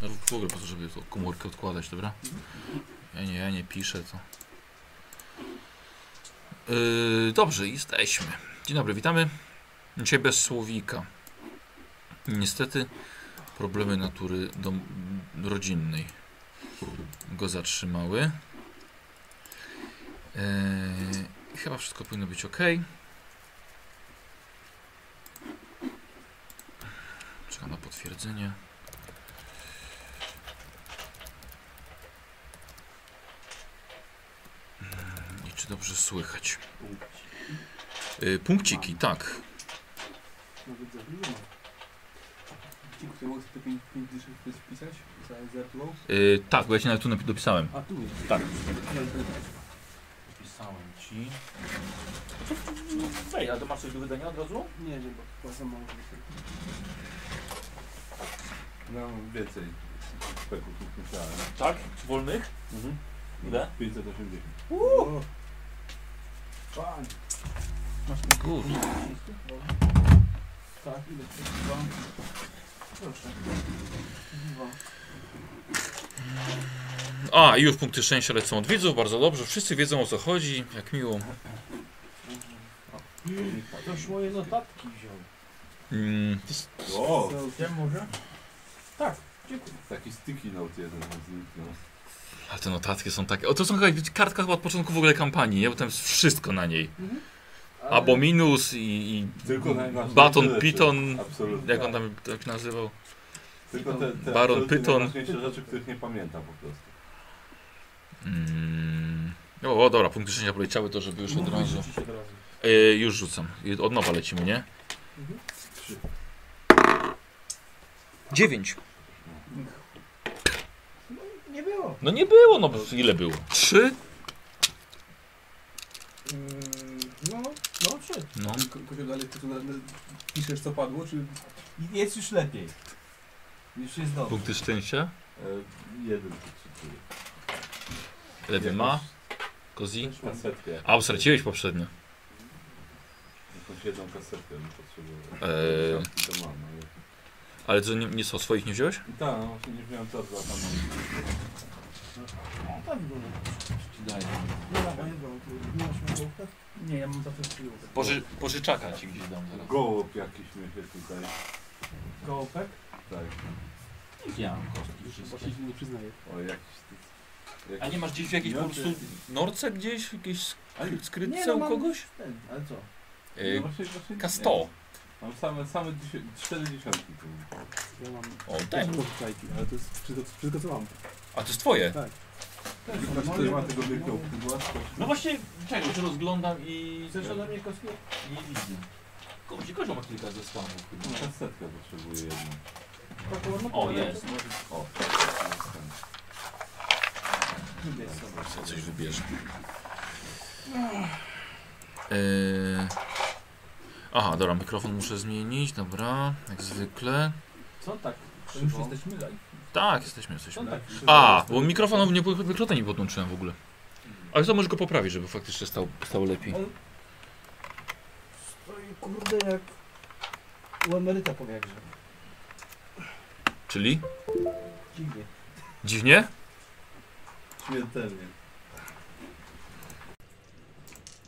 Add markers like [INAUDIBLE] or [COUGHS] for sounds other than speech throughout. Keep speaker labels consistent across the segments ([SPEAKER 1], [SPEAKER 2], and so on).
[SPEAKER 1] no w ogóle po to, żeby tą komórkę odkładać, dobra? Ja nie, ja nie piszę, to. Yy, dobrze, jesteśmy. Dzień dobry, witamy. Dzisiaj bez słowika. Niestety problemy natury dom- rodzinnej go zatrzymały. Yy, chyba wszystko powinno być ok. Czekam na potwierdzenie. Mm, I czy dobrze słychać? Yy, punkciki, tak.
[SPEAKER 2] Nawet za dużo. Dzięki, to mogę sobie te 5 dyszek wpisać za, za rytuał?
[SPEAKER 1] Yy, tak, bo ja cię nawet tu napi- dopisałem.
[SPEAKER 2] A tu jest.
[SPEAKER 1] Tak.
[SPEAKER 3] Pisałem ci. Ej, a to masz coś do wydania od razu?
[SPEAKER 2] Nie, nie, bo chyba za mało.
[SPEAKER 4] No więcej. Speków tu wpisałem.
[SPEAKER 3] Tak? Wolnych?
[SPEAKER 4] Mhm.
[SPEAKER 3] Ile?
[SPEAKER 4] 580.
[SPEAKER 2] Uuu! Pan! Masz ten
[SPEAKER 1] Kurde.
[SPEAKER 2] Tak, ile? to jest? Dwa. Proszę. Dwa.
[SPEAKER 1] A, i już punkty szczęścia lecą od widzów, bardzo dobrze. Wszyscy wiedzą o co chodzi, jak miło.
[SPEAKER 3] Ktoś moje notatki wziął.
[SPEAKER 1] Mm,
[SPEAKER 4] O!
[SPEAKER 3] Ja może?
[SPEAKER 4] Taki sticky note jeden nam zniknął.
[SPEAKER 1] ale te notatki są takie. O, to są chyba kartka chyba od początku w ogóle kampanii, nie? Bo tam jest wszystko na niej. Abominus i, i
[SPEAKER 4] Tylko
[SPEAKER 5] Mm.
[SPEAKER 4] najważniejsze
[SPEAKER 1] Baton
[SPEAKER 4] rzeczy.
[SPEAKER 1] Python,
[SPEAKER 4] Absolutnie.
[SPEAKER 1] jak on tam tak nazywał.
[SPEAKER 4] Tylko te, te
[SPEAKER 1] Baron
[SPEAKER 4] absolutnie
[SPEAKER 1] Python.
[SPEAKER 4] najważniejsze rzeczy, których nie pamiętam po prostu.
[SPEAKER 1] Mm. O, o, dobra, punkty szczęścia poleciały to, żeby już od razu.
[SPEAKER 3] Rzucić od razu.
[SPEAKER 1] E, już rzucam. I Od nowa lecimy, nie?
[SPEAKER 4] Trzy.
[SPEAKER 1] Dziewięć.
[SPEAKER 5] Nie było.
[SPEAKER 1] No nie było, no bo ile było? Trzy?
[SPEAKER 5] Mm, No, no trzy.
[SPEAKER 1] No.
[SPEAKER 2] Ko- Kozio, dalej ty tu na, na, piszesz co padło, czy...
[SPEAKER 5] I Jest już lepiej. Już jest dobrze.
[SPEAKER 1] Punkty szczęścia?
[SPEAKER 4] E, jeden czy trzy. trzy.
[SPEAKER 1] Lewy ma, Kozi.
[SPEAKER 4] Jakąś Kasetkę.
[SPEAKER 1] A, straciłeś poprzednio.
[SPEAKER 4] Jakąś jedną kasetkę bym potrzebował.
[SPEAKER 1] Eee.
[SPEAKER 4] Kasetki To mam, ale...
[SPEAKER 1] Ale co, nie, nie co, swoich nie wziąłeś?
[SPEAKER 4] I Tak, no właśnie nie wiem co za tam mam.
[SPEAKER 5] Tak było. No, no, nie było. Nie masz migawka?
[SPEAKER 2] Nie, ja mam zawsze przyjął.
[SPEAKER 1] pożyczaka ci gdzieś dam zaraz.
[SPEAKER 4] Gołąb jakiś mnie się tutaj.
[SPEAKER 5] Gołopek?
[SPEAKER 4] Tak.
[SPEAKER 3] Ja mam kostki
[SPEAKER 2] Właśnie
[SPEAKER 3] wszystkie.
[SPEAKER 2] się nie przyznaję.
[SPEAKER 4] O jakiś...
[SPEAKER 1] A nie masz gdzieś w jakiejś po prostu norce gdzieś, w jakiejś
[SPEAKER 5] Nie,
[SPEAKER 1] skrytce
[SPEAKER 5] no,
[SPEAKER 1] u
[SPEAKER 5] mam-
[SPEAKER 1] kogoś?
[SPEAKER 5] Ten, ale co?
[SPEAKER 1] E,
[SPEAKER 4] właśnie- właśnie nie.
[SPEAKER 1] K100.
[SPEAKER 4] Mam same, same dziesię- cztery dziesiątki tu.
[SPEAKER 2] Ja mam...
[SPEAKER 1] O, ten.
[SPEAKER 2] Też mam fajki, ale to jest wszystko, wszystko co mam.
[SPEAKER 1] A to jest twoje.
[SPEAKER 2] Tak.
[SPEAKER 5] Też
[SPEAKER 4] Ktoś
[SPEAKER 5] są
[SPEAKER 4] też ma
[SPEAKER 5] moje,
[SPEAKER 4] tego
[SPEAKER 5] moje.
[SPEAKER 4] wielkiego pudła?
[SPEAKER 3] No właśnie, czekaj, się rozglądam i...
[SPEAKER 5] Zresztą na mnie kostki?
[SPEAKER 3] Nie widzę. Kozi, kozioł ma kilka zestawów
[SPEAKER 4] No,
[SPEAKER 3] chyba.
[SPEAKER 4] Kasetkę potrzebuję jedną.
[SPEAKER 5] Taką, no,
[SPEAKER 3] O,
[SPEAKER 5] to-
[SPEAKER 3] jest.
[SPEAKER 4] O,
[SPEAKER 5] Jest sobie.
[SPEAKER 1] Co coś wybierze. E, aha, dobra, mikrofon muszę zmienić, dobra, jak zwykle.
[SPEAKER 5] Co tak?
[SPEAKER 2] To już jesteśmy live.
[SPEAKER 1] Tak, jesteśmy, jesteśmy.
[SPEAKER 5] Co tak?
[SPEAKER 1] A, bo mikrofon nie, mikrofon nie podłączyłem w ogóle. Ale to może go poprawić, żeby faktycznie stał, stał lepiej.
[SPEAKER 5] Stoi No kurde jak... U emeryta po wiagrze.
[SPEAKER 1] Czyli?
[SPEAKER 5] Dziwnie.
[SPEAKER 1] Dziwnie?
[SPEAKER 4] Śmiertelnie.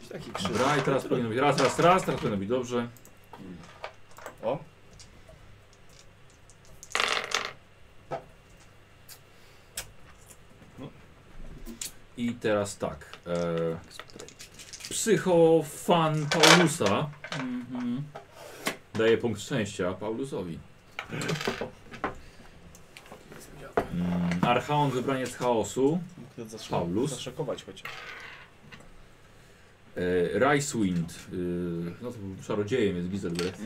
[SPEAKER 5] Jakiś Taki krzyk.
[SPEAKER 1] Dobra, i teraz powinno być raz, raz, raz, teraz powinno być dobrze.
[SPEAKER 4] O,
[SPEAKER 1] No. I teraz tak. E, psychofan Paulusa daje punkt szczęścia Paulusowi. Mm, Archaon wybraniec chaosu. Paulus.
[SPEAKER 6] Zaszokować chociaż.
[SPEAKER 1] E, Ricewind. E, no to był czarodziejem jest Gizelbrecht.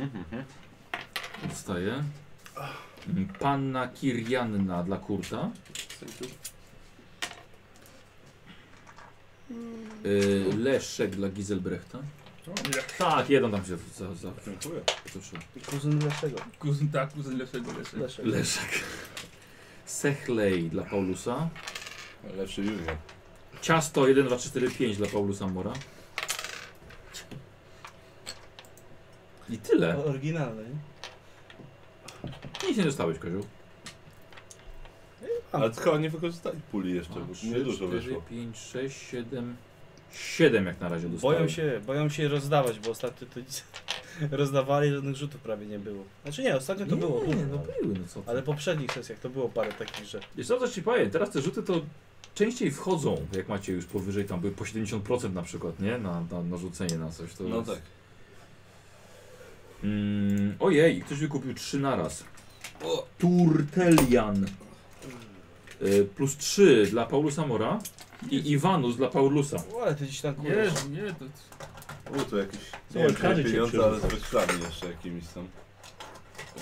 [SPEAKER 1] Dostaje. Mm, Panna Kirianna dla Kurta. E, Leszek dla Gizelbrechta. Tak, jeden tam się za, za,
[SPEAKER 6] Dziękuję.
[SPEAKER 1] proszę.
[SPEAKER 5] Kuzyn Leszego.
[SPEAKER 2] Kuzyn tak, kuzyn lepszego, lepszego.
[SPEAKER 5] Leszek.
[SPEAKER 1] Leszek. Sechlej dla Paulusa.
[SPEAKER 4] lepszy junior.
[SPEAKER 1] Ciasto 1, 2, 3, 4, 5 dla Paulusa Mora. I tyle.
[SPEAKER 5] O, Oryginalny. nie?
[SPEAKER 1] Nic nie dostałeś, Koziu.
[SPEAKER 4] Ale to chyba nie wykorzystali puli jeszcze, bo niedużo wyszło.
[SPEAKER 1] 5, 6, 7. 7 jak na razie dostałem.
[SPEAKER 6] Boją się, boją się rozdawać, bo ostatnio to nic [LAUGHS] rozdawali, żadnych rzutów prawie nie było. Znaczy nie, ostatnio to
[SPEAKER 1] nie,
[SPEAKER 6] było.
[SPEAKER 1] Nie, no były, no co ty.
[SPEAKER 6] Ale w poprzednich sesjach to było parę takich, że
[SPEAKER 1] Wiesz, co też ci powiem, teraz te rzuty to częściej wchodzą, jak macie już powyżej, tam były po 70% na przykład, nie? Na, na, na rzucenie na coś. To
[SPEAKER 4] No
[SPEAKER 1] jest...
[SPEAKER 4] tak.
[SPEAKER 1] Mm, ojej, ktoś wykupił 3 naraz. O, Turtelian. Y, plus 3 dla Paulusa Mora i Iwanus dla Paulusa.
[SPEAKER 6] o, ale ty dziś tam
[SPEAKER 2] Nie,
[SPEAKER 6] kurde.
[SPEAKER 2] nie, to...
[SPEAKER 4] U, to jakieś
[SPEAKER 6] Co,
[SPEAKER 4] nie wiem,
[SPEAKER 6] kary cię
[SPEAKER 4] czy pieniądze, ale z
[SPEAKER 6] przerzucą.
[SPEAKER 4] wekslami jeszcze jakimiś są.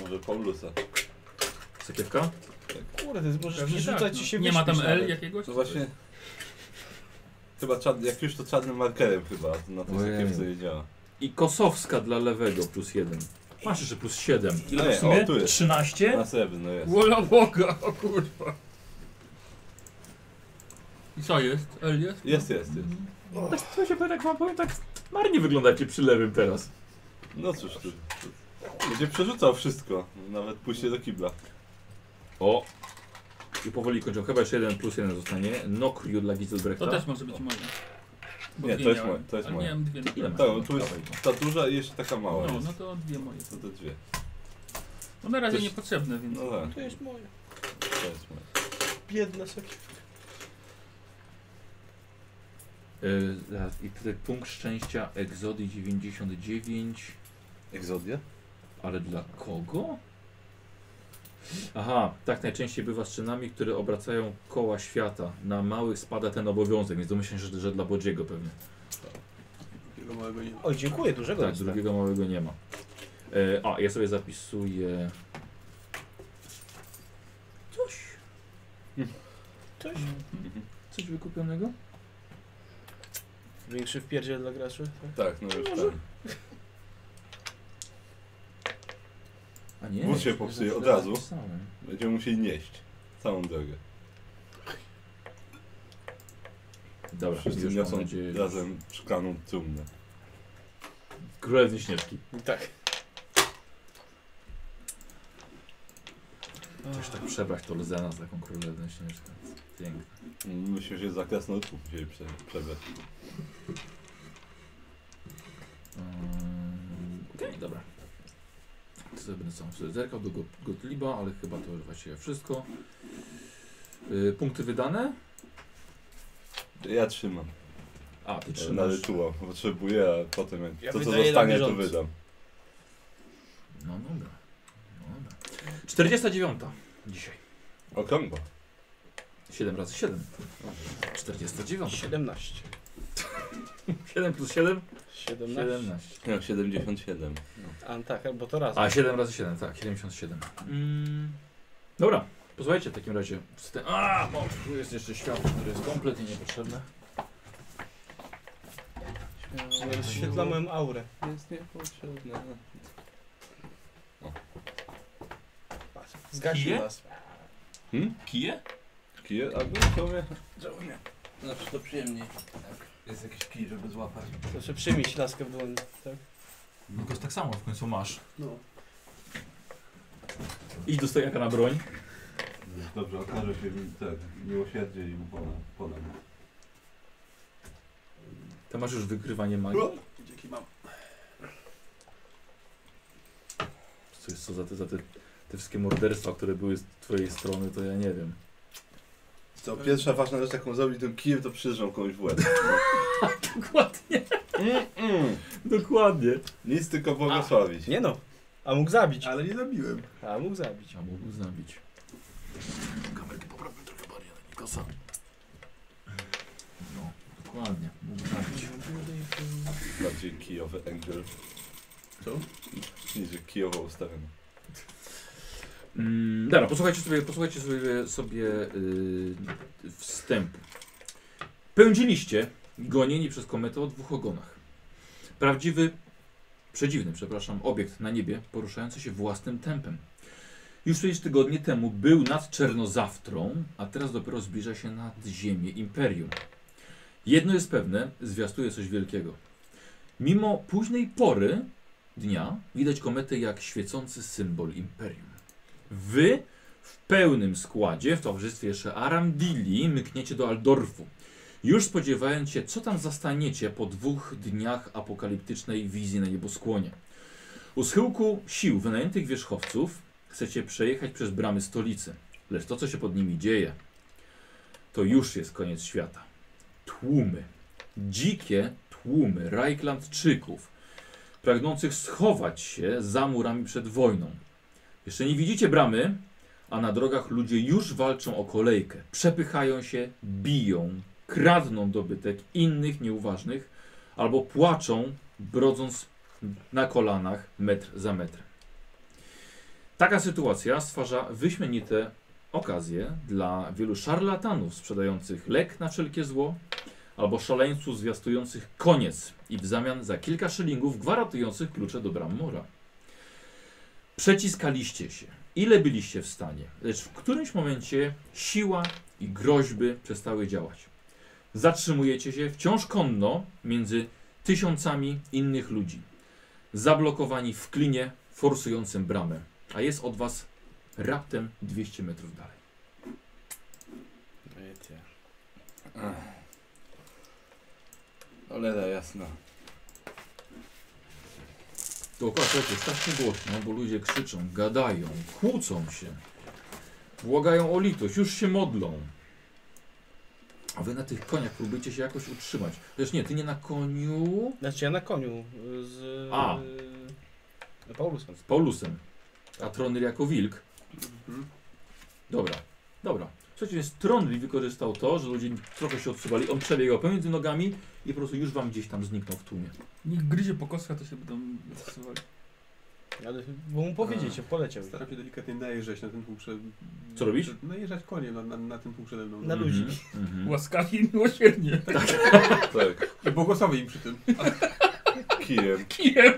[SPEAKER 4] Może Paulusa.
[SPEAKER 1] Sakiewka?
[SPEAKER 6] Kurde, ty możesz
[SPEAKER 2] Pewnie
[SPEAKER 6] rzucać
[SPEAKER 2] tak,
[SPEAKER 6] i
[SPEAKER 2] no.
[SPEAKER 6] się
[SPEAKER 2] Nie ma tam
[SPEAKER 6] wyśmieć
[SPEAKER 2] L
[SPEAKER 6] nawet.
[SPEAKER 2] jakiegoś?
[SPEAKER 4] To No właśnie... Chyba czad, jak już to czarnym markerem chyba, na tej
[SPEAKER 1] Ojej.
[SPEAKER 4] sakiewce nie działa.
[SPEAKER 1] I Kosowska dla lewego plus 1. Masz jeszcze plus 7.
[SPEAKER 4] No nie, o, tu jest.
[SPEAKER 3] 13?
[SPEAKER 4] Na srebrny jest.
[SPEAKER 2] Wola Boga, o kurwa. I co jest? L jest?
[SPEAKER 4] Jest, jest, jest.
[SPEAKER 1] Tak, to się powiem, tak wam powiem, tak marnie wyglądacie przy lewym teraz.
[SPEAKER 4] No cóż, tu... tu- Będzie przerzucał wszystko, nawet pójście do kibla.
[SPEAKER 1] O! I powoli kończą. Chyba jeszcze jeden plus jeden zostanie. Nokriu dla Gizelbrechta.
[SPEAKER 2] To też może być moje.
[SPEAKER 4] Nie,
[SPEAKER 2] dwie
[SPEAKER 4] to jest
[SPEAKER 2] miałem.
[SPEAKER 4] moje, to jest
[SPEAKER 2] Ale
[SPEAKER 4] moje.
[SPEAKER 2] Miałem dwie.
[SPEAKER 1] Ile masz? no.
[SPEAKER 4] Tak, bo tu jest ta duża i jeszcze taka mała
[SPEAKER 2] No,
[SPEAKER 4] jest.
[SPEAKER 2] no to dwie moje.
[SPEAKER 4] To te dwie.
[SPEAKER 2] No na razie
[SPEAKER 4] Też-
[SPEAKER 2] niepotrzebne, więc...
[SPEAKER 4] No tak,
[SPEAKER 6] To jest moje.
[SPEAKER 4] to jest moje.
[SPEAKER 6] Biedna sakiewka.
[SPEAKER 1] Y, zaraz, I tutaj punkt szczęścia Exody 99.
[SPEAKER 4] Egzodia?
[SPEAKER 1] Ale dla kogo? Aha, tak najczęściej bywa z czynami, które obracają koła świata. Na małych spada ten obowiązek, więc domyślam się, że, że dla Bodziego pewnie.
[SPEAKER 4] Tego małego nie
[SPEAKER 6] Oj, dziękuję, dużego
[SPEAKER 1] Tak,
[SPEAKER 6] dostałem.
[SPEAKER 1] drugiego małego nie ma. E, a, ja sobie zapisuję. Coś.
[SPEAKER 6] Coś?
[SPEAKER 1] Coś wykupionego?
[SPEAKER 6] Większy wpierdziel dla graczy? tak?
[SPEAKER 4] Tak, no już tak.
[SPEAKER 1] A nie.
[SPEAKER 4] Wóz się popsuje od razu.
[SPEAKER 1] Napisałem.
[SPEAKER 4] Będziemy musieli nieść całą drogę.
[SPEAKER 1] Dobra,
[SPEAKER 4] Wszyscy
[SPEAKER 1] już mam
[SPEAKER 4] niosą
[SPEAKER 1] nadzieję.
[SPEAKER 4] razem szklaną trumnę.
[SPEAKER 1] Królewny śnieżki.
[SPEAKER 6] Tak.
[SPEAKER 2] e,
[SPEAKER 1] Coś tak przebrać to Lzena za taką królewnę śnieżkę. Pięknie.
[SPEAKER 4] Myśmy się za krasnoludków musieli prze, przebrać.
[SPEAKER 1] Mm, Okej, dobra. To sobie będę sam sobie zerkał do Got- Gottlieba, ale chyba to już właściwie wszystko. Y, punkty wydane?
[SPEAKER 4] Ja trzymam.
[SPEAKER 1] A, ty
[SPEAKER 4] Na
[SPEAKER 1] trzymasz.
[SPEAKER 4] rytuał. Potrzebuję, a potem jak
[SPEAKER 6] Ja
[SPEAKER 4] to co
[SPEAKER 6] wydaję na
[SPEAKER 4] zostanie to
[SPEAKER 6] bieżąco.
[SPEAKER 4] wydam.
[SPEAKER 1] No dobra. No dobra. 49 dzisiaj.
[SPEAKER 4] Okrągło.
[SPEAKER 1] 7 razy 7. 49.
[SPEAKER 6] 17.
[SPEAKER 1] 7 plus 7?
[SPEAKER 6] 17.
[SPEAKER 1] 17.
[SPEAKER 4] No, 77.
[SPEAKER 6] A tak, bo to razem.
[SPEAKER 1] A, 7 razy 7, tak, 77. Mm. Dobra, posłuchajcie w takim razie. Z te- A, bo tu jest jeszcze światło, które jest kompletnie niepotrzebne.
[SPEAKER 6] Rozświetla moją aurę.
[SPEAKER 4] Jest niepotrzebne.
[SPEAKER 6] Patrz, Zgasił
[SPEAKER 3] Kije?
[SPEAKER 6] nas.
[SPEAKER 3] Kije?
[SPEAKER 4] Kije? A był w sumie?
[SPEAKER 3] Zawsze No, to przyjemniej. Tak, Jest jakiś kij, żeby złapać.
[SPEAKER 6] Proszę przyjmieć laskę w dłoni. Tak?
[SPEAKER 1] No to tak samo w końcu masz.
[SPEAKER 5] No.
[SPEAKER 1] Idź do stojaka na broń.
[SPEAKER 4] Dobrze, okaże się mi tak, miłosierdzie i ponad. ponad.
[SPEAKER 1] To masz już wykrywanie magii.
[SPEAKER 5] Dzięki mam.
[SPEAKER 1] Co, jest, co za, te, za te, te wszystkie morderstwa, które były z twojej strony, to ja nie wiem.
[SPEAKER 4] Co, pierwsza ważna rzecz jaką zrobić tym kijem to przyjrzał komuś w
[SPEAKER 6] [LAUGHS]
[SPEAKER 4] łeb.
[SPEAKER 1] Dokładnie.
[SPEAKER 4] Mm-mm.
[SPEAKER 1] Dokładnie.
[SPEAKER 4] Nic tylko błogosławić.
[SPEAKER 6] Nie no. A mógł zabić.
[SPEAKER 5] Ale nie zabiłem.
[SPEAKER 6] A mógł zabić.
[SPEAKER 1] A mógł zabić. Kamerkę poprawię trochę bardziej na Nikosa. No, dokładnie. tak. Mógł zabić.
[SPEAKER 4] Bardziej kijowy angle.
[SPEAKER 5] Co?
[SPEAKER 4] Nie, że kijowo ustawiony.
[SPEAKER 1] Mm, dobra, posłuchajcie sobie, posłuchajcie sobie, sobie yy, wstępu. Pędziliście, gonieni przez kometę o dwóch ogonach. Prawdziwy, przedziwny, przepraszam, obiekt na niebie, poruszający się własnym tempem. Już przecież tygodnie temu był nad Czernozawtrą, a teraz dopiero zbliża się nad ziemię Imperium. Jedno jest pewne, zwiastuje coś wielkiego. Mimo późnej pory dnia widać kometę jak świecący symbol Imperium. Wy W pełnym składzie, w towarzystwie jeszcze Aramdili, mykniecie do Aldorfu. Już spodziewając się, co tam zastaniecie po dwóch dniach apokaliptycznej wizji na nieboskłonie. U schyłku sił wynajętych wierzchowców chcecie przejechać przez bramy stolicy, lecz to, co się pod nimi dzieje, to już jest koniec świata. Tłumy, dzikie tłumy Rajklandczyków, pragnących schować się za murami przed wojną. Jeszcze nie widzicie bramy, a na drogach ludzie już walczą o kolejkę. Przepychają się, biją, kradną dobytek innych nieuważnych albo płaczą, brodząc na kolanach metr za metrem. Taka sytuacja stwarza wyśmienite okazje dla wielu szarlatanów sprzedających lek na wszelkie zło albo szaleńców zwiastujących koniec i w zamian za kilka szylingów gwarantujących klucze do bram mora. Przeciskaliście się, ile byliście w stanie, lecz w którymś momencie siła i groźby przestały działać. Zatrzymujecie się wciąż konno między tysiącami innych ludzi, zablokowani w klinie forsującym bramę, a jest od was raptem 200 metrów dalej.
[SPEAKER 6] Wiecie.
[SPEAKER 3] Cholera jasna.
[SPEAKER 1] Dookoła słuchajcie, jest strasznie głośno, bo ludzie krzyczą, gadają, kłócą się, błagają o litość, już się modlą. A wy na tych koniach próbujecie się jakoś utrzymać. Lecz nie, ty nie na koniu,
[SPEAKER 6] Znaczy ja na koniu y, z...
[SPEAKER 1] A.
[SPEAKER 6] y, Paulusem.
[SPEAKER 1] z Paulusem, a Tronyl jako wilk.
[SPEAKER 2] Mhm.
[SPEAKER 1] Dobra, dobra. Słuchajcie, więc Tronyl wykorzystał to, że ludzie trochę się odsuwali, on przebiegał pomiędzy nogami i po prostu już wam gdzieś tam zniknął w tłumie.
[SPEAKER 2] Niech gryzie po kostkach, to się będą stosowali.
[SPEAKER 3] Mhm.
[SPEAKER 6] Ale bo mu powiedzieć, poleciał.
[SPEAKER 2] Staram się delikatnie najeżdżać na ten punkt przed...
[SPEAKER 1] Co robisz?
[SPEAKER 2] Najeżdżać koniem na, na, na ten punkt przede mną.
[SPEAKER 6] Na ludzi.
[SPEAKER 1] Mhm.
[SPEAKER 2] Łaskawie i
[SPEAKER 3] [LAUGHS]
[SPEAKER 2] miłosiernie.
[SPEAKER 4] Tak,
[SPEAKER 2] I błogosławię im przy tym.
[SPEAKER 4] kijem.
[SPEAKER 2] Kijem!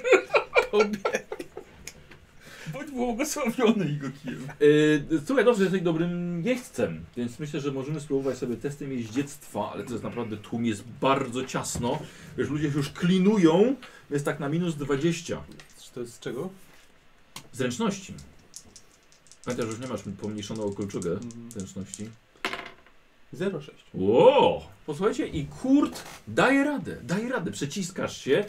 [SPEAKER 2] Bądź błogosławiony jego kijem.
[SPEAKER 1] Yy, słuchaj, dobrze, jesteś dobrym jeźdźcem, więc myślę, że możemy spróbować sobie testem jeździectwa, ale to jest naprawdę tłum jest bardzo ciasno. Wiesz, ludzie się już klinują, jest tak na minus 20
[SPEAKER 2] Czy to jest z czego?
[SPEAKER 1] zręczności. Pamiętasz, że już nie masz pomniejszoną kolczugę zręczności.
[SPEAKER 2] 0,6.
[SPEAKER 1] Ło! Posłuchajcie, i kurt daje radę, daje radę, przeciskasz się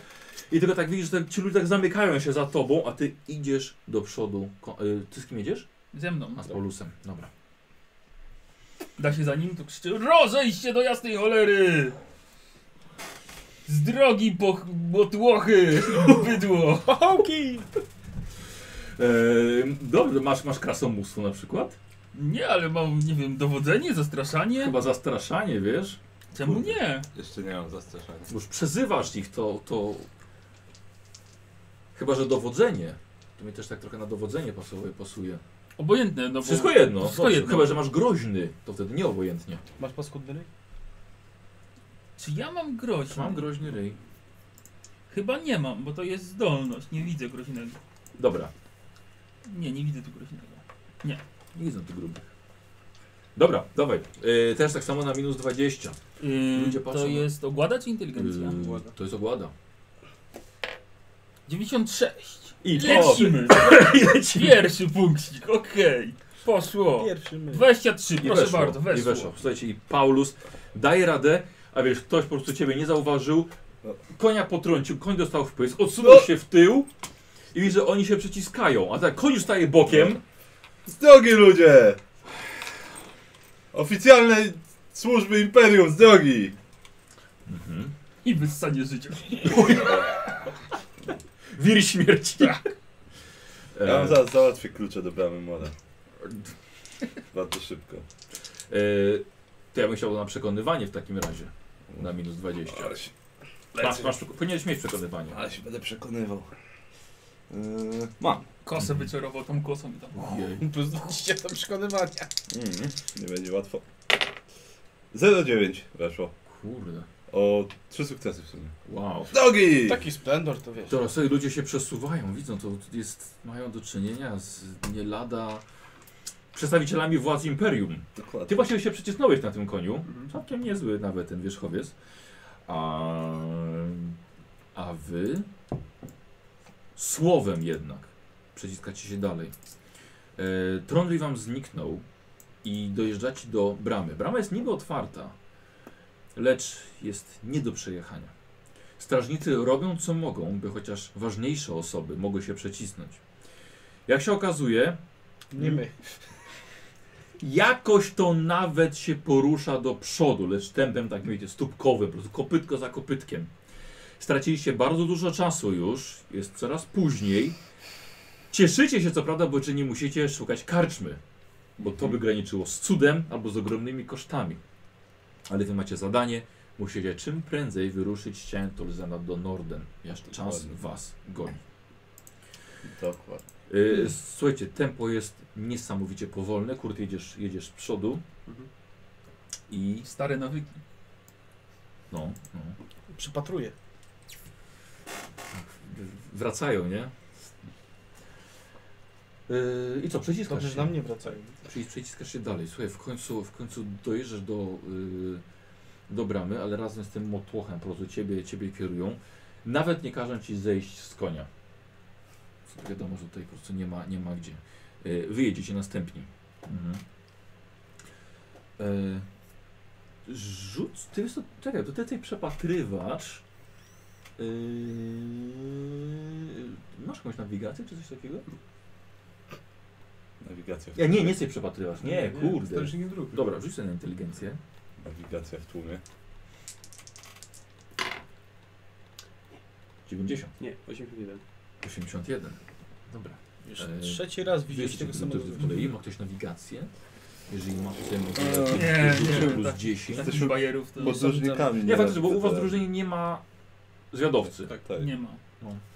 [SPEAKER 1] i tylko tak widzisz, że tak, ci ludzie tak zamykają się za tobą, a ty idziesz do przodu. Ko- y, ty z kim jedziesz?
[SPEAKER 2] Ze mną.
[SPEAKER 1] A z Paulusem, dobra.
[SPEAKER 2] Da się za nim, to krzyczy Rozejść się do jasnej cholery! Z drogi po
[SPEAKER 1] [LAUGHS]
[SPEAKER 2] motłochy! Bydło!
[SPEAKER 6] Hołki!
[SPEAKER 1] Eee, dobrze, masz, masz krasomóstwo na przykład?
[SPEAKER 2] Nie, ale mam, nie wiem, dowodzenie, zastraszanie?
[SPEAKER 1] Chyba zastraszanie, wiesz?
[SPEAKER 2] Czemu nie?
[SPEAKER 4] Jeszcze nie mam zastraszania.
[SPEAKER 1] Bo Już przezywasz ich, to, to... Chyba, że dowodzenie. To mi też tak trochę na dowodzenie pasuje. pasuje.
[SPEAKER 2] Obojętne, no bo...
[SPEAKER 1] Wszystko jedno.
[SPEAKER 2] Wszystko
[SPEAKER 1] dobrze.
[SPEAKER 2] jedno.
[SPEAKER 1] Chyba, że masz groźny, to wtedy nie obojętnie.
[SPEAKER 6] Masz paskudny ryj?
[SPEAKER 7] Czy ja mam groź?
[SPEAKER 1] Mam groźny ryj.
[SPEAKER 7] Chyba nie mam, bo to jest zdolność. Nie widzę groźnego.
[SPEAKER 1] Dobra,
[SPEAKER 7] Nie, nie widzę tu groźnego.
[SPEAKER 1] nie widzę tu grubych. Dobra, dawaj. Eee, też tak samo na minus 20. Ludzie
[SPEAKER 7] Yy,
[SPEAKER 1] patrzą no.
[SPEAKER 7] to
[SPEAKER 1] na-
[SPEAKER 7] jest ogłada czy inteligencja?
[SPEAKER 1] Eee, to jest ogłada.
[SPEAKER 7] 96.
[SPEAKER 1] I [LAUGHS]
[SPEAKER 7] Lecimy!
[SPEAKER 1] I lecimy.
[SPEAKER 7] Pierwszy punkcik, okej. Poszło.
[SPEAKER 6] Pierwszy my.
[SPEAKER 7] 23,
[SPEAKER 1] I
[SPEAKER 7] proszę
[SPEAKER 1] weszło,
[SPEAKER 7] bardzo,
[SPEAKER 1] I weszło.
[SPEAKER 7] weszło.
[SPEAKER 1] Słuchajcie, i Paulus daje radę, a wiesz, ktoś po prostu ciebie nie zauważył, konia potrącił, koń dostał w pysk, odsunął
[SPEAKER 3] No.
[SPEAKER 1] się w tył i widzisz, że oni się przyciskają, a tak koń już staje bokiem.
[SPEAKER 4] Z drogi ludzie! Oficjalne służby Imperium z drogi!
[SPEAKER 7] I wyssanie życia.
[SPEAKER 1] [LAUGHS] Wir śmierci.
[SPEAKER 7] Tak,
[SPEAKER 4] Ja wam
[SPEAKER 1] E,
[SPEAKER 4] zaraz załatwię klucze do bramy mora. Bardzo szybko.
[SPEAKER 1] e, to ja bym chciał na przekonywanie w takim razie, na minus 20.
[SPEAKER 3] Ale się,
[SPEAKER 1] Masz, masz, powinieneś mieć przekonywanie.
[SPEAKER 3] ale się będę przekonywał. Yy, mam.
[SPEAKER 7] Kosę wyczarował tą kosą i tam.
[SPEAKER 1] Ojej.
[SPEAKER 6] Plus 20 do przekonywania.
[SPEAKER 4] Mm, nie będzie łatwo. 0,9 weszło.
[SPEAKER 1] Kurde,
[SPEAKER 4] O trzy sukcesy w sumie. Tak.
[SPEAKER 1] wow.
[SPEAKER 4] Z Drogi!
[SPEAKER 6] Taki splendor to wiesz.
[SPEAKER 1] Teraz sobie ludzie się przesuwają, widzą, to jest, mają do czynienia z nie lada przedstawicielami władz imperium.
[SPEAKER 4] Dokładnie.
[SPEAKER 1] Ty właśnie się przycisnąłeś na tym koniu.
[SPEAKER 2] Mhm.
[SPEAKER 1] Całkiem niezły nawet ten wierzchowiec. A, a wy słowem jednak przeciskacie się dalej. E, E, Trondli wam zniknął i dojeżdżacie do bramy. Brama jest niby otwarta, lecz jest nie do przejechania. Strażnicy robią co mogą, by chociaż ważniejsze osoby mogły się przecisnąć. Jak się okazuje,
[SPEAKER 6] Nie my.
[SPEAKER 1] jakoś to nawet się porusza do przodu, lecz tempem tak wiecie, stópkowym, po prostu kopytko za kopytkiem. Straciliście bardzo dużo czasu już, jest coraz później. Cieszycie się co prawda, bo czy nie musicie szukać karczmy, bo to by graniczyło z cudem albo z ogromnymi kosztami. Ale wy macie zadanie, musicie czym prędzej wyruszyć się Tolzena do Norden. Jeszcze czas
[SPEAKER 4] Dokładnie.
[SPEAKER 1] was goni.
[SPEAKER 4] Dokładnie.
[SPEAKER 1] Y, Słuchajcie, tempo jest niesamowicie powolne. Kurt, jedziesz, jedziesz z przodu. I
[SPEAKER 2] Stare nawyki.
[SPEAKER 1] no, no.
[SPEAKER 6] Przypatruję.
[SPEAKER 1] W- Wracają, nie? Y, I co,
[SPEAKER 6] Dobrze,
[SPEAKER 1] przyciskasz
[SPEAKER 6] że na
[SPEAKER 1] się?
[SPEAKER 6] mnie wracają.
[SPEAKER 1] Przy- Przyciskasz się dalej. Słuchaj, w końcu, w końcu dojeżdżasz do, y, do bramy, ale razem z tym motłochem po prostu ciebie, ciebie kierują. Nawet nie każą ci zejść z konia. Wiadomo, że tutaj po prostu nie ma, nie ma gdzie. Y, Wyjedziecie następni. Mhm. E, Rzuć, ty wiesz co, czekaj, to ty tej przepatrywasz. Yy, masz jakąś nawigację czy coś takiego?
[SPEAKER 4] Nawigacja w
[SPEAKER 1] Ja,
[SPEAKER 4] tłumie.
[SPEAKER 1] nie, nie sobie przepatrywasz. Nie, kurde.
[SPEAKER 4] Strażnik drugi.
[SPEAKER 1] Dobra, rzuć sobie na inteligencję.
[SPEAKER 4] Nawigacja w tłumie.
[SPEAKER 1] 90.
[SPEAKER 8] Nie, 81.
[SPEAKER 1] 81. Dobra.
[SPEAKER 6] Już
[SPEAKER 4] E,
[SPEAKER 1] Eee,
[SPEAKER 6] trzeci raz widzisz
[SPEAKER 4] no
[SPEAKER 6] tego
[SPEAKER 1] to
[SPEAKER 6] samego.
[SPEAKER 1] z kolei ma ktoś nawigację. Jeżeli ma tutaj
[SPEAKER 2] Nie,
[SPEAKER 1] nawigację,
[SPEAKER 2] nie,
[SPEAKER 1] plus
[SPEAKER 2] tak.
[SPEAKER 1] 10.
[SPEAKER 2] Takich bajerów to
[SPEAKER 4] Podróżnikami.
[SPEAKER 1] Nie, faktycznie, bo u was w drużynie nie ma zwiadowcy.
[SPEAKER 4] Tak, tak.
[SPEAKER 7] nie ma.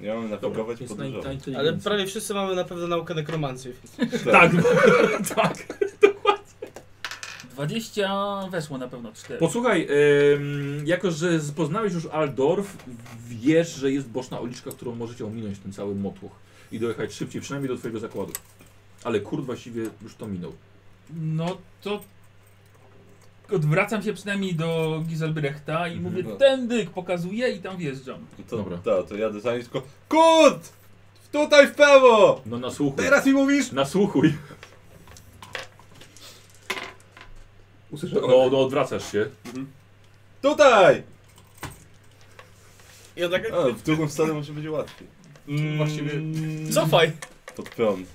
[SPEAKER 4] Nie mamy
[SPEAKER 1] Dobra,
[SPEAKER 4] nawigować,
[SPEAKER 1] jest na, na
[SPEAKER 4] podróżować.
[SPEAKER 1] inteligencję.
[SPEAKER 6] Ale prawie wszyscy mamy na pewno naukę nekromancji.
[SPEAKER 1] Tak,
[SPEAKER 7] [LAUGHS]
[SPEAKER 1] tak.
[SPEAKER 7] 20 weszło na pewno 4.
[SPEAKER 1] Posłuchaj, em, jako że z- poznałeś już Aldorf, wiesz, że jest boczna uliczka, którą możecie ominąć ten cały motłoch i dojechać szybciej, przynajmniej do twojego zakładu. Ale kurt właściwie już to minął.
[SPEAKER 7] No to odwracam się przynajmniej do Giselbrechta i
[SPEAKER 1] Mhm.
[SPEAKER 7] mówię tędyk, pokazuję i tam wjeżdżam.
[SPEAKER 4] To,
[SPEAKER 1] Dobra.
[SPEAKER 4] Dobra. Ta, to jadę za nim tylko KUT! Tutaj w prawo!
[SPEAKER 1] No nasłuchuj.
[SPEAKER 4] Teraz mi mówisz!
[SPEAKER 1] Nasłuchuj.
[SPEAKER 8] Usłyszałem.
[SPEAKER 1] No, no odwracasz się.
[SPEAKER 4] Tutaj!
[SPEAKER 6] I on tak...
[SPEAKER 4] A, w drugą stronę może być łatwiej.
[SPEAKER 6] Mm,
[SPEAKER 2] właściwie-
[SPEAKER 6] Cofaj!
[SPEAKER 4] Pod prąd.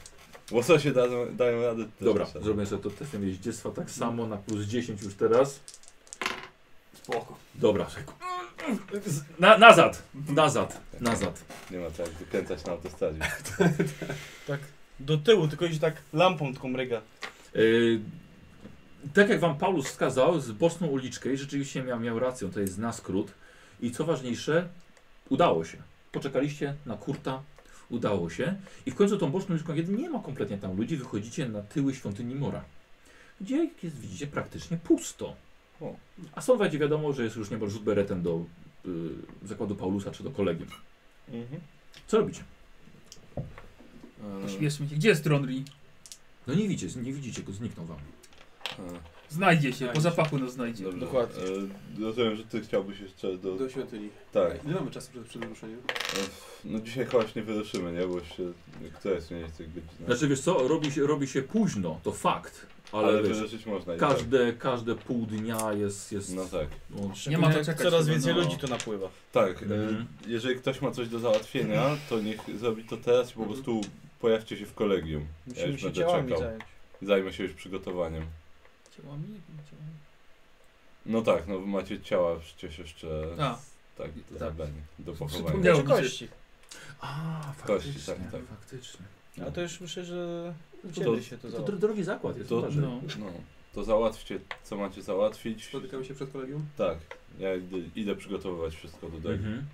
[SPEAKER 4] Łososie dają, dają radę. też
[SPEAKER 1] Dobra,
[SPEAKER 4] czasem.
[SPEAKER 1] zrobię sobie to testem jeździectwa tak samo, na plus 10 już teraz.
[SPEAKER 2] Spoko.
[SPEAKER 1] Dobra, z- na, nazad, nazad, nazad.
[SPEAKER 4] Nie ma tak, wykręcać na autostradzie.
[SPEAKER 6] Tak. Do tyłu, tylko iść tak lampą taką ryga.
[SPEAKER 1] Yy, tak jak wam Paulus wskazał, z boczną uliczkę i rzeczywiście miał, miał rację, to jest na skrót. I co ważniejsze, udało się. Poczekaliście na kurta, udało się. I w końcu tą boczną uliczką, kiedy nie ma kompletnie tam ludzi, wychodzicie na tyły świątyni Mora. Gdzie jak jest, widzicie, praktycznie pusto.
[SPEAKER 4] O.
[SPEAKER 1] A są wejdzie wiadomo, że jest już niebo rzut beretem do y, zakładu Paulusa czy do kolegium.
[SPEAKER 4] Mhm.
[SPEAKER 1] Co robicie?
[SPEAKER 4] E,
[SPEAKER 7] Pośpieszmy się. Gdzie jest Tronri?
[SPEAKER 1] No nie widzicie, nie widzicie go, zniknął wam.
[SPEAKER 4] E,
[SPEAKER 7] Znajdzie się, po
[SPEAKER 8] Znajdzie.
[SPEAKER 7] zapachu nas
[SPEAKER 1] No.
[SPEAKER 7] znajdzie.
[SPEAKER 4] Dobrze.
[SPEAKER 6] Dokładnie.
[SPEAKER 4] E, rozumiem, że ty chciałbyś jeszcze do...
[SPEAKER 8] Do świątyni.
[SPEAKER 4] Tak.
[SPEAKER 8] Ile mamy czasu przed, przed ruszeniem?
[SPEAKER 4] E, No dzisiaj chyba się nie wyruszymy, nie? Bo już się... Która jest mniej tych godzin?
[SPEAKER 1] Znaczy wiesz co, robi się, robi się późno, to fakt. Ale,
[SPEAKER 4] ale
[SPEAKER 1] wiesz,
[SPEAKER 4] wyruszyć można. i
[SPEAKER 1] Każde, każde pół dnia jest. jest
[SPEAKER 4] Tak. No tak.
[SPEAKER 1] no,
[SPEAKER 7] Nie ma co
[SPEAKER 6] Szczególnie
[SPEAKER 7] czekać,
[SPEAKER 6] Coraz
[SPEAKER 7] chyba,
[SPEAKER 6] więcej
[SPEAKER 7] no.
[SPEAKER 6] ludzi tu napływa.
[SPEAKER 4] Tak, e,
[SPEAKER 1] Mhm.
[SPEAKER 4] jeżeli ktoś ma coś do załatwienia, to niech zrobi to teraz i
[SPEAKER 1] Mhm.
[SPEAKER 4] po prostu pojawcie się w kolegium. Ja
[SPEAKER 6] Musimy
[SPEAKER 4] już
[SPEAKER 6] się
[SPEAKER 4] będę
[SPEAKER 6] ciałami
[SPEAKER 4] czekał.
[SPEAKER 6] zająć.
[SPEAKER 4] Zajmę się już przygotowaniem.
[SPEAKER 7] Ciałami? Ciałami.
[SPEAKER 4] No tak, no wy macie ciała przecież jeszcze
[SPEAKER 7] A,
[SPEAKER 4] tak,
[SPEAKER 7] tak.
[SPEAKER 4] do zabrania, do pochowania.
[SPEAKER 7] Przypomniał.
[SPEAKER 6] Czy
[SPEAKER 7] mi się.
[SPEAKER 6] kości?
[SPEAKER 1] A,
[SPEAKER 4] Kości,
[SPEAKER 1] faktycznie,
[SPEAKER 4] tak, tak.
[SPEAKER 1] faktycznie.
[SPEAKER 6] A to już myślę, że u
[SPEAKER 4] To-
[SPEAKER 6] ciebie się
[SPEAKER 1] To
[SPEAKER 6] to
[SPEAKER 1] tak,
[SPEAKER 6] załatwi.
[SPEAKER 1] dro- drogi zakład jest,
[SPEAKER 4] To-
[SPEAKER 1] uważaj.
[SPEAKER 7] no.
[SPEAKER 4] No, to załatwcie, co macie załatwić.
[SPEAKER 8] Spotykamy się przed kolegium?
[SPEAKER 4] Tak, ja idę, idę przygotowywać wszystko tutaj.
[SPEAKER 1] Mhm.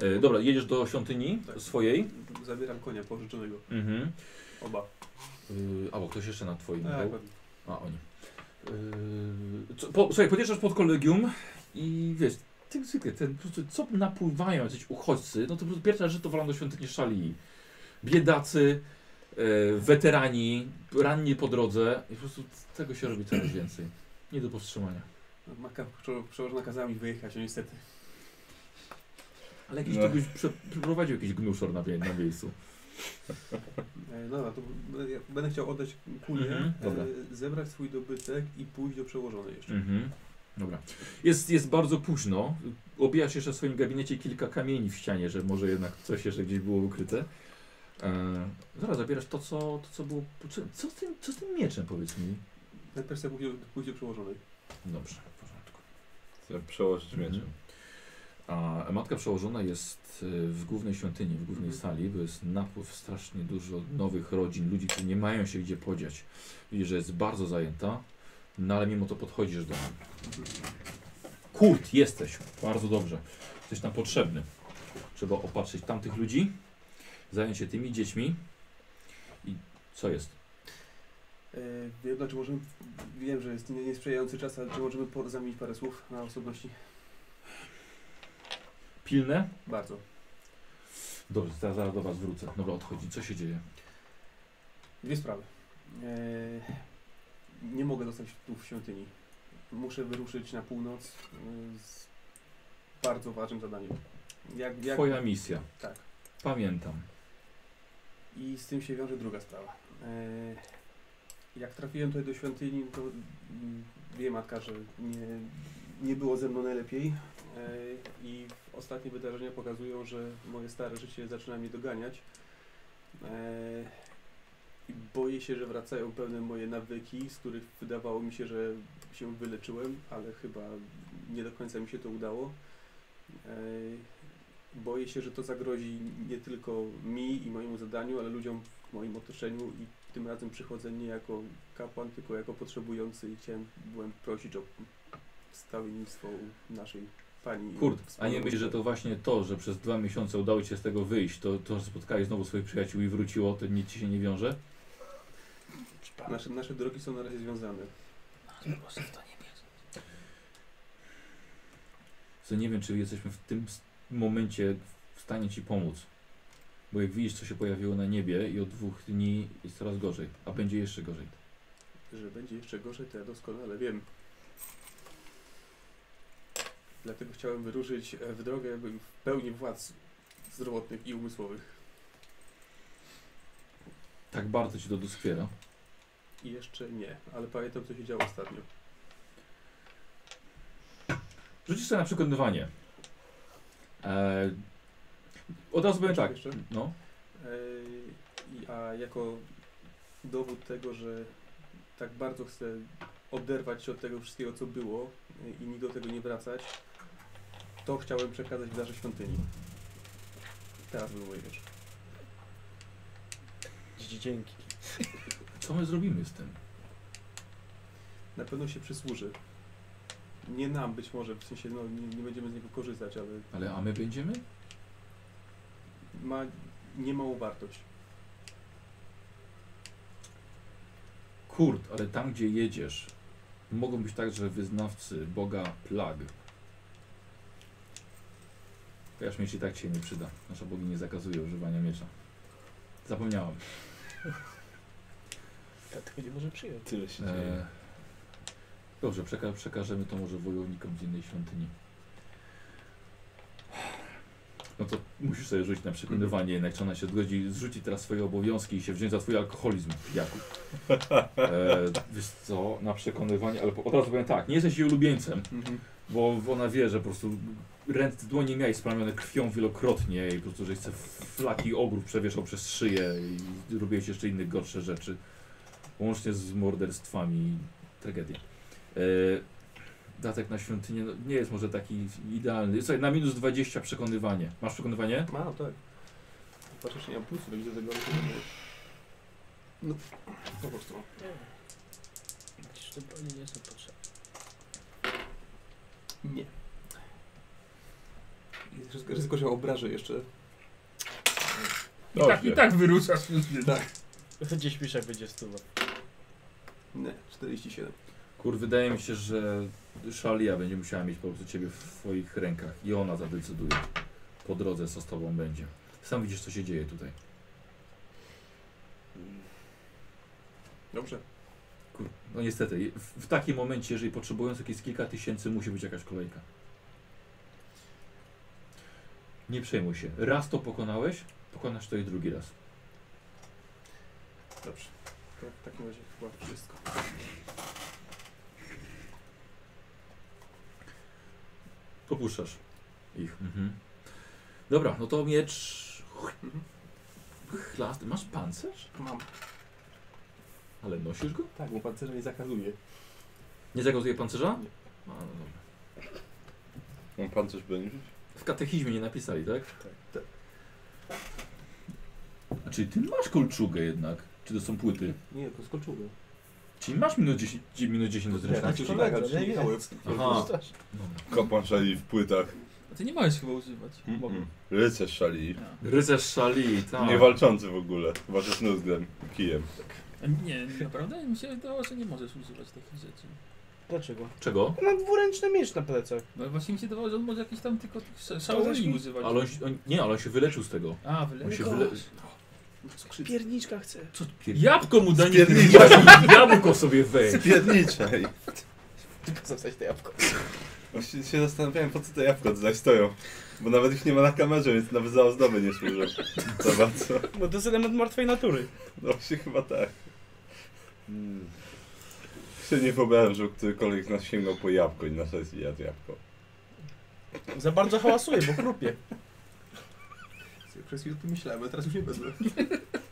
[SPEAKER 1] E, dobra, jedziesz do świątyni
[SPEAKER 8] Tak.
[SPEAKER 1] swojej.
[SPEAKER 8] Zabieram konia pożyczonego.
[SPEAKER 1] Mhm.
[SPEAKER 8] Oba.
[SPEAKER 1] Y, albo ktoś jeszcze na twoim
[SPEAKER 8] Tak,
[SPEAKER 1] był.
[SPEAKER 8] pewnie.
[SPEAKER 1] A, oni. Yy, co, po, słuchaj, podjeżdżasz pod kolegium i wiesz, ty zwykle, ten, po prostu, co napływają jacyś uchodźcy, no to po prostu pierwsza rzecz to walą do świątyni szali. Biedacy, yy, weterani, ranni po drodze i po prostu tego się robi coraz więcej. Nie do powstrzymania.
[SPEAKER 8] No, Maka przeło- przełożona kazała mi wyjechać, no niestety.
[SPEAKER 1] Ale jakiś
[SPEAKER 4] No.
[SPEAKER 1] No. to
[SPEAKER 2] No.
[SPEAKER 1] byś prze, przeprowadził jakiś gnuszor na, wie- na miejscu.
[SPEAKER 8] E, dobra, to b- ja będę chciał oddać kulię,
[SPEAKER 1] Mhm, dobra.
[SPEAKER 8] e, zebrać swój dobytek i pójść do przełożonej jeszcze.
[SPEAKER 1] Mhm. Dobra. Jest, jest bardzo późno. Obijasz jeszcze w swoim gabinecie kilka kamieni w ścianie, że może jednak coś jeszcze gdzieś było ukryte. E, zaraz zabierasz to, co, to, co było. Co, co, z tym, co z tym mieczem, powiedz mi?
[SPEAKER 8] Najpierw chcę pójść, do- pójść do przełożonej.
[SPEAKER 1] Dobrze, w porządku.
[SPEAKER 4] Chcę przełożyć
[SPEAKER 1] Mhm.
[SPEAKER 4] mieczem.
[SPEAKER 1] A matka przełożona jest e, w głównej świątyni, w głównej
[SPEAKER 8] Mhm.
[SPEAKER 1] sali, bo jest napływ strasznie dużo nowych rodzin, ludzi, którzy nie mają się gdzie podziać. Widzisz, że jest bardzo zajęta, no ale mimo to podchodzisz do niej. Kurt, jesteś. Bardzo dobrze. Jesteś nam potrzebny. Trzeba opatrzyć tamtych ludzi, zająć się tymi dziećmi. I co jest?
[SPEAKER 8] E, wiem, znaczy możemy, wiem, że jest nie- niesprzyjający czas, ale czy możemy por- zamienić parę słów na osobności?
[SPEAKER 1] Pilne?
[SPEAKER 8] Bardzo.
[SPEAKER 1] Dobrze, zaraz, zaraz do was wrócę. Dobra, odchodzi. Co się dzieje?
[SPEAKER 8] Dwie sprawy. E, nie mogę zostać tu w świątyni. Muszę wyruszyć na północ e, z bardzo ważnym zadaniem. Jak, jak,
[SPEAKER 1] Twoja misja.
[SPEAKER 8] Tak.
[SPEAKER 1] Pamiętam.
[SPEAKER 8] I z tym się wiąże druga sprawa. E, Jak trafiłem tutaj do świątyni, to mm, wie matka, że nie, nie było ze mną najlepiej. E, I ostatnie wydarzenia pokazują, że moje stare życie zaczyna mnie doganiać. E, I boję się, że wracają pewne moje nawyki, z których wydawało mi się, że się wyleczyłem, ale chyba nie do końca mi się to udało. E, Boję się, że to zagrozi nie tylko mi i mojemu zadaniu, ale ludziom w moim otoczeniu i tym razem przychodzę nie jako kapłan, tylko jako potrzebujący i chciałem byłem prosić o stawiennictwo u naszej pani. i
[SPEAKER 1] Kurt, a nie
[SPEAKER 8] wspólnotę.
[SPEAKER 1] myślisz, że to właśnie to, że przez dwa miesiące udało ci się z tego wyjść, to, to że spotkałeś znowu swoich przyjaciół i wróciło, to nic ci się nie wiąże?
[SPEAKER 8] Nasze, nasze drogi są na razie związane.
[SPEAKER 1] Co nie wiem, czy jesteśmy w tym s- momencie w stanie ci pomóc. Bo jak widzisz, co się pojawiło na niebie i od dwóch dni jest coraz gorzej, a będzie jeszcze gorzej.
[SPEAKER 8] Że będzie jeszcze gorzej, to ja doskonale wiem. Dlatego chciałem wyruszyć e, w drogę bym w pełni władz zdrowotnych i umysłowych.
[SPEAKER 1] Tak bardzo ci to doskwiera.
[SPEAKER 8] I jeszcze nie, ale pamiętam co się działo ostatnio.
[SPEAKER 1] Rzucisz sobie na przekonywanie. Eee, od razu powiem tak.
[SPEAKER 8] Jeszcze?
[SPEAKER 1] No.
[SPEAKER 8] Ej, i- A jako dowód tego, że tak bardzo chcę oderwać się od tego wszystkiego, co było y, i nigdy do tego nie wracać, to chciałem przekazać w darze świątyni. Teraz był mój wiecz.
[SPEAKER 6] Dzięki.
[SPEAKER 1] Co my zrobimy z tym?
[SPEAKER 8] Na pewno się przysłuży. Nie nam być może, w sensie no, nie, nie będziemy z niego korzystać, ale
[SPEAKER 1] Ale a my będziemy?
[SPEAKER 8] ma niemałą wartość.
[SPEAKER 1] Kurt, ale tam gdzie jedziesz, mogą być także wyznawcy Boga plag. Kojarz miecz i tak się nie przyda. Nasza bogini nie zakazuje używania miecza. Zapomniałem.
[SPEAKER 6] Dlatego nie może przyjąć. [LAUGHS]
[SPEAKER 4] Tyle się dzieje.
[SPEAKER 1] E, dobrze, przeka przekażemy to może wojownikom z innej świątyni. No to musisz sobie rzucić na przekonywanie, jednak czy ona się zgodzi, zrzuci teraz swoje obowiązki i się wziąć za twój alkoholizm, pijaku. E, wiesz co, na przekonywanie, ale po- od razu powiem tak, nie jesteś jej ulubieńcem,
[SPEAKER 4] Mhm.
[SPEAKER 1] bo ona wie, że po prostu ręce, dłonie miałeś splamione krwią wielokrotnie i po prostu, że chce flaki ogród przewieszał przez szyję i robiłeś jeszcze inne gorsze rzeczy, łącznie z morderstwami i tragedii. E, datek na świątynię no, nie jest może taki idealny. Słuchaj, na minus 20 przekonywanie. Masz przekonywanie?
[SPEAKER 8] Ma, tak. Patrzę, że nie mam pulsu, będzie do tego. ale- No, po prostu.
[SPEAKER 6] Przecież te broni nie są potrzebne.
[SPEAKER 8] Nie. Jest Ryzyko, ryzyko się obrażę jeszcze.
[SPEAKER 2] I tak, i tak wyruszasz.
[SPEAKER 8] Tak.
[SPEAKER 6] Gdzieś pisz jak będzie stuwa.
[SPEAKER 4] Tak,
[SPEAKER 8] Nie, 47.
[SPEAKER 1] Kur, wydaje mi się, że Szalia będzie musiała mieć po prostu ciebie w swoich rękach i ona zadecyduje po drodze, co z tobą będzie. Sam widzisz, co się dzieje tutaj.
[SPEAKER 8] Dobrze.
[SPEAKER 1] Kur, no niestety, w, w takim momencie, jeżeli potrzebujących jest kilka tysięcy, musi być jakaś kolejka. Nie przejmuj się. Raz to pokonałeś, pokonasz to i drugi raz.
[SPEAKER 8] Dobrze. To w takim razie chyba wszystko.
[SPEAKER 1] Popuszczasz ich. Mhm. Dobra, no to miecz. Chlast. Masz pancerz?
[SPEAKER 8] Mam.
[SPEAKER 1] Ale nosisz go?
[SPEAKER 5] Tak, bo pancerza nie zakazuje.
[SPEAKER 1] Nie zakazuje pancerza? A, no dobra.
[SPEAKER 4] Mam pan coś będzie?
[SPEAKER 1] W katechizmie nie napisali, tak? A czyli ty masz kolczugę jednak? Czy to są płyty?
[SPEAKER 5] Nie, to skoczyłem.
[SPEAKER 1] Czyli masz minus 10, minus 10 do
[SPEAKER 6] No
[SPEAKER 1] zręczności?
[SPEAKER 5] tak, tak, ale nie miałem.
[SPEAKER 1] Aha.
[SPEAKER 4] Kapłan szali w płytach.
[SPEAKER 2] A ty nie możesz chyba używać.
[SPEAKER 4] Mm-mm. Rycerz szali.
[SPEAKER 1] Rycerz szali, tak.
[SPEAKER 4] Nie walczący w ogóle. Walczy z nózglem, kijem.
[SPEAKER 2] A Nie, naprawdę? Mi się wydawało, że nie możesz używać takich rzeczy.
[SPEAKER 6] Dlaczego?
[SPEAKER 1] Czego?
[SPEAKER 6] Mam dwuręczny miecz na plecach.
[SPEAKER 2] No właśnie mi się wydawało, że on może jakieś tam tylko tych sz-
[SPEAKER 6] też
[SPEAKER 2] szałoni
[SPEAKER 6] mi-
[SPEAKER 2] używać.
[SPEAKER 1] Ale on, się- on, nie, ale on się wyleczył z tego.
[SPEAKER 2] A,
[SPEAKER 1] On się
[SPEAKER 2] wyleczył.
[SPEAKER 1] wyle...
[SPEAKER 6] Pierniczka chcę.
[SPEAKER 1] Co ty pier...
[SPEAKER 2] Jabłko mu daj nie
[SPEAKER 4] Pierniczaj!
[SPEAKER 1] Jabłko sobie weź. [LAUGHS]
[SPEAKER 4] Pierniczaj!
[SPEAKER 6] Tylko zostać to jabłko.
[SPEAKER 4] Właśnie się zastanawiałem, po co te jabłka tutaj stoją. Bo nawet ich nie ma na kamerze, więc nawet za ozdoby nie służą.
[SPEAKER 1] [LAUGHS]
[SPEAKER 4] Za bardzo.
[SPEAKER 6] Bo to jest element martwej natury.
[SPEAKER 4] No właśnie chyba tak.
[SPEAKER 1] Hmm.
[SPEAKER 4] Się nie wyobrażam, że którykolwiek z nas sięgał po jabłko i na sesji jadł jabłko.
[SPEAKER 6] Za bardzo hałasuje, bo chrupie.
[SPEAKER 8] Przez chwilę tu myślałem, ale teraz już nie będę.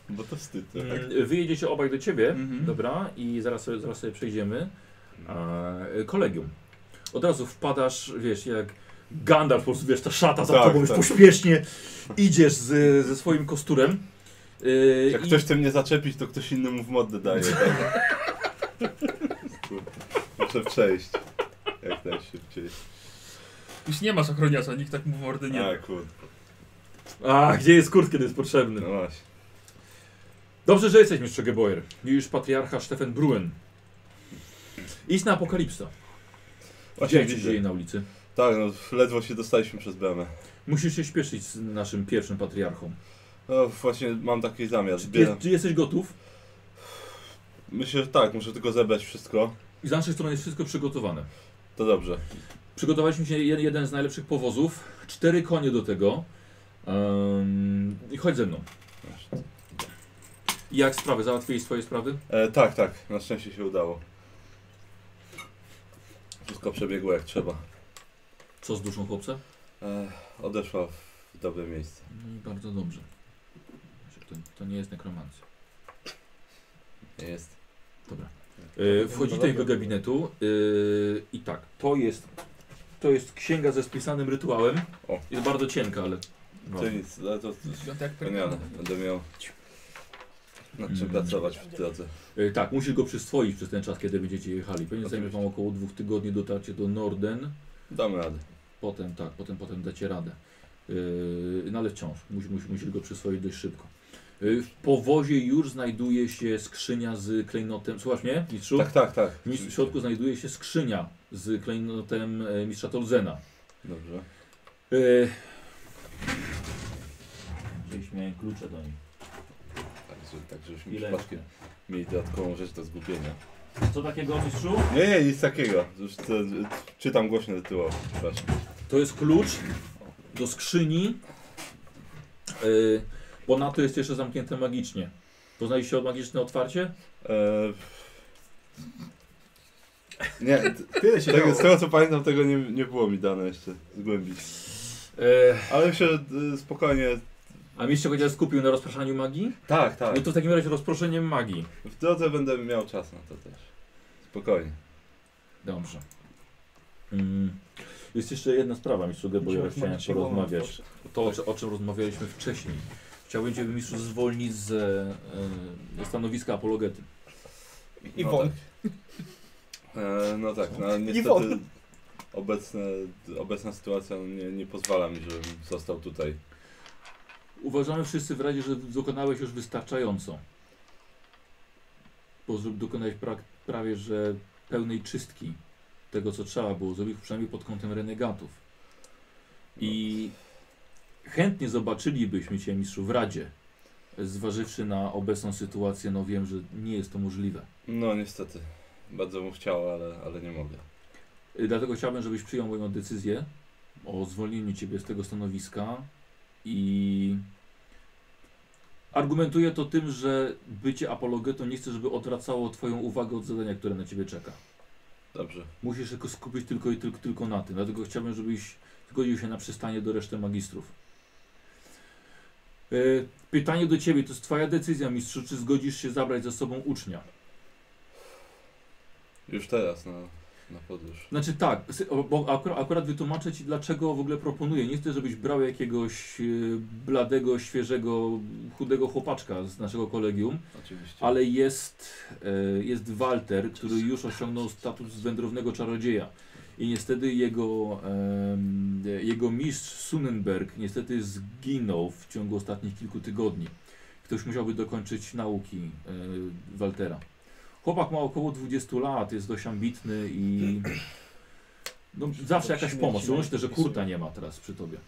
[SPEAKER 4] Bo to wstyd, tak?
[SPEAKER 1] Mm, Wyjedziecie obaj do ciebie,
[SPEAKER 2] Mhm.
[SPEAKER 1] dobra, i zaraz sobie, zaraz sobie przejdziemy.
[SPEAKER 4] No.
[SPEAKER 1] E, kolegium. Od razu wpadasz, wiesz, jak Gandalf, po prostu, wiesz, ta szata za
[SPEAKER 4] Tak,
[SPEAKER 1] tobą już
[SPEAKER 4] tak.
[SPEAKER 1] pośpiesznie idziesz z, ze swoim kosturem. E,
[SPEAKER 4] Jak
[SPEAKER 1] i-
[SPEAKER 4] ktoś chce mnie zaczepić, to ktoś inny mu w modę daje. Tak? Muszę przejść. Jak najszybciej.
[SPEAKER 2] Już nie masz ochroniarza, nikt tak mu mordy nie
[SPEAKER 4] A
[SPEAKER 2] da.
[SPEAKER 4] kurde,
[SPEAKER 1] A, gdzie jest kurt, kiedy jest potrzebny?
[SPEAKER 4] no właśnie.
[SPEAKER 1] Dobrze, że jesteś, mistrz Geboyer. Już patriarcha Stefan Bruen. Idź na apokalipsa.
[SPEAKER 4] Właśnie
[SPEAKER 1] Gdzie się
[SPEAKER 4] widzę.
[SPEAKER 1] dzieje na ulicy?
[SPEAKER 4] Tak, no ledwo się dostaliśmy przez bramę.
[SPEAKER 1] Musisz się śpieszyć z naszym pierwszym patriarchą.
[SPEAKER 4] No właśnie mam taki zamiar. Zbieram.
[SPEAKER 1] Jest, czy jesteś gotów?
[SPEAKER 4] Myślę, że tak, muszę tylko zebrać wszystko.
[SPEAKER 1] Z naszej strony jest wszystko przygotowane.
[SPEAKER 4] To dobrze.
[SPEAKER 1] Przygotowaliśmy się jed- jeden z najlepszych powozów, cztery konie do tego. Ym, I chodź ze mną. Jak sprawy? Załatwiłeś swoje sprawy?
[SPEAKER 4] E, tak, tak, na szczęście się udało. Wszystko przebiegło jak trzeba.
[SPEAKER 1] Co z duszą chłopca?
[SPEAKER 4] E, odeszła w dobre miejsce.
[SPEAKER 1] No i bardzo dobrze. To, to nie jest nekromancja.
[SPEAKER 4] Nie jest.
[SPEAKER 1] Dobra. E, Wchodzi tutaj do gabinetu e, i tak, to jest, to jest księga ze spisanym rytuałem.
[SPEAKER 4] O.
[SPEAKER 1] Jest bardzo cienka, ale... no.
[SPEAKER 4] To nic, ale to
[SPEAKER 2] Świąt jak
[SPEAKER 4] wspaniale. Będę miał nad czym
[SPEAKER 1] Mm.
[SPEAKER 4] pracować w drodze.
[SPEAKER 1] E, Tak, musisz go przyswoić przez ten czas, kiedy będziecie jechali. Pewnie zajmie
[SPEAKER 4] Oczywiście.
[SPEAKER 1] wam około dwóch tygodni dotarcie do Norden.
[SPEAKER 4] Damy radę.
[SPEAKER 1] Potem tak, potem, potem dacie radę. Yy, no ale wciąż, musisz musi, musisz go przyswoić dość szybko. Yy, w powozie już znajduje się skrzynia z klejnotem. Słuchasz mnie, mistrzu?
[SPEAKER 4] Tak, tak, tak.
[SPEAKER 1] Mistrz, w środku znajduje się skrzynia z klejnotem e, mistrza Tolzena.
[SPEAKER 4] Dobrze.
[SPEAKER 1] Yy. Gdzieś miałem klucze do niej.
[SPEAKER 4] Także, tak, żebyśmy przypadkiem mieli dodatkową rzecz do zgubienia.
[SPEAKER 7] Co takiego, mistrzu?
[SPEAKER 4] Nie, nie, nic takiego. Już to, czytam głośny rytuał. Przepraszam.
[SPEAKER 1] To jest klucz do skrzyni. Yy, ponadto jest jeszcze zamknięte magicznie. Poznaliście magiczne otwarcie?
[SPEAKER 4] E, nie, t-
[SPEAKER 5] Tyle się
[SPEAKER 4] tego,
[SPEAKER 5] dało.
[SPEAKER 4] z tego co pamiętam, tego nie, nie było mi dane jeszcze zgłębić.
[SPEAKER 1] Yy,
[SPEAKER 4] Ale myślę, że y, spokojnie.
[SPEAKER 1] a mistrz się chociaż skupił na rozpraszaniu magii?
[SPEAKER 4] Tak, tak.
[SPEAKER 1] No to w takim razie rozproszeniem magii.
[SPEAKER 4] W drodze będę miał czas na to też. Spokojnie.
[SPEAKER 1] Dobrze. Mm. Jest jeszcze jedna sprawa, mistrzu Geboyer, chciałem porozmawiać. To, o, czy- o czym rozmawialiśmy wcześniej. Chciałbym Cię, mistrzu, zwolnić z e, stanowiska apologety.
[SPEAKER 6] I
[SPEAKER 4] no
[SPEAKER 6] won.
[SPEAKER 4] Tak. E, no tak, no niestety
[SPEAKER 6] won.
[SPEAKER 4] obecne, obecna sytuacja nie, nie pozwala mi, żebym został tutaj.
[SPEAKER 1] Uważamy wszyscy w Radzie, że dokonałeś już wystarczająco. Bo zro- dokonałeś prak- prawie że pełnej czystki tego, co trzeba było zrobić, przynajmniej pod kątem renegatów. I chętnie zobaczylibyśmy Cię, mistrzu, w Radzie. Zważywszy na obecną sytuację, no wiem, że nie jest to możliwe.
[SPEAKER 4] No niestety. Bardzo bym chciał, ale, ale nie mogę.
[SPEAKER 1] Y, Dlatego chciałbym, żebyś przyjął moją decyzję o zwolnieniu Ciebie z tego stanowiska i Argumentuję to tym, że bycie apologetą nie chcę, żeby odwracało twoją uwagę od zadania, które na ciebie czeka.
[SPEAKER 4] Dobrze.
[SPEAKER 1] Musisz się skupić tylko i tylko, tylko na tym. Dlatego chciałbym, żebyś zgodził się na przystanie do reszty magistrów. Y, Pytanie do ciebie, to jest twoja decyzja, mistrzu, czy zgodzisz się zabrać ze sobą ucznia?
[SPEAKER 4] Już teraz na, na podróż.
[SPEAKER 1] Znaczy tak, sy- o- bo akurat, akurat wytłumaczę ci, dlaczego w ogóle proponuję. Nie chcę, żebyś brał jakiegoś y, bladego, świeżego, chudego chłopaczka z naszego kolegium,
[SPEAKER 4] Oczywiście.
[SPEAKER 1] ale jest, e, jest Walter, który już osiągnął status wędrownego czarodzieja. I niestety jego, em, jego mistrz Sunenberg niestety zginął w ciągu ostatnich kilku tygodni. Ktoś musiałby dokończyć nauki e, Waltera. Chłopak ma około 20 lat, jest dość ambitny i no, zawsze jakaś pomoc. No, Myślę, że kurta nie ma teraz przy tobie.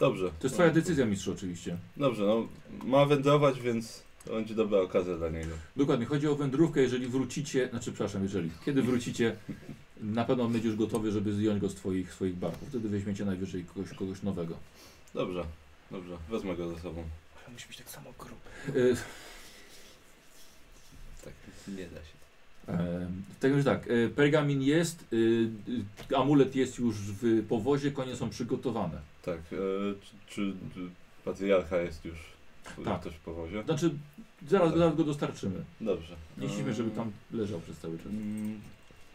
[SPEAKER 4] Dobrze. No,
[SPEAKER 1] To jest twoja decyzja, mistrzu, oczywiście.
[SPEAKER 4] Dobrze, no ma wędrować, więc to będzie dobra okazja dla niego.
[SPEAKER 1] Dokładnie, chodzi o wędrówkę, jeżeli wrócicie, znaczy przepraszam, jeżeli, kiedy wrócicie, na pewno on będzie już gotowy, żeby zdjąć go z twoich, swoich barków. Wtedy weźmiecie najwyżej kogoś, kogoś nowego.
[SPEAKER 4] Dobrze, dobrze, wezmę go ze sobą.
[SPEAKER 6] Ale musi być tak samo gruby.
[SPEAKER 1] Y,
[SPEAKER 4] Tak, nie da się.
[SPEAKER 1] E, tak już tak, e, pergamin jest, e, e, amulet jest już w powozie, konie są przygotowane.
[SPEAKER 4] Tak, e, czy, czy czy patriarcha jest już
[SPEAKER 1] Tak.
[SPEAKER 4] tak. też w powozie?
[SPEAKER 1] Znaczy, zaraz,
[SPEAKER 4] Tak.
[SPEAKER 1] zaraz go dostarczymy.
[SPEAKER 4] Dobrze. e,
[SPEAKER 1] Nie chcieliśmy, żeby tam leżał przez cały czas.
[SPEAKER 4] Mm,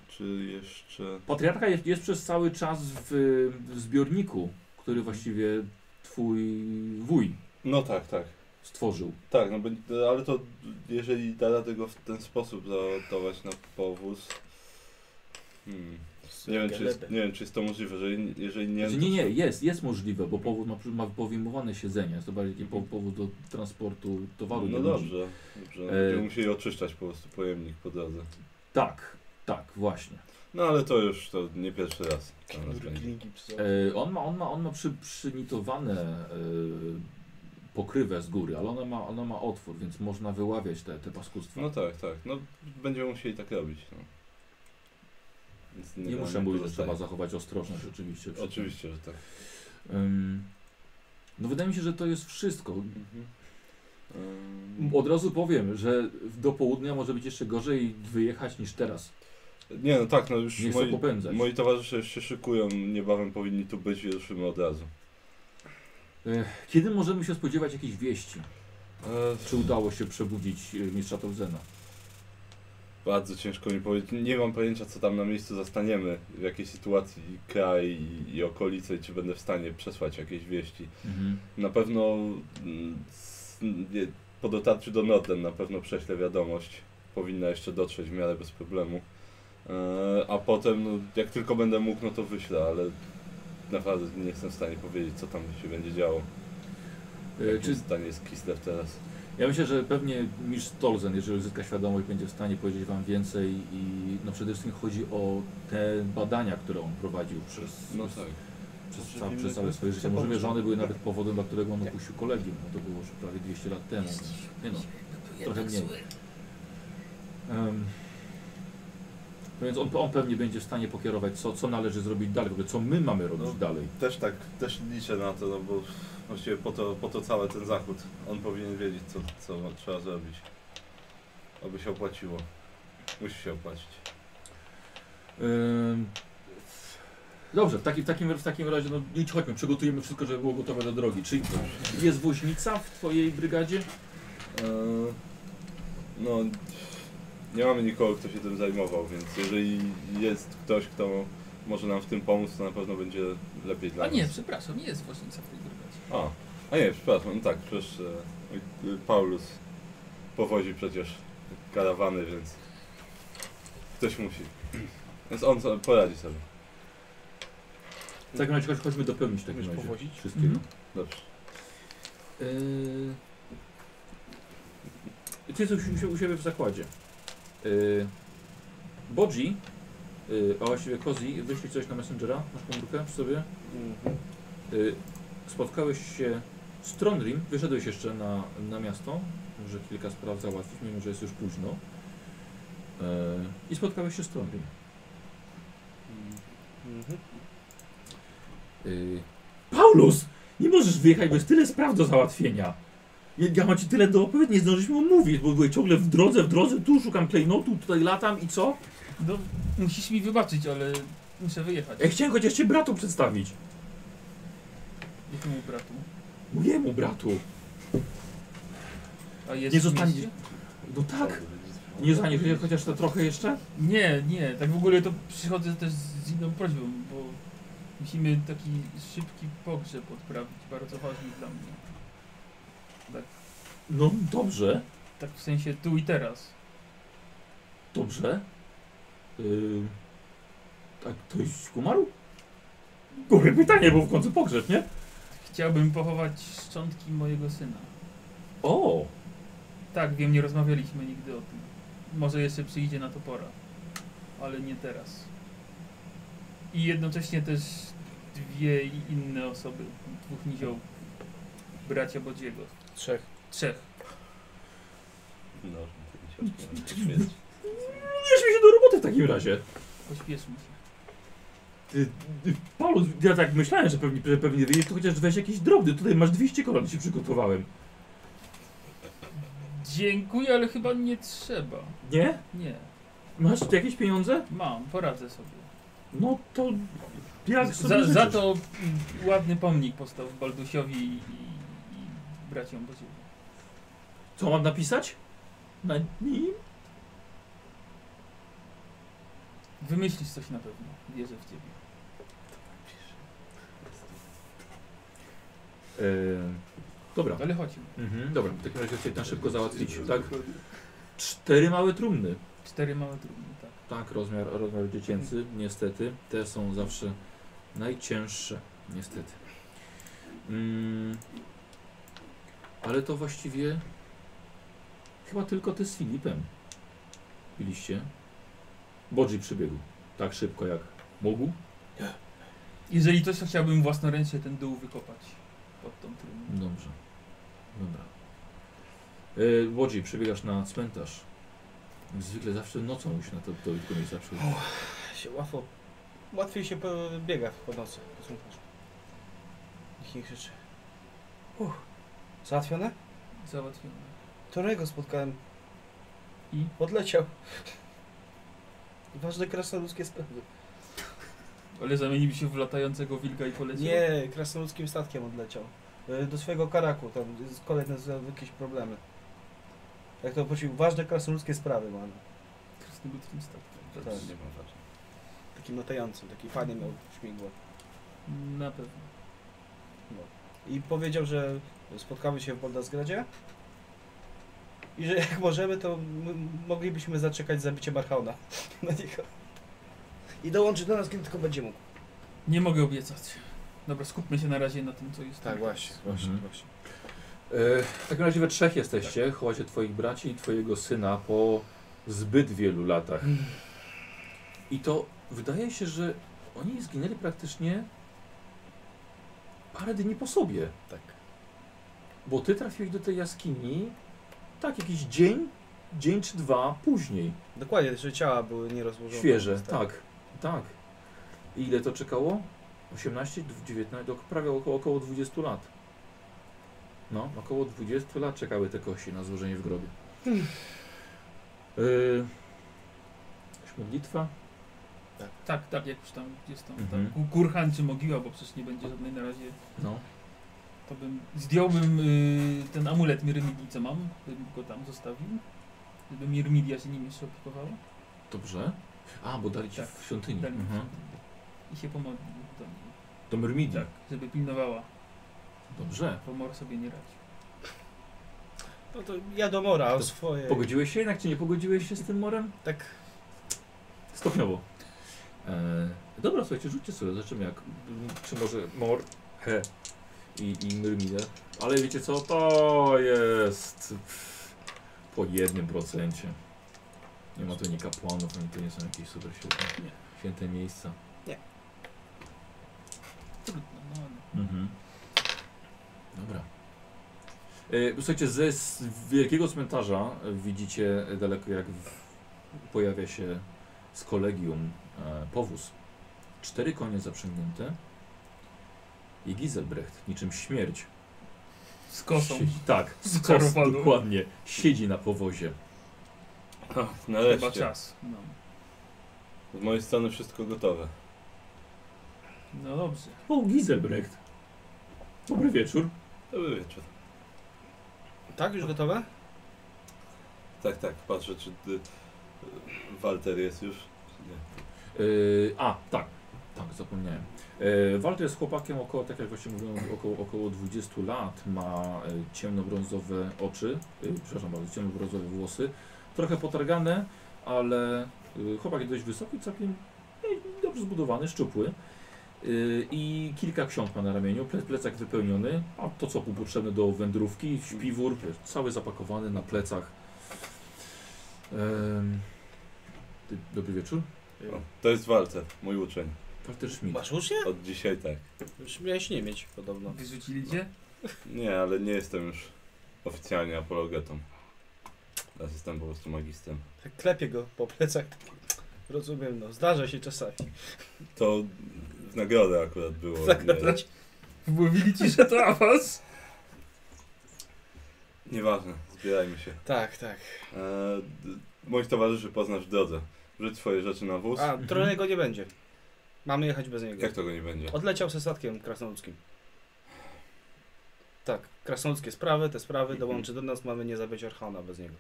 [SPEAKER 4] Czy jeszcze...
[SPEAKER 1] Patriarcha jest, jest przez cały czas w, w zbiorniku, który właściwie twój wuj
[SPEAKER 4] No tak, tak.
[SPEAKER 1] stworzył.
[SPEAKER 4] Tak, no bo- ale to jeżeli da radę go w ten sposób załadować na powóz... Hmm. Nie, wiem, czy jest, nie wiem, czy jest to możliwe, jeżeli, jeżeli nie... no
[SPEAKER 1] Znaczy, nie, nie, jest, jest możliwe, bo powód ma, ma powimowane siedzenie, jest to bardziej po, powód do transportu towaru.
[SPEAKER 4] No
[SPEAKER 1] dla ludzi.
[SPEAKER 4] dobrze, dobrze. No,
[SPEAKER 1] E,
[SPEAKER 4] Będziemy musieli oczyszczać po prostu pojemnik po drodze.
[SPEAKER 1] Tak, tak, właśnie.
[SPEAKER 4] No ale to już to nie pierwszy raz. tam nas
[SPEAKER 6] Knury,
[SPEAKER 4] będzie.
[SPEAKER 6] klingi, psy.
[SPEAKER 1] E, on ma, on ma, on ma przy, przynitowane e, pokrywę z góry, ale ona ma, ona ma otwór, więc można wyławiać te, te paskustwa.
[SPEAKER 4] No tak, tak. No będziemy musieli tak robić. No. Więc
[SPEAKER 1] nie
[SPEAKER 4] da-
[SPEAKER 1] muszę mówić, że
[SPEAKER 4] pozostaje.
[SPEAKER 1] trzeba zachować ostrożność oczywiście. przy tym.
[SPEAKER 4] Oczywiście, że tak.
[SPEAKER 1] Ym, no wydaje mi się, że to jest wszystko.
[SPEAKER 4] Ym,
[SPEAKER 1] Od razu powiem, że do południa może być jeszcze gorzej wyjechać niż teraz.
[SPEAKER 4] Nie no tak, no już
[SPEAKER 1] Nie chcę
[SPEAKER 4] moi,
[SPEAKER 1] popędzać.
[SPEAKER 4] moi towarzysze już się szykują, niebawem powinni tu być i ruszymy od razu.
[SPEAKER 1] Ech, Kiedy możemy się spodziewać jakichś wieści?
[SPEAKER 4] E,
[SPEAKER 1] Czy udało się przebudzić y, mistrza Tolzena?
[SPEAKER 4] bardzo ciężko mi powiedzieć. Nie mam pojęcia co tam na miejscu zastaniemy, w jakiej sytuacji kraj i, i okolice i czy będę w stanie przesłać jakieś wieści. Na pewno mm, s- nie- po dotarciu do Norden na pewno prześlę wiadomość. Powinna jeszcze dotrzeć w miarę bez problemu. E, A potem, no, jak tylko będę mógł, no to wyślę, ale naprawdę nie jestem w stanie powiedzieć, co tam się będzie działo. W
[SPEAKER 1] E,
[SPEAKER 4] jakim
[SPEAKER 1] Czy,
[SPEAKER 4] stanie Tak jest Kislev teraz.
[SPEAKER 1] ja myślę, że pewnie mistrz Tolzen, jeżeli uzyska świadomość, będzie w stanie powiedzieć Wam więcej i no przede wszystkim chodzi o te badania, które on prowadził przez,
[SPEAKER 4] No tak.
[SPEAKER 1] przez, przez, ca, przez całe swoje życie. Możliwe, że one były nawet powodem, dla którego
[SPEAKER 4] Tak.
[SPEAKER 1] on opuścił kolegium. No to było już prawie 200 lat temu. więc Nie no, trochę mniej. Em, no więc on, on pewnie będzie w stanie pokierować, co, co należy zrobić dalej, w ogóle co my mamy robić
[SPEAKER 4] No.
[SPEAKER 1] dalej.
[SPEAKER 4] Też tak, też liczę na to, no bo właściwie po to, po to cały ten zachód. On powinien wiedzieć, co, co trzeba zrobić. Aby się opłaciło. Musi się opłacić.
[SPEAKER 1] Ym, Dobrze, w takim, w takim, w takim razie no, idź, chodźmy, przygotujemy wszystko, żeby było gotowe do drogi. Czyli jest woźnica w twojej brygadzie?
[SPEAKER 4] Eee, No, nie mamy nikogo, kto się tym zajmował, więc jeżeli jest ktoś, kto może nam w tym pomóc, to na pewno będzie lepiej dla
[SPEAKER 2] A nie,
[SPEAKER 4] nas.
[SPEAKER 2] przepraszam, nie jest woźnica w tej brygadzie.
[SPEAKER 4] A, a nie, przepraszam, no tak, przecież e, e, Paulus powozi przecież karawany, więc ktoś musi. Więc on sobie poradzi sobie.
[SPEAKER 1] W takim razie chodź, chodźmy dopełnić w takim
[SPEAKER 6] Umiesz
[SPEAKER 1] razie
[SPEAKER 6] powozić?
[SPEAKER 1] wszystkiego.
[SPEAKER 2] Mhm.
[SPEAKER 4] Dobrze.
[SPEAKER 1] Yy, Ty jesteś u, sie- u siebie w zakładzie. Yy, Bodzi, yy, a właściwie Kozi, wyślij coś na Messengera, masz komórkę przy sobie.
[SPEAKER 6] Mhm.
[SPEAKER 1] Y, spotkałeś się z Trondrim, wyszedłeś jeszcze na, na miasto, może kilka spraw załatwić, mimo że jest już późno. Y, I spotkałeś się z Trondrim.
[SPEAKER 6] Mhm.
[SPEAKER 1] Y, Paulus! Nie możesz wyjechać, bo jest tyle spraw do załatwienia. Ja, ja mam ci tyle do opowiedzi, nie zdążyliśmy omówić, bo byłem ciągle w drodze, w drodze, tu szukam klejnotu, tutaj latam i co?
[SPEAKER 2] No, musisz mi wybaczyć, ale muszę wyjechać.
[SPEAKER 1] Ja E, chciałem chociaż cię bratu przedstawić.
[SPEAKER 2] Jakiemu bratu?
[SPEAKER 1] Mojemu bratu.
[SPEAKER 2] A jest
[SPEAKER 1] Nie
[SPEAKER 2] w
[SPEAKER 1] zostanie-
[SPEAKER 2] mieście?
[SPEAKER 1] No tak. Nie zaniesiesz chociaż to trochę jeszcze?
[SPEAKER 2] Nie, nie, tak w ogóle to przychodzę też z inną prośbą, bo musimy taki szybki pogrzeb odprawić, bardzo ważny dla mnie.
[SPEAKER 1] No dobrze,
[SPEAKER 2] Tak w sensie tu i teraz.
[SPEAKER 1] dobrze. Yy, tak, ktoś umarł? Głupie pytanie, bo w końcu pogrzeb, nie?
[SPEAKER 2] Chciałbym pochować szczątki mojego syna.
[SPEAKER 1] O,
[SPEAKER 2] Tak, wiem, nie rozmawialiśmy nigdy o tym. Może jeszcze przyjdzie na to pora, ale nie teraz. I jednocześnie też dwie inne osoby, dwóch niziołów, bracia Bodziego.
[SPEAKER 6] Trzech.
[SPEAKER 2] Trzech.
[SPEAKER 4] No, ten się odpala.
[SPEAKER 1] bierzmy się do roboty w takim razie.
[SPEAKER 2] Pośpieszmy się.
[SPEAKER 1] Ty, ty, Paulus, ja tak myślałem, że pewnie, że pewnie wyjdziesz, to chociaż weź jakieś drobny. Tutaj masz 200 koron, ci przygotowałem.
[SPEAKER 2] Dziękuję, ale chyba nie trzeba.
[SPEAKER 1] Nie?
[SPEAKER 2] Nie,
[SPEAKER 1] Masz tu jakieś pieniądze?
[SPEAKER 2] mam, poradzę sobie.
[SPEAKER 1] No to jak sobie
[SPEAKER 2] za, za
[SPEAKER 1] życzysz?
[SPEAKER 2] to mm, ładny pomnik powstał Baldusiowi i, i braciom Bodziego.
[SPEAKER 1] Co mam napisać? Na nim?
[SPEAKER 2] Wymyślisz coś na pewno, wierzę w ciebie.
[SPEAKER 1] E, dobra.
[SPEAKER 2] Ale chodźmy.
[SPEAKER 1] Mhm, dobra, w takim razie chcę na szybko załatwić, tak? Cztery małe trumny.
[SPEAKER 2] Cztery małe trumny, tak.
[SPEAKER 1] Tak, rozmiar, rozmiar dziecięcy, niestety. Te są zawsze najcięższe, niestety. Mm, ale to właściwie chyba tylko ty z Filipem byliście. Bodzi przybiegł tak szybko jak mógł.
[SPEAKER 2] Jeżeli coś, to chciałbym własnoręcznie ten dół wykopać pod tą trumną.
[SPEAKER 1] Dobrze, dobra. E, Bodzi, przebiegasz na cmentarz. Jak Zwykle zawsze nocą musisz na to, to, to miejsca przyjść.
[SPEAKER 6] Się łatwo, łatwiej się po- biega po nocy, po cmentarzu. Nikt nie krzyczy. Uff. Załatwione?
[SPEAKER 2] Załatwione.
[SPEAKER 6] Torego spotkałem.
[SPEAKER 2] I?
[SPEAKER 6] Odleciał. [LAUGHS] Ważne krasnoludzkie sprawy.
[SPEAKER 2] Ale zamienił się w latającego wilka i poleciał?
[SPEAKER 6] Nie, krasnoludzkim statkiem odleciał. Y, Do swojego karaku, tam z- kolejne z- jakieś problemy. Jak to prosił, ważne krasnoludzkie sprawy mam.
[SPEAKER 2] Krasnoludkim statkiem.
[SPEAKER 6] Tak.
[SPEAKER 4] Nie ma znaczenia.
[SPEAKER 6] Takim latającym, taki fajny miał śmigło.
[SPEAKER 2] Na pewno.
[SPEAKER 6] I powiedział, że spotkamy się w Baldasgradzie i że jak możemy, to m- moglibyśmy zaczekać zabicie Marchauna [LAUGHS] na niego. I dołączy do nas, kiedy tylko będzie mógł.
[SPEAKER 2] Nie mogę obiecać. Dobra, skupmy się na razie na tym, co jest. tam.
[SPEAKER 1] Tak, właśnie, właśnie. E, w takim razie we trzech jesteście, chowacie twoich braci i twojego syna po zbyt wielu latach. I to wydaje się, że oni zginęli praktycznie parę dni po sobie.
[SPEAKER 6] Tak.
[SPEAKER 1] Bo ty trafiłeś do tej jaskini tak jakiś dzień, dzień czy dwa później.
[SPEAKER 6] Dokładnie, że ciała były nierozłożone.
[SPEAKER 1] Świeże, tak, tak. I ile to czekało? 18, 19, ok- prawie około, około 20 lat. No, około 20 lat czekały te kości na złożenie w grobie. Yy, jakaś modlitwa?
[SPEAKER 2] Tak, tak, jak już tam jest tam,
[SPEAKER 1] Mhm.
[SPEAKER 2] tam kurhan czy mogiła, bo przecież nie będzie żadnej na razie.
[SPEAKER 1] No.
[SPEAKER 2] To bym zdjąłbym y, ten amulet Mirmidii, co mam, bym go tam zostawił. Żeby Mirmidia się nim jeszcze opiekowała.
[SPEAKER 1] Dobrze. A, bo dali ci
[SPEAKER 2] Tak,
[SPEAKER 1] w świątyni.
[SPEAKER 2] Dali mi
[SPEAKER 1] Mhm.
[SPEAKER 2] I się pomodlił do niej,
[SPEAKER 1] Do Myrmidii.
[SPEAKER 2] żeby pilnowała,
[SPEAKER 1] Dobrze.
[SPEAKER 2] bo mor sobie nie radzi.
[SPEAKER 6] No to ja do Mora, o
[SPEAKER 1] To
[SPEAKER 6] swoje.
[SPEAKER 1] Pogodziłeś się jednak, czy nie pogodziłeś się z tym morem?
[SPEAKER 6] Tak,
[SPEAKER 1] Stopniowo. E, dobra, słuchajcie, rzućcie sobie, zobaczymy jak, czy może Mor, He i, i Myrmidę. Ale wiecie co, to jest pff, po jednym procencie. Nie ma tu nie kapłanów, ani to nie są jakieś super święte,
[SPEAKER 2] Nie.
[SPEAKER 1] święte miejsca.
[SPEAKER 2] Trudno, no ale...
[SPEAKER 1] Mhm. Dobra. E, słuchajcie, ze s- wielkiego cmentarza widzicie daleko jak w, pojawia się z kolegium e, powóz. Cztery konie zaprzęgnięte i Giselbrecht, niczym śmierć,
[SPEAKER 2] Z kosą.
[SPEAKER 1] Siedzi, tak, z kos,
[SPEAKER 2] Zaczarowaną.
[SPEAKER 1] dokładnie. Siedzi na powozie.
[SPEAKER 2] Chyba
[SPEAKER 4] Nareszcie.
[SPEAKER 2] czas. No.
[SPEAKER 4] Z mojej strony wszystko gotowe.
[SPEAKER 2] no dobrze.
[SPEAKER 1] O, Giselbrecht. Dobry wieczór.
[SPEAKER 4] Dobry wieczór.
[SPEAKER 6] Tak, już gotowe?
[SPEAKER 4] Tak, tak, patrzę, czy y, y, Walter jest już. czy Nie.
[SPEAKER 1] Yy, a, tak, tak, zapomniałem. Yy, Walter jest chłopakiem około, tak jak właśnie mówiłem, około, około 20 lat. Ma yy, ciemnobrązowe oczy, yy, przepraszam bardzo, ciemnobrązowe włosy. Trochę potargane, ale yy, chłopak jest dość wysoki, całkiem yy, dobrze zbudowany, szczupły. Yy, I kilka ksiąg ma na ramieniu, ple, plecak wypełniony, a to co mu potrzebne do wędrówki, śpiwór, wiesz, cały zapakowany na plecach. Yy, ty- dobry wieczór.
[SPEAKER 4] O, to jest Walter, mój uczeń.
[SPEAKER 1] Walter Schmidt.
[SPEAKER 6] Masz ucznia?
[SPEAKER 4] Od dzisiaj tak.
[SPEAKER 6] Już miałeś nie mieć podobno.
[SPEAKER 2] Wyrzucili cię?
[SPEAKER 4] Nie, ale nie jestem już oficjalnie apologetą. Teraz jestem po prostu magistrem.
[SPEAKER 6] Tak klepie go po plecach. Rozumiem, no zdarza się czasami.
[SPEAKER 4] To w nagrodę akurat było.
[SPEAKER 6] Tak
[SPEAKER 4] nie,
[SPEAKER 6] naprawdę.
[SPEAKER 2] Mówili ci, że to awans?
[SPEAKER 4] nieważne, zbierajmy się.
[SPEAKER 6] Tak, tak.
[SPEAKER 4] E, d- moich towarzyszy poznasz w drodze. Wrzuć swoje rzeczy na wóz.
[SPEAKER 6] A, trochę go nie będzie. Mamy jechać bez niego.
[SPEAKER 4] Jak to go nie będzie?
[SPEAKER 6] Odleciał ze statkiem krasnoludzkim. Tak, krasnoludzkie sprawy, te sprawy dołączy do nas, mamy nie zabić Archona bez niego.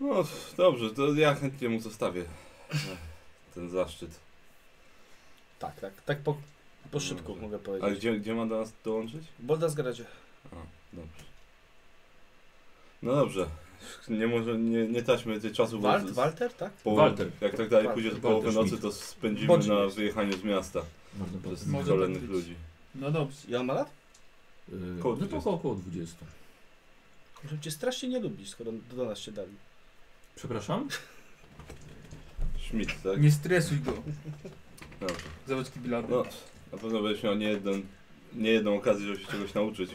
[SPEAKER 4] No dobrze, to ja chętnie mu zostawię e, ten zaszczyt.
[SPEAKER 6] Tak, tak, tak po, po szybku
[SPEAKER 4] Dobrze.
[SPEAKER 6] mogę
[SPEAKER 4] A
[SPEAKER 6] powiedzieć.
[SPEAKER 4] gdzie, gdzie ma do nas dołączyć?
[SPEAKER 6] Bolda zgradzie.
[SPEAKER 4] A, dobrze. No dobrze. Nie może, nie, nie taśmy tej czasu, bo
[SPEAKER 6] Walt,
[SPEAKER 4] z- z-
[SPEAKER 6] Walter, tak?
[SPEAKER 4] po-
[SPEAKER 1] Walter.
[SPEAKER 4] jak tak dalej
[SPEAKER 6] Walter.
[SPEAKER 4] pójdzie do
[SPEAKER 1] Walter
[SPEAKER 4] połowy nocy,
[SPEAKER 1] Schmidt.
[SPEAKER 4] to spędzimy
[SPEAKER 6] Bądź
[SPEAKER 4] na
[SPEAKER 6] jest.
[SPEAKER 4] wyjechaniu z miasta
[SPEAKER 1] Można
[SPEAKER 4] przez
[SPEAKER 1] powiedzieć.
[SPEAKER 2] Może
[SPEAKER 4] kolejnych
[SPEAKER 2] tak być.
[SPEAKER 4] ludzi.
[SPEAKER 2] No dobrze.
[SPEAKER 6] I on ma lat?
[SPEAKER 1] Yy,
[SPEAKER 4] Koło
[SPEAKER 1] no to
[SPEAKER 4] 20.
[SPEAKER 1] około 20.
[SPEAKER 6] Może cię strasznie nie lubisz, skoro do nas się dali. [LAUGHS]
[SPEAKER 1] Przepraszam?
[SPEAKER 4] Schmidt, tak?
[SPEAKER 2] Nie stresuj go.
[SPEAKER 4] Dobrze.
[SPEAKER 2] Zobacz kiblady.
[SPEAKER 4] No, na pewno będziesz miał nie, jeden, nie jedną okazję, żeby się czegoś nauczyć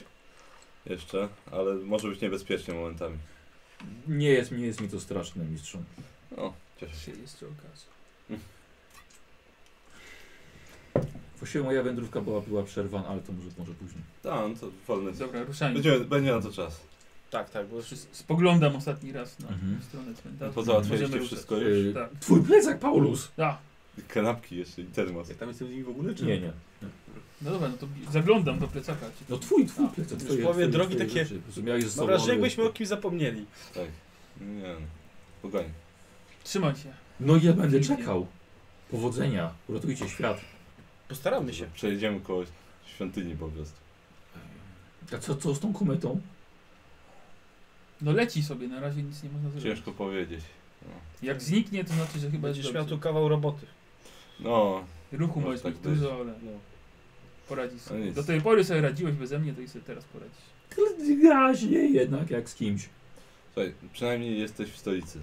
[SPEAKER 4] jeszcze, ale może być niebezpiecznie momentami.
[SPEAKER 1] Nie jest, nie jest mi to straszne, mistrzu.
[SPEAKER 4] No, cieszę się.
[SPEAKER 2] Się jeszcze okaże.
[SPEAKER 1] Właściwie moja wędrówka była, była przerwana, ale to może, może później.
[SPEAKER 4] Tak, no to wolne.
[SPEAKER 2] Dobra, ruszajmy.
[SPEAKER 4] Będziemy, będzie na to czas.
[SPEAKER 6] Tak, tak, bo już
[SPEAKER 2] Przy- Spoglądam ostatni raz na
[SPEAKER 1] Mhm.
[SPEAKER 2] stronę cmentarza.
[SPEAKER 4] Pozałatwiliście
[SPEAKER 2] Możemy
[SPEAKER 4] wszystko
[SPEAKER 2] ruszać.
[SPEAKER 4] już?
[SPEAKER 1] Yy,
[SPEAKER 2] Tak.
[SPEAKER 1] Twój plecak, Paulus!
[SPEAKER 2] A,
[SPEAKER 4] Kanapki jeszcze i termos.
[SPEAKER 8] Ja tam jestem z nimi w ogóle, czy
[SPEAKER 1] Nie, nie.
[SPEAKER 2] no dobra, no to zaglądam do plecaka.
[SPEAKER 1] No twój, twój
[SPEAKER 2] A,
[SPEAKER 1] plecak,
[SPEAKER 6] już
[SPEAKER 1] twoje,
[SPEAKER 6] połowie
[SPEAKER 1] twoje,
[SPEAKER 6] drogi
[SPEAKER 1] twoje
[SPEAKER 6] takie-
[SPEAKER 1] rzeczy. Po prostu miałeś ze
[SPEAKER 6] Mam
[SPEAKER 1] sobą,
[SPEAKER 6] wrażenie,
[SPEAKER 1] ale-
[SPEAKER 6] jakbyśmy o kimś zapomnieli.
[SPEAKER 4] Tak. Nie no. Pogoń.
[SPEAKER 2] Trzymaj się.
[SPEAKER 1] No i ja będę czekał. Powodzenia, uratujcie świat.
[SPEAKER 6] Postaramy się.
[SPEAKER 4] Przejedziemy koło świątyni po prostu.
[SPEAKER 1] A co, co z tą kometą?
[SPEAKER 2] No leci sobie, na razie nic nie można zrobić.
[SPEAKER 4] Ciężko powiedzieć.
[SPEAKER 2] Jak zniknie, to znaczy, że chyba jest
[SPEAKER 6] Będziesz miał tu
[SPEAKER 2] dobrze.
[SPEAKER 6] kawał roboty.
[SPEAKER 4] No,
[SPEAKER 2] Ruchu
[SPEAKER 4] Może
[SPEAKER 2] możesz
[SPEAKER 4] tak
[SPEAKER 2] mieć
[SPEAKER 4] być.
[SPEAKER 2] dużo, ale
[SPEAKER 6] No.
[SPEAKER 2] poradzisz
[SPEAKER 4] No
[SPEAKER 2] sobie.
[SPEAKER 4] nic.
[SPEAKER 2] Do tej pory sobie radziłeś beze mnie, to i sobie teraz poradzisz.
[SPEAKER 1] Tyle Wyraźnie jednak, jak z kimś.
[SPEAKER 4] słuchaj, przynajmniej jesteś w stolicy.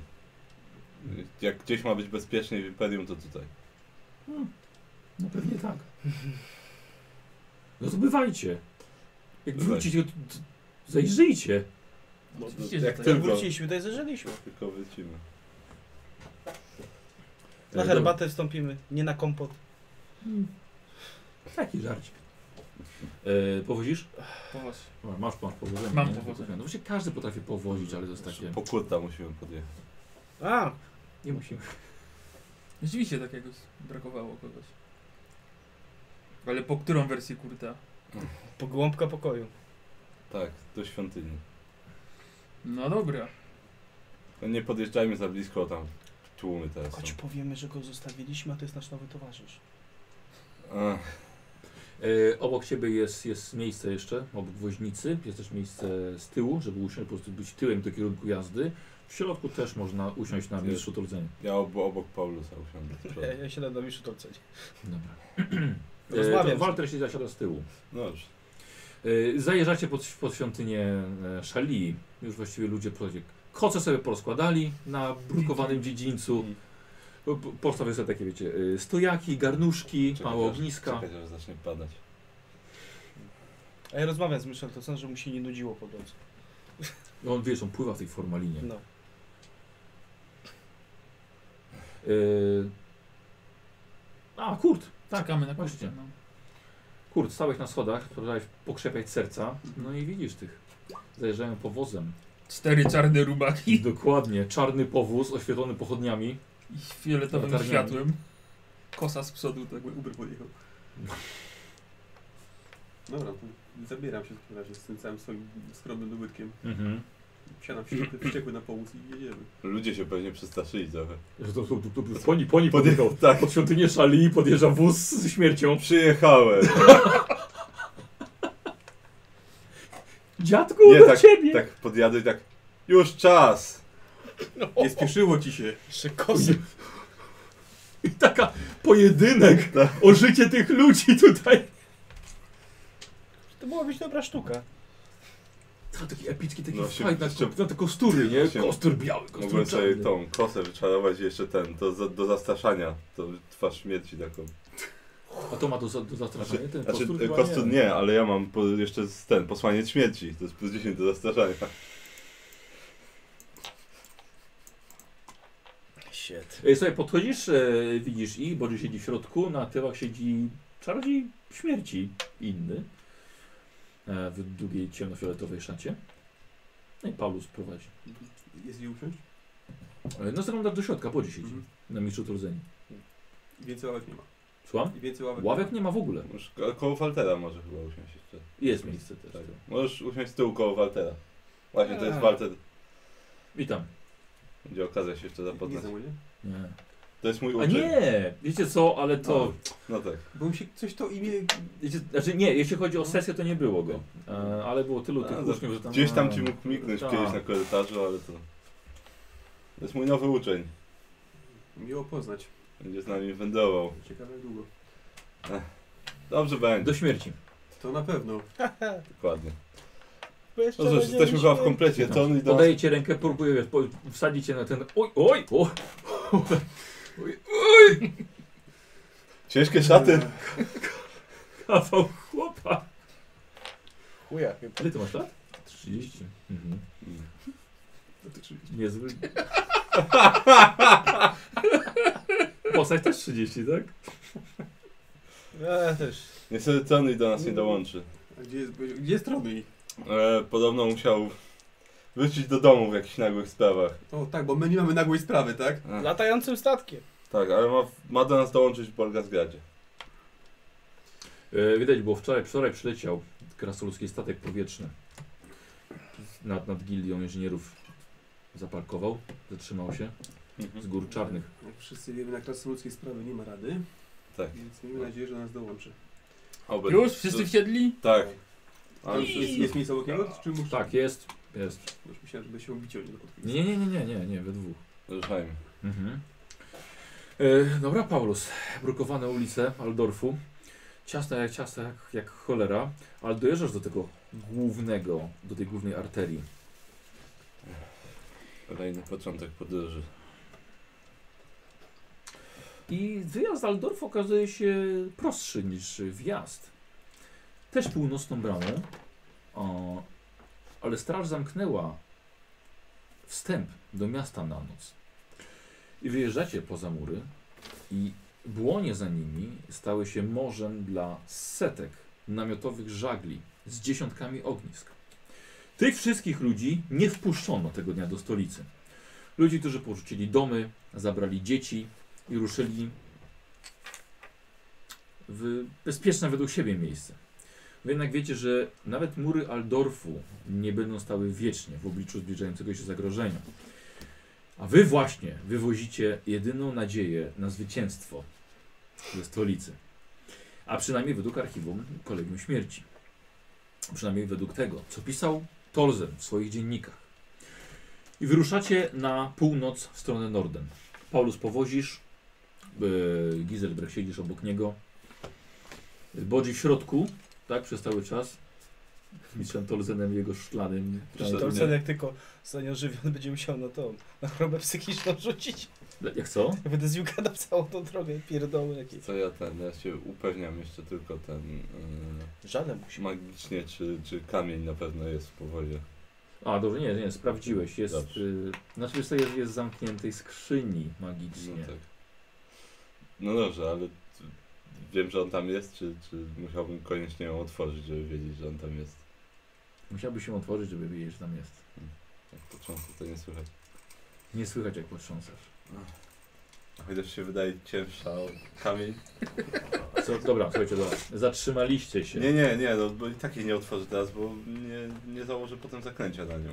[SPEAKER 4] Jak gdzieś ma być bezpiecznie w Imperium, to tutaj.
[SPEAKER 1] No pewnie
[SPEAKER 6] [LAUGHS]
[SPEAKER 1] tak. No to bywajcie. Jak
[SPEAKER 4] Bywaj.
[SPEAKER 1] wrócicie, to, to zajrzyjcie.
[SPEAKER 4] No,
[SPEAKER 2] Oczywiście,
[SPEAKER 4] to
[SPEAKER 2] że
[SPEAKER 4] jak
[SPEAKER 2] tak.
[SPEAKER 4] ty-
[SPEAKER 6] Jak
[SPEAKER 4] Tylko-
[SPEAKER 6] wróciliśmy, to i zażyliśmy.
[SPEAKER 4] Tylko wrócimy.
[SPEAKER 6] Na
[SPEAKER 1] E,
[SPEAKER 6] herbatę wstąpimy, nie na kompot.
[SPEAKER 1] Mm. Taki żarcik. E, powozisz?
[SPEAKER 2] Poważ.
[SPEAKER 1] O, Masz, masz powodzenie.
[SPEAKER 2] Mam
[SPEAKER 1] nie?
[SPEAKER 2] powodzenie.
[SPEAKER 1] No właśnie każdy potrafi powozić, ale to jest takie...
[SPEAKER 4] Po kłóta musimy podjechać.
[SPEAKER 6] A,
[SPEAKER 1] Nie musimy.
[SPEAKER 2] Rzeczywiście tak jakoś brakowało kogoś. Ale po którą wersję kurta?
[SPEAKER 6] pogłąbka pokoju.
[SPEAKER 4] Tak, do świątyni.
[SPEAKER 2] No dobra.
[SPEAKER 4] No nie podjeżdżajmy za blisko, tam tłumy teraz są.
[SPEAKER 6] Choć powiemy, że go zostawiliśmy, a to jest nasz nowy towarzysz.
[SPEAKER 4] Ach,
[SPEAKER 1] E, obok ciebie jest, jest miejsce jeszcze, obok woźnicy. Jest też miejsce z tyłu, żeby usiąść, po prostu być tyłem do kierunku jazdy. W środku też można usiąść na
[SPEAKER 4] Jest.
[SPEAKER 1] mistrzu trudzenia.
[SPEAKER 4] Ja ob obok Paulusa
[SPEAKER 1] [LAUGHS]
[SPEAKER 4] usiądę.
[SPEAKER 6] Ja,
[SPEAKER 4] proszę.
[SPEAKER 6] ja się nadam już utorceń.
[SPEAKER 1] Dobra.
[SPEAKER 6] Rozmawiam
[SPEAKER 1] E,
[SPEAKER 6] z
[SPEAKER 1] to Walter się zasiada z tyłu.
[SPEAKER 4] No dobrze.
[SPEAKER 1] E, Zajeżdżacie pod, pod świątynię e, Szalii. Już właściwie ludzie prowadzi- koce sobie porozkładali na brukowanym dziedzińcu. Po- po- Postawię sobie takie, wiecie, e, stojaki, garnuszki,
[SPEAKER 4] Czekaj,
[SPEAKER 1] mało
[SPEAKER 4] aż-
[SPEAKER 1] ogniska.
[SPEAKER 4] Czekaj, aż zacznie padać.
[SPEAKER 6] A ja rozmawiam z Michel, to sądzę, że mu się nie nudziło po drodze.
[SPEAKER 1] No, On, wiesz, on pływa w tej formalinie.
[SPEAKER 6] No.
[SPEAKER 1] E, A, kurt. Tak,
[SPEAKER 2] Czekamy na
[SPEAKER 1] właśnie.
[SPEAKER 2] kurtę. No.
[SPEAKER 1] Kurt, stałeś na schodach, próbowałeś pokrzepiać serca, no i widzisz tych. Zajeżdżają powozem.
[SPEAKER 2] Cztery czarne rubaki [LAUGHS]
[SPEAKER 1] I dokładnie, czarny powóz oświetlony pochodniami.
[SPEAKER 2] i fioletowym
[SPEAKER 1] Latarniami.
[SPEAKER 2] światłem. Kosa z przodu, tak
[SPEAKER 8] Jakby Uber podjechał. Dobra, to zabieram się w takim razie z tym całym swoim skromnym dobytkiem.
[SPEAKER 1] Mhm.
[SPEAKER 8] Wsiadam wściekły, wściekły na połóz i jedziemy.
[SPEAKER 4] Ludzie się pewnie przestraszyli trochę.
[SPEAKER 1] Że to, to, to, to, poni, poni podjechał.
[SPEAKER 4] Tak.
[SPEAKER 1] Pod świątynię szali podjeżdża wóz z śmiercią.
[SPEAKER 4] Przyjechałem.
[SPEAKER 1] Dziadku,
[SPEAKER 4] Nie,
[SPEAKER 1] do
[SPEAKER 4] tak,
[SPEAKER 1] ciebie!
[SPEAKER 4] tak podjadę i tak. Już czas!
[SPEAKER 8] Nie spieszyło ci się.
[SPEAKER 6] Jeszcze
[SPEAKER 4] [LAUGHS]
[SPEAKER 6] kosy.
[SPEAKER 1] I taka pojedynek
[SPEAKER 4] Tak.
[SPEAKER 1] o życie tych ludzi tutaj.
[SPEAKER 6] To była być dobra sztuka.
[SPEAKER 1] To taki epicki, taki
[SPEAKER 4] No,
[SPEAKER 1] no,
[SPEAKER 4] się-
[SPEAKER 1] fight na,
[SPEAKER 4] się-
[SPEAKER 1] na te kostury, nie?
[SPEAKER 4] się-
[SPEAKER 1] Kostur biały,
[SPEAKER 4] Mogłem
[SPEAKER 1] kostur
[SPEAKER 4] sobie
[SPEAKER 1] czarny.
[SPEAKER 4] tą kosę wyczarować i jeszcze ten, do, za- do zastraszania. To twarz śmierci taką.
[SPEAKER 1] A to ma do, za- do zastraszania? Ten
[SPEAKER 4] Znaczy
[SPEAKER 1] kostur
[SPEAKER 4] kostur,
[SPEAKER 1] chyba
[SPEAKER 4] kostur nie, ale ja mam po, jeszcze z- ten, posłaniec śmierci. To jest plus 10 do zastraszania. [LAUGHS]
[SPEAKER 6] Shit.
[SPEAKER 1] Ej, Słuchaj, podchodzisz, e, widzisz i Boży siedzi w środku, na tyłach siedzi czarodziej śmierci inny e, w długiej ciemnofioletowej szacie. No i Paulus prowadzi.
[SPEAKER 8] Jest gdzie usiąść?
[SPEAKER 1] E, No zaglądasz do środka, Boży siedzi
[SPEAKER 8] Mhm.
[SPEAKER 1] na mistrzu trudzeni.
[SPEAKER 8] I więcej ławek nie ma.
[SPEAKER 1] Słucham?
[SPEAKER 8] I więcej ławek,
[SPEAKER 1] Ławek nie ma w ogóle.
[SPEAKER 4] Możesz ko- koło Waltera może chyba usiąść jeszcze.
[SPEAKER 1] Jest miejsce też.
[SPEAKER 4] Tak. Możesz usiąść z tyłu koło Waltera. Właśnie to jest Walter.
[SPEAKER 1] Witam.
[SPEAKER 4] Będzie okazja się jeszcze
[SPEAKER 8] nie ma. Nie
[SPEAKER 4] zapoznać.
[SPEAKER 8] znam, nie?
[SPEAKER 1] Nie.
[SPEAKER 4] To jest mój
[SPEAKER 1] A
[SPEAKER 4] uczeń.
[SPEAKER 1] nie! Wiecie co, ale to...
[SPEAKER 4] No tak.
[SPEAKER 8] Bo mi się coś to imię...
[SPEAKER 1] Wiecie, znaczy nie, jeśli chodzi o sesję, to nie było go. E, ale było tylu
[SPEAKER 4] A,
[SPEAKER 1] tych
[SPEAKER 4] za-
[SPEAKER 1] uczniów, że tam...
[SPEAKER 4] Gdzieś tam ci mógł mignąć
[SPEAKER 1] Tak.
[SPEAKER 4] kiedyś na korytarzu, ale to... To jest mój nowy uczeń.
[SPEAKER 8] Miło poznać.
[SPEAKER 4] Będzie z nami wędrował.
[SPEAKER 8] Ciekawe jak długo.
[SPEAKER 4] Dobrze będzie.
[SPEAKER 1] Do śmierci.
[SPEAKER 8] To na pewno.
[SPEAKER 4] Dokładnie.
[SPEAKER 6] Bo jeszcze
[SPEAKER 4] No cóż,
[SPEAKER 6] będzie
[SPEAKER 4] jesteśmy chyba w
[SPEAKER 6] śmierć.
[SPEAKER 4] komplecie.
[SPEAKER 1] Tak.
[SPEAKER 4] To on i do...
[SPEAKER 1] Podaję ci rękę, próbuję wiesz, po- wsadzić cię na ten. Oj, oj! O,
[SPEAKER 4] Ciężkie szaty.
[SPEAKER 8] Eee,
[SPEAKER 1] kawał chłopa!
[SPEAKER 6] Chuja chyba.
[SPEAKER 1] Ile ty masz lat? 30. Mhm.
[SPEAKER 4] Mm. [LAUGHS]
[SPEAKER 1] Niezły. Postać też 30, tak?
[SPEAKER 6] Ja też.
[SPEAKER 4] Niestety Tony do nas nie dołączy.
[SPEAKER 8] A gdzie jest, gdzie jest Trony?
[SPEAKER 4] E, podobno musiał wrócić do domu w jakichś nagłych sprawach.
[SPEAKER 8] O tak, bo my nie mamy nagłej sprawy, tak?
[SPEAKER 4] E,
[SPEAKER 6] Latającym statkiem.
[SPEAKER 4] tak, ale ma, ma do nas dołączyć w Bolgazgradzie.
[SPEAKER 1] E, widać, bo wczoraj, wczoraj przyleciał krasnoludzki statek powietrzny. Nad, nad gildią inżynierów zaparkował, zatrzymał się z gór czarnych.
[SPEAKER 8] Jak wszyscy wiemy, na krasnoludzkiej sprawy nie ma rady,
[SPEAKER 4] Tak.
[SPEAKER 8] więc miejmy nadzieję, że do nas dołączy.
[SPEAKER 4] Oby.
[SPEAKER 2] Już? Wszyscy wsiedli?
[SPEAKER 4] Tak.
[SPEAKER 8] A
[SPEAKER 4] Ale
[SPEAKER 8] już jest, jest miejsce obok niego? Czy muszę?
[SPEAKER 1] Tak, jest. Jest.
[SPEAKER 8] Już myślałem, żeby się ubić o niego.
[SPEAKER 1] Nie, nie, nie, nie, nie, nie, we dwóch.
[SPEAKER 4] Ruszajmy.
[SPEAKER 1] Mhm. E, dobra, Paulus. Brukowane ulice Aldorfu. Ciasna jak ciasna, jak, jak cholera. Ale dojeżdżasz do tego głównego, do tej głównej arterii.
[SPEAKER 4] Kolejny początek podróży.
[SPEAKER 1] I wyjazd z Aldorfu okazuje się prostszy niż wjazd. Też północną bramą. O, ale straż zamknęła wstęp do miasta na noc. I wyjeżdżacie poza mury i błonie za nimi stały się morzem dla setek namiotowych żagli z dziesiątkami ognisk. Tych wszystkich ludzi nie wpuszczono tego dnia do stolicy. Ludzi, którzy porzucili domy, zabrali dzieci i ruszyli w bezpieczne według siebie miejsce. Wy jednak wiecie, że nawet mury Aldorfu nie będą stały wiecznie w obliczu zbliżającego się zagrożenia. A wy właśnie wywozicie jedyną nadzieję na zwycięstwo ze stolicy. A przynajmniej według archiwum Kolegium Śmierci. Przynajmniej według tego, co pisał Tolzen w swoich dziennikach. I wyruszacie na północ w stronę Norden. Paulus powozisz, yy, Gizelbrech siedzisz obok niego. Bodzi w środku, tak, przez cały czas. Z mistrzem Tolzenem, jego szklanym.
[SPEAKER 4] Przeszedł
[SPEAKER 1] tam-
[SPEAKER 4] mnie.
[SPEAKER 6] Tolcen jak tylko zostanie ożywiony, [LAUGHS] będzie musiał na tą, na chorobę psychiczną [LAUGHS] rzucić.
[SPEAKER 1] Jak co?
[SPEAKER 6] Będę z Juka na całą tą drogę pierdoły jakieś.
[SPEAKER 4] Co ja ten, ja się upewniam jeszcze tylko ten... Yy,
[SPEAKER 6] Żaden musi.
[SPEAKER 4] magicznie, czy, czy kamień na pewno jest w powozie.
[SPEAKER 1] A, dobrze, nie, nie, sprawdziłeś. Jest,
[SPEAKER 4] Dobrze.
[SPEAKER 1] y, znaczy, wiesz co, jest, jest w zamkniętej skrzyni
[SPEAKER 4] No
[SPEAKER 1] magicznie.
[SPEAKER 4] tak. No dobrze, ale... wiem, że on tam jest, czy, czy musiałbym koniecznie ją otworzyć, żeby wiedzieć, że on tam jest?
[SPEAKER 1] Musiałby się otworzyć, żeby wiedzieć, że tam jest.
[SPEAKER 4] Jak to często to nie słychać.
[SPEAKER 1] Nie słychać, jak potrząsasz.
[SPEAKER 4] Chociaż się wydaje cięższa o kamień.
[SPEAKER 1] Co, dobra, słuchajcie, dobra. Zatrzymaliście się.
[SPEAKER 4] Nie, nie, nie, no, bo i tak jej nie otworzę teraz, bo nie, nie założę potem zaklęcia na nią.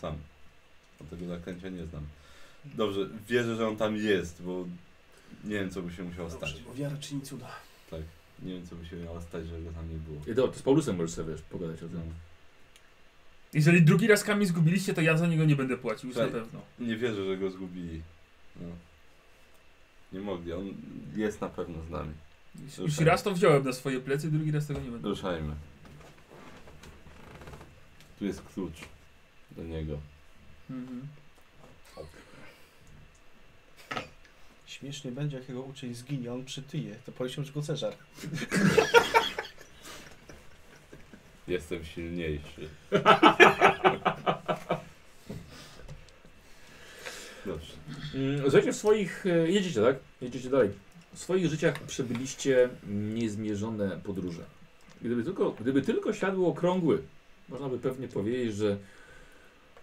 [SPEAKER 4] Sam. Bo tego zaklęcia nie znam. Dobrze, wierzę, że on tam jest, bo nie wiem, co by się musiało stać.
[SPEAKER 8] Dobrze, bo wiara czyni cuda.
[SPEAKER 4] Nie wiem, co by się miało stać, żeby go tam nie było.
[SPEAKER 1] I Dobra, to z Paulusem możesz sobie wiesz, pogadać o
[SPEAKER 4] No.
[SPEAKER 1] tym.
[SPEAKER 7] Jeżeli drugi raz kamień zgubiliście, to ja za niego nie będę płacił, już na
[SPEAKER 4] Tak.
[SPEAKER 7] pewno.
[SPEAKER 4] Nie wierzę, że go zgubili. No. Nie mogli, on jest na pewno z nami.
[SPEAKER 7] Już, już
[SPEAKER 4] Ruszajmy.
[SPEAKER 7] raz to wziąłem na swoje plecy, drugi raz tego nie będę.
[SPEAKER 4] Ruszajmy. Tu jest klucz do niego.
[SPEAKER 7] Mhm.
[SPEAKER 6] Śmiesznie będzie, jak jego uczeń zginie, a on przytyje. To policzą, że go ceżar.
[SPEAKER 4] Jestem silniejszy. Dobrze.
[SPEAKER 1] Mm, Słuchajcie, w swoich... e, Jedziecie, tak? Jedziecie dalej. W swoich życiach przebyliście niezmierzone podróże. Gdyby tylko, gdyby tylko ślad był okrągły, można by pewnie powiedzieć, że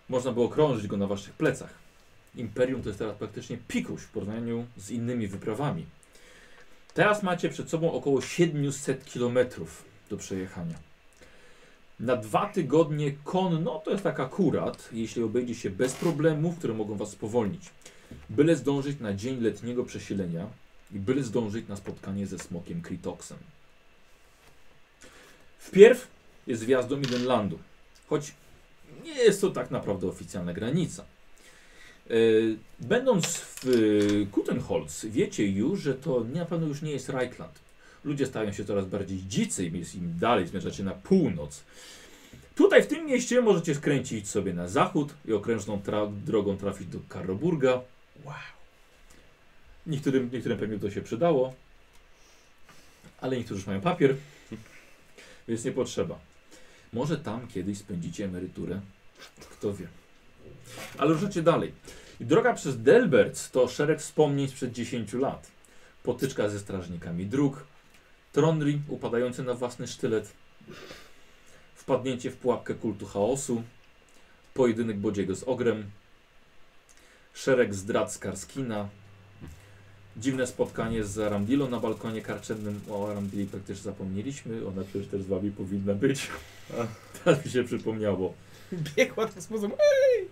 [SPEAKER 1] można by okrążyć go na waszych plecach. Imperium to jest teraz praktycznie pikuś w porównaniu z innymi wyprawami. Teraz macie przed sobą około 700 km do przejechania. Na dwa tygodnie konno to jest tak akurat, jeśli obejdzie się bez problemów, które mogą was spowolnić. Byle zdążyć na dzień letniego przesilenia i byle zdążyć na spotkanie ze smokiem Kritoksem. Wpierw jest wjazd do Midenlandu, choć nie jest to tak naprawdę oficjalna granica. Yy, Będąc w yy, Kutenholz, wiecie już, że to na pewno już nie jest Reichland. Ludzie stają się coraz bardziej dzicy, im jest- im dalej zmierzacie na północ. Tutaj w tym mieście możecie skręcić sobie na zachód i okrężną tra drogą trafić do Karroburga. Wow. Niektórym, niektórym pewnie to się przydało, ale niektórzy już mają papier, więc nie potrzeba. Może tam kiedyś spędzicie emeryturę, kto wie. Ale ruszacie dalej. I Droga przez Delberts to szereg wspomnień sprzed 10 lat. Potyczka ze strażnikami dróg, Tronri upadający na własny sztylet, wpadnięcie w pułapkę kultu chaosu, pojedynek Bodziego z Ogrem, szereg zdrad z Karskina, dziwne spotkanie z Aramdilą na balkonie karczemnym. O Aramdili praktycznie zapomnieliśmy, ona przecież też z wami powinna być. Teraz mi się przypomniało.
[SPEAKER 6] [LAUGHS] Biegła to z muzą.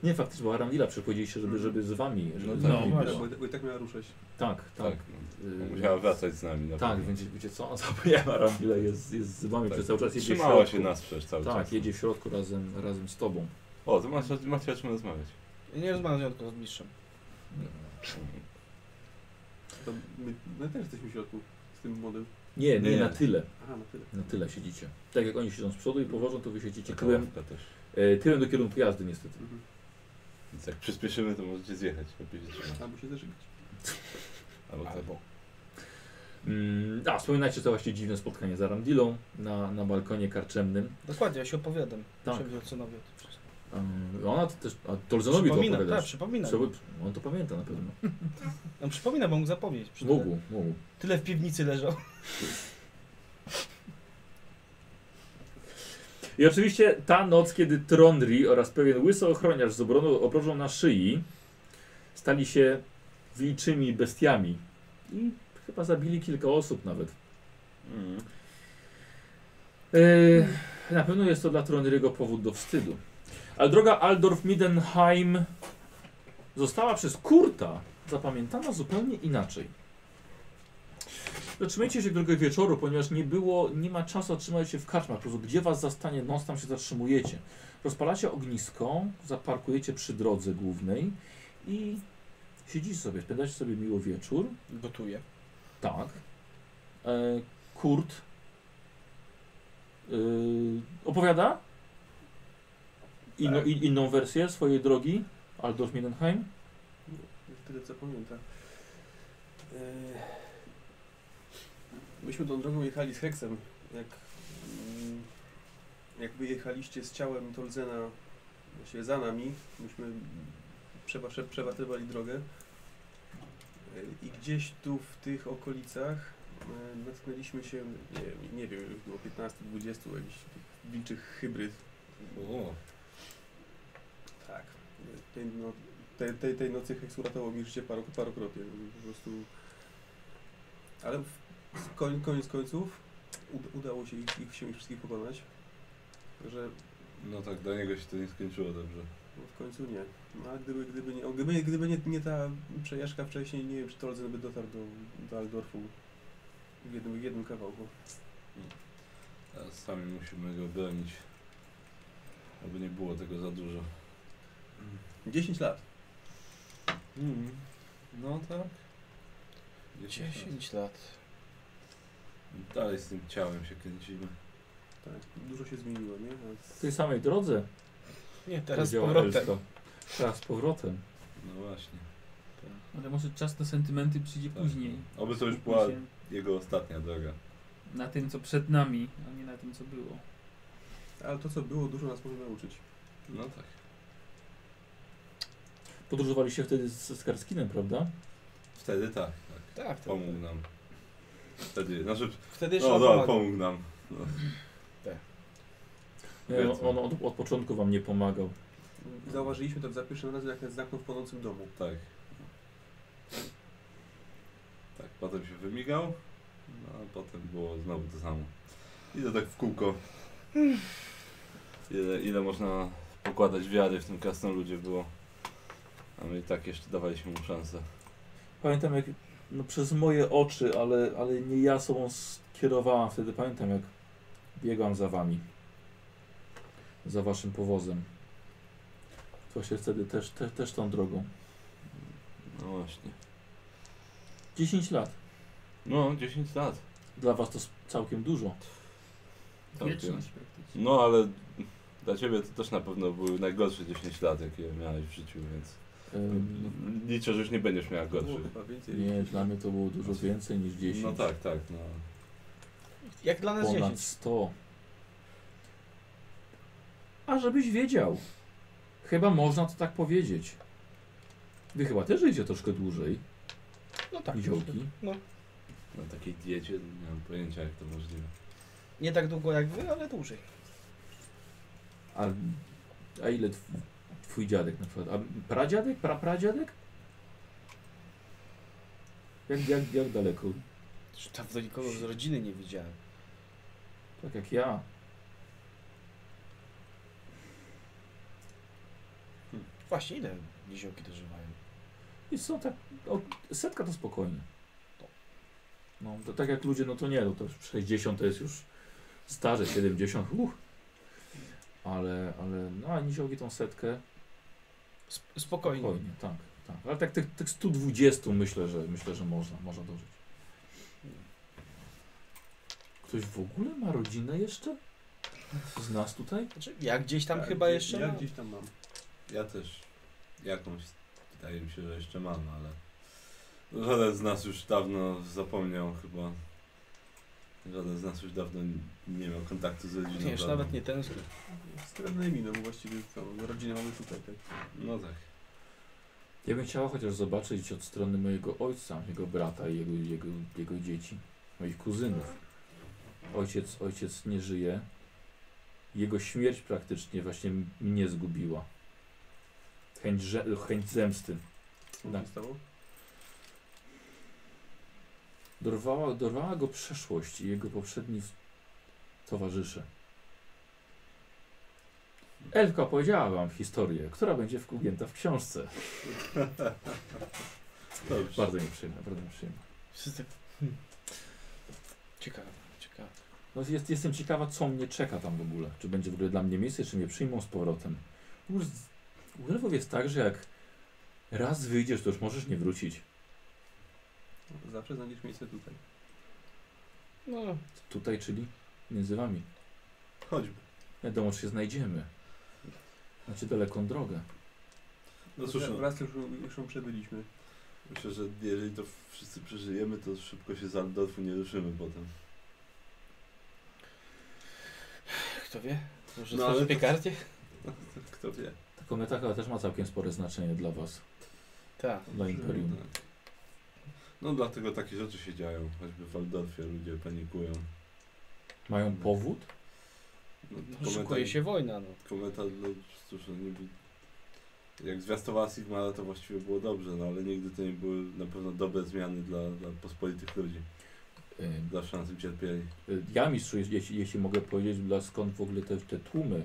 [SPEAKER 1] Nie, faktycznie, bo Aramdila przychodziliście, żeby, żeby z wami. Żeby
[SPEAKER 4] No
[SPEAKER 1] z
[SPEAKER 4] tak,
[SPEAKER 1] wami
[SPEAKER 4] właśnie.
[SPEAKER 1] była.
[SPEAKER 8] Bo, i tak- bo i tak miała ruszać.
[SPEAKER 1] tak, tak.
[SPEAKER 4] Tak. no.
[SPEAKER 1] Y,
[SPEAKER 4] Musiała wracać z nami. no Na
[SPEAKER 1] Tak,
[SPEAKER 4] pewno.
[SPEAKER 1] więc wiecie co, [LAUGHS] zapomniałem Aramdila jest, jest z wami
[SPEAKER 4] Tak.
[SPEAKER 1] przez cały czas. Jedzie w
[SPEAKER 4] Trzymała się
[SPEAKER 1] środku.
[SPEAKER 4] nas przez cały czas.
[SPEAKER 1] Tak, jedzie w środku razem, razem z tobą.
[SPEAKER 4] O, to masz, macie o czym rozmawiać.
[SPEAKER 6] E, Nie rozmawiam z nią, tylko z mistrzem.
[SPEAKER 8] To my, my też jesteśmy w środku z tym młodym.
[SPEAKER 1] Nie, nie,
[SPEAKER 4] Nie.
[SPEAKER 1] na tyle.
[SPEAKER 8] Aha, na tyle.
[SPEAKER 1] Na tyle siedzicie. Tak jak oni siedzą z przodu i powożą, to wy siedzicie
[SPEAKER 4] Taka
[SPEAKER 1] tyłem,
[SPEAKER 4] ławka też.
[SPEAKER 1] e, tyłem do kierunku jazdy niestety.
[SPEAKER 8] Mhm.
[SPEAKER 4] Więc jak przyspieszymy, to możecie zjechać. Lepiej się trzymać.
[SPEAKER 8] Albo się zażygać.
[SPEAKER 4] Albo tak.
[SPEAKER 1] Mm, a, wspominacie to właśnie dziwne spotkanie z Aramdilą na, na balkonie karczemnym.
[SPEAKER 6] Dokładnie, ja się opowiadam.
[SPEAKER 1] Tak.
[SPEAKER 6] Tak. Wilsonowi o tym wszystkim.
[SPEAKER 1] Ym, ona to też, a Tolzenowi to
[SPEAKER 6] Przypominam, tak,
[SPEAKER 1] opowiadasz.
[SPEAKER 6] przypominam.
[SPEAKER 1] Trzeba- On to pamięta na pewno.
[SPEAKER 6] No, przypominam, bo mógł zapomnieć. Przy tyle-
[SPEAKER 1] Mógł, mógł.
[SPEAKER 6] Tyle w piwnicy leżał.
[SPEAKER 1] I oczywiście ta noc, kiedy Trondri oraz pewien łysy ochroniarz z obroną, obrożą na szyi stali się wilczymi bestiami. I chyba zabili kilka osób nawet.
[SPEAKER 4] Mm.
[SPEAKER 1] Yy, na pewno jest to dla Trondriego powód do wstydu. Ale droga Aldorf-Midenheim została przez Kurta zapamiętana zupełnie inaczej. Zatrzymajcie się tylko wieczoru, ponieważ nie było, nie ma czasu otrzymać się w karczmach. Po prostu gdzie was zastanie noc, tam się zatrzymujecie. Rozpalacie ognisko, zaparkujecie przy drodze głównej i siedzicie sobie, spędzacie sobie miło wieczór.
[SPEAKER 6] Gotuje.
[SPEAKER 1] Tak. E, Kurt e, opowiada inno,
[SPEAKER 4] Tak.
[SPEAKER 1] in, inną wersję swojej drogi Aldorf Mindenheim.
[SPEAKER 8] Tyle co pamiętam. E, Myśmy tą drogą jechali z Heksem. Jak, mm, jak wyjechaliście z ciałem Tolzena właściwie za nami, myśmy przeba- prze- przepatrywali drogę. E, I gdzieś tu w tych okolicach e, natknęliśmy się, nie, wiem, nie wiem, już było 15-20 jakichś tych wilczych hybryd.
[SPEAKER 4] O,
[SPEAKER 8] Tak. Tej, no, tej, tej, tej nocy heksuratował mi życie paro, parokrotnie. no, Po prostu... Ale w, z koń, koniec końców ud, udało się ich, ich, się ich wszystkich pokonać. Że
[SPEAKER 4] no tak, dla niego się to nie skończyło dobrze.
[SPEAKER 8] No w końcu nie. No, ale gdyby, gdyby, nie, o, gdyby, gdyby nie, nie ta przejażdżka wcześniej, nie wiem, czy Tolzen by dotarł do, do Aldorfu w jednym, w jednym kawałku.
[SPEAKER 4] Teraz sami musimy go bronić. Aby nie było tego za dużo.
[SPEAKER 8] 10 lat.
[SPEAKER 4] Mm. No tak. 10.
[SPEAKER 6] lat.
[SPEAKER 4] Dalej z tym ciałem się kręcimy.
[SPEAKER 8] Tak, dużo się zmieniło, nie? A
[SPEAKER 1] W tej samej drodze
[SPEAKER 6] Nie, teraz Tak, z
[SPEAKER 1] powiedziała
[SPEAKER 6] powrotem.
[SPEAKER 1] Elska. Teraz z powrotem.
[SPEAKER 4] No właśnie.
[SPEAKER 2] Ale może czas na sentymenty przyjdzie
[SPEAKER 4] Tak.
[SPEAKER 2] później.
[SPEAKER 4] Oby to już
[SPEAKER 2] Skupmy
[SPEAKER 4] była
[SPEAKER 2] się
[SPEAKER 4] jego ostatnia droga.
[SPEAKER 2] Na tym, co przed nami, a nie na tym, co było.
[SPEAKER 8] Ale to, co było, dużo nas może nauczyć.
[SPEAKER 4] No tak.
[SPEAKER 1] Podróżowaliście wtedy z, z Karskinem, prawda?
[SPEAKER 4] Wtedy tak. tak.
[SPEAKER 6] Tak, tak.
[SPEAKER 4] Pomógł nam. Wtedy. Znaczy,
[SPEAKER 6] Wtedy jeszcze
[SPEAKER 4] no
[SPEAKER 6] on
[SPEAKER 4] dobra,
[SPEAKER 6] pomagał.
[SPEAKER 4] pomógł nam. No.
[SPEAKER 6] Tak.
[SPEAKER 1] Nie,
[SPEAKER 4] Powiedzmy.
[SPEAKER 1] E, on od, od początku wam nie pomagał.
[SPEAKER 8] Zauważyliśmy to za pierwszym razem, jak nas zamknął w płonącym domu.
[SPEAKER 4] Tak. Tak, potem się wymigał, no a potem było znowu to samo. I to tak w kółko. Ile, ile można pokładać wiary w tym krasnoludzie było. A my i tak jeszcze dawaliśmy mu szansę.
[SPEAKER 1] Pamiętam jak, no przez moje oczy, ale, ale nie ja sobą skierowałam wtedy. Pamiętam jak biegłam za wami. Za waszym powozem. Właśnie wtedy też, te, też tą drogą.
[SPEAKER 4] No właśnie.
[SPEAKER 1] 10 lat.
[SPEAKER 4] No, 10 lat.
[SPEAKER 1] Dla was to s- całkiem dużo.
[SPEAKER 2] Wieczność praktycznie.
[SPEAKER 4] Tak, No ale dla ciebie to też na pewno były najgorsze 10 lat, jakie miałeś w życiu, więc
[SPEAKER 1] Ym,
[SPEAKER 4] liczę, że już nie będziesz miała
[SPEAKER 8] To było
[SPEAKER 4] gorszych.
[SPEAKER 8] chyba więcej.
[SPEAKER 1] nie, dla mnie to było dużo więcej niż 10.
[SPEAKER 4] No tak, tak, no.
[SPEAKER 6] Jak dla nas
[SPEAKER 1] Ponad
[SPEAKER 6] 10.
[SPEAKER 1] 100. A żebyś wiedział. Chyba można to tak powiedzieć. Wy chyba też żyjecie troszkę dłużej,
[SPEAKER 6] No tak.
[SPEAKER 1] niziołki.
[SPEAKER 4] Na takiej diecie nie mam pojęcia jak to możliwe.
[SPEAKER 6] Nie tak długo jak wy, ale dłużej.
[SPEAKER 1] A, a ile tw- twój dziadek na przykład? A pradziadek? Prapradziadek? Jak, jak, jak daleko?
[SPEAKER 6] Dawno nikogo z rodziny nie widziałem.
[SPEAKER 1] Tak jak ja.
[SPEAKER 6] Właśnie, ile niziołki dożywają?
[SPEAKER 1] I są tak, o, setka to spokojnie. No, to tak jak ludzie, no to nie, no to już 60 to jest już starze, 70, uch. Ale, ale, no a niziołki tą setkę,
[SPEAKER 6] Sp- spokojnie.
[SPEAKER 1] spokojnie, tak, tak. Ale tak tych, tych 120 myślę, że myślę, że można, można dożyć. Ktoś w ogóle ma rodzinę jeszcze? Z nas tutaj?
[SPEAKER 6] Znaczy, ja gdzieś tam
[SPEAKER 8] Tak,
[SPEAKER 6] chyba
[SPEAKER 8] gdzie-
[SPEAKER 6] jeszcze.
[SPEAKER 8] Ja
[SPEAKER 6] mam.
[SPEAKER 8] gdzieś tam mam.
[SPEAKER 4] Ja też jakąś, wydaje mi się, że jeszcze mam, ale żaden z nas już dawno zapomniał chyba. Żaden z nas już dawno nie miał kontaktu z rodziną.
[SPEAKER 8] No,
[SPEAKER 6] Wiesz,
[SPEAKER 4] żadną.
[SPEAKER 6] nawet nie tęsknię.
[SPEAKER 8] Z krewnymi, no bo właściwie całą rodzinę mamy tutaj. Tak.
[SPEAKER 4] No tak.
[SPEAKER 1] Ja bym chciała chociaż zobaczyć od strony mojego ojca, jego brata i jego, jego, jego dzieci, moich kuzynów. Ojciec, ojciec nie żyje. Jego śmierć praktycznie właśnie m- mnie zgubiła. Chęć, że, chęć zemsty.
[SPEAKER 8] Co
[SPEAKER 1] Tak.
[SPEAKER 8] się stało?
[SPEAKER 1] Dorwała, dorwała go przeszłość i jego poprzedni w- towarzysze. Elka powiedziała wam historię, która będzie wkugięta w książce.
[SPEAKER 4] Dobrze.
[SPEAKER 1] Bardzo mi przyjemna, bardzo mi przyjemna.
[SPEAKER 6] Wszyscy- Hmm. Ciekawe, ciekawe.
[SPEAKER 1] No jest, jestem ciekawa, co mnie czeka tam w ogóle. Czy będzie w ogóle dla mnie miejsce, czy mnie przyjmą z powrotem. U- z- U elfów jest tak, że jak raz wyjdziesz, to już możesz nie wrócić.
[SPEAKER 8] Zawsze znajdziesz miejsce tutaj.
[SPEAKER 6] No,
[SPEAKER 1] Tutaj, czyli między wami.
[SPEAKER 4] Chodźmy.
[SPEAKER 1] Wiadomo, czy się znajdziemy. Znaczy daleką drogę.
[SPEAKER 4] No cóż, no,
[SPEAKER 8] Raz już, już ją przebyliśmy.
[SPEAKER 4] myślę, że jeżeli to wszyscy przeżyjemy, to szybko się z Aldorfu nie ruszymy potem.
[SPEAKER 6] kto wie? Może
[SPEAKER 4] No,
[SPEAKER 6] no,
[SPEAKER 4] ale
[SPEAKER 6] sobie
[SPEAKER 4] to-
[SPEAKER 6] karcie?
[SPEAKER 4] Kto wie.
[SPEAKER 1] Ta kometa chyba też ma całkiem spore znaczenie dla was,
[SPEAKER 6] Tak.
[SPEAKER 1] dla Imperium.
[SPEAKER 4] Tak. No dlatego takie rzeczy się dzieją. Choćby w Waldorfie ludzie panikują.
[SPEAKER 1] Mają powód?
[SPEAKER 4] No,
[SPEAKER 6] Szykuje się wojna, no.
[SPEAKER 4] Komentarz, no cóż, no niby... Jak zwiastowała Sigmara to właściwie było dobrze, no ale nigdy to nie były na pewno dobre zmiany dla, dla pospolitych ludzi.
[SPEAKER 1] Y,
[SPEAKER 4] Zawsze na tym cierpieli.
[SPEAKER 1] Ja mistrzu, jeśli, jeśli mogę powiedzieć, dla skąd w ogóle te, te tłumy.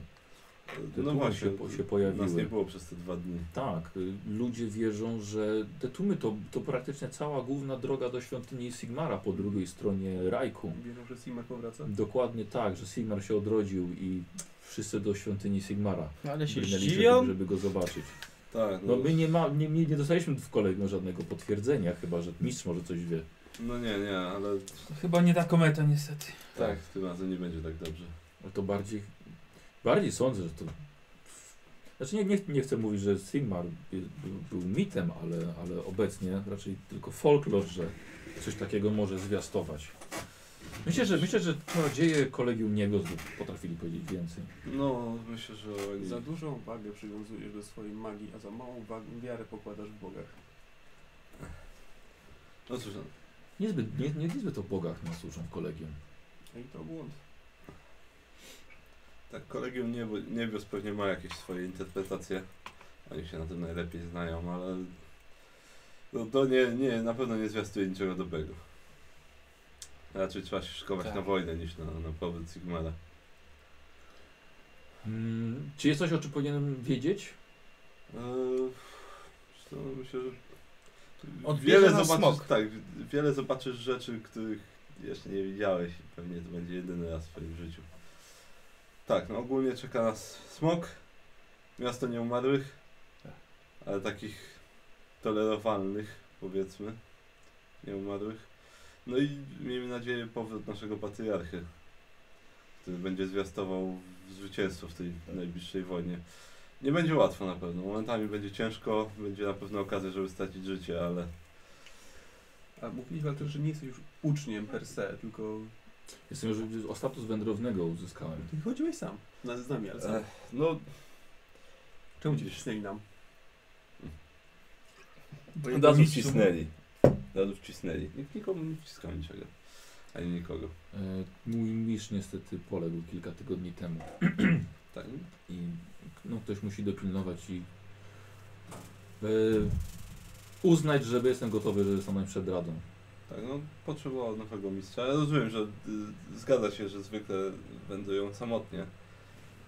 [SPEAKER 1] Te
[SPEAKER 4] No
[SPEAKER 1] tłumy
[SPEAKER 4] właśnie,
[SPEAKER 1] się po- się
[SPEAKER 4] nas
[SPEAKER 1] pojawiły.
[SPEAKER 4] nie było przez te dwa dni.
[SPEAKER 1] Tak, y, ludzie wierzą, że te tłumy to, to praktycznie cała główna droga do świątyni Sigmara po drugiej stronie Rajku.
[SPEAKER 8] Wierzą, że Simmer powraca?
[SPEAKER 1] Dokładnie tak, że Sigmar się odrodził i wszyscy do świątyni Sigmara
[SPEAKER 6] No, ale się
[SPEAKER 1] brnęli,
[SPEAKER 6] zdziwią.
[SPEAKER 1] żeby, żeby go zobaczyć.
[SPEAKER 4] Tak, no,
[SPEAKER 1] No my nie, ma, nie, nie, nie dostaliśmy w kolejno żadnego potwierdzenia, chyba że mistrz może coś wie.
[SPEAKER 4] no nie, nie, ale
[SPEAKER 1] Tak.
[SPEAKER 2] To chyba nie ta kometa niestety.
[SPEAKER 4] tak, tym razem nie będzie tak dobrze.
[SPEAKER 1] Ale No to bardziej, bardziej sądzę, że to... Znaczy nie, nie, nie chcę mówić, że Sigmar by- był, był mitem, ale, ale obecnie raczej tylko folklor, że coś takiego może zwiastować. Myślę, że, myślę, że czarodzieje kolegium niego potrafili powiedzieć więcej.
[SPEAKER 4] No, myślę, że oni...
[SPEAKER 8] Za dużą wagę przywiązujesz do swojej magii, a za małą wag- wiarę pokładasz w bogach.
[SPEAKER 4] No cóż, no,
[SPEAKER 1] Niezbyt, nie, nie, niezbyt o bogach nas uczą w kolegium.
[SPEAKER 8] No I to błąd.
[SPEAKER 4] tak, kolegium niebo, niebios pewnie ma jakieś swoje interpretacje. Oni się na tym najlepiej znają, ale... No to nie, nie, na pewno nie zwiastuje niczego dobrego. Raczej trzeba się szykować
[SPEAKER 3] Tak.
[SPEAKER 4] na wojnę niż na, na powrót Sigmara.
[SPEAKER 1] Mm, czy jest coś, o czym powinienem wiedzieć?
[SPEAKER 4] Eee, to Eee, myślę, że
[SPEAKER 6] Odbierze
[SPEAKER 4] wiele
[SPEAKER 6] nas
[SPEAKER 4] zobaczysz,
[SPEAKER 6] smok.
[SPEAKER 4] tak, wiele zobaczysz rzeczy, których jeszcze nie widziałeś i pewnie to będzie jedyny raz w swoim życiu. Tak, no ogólnie czeka nas smok, miasto nieumarłych, ale takich tolerowalnych, powiedzmy, nieumarłych. No i miejmy nadzieję powrót naszego patriarchy, który będzie zwiastował zwycięstwo w tej najbliższej wojnie. Nie będzie łatwo na pewno. Momentami będzie ciężko, będzie na pewno okazja, żeby stracić życie, ale
[SPEAKER 8] A mówiliśmy ale też, że nie jesteś już uczniem per se, tylko
[SPEAKER 1] Jestem już o status wędrownego uzyskałem.
[SPEAKER 8] ty chodziłeś sam. Na, z nami, ale sam.
[SPEAKER 4] Ech, no
[SPEAKER 8] Czemu cię ścisnęli nam?
[SPEAKER 2] Bo
[SPEAKER 4] od
[SPEAKER 2] jego
[SPEAKER 4] razu
[SPEAKER 2] mistrzu-
[SPEAKER 4] wcisnęli. Od razu wcisnęli. Nikt nikomu nie wciskał niczego. Ani nikogo.
[SPEAKER 1] E, mój mistrz niestety poległ kilka tygodni temu
[SPEAKER 4] Tak.
[SPEAKER 1] i no, ktoś musi dopilnować i e, uznać, że jestem gotowy, żeby stanąć przed radą.
[SPEAKER 4] Tak, no potrzebował nowego mistrza. Ja rozumiem, że y, zgadza się, że zwykle wędrują samotnie.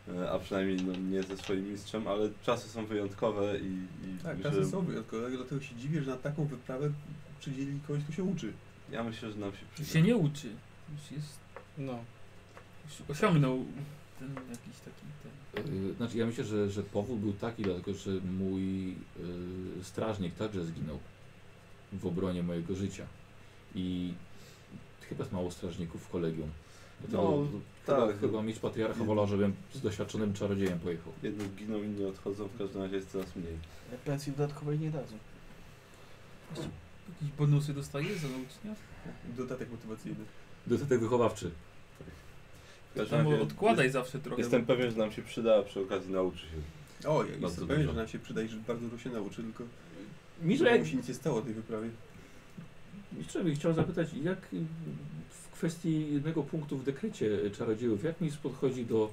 [SPEAKER 4] Y, A przynajmniej no, nie ze swoim mistrzem, ale czasy są wyjątkowe i, i
[SPEAKER 8] Tak,
[SPEAKER 4] myślę,
[SPEAKER 8] czasy
[SPEAKER 4] że-
[SPEAKER 8] są wyjątkowe, dlatego się dziwię, że na taką wyprawę przydzieli kogoś, kto się uczy.
[SPEAKER 4] Ja myślę, że nam się
[SPEAKER 2] Już
[SPEAKER 4] przyda.
[SPEAKER 2] się nie uczy. Już jest.
[SPEAKER 6] No.
[SPEAKER 2] Już osiągnął ten jakiś taki ten.
[SPEAKER 1] E, znaczy ja myślę, że, że powód był taki, dlatego że mój e, strażnik także zginął w obronie mojego życia. I chyba jest mało strażników w kolegium. Dlatego
[SPEAKER 4] No,
[SPEAKER 1] Chyba,
[SPEAKER 4] tak.
[SPEAKER 1] chyba mieć patriarcha wolał, żebym z doświadczonym czarodziejem pojechał.
[SPEAKER 4] Jedni giną, inni odchodzą, w każdym razie jest coraz mniej.
[SPEAKER 6] Pensji dodatkowej nie dadzą.
[SPEAKER 2] Jakieś bonusy dostaje za naucznia?
[SPEAKER 8] Dodatek motywacyjny.
[SPEAKER 1] Dodatek wychowawczy.
[SPEAKER 4] W
[SPEAKER 2] To
[SPEAKER 4] każdym
[SPEAKER 2] tam
[SPEAKER 4] razie
[SPEAKER 2] odkładaj zawsze trochę.
[SPEAKER 4] Jestem pewien, że nam się przyda, a przy okazji nauczy się.
[SPEAKER 8] O, ja
[SPEAKER 4] Bardzo
[SPEAKER 8] jestem pewien,
[SPEAKER 4] dużo.
[SPEAKER 8] że nam się przyda i że bardzo dużo się nauczy, tylko
[SPEAKER 1] Mistrzu,
[SPEAKER 8] że
[SPEAKER 1] jak,
[SPEAKER 8] mu się nic nie stało tej wyprawie.
[SPEAKER 1] mistrzu, bym chciał zapytać, jak y, w kwestii jednego punktu w dekrecie czarodziejów, jak mistrz podchodzi do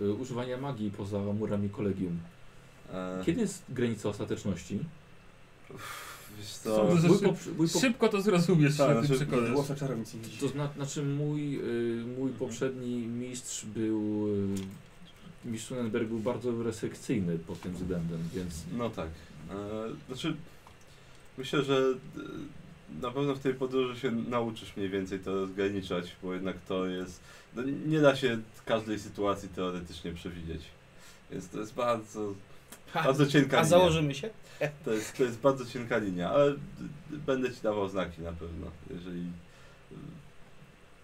[SPEAKER 1] y, używania magii poza murami kolegium?
[SPEAKER 4] E,
[SPEAKER 1] Kiedy jest granica ostateczności?
[SPEAKER 4] Wiesz
[SPEAKER 2] Są
[SPEAKER 4] co,
[SPEAKER 2] duże-
[SPEAKER 1] Mój pop- mój pop-
[SPEAKER 2] Szybko to zrozumiesz,
[SPEAKER 4] Tak,
[SPEAKER 2] się ty
[SPEAKER 4] znaczy,
[SPEAKER 2] przekonasz.
[SPEAKER 8] Włosa czarownicy dziś.
[SPEAKER 1] To zna, znaczy mój, y, mój poprzedni mistrz był... Y, mistrz Sonnenberg był bardzo restrykcyjny pod tym względem, więc...
[SPEAKER 4] no tak. E, znaczy, myślę, że e, na pewno w tej podróży się nauczysz mniej więcej to rozgraniczać, bo jednak to jest... No, nie da się każdej sytuacji teoretycznie przewidzieć. Więc to jest bardzo, bardzo cienka
[SPEAKER 6] A
[SPEAKER 4] linia.
[SPEAKER 6] założymy się?
[SPEAKER 4] To jest, to jest bardzo cienka linia, ale d- d- będę ci dawał znaki na pewno, jeżeli... e,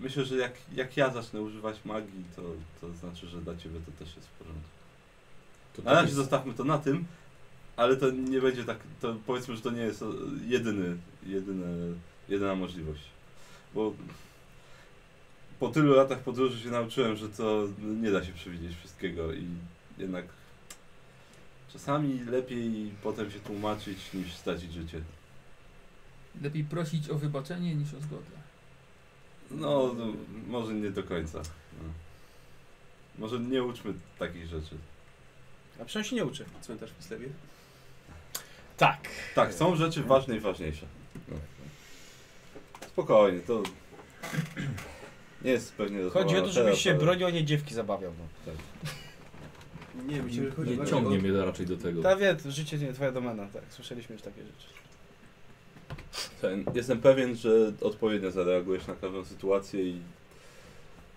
[SPEAKER 4] Myślę, że jak, jak ja zacznę używać magii, to, to znaczy, że dla ciebie to też jest w porządku.
[SPEAKER 1] To tak
[SPEAKER 4] Na razie zostawmy to na tym, ale to nie będzie tak, to powiedzmy, że to nie jest e, jedyny, jedyny, jedyna możliwość. Bo po tylu latach podróży się nauczyłem, że to nie da się przewidzieć wszystkiego i jednak czasami lepiej potem się tłumaczyć niż stracić życie.
[SPEAKER 2] Lepiej prosić o wybaczenie niż o zgodę.
[SPEAKER 4] No, no, może nie do końca. No. Może nie uczmy takich rzeczy.
[SPEAKER 6] A przynajmniej się nie uczy.
[SPEAKER 8] Cmentarz w Kislewie.
[SPEAKER 6] Tak.
[SPEAKER 4] Tak, są rzeczy ważne i ważniejsze. No. Spokojnie, to nie jest pewnie
[SPEAKER 8] Tak.
[SPEAKER 6] Chodzi o to,
[SPEAKER 8] No,
[SPEAKER 4] dozwolone
[SPEAKER 6] żebyś się
[SPEAKER 4] teraz, ale-
[SPEAKER 6] bronił, a nie dziewki zabawiał. No.
[SPEAKER 8] Nie, myślę, że chodzi
[SPEAKER 1] Nie
[SPEAKER 8] bardziej
[SPEAKER 1] ciągnie mnie raczej do tego.
[SPEAKER 6] Ta wie, życie nie twoja domena, tak. Słyszeliśmy już takie rzeczy.
[SPEAKER 4] Ten, jestem pewien, że odpowiednio zareagujesz na każdą sytuację i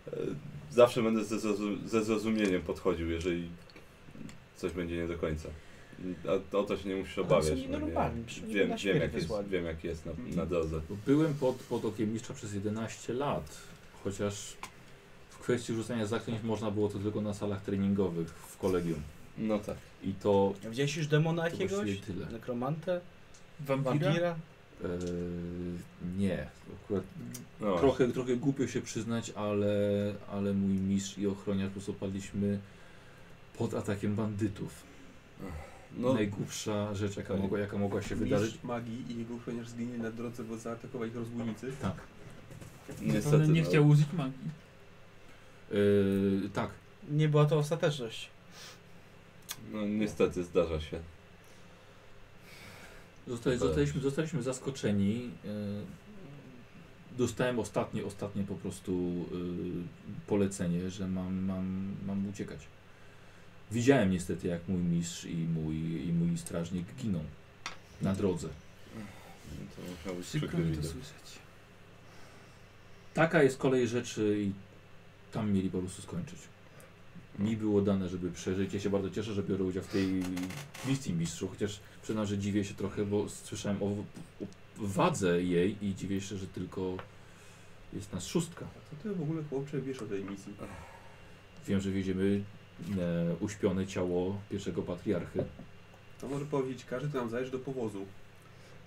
[SPEAKER 4] e, zawsze będę ze, zrozum- ze zrozumieniem podchodził, jeżeli coś będzie nie do końca. A o to się nie musisz
[SPEAKER 6] Ale
[SPEAKER 4] obawiać.
[SPEAKER 6] są nienormalni, przecież
[SPEAKER 4] nie?
[SPEAKER 6] oni
[SPEAKER 4] Wiem,
[SPEAKER 6] na
[SPEAKER 4] wiem,
[SPEAKER 6] śmierć
[SPEAKER 4] jak jest,
[SPEAKER 6] wysłali.
[SPEAKER 4] wiem jak jest na, na drodze.
[SPEAKER 1] Byłem pod, pod okiem mistrza przez 11 lat, chociaż w kwestii rzucania zaklęć można było to tylko na salach treningowych w kolegium.
[SPEAKER 4] No tak.
[SPEAKER 1] I to,
[SPEAKER 6] A Widziałeś już demona
[SPEAKER 1] to właściwie
[SPEAKER 6] jakiegoś?
[SPEAKER 1] tyle.
[SPEAKER 6] Nekromantę?
[SPEAKER 2] Wampira?
[SPEAKER 6] Wampira?
[SPEAKER 1] Eee, nie, akurat
[SPEAKER 4] No
[SPEAKER 1] trochę, trochę głupio się przyznać, ale, ale mój mistrz i ochroniarz po prostu padliśmy pod atakiem bandytów.
[SPEAKER 4] No,
[SPEAKER 1] Najgłupsza rzecz, jaka
[SPEAKER 4] Oj.
[SPEAKER 1] mogła, jaka mogła się wydarzyć.
[SPEAKER 8] Mistrz magii i jego ochroniarz zginęli na drodze, bo zaatakowali ich rozbójnicy.
[SPEAKER 1] Tak.
[SPEAKER 4] niestety.
[SPEAKER 2] Zapewne nie
[SPEAKER 4] no.
[SPEAKER 2] chciał użyć magii.
[SPEAKER 1] Eee, tak.
[SPEAKER 6] Nie była to ostateczność.
[SPEAKER 4] No niestety zdarza się.
[SPEAKER 1] Zosta- Zostaliśmy, zostaliśmy zaskoczeni. e, Dostałem ostatnie, ostatnie po prostu e, polecenie, że mam, mam, mam uciekać. Widziałem niestety, jak mój mistrz i mój, i mój strażnik giną na drodze.
[SPEAKER 4] To musiał być
[SPEAKER 2] Przykro
[SPEAKER 4] przykry
[SPEAKER 2] mi to
[SPEAKER 4] widok.
[SPEAKER 2] słyszeć.
[SPEAKER 1] Taka jest kolej rzeczy i tam mieli po prostu skończyć. Mi było dane, żeby przeżyć. Ja się bardzo cieszę, że biorę udział w tej misji mistrzu, chociaż przyznam, że dziwię się trochę, bo słyszałem o, o wadze jej i dziwię się, że tylko jest nas szóstka.
[SPEAKER 8] A co ty w ogóle, chłopcze, wiesz o tej misji?
[SPEAKER 1] Wiem, że wieziemy e, uśpione ciało pierwszego patriarchy.
[SPEAKER 8] To może powiedzieć, każdy to nam zajesz do powozu.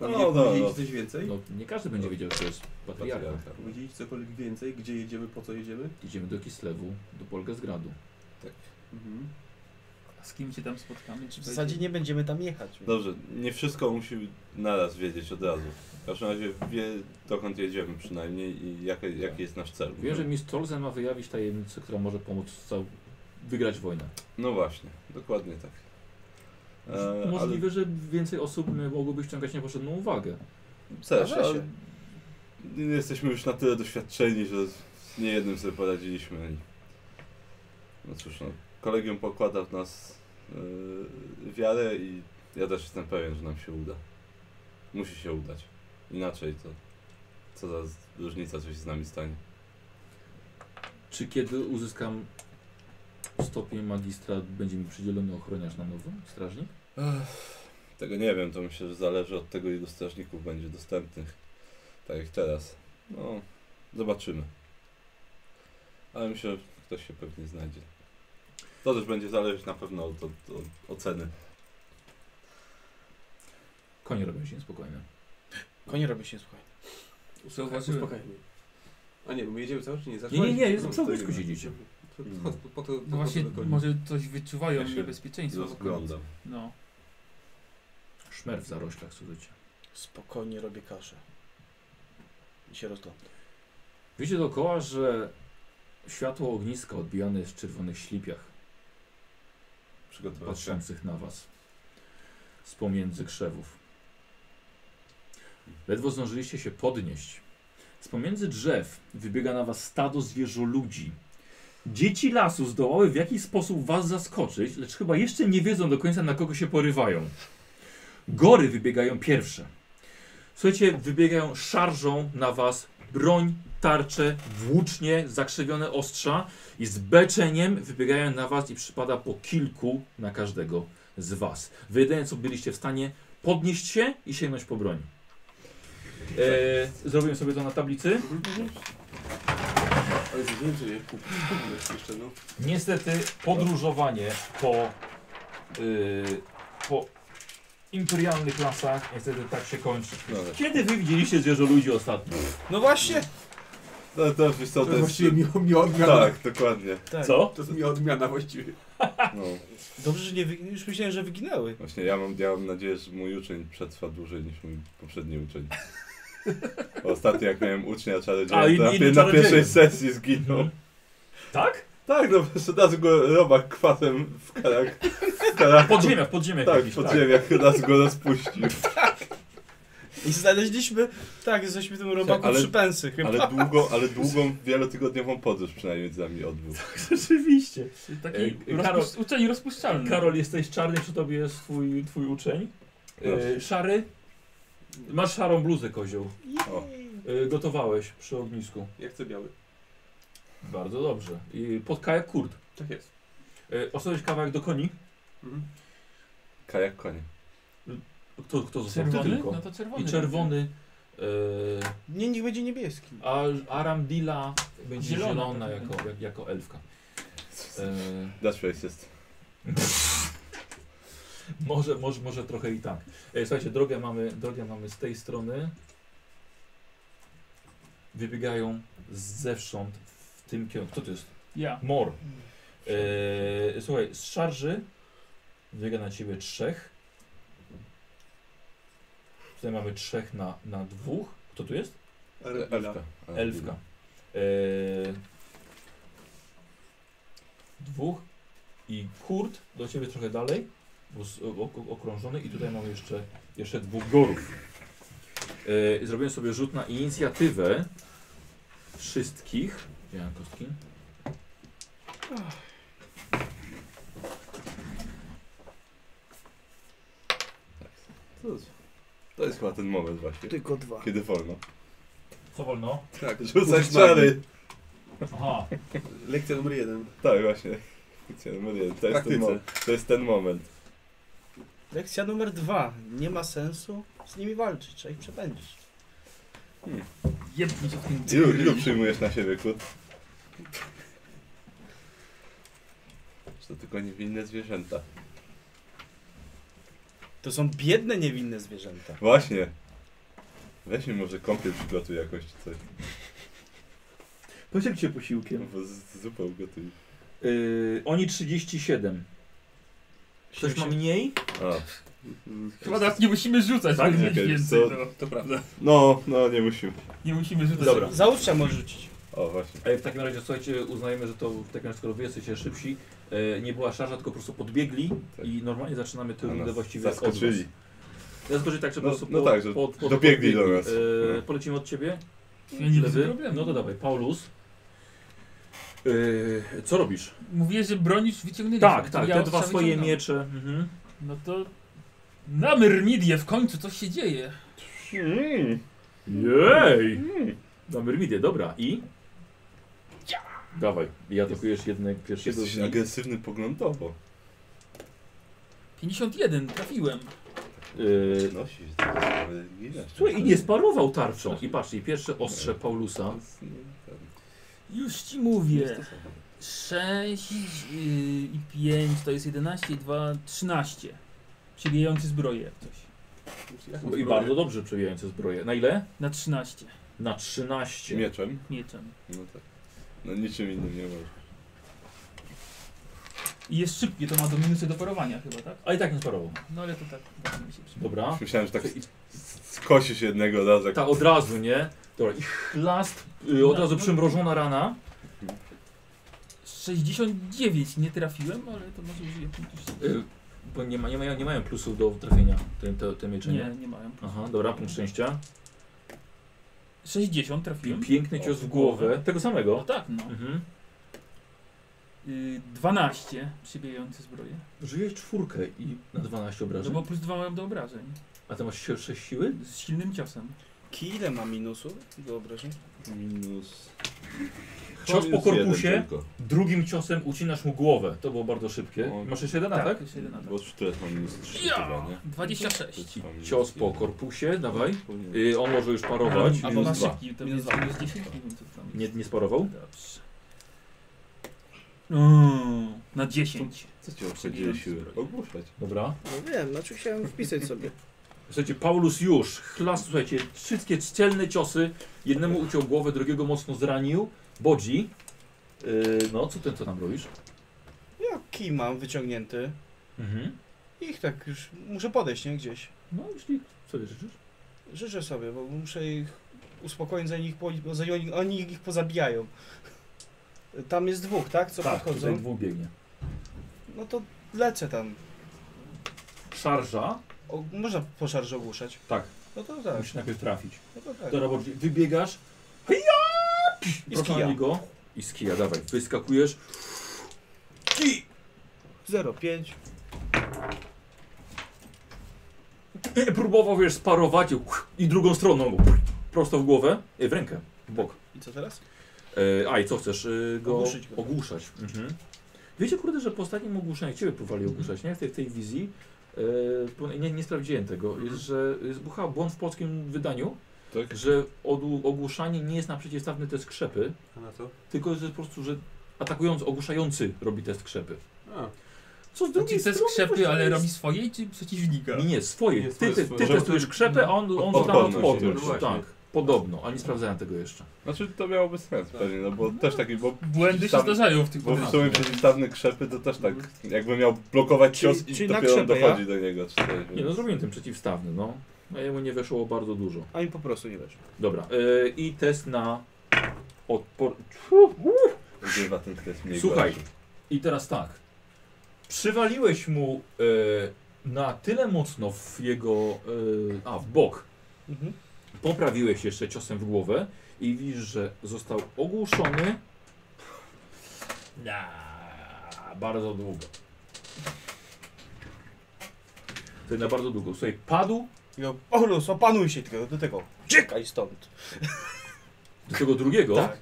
[SPEAKER 4] No,
[SPEAKER 8] No, tak.
[SPEAKER 4] no,
[SPEAKER 8] nie
[SPEAKER 4] no.
[SPEAKER 8] powiedzieli coś więcej?
[SPEAKER 1] No, nie każdy będzie wiedział, co jest patriarcha.
[SPEAKER 4] Patriarcha.
[SPEAKER 8] Powiedzieli cokolwiek więcej, gdzie jedziemy, po co jedziemy?
[SPEAKER 1] Idziemy do Kislewu, do Polgazgradu.
[SPEAKER 8] Mhm.
[SPEAKER 2] A z kim się tam spotkamy? Czy
[SPEAKER 6] W zasadzie
[SPEAKER 2] będzie-
[SPEAKER 6] nie będziemy tam jechać.
[SPEAKER 4] Dobrze, nie wszystko musi naraz wiedzieć od razu. W każdym razie wie dokąd jedziemy przynajmniej i jaki, jaki jest nasz cel.
[SPEAKER 1] Wiem, że mistrz Tolzen ma wyjawić tajemnicę, która może pomóc cał- wygrać wojnę.
[SPEAKER 4] No właśnie, dokładnie tak. E,
[SPEAKER 1] Możliwe, że więcej osób mogłoby ściągać niepotrzebną uwagę.
[SPEAKER 4] ale też,
[SPEAKER 6] Zdarza
[SPEAKER 4] ale
[SPEAKER 6] się.
[SPEAKER 4] nie jesteśmy już na tyle doświadczeni, że z niejednym sobie poradziliśmy. I... No cóż, no, kolegium pokłada w nas yy, wiarę i ja też jestem pewien, że nam się uda. Musi się udać. Inaczej to co za z- różnica, co się z nami stanie.
[SPEAKER 1] Czy kiedy uzyskam stopień magistra, będzie mi przydzielony ochroniarz na nowo, strażnik?
[SPEAKER 4] Tego nie wiem, to myślę, że zależy od tego, ilu strażników będzie dostępnych. Tak jak teraz. No, zobaczymy. Ale myślę, że ktoś się pewnie znajdzie. To też będzie zależeć na pewno od, od, od oceny.
[SPEAKER 1] Konie robią się niespokojne.
[SPEAKER 6] Konie robi się, słuchaj.
[SPEAKER 2] Zauważyłem.
[SPEAKER 8] Uspokaj mnie. Tak, A nie, bo my jedziemy cały czas? Nie,
[SPEAKER 1] Nie, nie, nie,
[SPEAKER 8] No,
[SPEAKER 1] jest przy ognisku
[SPEAKER 4] stoimy.
[SPEAKER 1] siedzicie.
[SPEAKER 8] to- to- to- po to- po to
[SPEAKER 2] No właśnie,
[SPEAKER 8] do koni.
[SPEAKER 2] może coś wyczuwają
[SPEAKER 4] Ja się
[SPEAKER 2] niebezpieczeństwo.
[SPEAKER 4] Rozglądam.
[SPEAKER 2] No.
[SPEAKER 1] Szmer w zaroślach, słuchajcie.
[SPEAKER 6] Spokojnie robię kaszę. I się rozglądam.
[SPEAKER 1] Widzicie dookoła, że światło ogniska odbijane jest w czerwonych ślipiach
[SPEAKER 4] Przygotować się.
[SPEAKER 1] patrzących na was z pomiędzy krzewów. Ledwo zdążyliście się podnieść. Z pomiędzy drzew wybiega na was stado zwierzoludzi. Dzieci lasu zdołały w jakiś sposób was zaskoczyć, lecz chyba jeszcze nie wiedzą do końca na kogo się porywają. Gory wybiegają pierwsze. Słuchajcie, wybiegają szarżą na was broń, tarcze, włócznie, zakrzywione ostrza i z beczeniem wybiegają na was i przypada po kilku na każdego z was. Wy jedyne co byliście w stanie podnieść się i sięgnąć po broń. E, zrobiłem sobie to na tablicy.
[SPEAKER 8] Ale z więcej jak kupić. Kupmy jeszcze, no.
[SPEAKER 1] Niestety podróżowanie po, y, po imperialnych lasach niestety tak się kończy.
[SPEAKER 4] No, ale-
[SPEAKER 1] Kiedy wy widzieliście zwierzę ludzi ostatnio?
[SPEAKER 6] No właśnie!
[SPEAKER 4] no to wiesz co,
[SPEAKER 8] To
[SPEAKER 4] to
[SPEAKER 8] jest
[SPEAKER 4] jest...
[SPEAKER 8] właściwie mi, mi odmiana.
[SPEAKER 4] Tak, dokładnie.
[SPEAKER 6] Tak.
[SPEAKER 1] Co?
[SPEAKER 8] To jest mi odmiana właściwie.
[SPEAKER 4] No.
[SPEAKER 6] Dobrze, że nie wy... już myślałem, że wyginęły.
[SPEAKER 4] Właśnie ja mam, ja mam nadzieję, że mój uczeń przetrwa dłużej niż mój poprzedni uczeń. Ostatnio jak miałem ucznia
[SPEAKER 1] A, i-
[SPEAKER 4] czarodzieja, to na,
[SPEAKER 1] i
[SPEAKER 4] pie- na
[SPEAKER 1] czarodzieja.
[SPEAKER 4] pierwszej sesji zginął.
[SPEAKER 1] Mhm. Tak?
[SPEAKER 4] Tak, no przydazł go robak kwasem w karak. W karak.
[SPEAKER 1] Podziemia, w podziemiach
[SPEAKER 4] Tak,
[SPEAKER 1] jakichś,
[SPEAKER 4] w podziemiach raz go rozpuścił.
[SPEAKER 6] I znaleźliśmy, tak, jesteśmy w tym robaku
[SPEAKER 4] ale-
[SPEAKER 6] przy pensy chyba.
[SPEAKER 4] Ale długą, ale długą, wielotygodniową podróż przynajmniej z nami odbył.
[SPEAKER 1] [LAUGHS] Rzeczywiście.
[SPEAKER 2] Taki
[SPEAKER 1] Ej,
[SPEAKER 2] rozpusz...
[SPEAKER 1] Karol-
[SPEAKER 2] uczeń rozpuszczalny.
[SPEAKER 1] Karol, jesteś czarny, przy tobie jest twój, twój uczeń. E,
[SPEAKER 4] Proszę.
[SPEAKER 1] szary? Masz szarą bluzę, kozioł.
[SPEAKER 4] O.
[SPEAKER 1] E, gotowałeś przy ognisku.
[SPEAKER 8] Ja chcę biały.
[SPEAKER 1] Bardzo dobrze. I pod kajak kurt.
[SPEAKER 8] Tak jest.
[SPEAKER 1] E, osadłeś kawałek do koni.
[SPEAKER 8] Mhm.
[SPEAKER 4] Kajak konie.
[SPEAKER 1] Kto, kto został? Ty
[SPEAKER 2] Czerwony?
[SPEAKER 1] tylko.
[SPEAKER 2] No to czerwony.
[SPEAKER 1] I czerwony. E,
[SPEAKER 6] Nie, niech będzie niebieski.
[SPEAKER 1] a Aramdila będzie
[SPEAKER 2] Zielona
[SPEAKER 1] zielona,
[SPEAKER 2] pewnie.
[SPEAKER 1] jako, jak, jako elfka. E,
[SPEAKER 4] Dash Race jest.
[SPEAKER 1] Może, może, może trochę i tak. E, Słuchajcie, drogę mamy, drogę mamy z tej strony. Wybiegają zewsząd w tym kierunku. Kto to jest?
[SPEAKER 2] Ja.
[SPEAKER 1] Mor. E, słuchaj, z szarży wybiega na ciebie trzech. Tutaj mamy trzech na, na dwóch. Kto tu jest?
[SPEAKER 8] Arabilla.
[SPEAKER 4] Elfka.
[SPEAKER 1] Elfka. E, dwóch i Kurt do ciebie trochę dalej, bo z, ok, okrążony i tutaj mamy jeszcze, jeszcze dwóch gorów. E, zrobiłem sobie rzut na inicjatywę wszystkich. Gdzie mam kostki?
[SPEAKER 4] To jest- To jest chyba ten moment właśnie.
[SPEAKER 5] Tylko dwa.
[SPEAKER 4] Kiedy wolno.
[SPEAKER 1] Co wolno?
[SPEAKER 4] Tak, rzucać czary.
[SPEAKER 1] Aha.
[SPEAKER 8] Lekcja numer jeden.
[SPEAKER 4] Tak, właśnie. Lekcja numer jeden. To jest, ten Praktyce. mo- to jest ten moment.
[SPEAKER 6] Lekcja numer dwa. Nie ma sensu z nimi walczyć, trzeba ich przepędzić.
[SPEAKER 2] Jebnij się w tym
[SPEAKER 4] Ilu, ilu przyjmujesz na siebie, kut? Czy to tylko niewinne zwierzęta?
[SPEAKER 6] To są biedne, niewinne zwierzęta.
[SPEAKER 4] Właśnie. Weź mi może kąpiel przygotuj jakoś czy coś.
[SPEAKER 1] Posiłk cię posiłkiem.
[SPEAKER 4] Bo z, z zupę ugotuj.
[SPEAKER 1] Y, oni 37. Ktoś ma mniej?
[SPEAKER 4] A,
[SPEAKER 8] Mm.
[SPEAKER 2] Chyba teraz nie musimy rzucać,
[SPEAKER 1] Tak,
[SPEAKER 2] żeby mieć
[SPEAKER 4] okej,
[SPEAKER 2] więcej.
[SPEAKER 4] to-
[SPEAKER 2] No.
[SPEAKER 3] To prawda.
[SPEAKER 4] no, no nie musimy.
[SPEAKER 2] Nie musimy rzucać.
[SPEAKER 1] Dobra.
[SPEAKER 6] Załóżcie, może rzucić.
[SPEAKER 4] O właśnie.
[SPEAKER 1] E, W takim razie, słuchajcie, uznajemy, że to w takim razie, skoro wy jesteście szybsi, e, nie była szarża, tylko po prostu podbiegli
[SPEAKER 4] Tak.
[SPEAKER 1] i normalnie zaczynamy tę
[SPEAKER 4] A nas
[SPEAKER 1] rundę właściwie od was.
[SPEAKER 4] Zaskoczyli.
[SPEAKER 1] Zaskoczyli tak, że po
[SPEAKER 4] No-
[SPEAKER 1] prostu
[SPEAKER 4] no tak, że dobiegli do nas.
[SPEAKER 1] E,
[SPEAKER 4] No.
[SPEAKER 1] Polecimy od ciebie.
[SPEAKER 2] Ja nie widzę
[SPEAKER 1] Lewy.
[SPEAKER 2] problemu.
[SPEAKER 1] No to dawaj, Paulus. E, co robisz?
[SPEAKER 2] Mówiłeś, że bronisz wyciągnęliśmy.
[SPEAKER 1] Tak,
[SPEAKER 2] to
[SPEAKER 1] tak,
[SPEAKER 2] ja
[SPEAKER 1] te dwa
[SPEAKER 2] ostrzał
[SPEAKER 1] swoje
[SPEAKER 2] wyciągam.
[SPEAKER 1] miecze. Mhm.
[SPEAKER 2] No to... Na myrmidię w końcu coś się dzieje.
[SPEAKER 4] Mm.
[SPEAKER 1] Jej! Na Myrmidię, dobra. I? Dawaj, i atakujesz jednego pierwszego z
[SPEAKER 4] Jesteś
[SPEAKER 1] nich.
[SPEAKER 4] agresywny poglądowo.
[SPEAKER 2] 51, trafiłem.
[SPEAKER 1] E,
[SPEAKER 4] Nosisz to jest sprawiedliwe.
[SPEAKER 1] Słuchaj, i nie sparował tarczą. I patrz, i pierwsze ostrze Paulusa.
[SPEAKER 4] To jest, nie, ten,
[SPEAKER 2] Już ci mówię.
[SPEAKER 4] niestosowne.
[SPEAKER 2] 6 yy, i 5 to jest 11 i 2, 13. Przebijający zbroję jak coś.
[SPEAKER 8] Jak
[SPEAKER 1] I bardzo dobrze przebijające zbroję. Na ile?
[SPEAKER 2] Na 13
[SPEAKER 1] Na 13.
[SPEAKER 4] Mieczem?
[SPEAKER 2] mieczem.
[SPEAKER 4] No tak. No niczym innym nie możesz.
[SPEAKER 2] I jest szybkie, to ma do minusy do parowania chyba, tak?
[SPEAKER 1] A i tak nie sparował.
[SPEAKER 2] No ale to tak, tak mi się przyda.
[SPEAKER 1] Dobra.
[SPEAKER 4] Myślałem, że tak s- s- skosisz jednego razu. jak-
[SPEAKER 1] Ta od razu, nie? Dobra, i chlast, y, od
[SPEAKER 2] No,
[SPEAKER 1] razu
[SPEAKER 2] no.
[SPEAKER 1] przymrożona rana.
[SPEAKER 2] 69 nie trafiłem, ale to może użyję punktu szczęścia.
[SPEAKER 1] Y, Bo nie, ma, nie, mają, nie mają plusów do trafienia, te, te, te miecze,
[SPEAKER 2] Nie,
[SPEAKER 1] nie?
[SPEAKER 2] nie mają.
[SPEAKER 1] Aha, dobra, punkt szczęścia.
[SPEAKER 2] 60
[SPEAKER 1] Pi-
[SPEAKER 2] trafiłem.
[SPEAKER 1] Piękny cios w głowę. Tego
[SPEAKER 2] No
[SPEAKER 1] samego.
[SPEAKER 2] tak, no.
[SPEAKER 1] Mhm.
[SPEAKER 2] Y, 12 przybijający zbroję.
[SPEAKER 1] Żyjesz czwórkę i na 12
[SPEAKER 2] No
[SPEAKER 1] obrażeń.
[SPEAKER 2] bo plus 2 mam do obrażeń.
[SPEAKER 1] A ty masz 6 siły?
[SPEAKER 2] Z silnym ciosem.
[SPEAKER 6] Ile ma minusów do obrażeń?
[SPEAKER 4] Minus.
[SPEAKER 1] Cios po
[SPEAKER 4] Minus jeden
[SPEAKER 1] korpusie,
[SPEAKER 4] tylko,
[SPEAKER 1] drugim ciosem ucinasz mu głowę. To było bardzo szybkie.
[SPEAKER 4] O.
[SPEAKER 1] Masz jeszcze jeden atak?
[SPEAKER 2] Tak, jeszcze jeden atak.
[SPEAKER 4] Bo sztylet mam minus 3
[SPEAKER 2] Ja!
[SPEAKER 4] chyba, nie?
[SPEAKER 1] tak.
[SPEAKER 2] 26.
[SPEAKER 4] To mam minus
[SPEAKER 1] Cios po
[SPEAKER 4] jeden.
[SPEAKER 1] korpusie, dawaj.
[SPEAKER 4] Powinien-
[SPEAKER 1] Y, on może już parować.
[SPEAKER 2] A bo
[SPEAKER 4] Minus
[SPEAKER 2] ma
[SPEAKER 4] dwa.
[SPEAKER 2] szybki, to
[SPEAKER 6] Minus
[SPEAKER 2] minus,
[SPEAKER 6] dwa.
[SPEAKER 2] minus 10, nie wiem co tam
[SPEAKER 1] Nie,
[SPEAKER 2] jest.
[SPEAKER 1] nie sparował?
[SPEAKER 2] Dobrze. Mm, na 10.
[SPEAKER 4] Co ci obsadziły siły? Ogłuszać.
[SPEAKER 1] Dobra.
[SPEAKER 5] No wiem, znaczy chciałem wpisać sobie.
[SPEAKER 1] Słuchajcie, Paulus już chlas, słuchajcie, wszystkie celne ciosy. Jednemu uciął głowę, drugiego mocno zranił. Bodzi. Y, no, co ty co tam robisz?
[SPEAKER 6] [LAUGHS] Ja kij mam wyciągnięty.
[SPEAKER 1] Mhm.
[SPEAKER 6] Ich tak już muszę podejść, nie? Gdzieś.
[SPEAKER 1] No, jeśli sobie życzysz.
[SPEAKER 6] Życzę sobie, bo muszę ich uspokoić, zanim ich, po, zanim oni- oni ich pozabijają. Tam jest dwóch, tak? Co
[SPEAKER 1] tak,
[SPEAKER 6] podchodzą?
[SPEAKER 1] tutaj dwóch biegnie.
[SPEAKER 6] No to lecę tam.
[SPEAKER 1] Szarża?
[SPEAKER 6] O, można po szarży ogłuszać.
[SPEAKER 1] Tak.
[SPEAKER 6] No to tak,
[SPEAKER 1] Musisz najpierw trafić.
[SPEAKER 6] no to tak.
[SPEAKER 1] Do roboczy. Wybiegasz. Hija!
[SPEAKER 6] I z kija.
[SPEAKER 1] Proklami go. I z kija, dawaj. Wyskakujesz.
[SPEAKER 6] 0,5.
[SPEAKER 1] E, Próbował, wiesz, sparować i drugą stroną. Prosto w głowę. E, W rękę. W bok.
[SPEAKER 6] I co teraz?
[SPEAKER 1] E, a i co chcesz? E, go
[SPEAKER 6] Ogłuszyć go.
[SPEAKER 1] ogłuszać. Mhm. Wiecie, kurde, że po ostatnim ogłuszeniu, jak ciebie próbowali ogłuszać, nie? W tej, w tej wizji. E, bo nie, nie sprawdziłem tego, jest, że zbuchał błąd w polskim wydaniu,
[SPEAKER 4] Tak?
[SPEAKER 1] że odłu- ogłuszanie nie jest na przeciwstawny test krzepy,
[SPEAKER 8] A na co?
[SPEAKER 1] tylko że po prostu, że atakujący, ogłuszający robi test krzepy.
[SPEAKER 8] A,
[SPEAKER 1] Co z drugiej
[SPEAKER 2] Znaczy, to jest
[SPEAKER 1] strony
[SPEAKER 2] krzepy,
[SPEAKER 1] właśnie
[SPEAKER 2] ale
[SPEAKER 1] jest-
[SPEAKER 2] robi swojej czy przeciwnika?
[SPEAKER 1] Nie, nie, swoje.
[SPEAKER 8] Nie,
[SPEAKER 1] ty
[SPEAKER 8] swoje,
[SPEAKER 1] ty,
[SPEAKER 8] swoje.
[SPEAKER 1] ty
[SPEAKER 8] Żeby-
[SPEAKER 1] testujesz krzepę, a on, on tam
[SPEAKER 4] Odporność
[SPEAKER 1] odporność.
[SPEAKER 8] jest.
[SPEAKER 1] Tak, podobno, a nie sprawdzałem tego jeszcze.
[SPEAKER 4] Znaczy to miałoby sens
[SPEAKER 3] Tak.
[SPEAKER 4] pewnie, no bo też taki, bo,
[SPEAKER 7] Błędy się
[SPEAKER 4] Tam-
[SPEAKER 7] zdarzają w tych
[SPEAKER 2] No
[SPEAKER 4] bo w
[SPEAKER 2] tak,
[SPEAKER 7] podróżach.
[SPEAKER 4] sumie przeciwstawny krzepy to też tak, jakby miał blokować
[SPEAKER 6] Czyli-
[SPEAKER 4] cios i
[SPEAKER 6] czyli na
[SPEAKER 4] dopiero on
[SPEAKER 6] krzepę, ja?
[SPEAKER 4] dochodzi do niego. Czy coś,
[SPEAKER 1] Nie, no
[SPEAKER 4] więc-
[SPEAKER 1] zrobiłem ten przeciwstawny, no. A jemu nie weszło bardzo dużo.
[SPEAKER 6] A mi po prostu nie weszło.
[SPEAKER 1] Dobra, y, i test na odpor... Fu, fu.
[SPEAKER 4] Bywa ten test mniej
[SPEAKER 1] Słuchaj,
[SPEAKER 4] gorszy.
[SPEAKER 1] i teraz tak. Przywaliłeś mu e, na tyle mocno w jego... e, a, w bok.
[SPEAKER 6] Mhm.
[SPEAKER 1] Poprawiłeś jeszcze ciosem w głowę i widzisz, że został ogłuszony na bardzo długo. Tutaj na bardzo długo. Słuchaj, padł
[SPEAKER 6] I go, Orlus, opanuj się tylko do tego. Uciekaj stąd.
[SPEAKER 1] do tego drugiego.
[SPEAKER 6] Tak.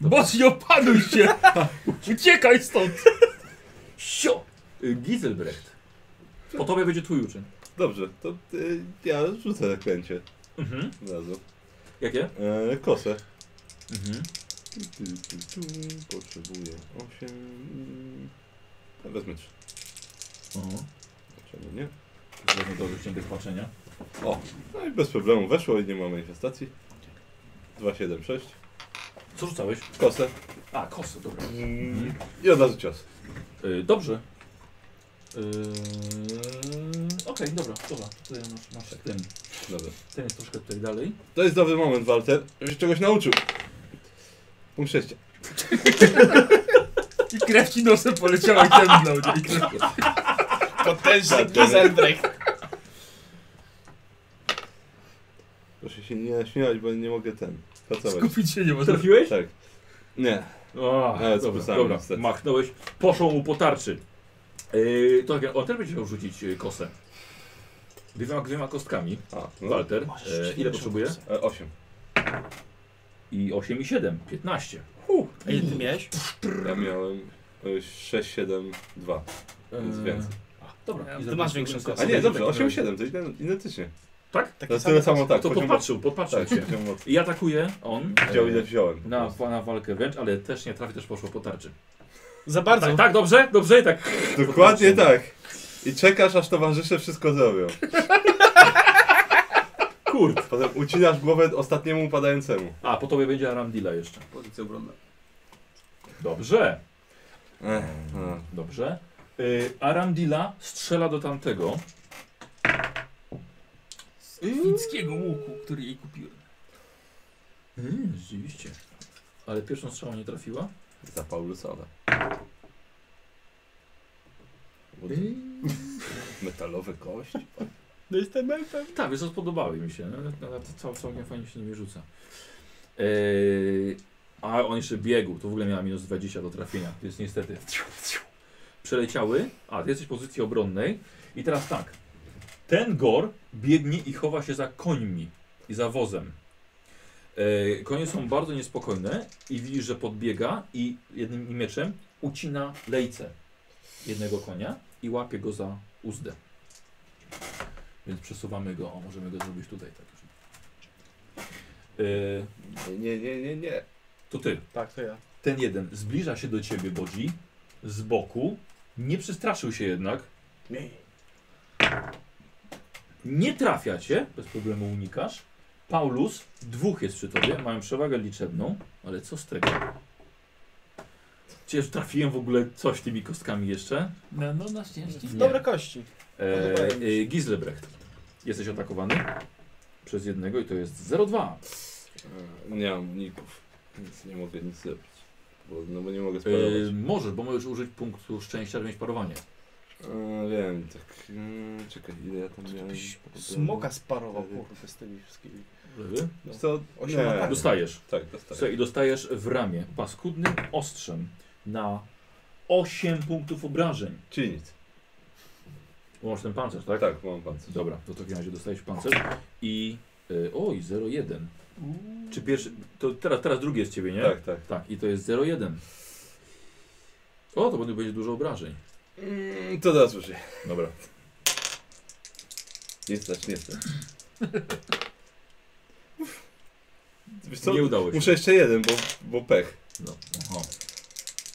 [SPEAKER 7] Boci, opanuj
[SPEAKER 1] [LAUGHS]
[SPEAKER 7] się! Uciekaj stąd!
[SPEAKER 1] Sio! Y, Giselbrecht. Po tobie będzie twój uczeń.
[SPEAKER 4] Dobrze, to y, ja rzucę zaklęcie
[SPEAKER 1] Mhm.
[SPEAKER 4] od razu.
[SPEAKER 1] Jakie?
[SPEAKER 4] E, kosę.
[SPEAKER 1] Mhm.
[SPEAKER 4] Tu, tu, tu, tu, Potrzebuję 8. Wezmę 3.
[SPEAKER 1] Oho.
[SPEAKER 4] Czemu nie?
[SPEAKER 1] Zresztą do wyciętych patrzenia.
[SPEAKER 4] No i bez problemu weszło i nie ma manifestacji. 276.
[SPEAKER 1] Co rzucałeś?
[SPEAKER 4] Kosę.
[SPEAKER 1] A, kosę, dobra.
[SPEAKER 4] Mm, I od razu cios.
[SPEAKER 1] Y, dobrze. Yy, Okej, dobra, dobra. Tutaj masz, masz tak ten.
[SPEAKER 4] Dobra.
[SPEAKER 1] Ten jest troszkę tutaj dalej.
[SPEAKER 4] To jest dobry moment, Walter. Żeś czegoś nauczył. Punkt szczęścia. Tak.
[SPEAKER 7] I krew ci nosem poleciała i ten
[SPEAKER 4] [LAUGHS]
[SPEAKER 7] dla mnie. I krew
[SPEAKER 1] Tak,
[SPEAKER 6] Potężny
[SPEAKER 4] Proszę się nie śmiać, bo nie mogę ten. Pracować.
[SPEAKER 7] skupić się nie może.
[SPEAKER 1] Trafiłeś?
[SPEAKER 4] Tak. Nie.
[SPEAKER 1] A,
[SPEAKER 4] Ale
[SPEAKER 1] dobra,
[SPEAKER 4] spisałem
[SPEAKER 1] dobra.
[SPEAKER 4] niestety.
[SPEAKER 1] machnąłeś, poszło mu po tarczy. Yy, to tak, on też będzie chciał rzucić yy, kosę. Dwiema, dwiema kostkami.
[SPEAKER 4] A, no. E,
[SPEAKER 1] Walter, yy, ile potrzebuje?
[SPEAKER 4] 8.
[SPEAKER 1] I 8 i 7, 15.
[SPEAKER 6] A ile ty miałeś?
[SPEAKER 4] Ja miałem e, 6, 7, 2. Więc
[SPEAKER 1] Yy,
[SPEAKER 4] więcej.
[SPEAKER 1] Dobra, No
[SPEAKER 7] Ja-
[SPEAKER 1] i
[SPEAKER 6] Ty
[SPEAKER 1] zrobię-
[SPEAKER 6] masz większą
[SPEAKER 1] zrobię-
[SPEAKER 6] kosę.
[SPEAKER 4] A nie, dobrze,
[SPEAKER 1] zrobię-
[SPEAKER 4] 8, 7, to ident- identycznie.
[SPEAKER 1] Tak?
[SPEAKER 4] To
[SPEAKER 6] Taki
[SPEAKER 4] jest tyle
[SPEAKER 6] sam
[SPEAKER 4] samo tak.
[SPEAKER 1] To
[SPEAKER 4] poziom-
[SPEAKER 1] podpatrzył, podpatrzył
[SPEAKER 4] Tak,
[SPEAKER 1] cię.
[SPEAKER 4] poziom mocy.
[SPEAKER 1] I atakuje on
[SPEAKER 4] [LAUGHS] Widział
[SPEAKER 1] yy,
[SPEAKER 4] ile wziąłem.
[SPEAKER 1] na, na walkę wręcz, ale też nie trafi, też poszło po tarczy.
[SPEAKER 6] Za bardzo.
[SPEAKER 1] Tak, tak, dobrze? Dobrze i tak.
[SPEAKER 4] Dokładnie tak. I czekasz, aż towarzysze wszystko zrobią.
[SPEAKER 1] Kurde.
[SPEAKER 4] Potem ucinasz głowę ostatniemu upadającemu.
[SPEAKER 1] A, po tobie będzie Aramdila jeszcze.
[SPEAKER 8] pozycja obronna.
[SPEAKER 1] Dobrze,
[SPEAKER 4] Ech, no.
[SPEAKER 1] dobrze. Yy, Aramdila strzela do tamtego.
[SPEAKER 2] Z fińskiego łuku, który jej kupiłem.
[SPEAKER 1] Mm, rzeczywiście. Ale pierwszą strzałą nie trafiła?
[SPEAKER 4] Za Paulusowe. Metalowy gość?
[SPEAKER 6] No jestem elfem.
[SPEAKER 1] Tak, więc spodobały mi się. No, no, to cał, całkiem fajnie się nimi rzuca. Eee, a on jeszcze biegł, to w ogóle miała minus 20 do trafienia, więc niestety przeleciały. A, ty jesteś w pozycji obronnej. I teraz tak. Ten gor biegnie i chowa się za końmi i za wozem. Eee, konie są bardzo niespokojne i widzisz, że podbiega i jednym mieczem ucina lejce jednego konia i łapie go za uzdę. Więc przesuwamy go. O, możemy go zrobić tutaj. Tak. już. Yy,
[SPEAKER 4] Nie, nie, nie, nie, nie.
[SPEAKER 1] to ty.
[SPEAKER 6] Tak, to ja.
[SPEAKER 1] Ten jeden zbliża się do ciebie, Bodzi, z boku. Nie przestraszył się jednak. Nie trafia cię, bez problemu unikasz. Paulus, dwóch jest przy tobie, mają przewagę liczebną, ale co z tego? Przecież trafiłem w ogóle coś tymi kostkami jeszcze.
[SPEAKER 2] No, no na szczęście.
[SPEAKER 1] Nie.
[SPEAKER 6] Dobre kości.
[SPEAKER 1] E, e, Gislebrecht, jesteś atakowany. przez jednego i to jest 02.
[SPEAKER 4] E, Nie mam ników, więc nie mogę nic zrobić. Bo, no bo nie mogę sparować.
[SPEAKER 1] Yy, możesz, bo możesz użyć punktu szczęścia, żeby mieć parowanie.
[SPEAKER 4] E, wiem, tak. E, czekaj, ile ja tam miałem?
[SPEAKER 6] Byś Smoka sparował, kurde, z tymi wszystkimi.
[SPEAKER 1] Lewy?
[SPEAKER 4] Wiesz Co?
[SPEAKER 6] Osiem
[SPEAKER 4] Nie.
[SPEAKER 6] ataków.
[SPEAKER 1] Dostajesz.
[SPEAKER 4] Tak,
[SPEAKER 1] Słuchaj,
[SPEAKER 4] dostaję.
[SPEAKER 1] I dostajesz w ramię paskudnym ostrzem na 8 punktów obrażeń.
[SPEAKER 4] Czyli nic.
[SPEAKER 1] Bo Masz ten pancerz, tak?
[SPEAKER 4] Tak, mam pancerz.
[SPEAKER 1] Dobra, to w takim razie dostajesz pancerz i... Yy, oj, 01. Czy pierwszy... To teraz, teraz drugi jest ciebie, nie?
[SPEAKER 4] Tak, tak.
[SPEAKER 1] Tak, i to jest 01. O, to będzie- będzie dużo obrażeń.
[SPEAKER 4] Mm, to teraz użyję.
[SPEAKER 1] Dobra.
[SPEAKER 4] Nie stać, nie
[SPEAKER 1] [LAUGHS]
[SPEAKER 4] stać. Wiesz co?
[SPEAKER 1] Nie udało się.
[SPEAKER 4] Muszę jeszcze jeden, bo, bo pech.
[SPEAKER 1] No, aha.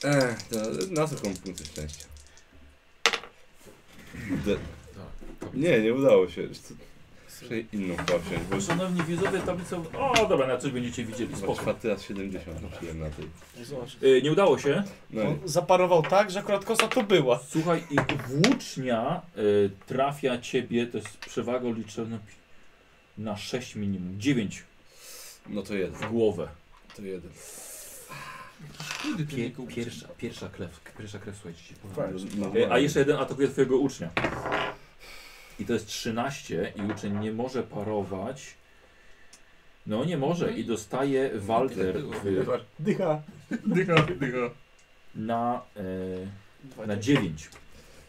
[SPEAKER 4] E, to na co komu punkty szczęścia? De... Nie, nie udało się. Wiesz co? Muszę inną chyba wziąć, bo
[SPEAKER 1] Szanowni widzowie, tablica... O, dobra, na coś będziecie widzieli,
[SPEAKER 4] Chyba
[SPEAKER 1] spoko.
[SPEAKER 4] czwarty raz 70 rzuciłem na tej.
[SPEAKER 6] No Zobacz.
[SPEAKER 1] Y, nie udało się.
[SPEAKER 4] No i
[SPEAKER 6] On zaparował tak, że akurat kosa tu była.
[SPEAKER 1] Słuchaj, i włócznia y, trafia ciebie, to jest przewaga liczebna pi- na 6 minimum, 9
[SPEAKER 4] no to jeden,
[SPEAKER 1] w głowę.
[SPEAKER 4] to jeden.
[SPEAKER 9] Kudy ty nie
[SPEAKER 1] Pie,
[SPEAKER 9] kupisz.
[SPEAKER 1] pierwsza, pierwsza krew, pierwsza krew, słuchajcie. się powoli.
[SPEAKER 4] No,
[SPEAKER 1] Y, a jeszcze jeden atakuje twojego ucznia. I to jest 13 i uczeń nie może parować. No nie może i dostaje Walter y,
[SPEAKER 4] Dycha.
[SPEAKER 2] Dycha, dycha.
[SPEAKER 1] na, y, na 9.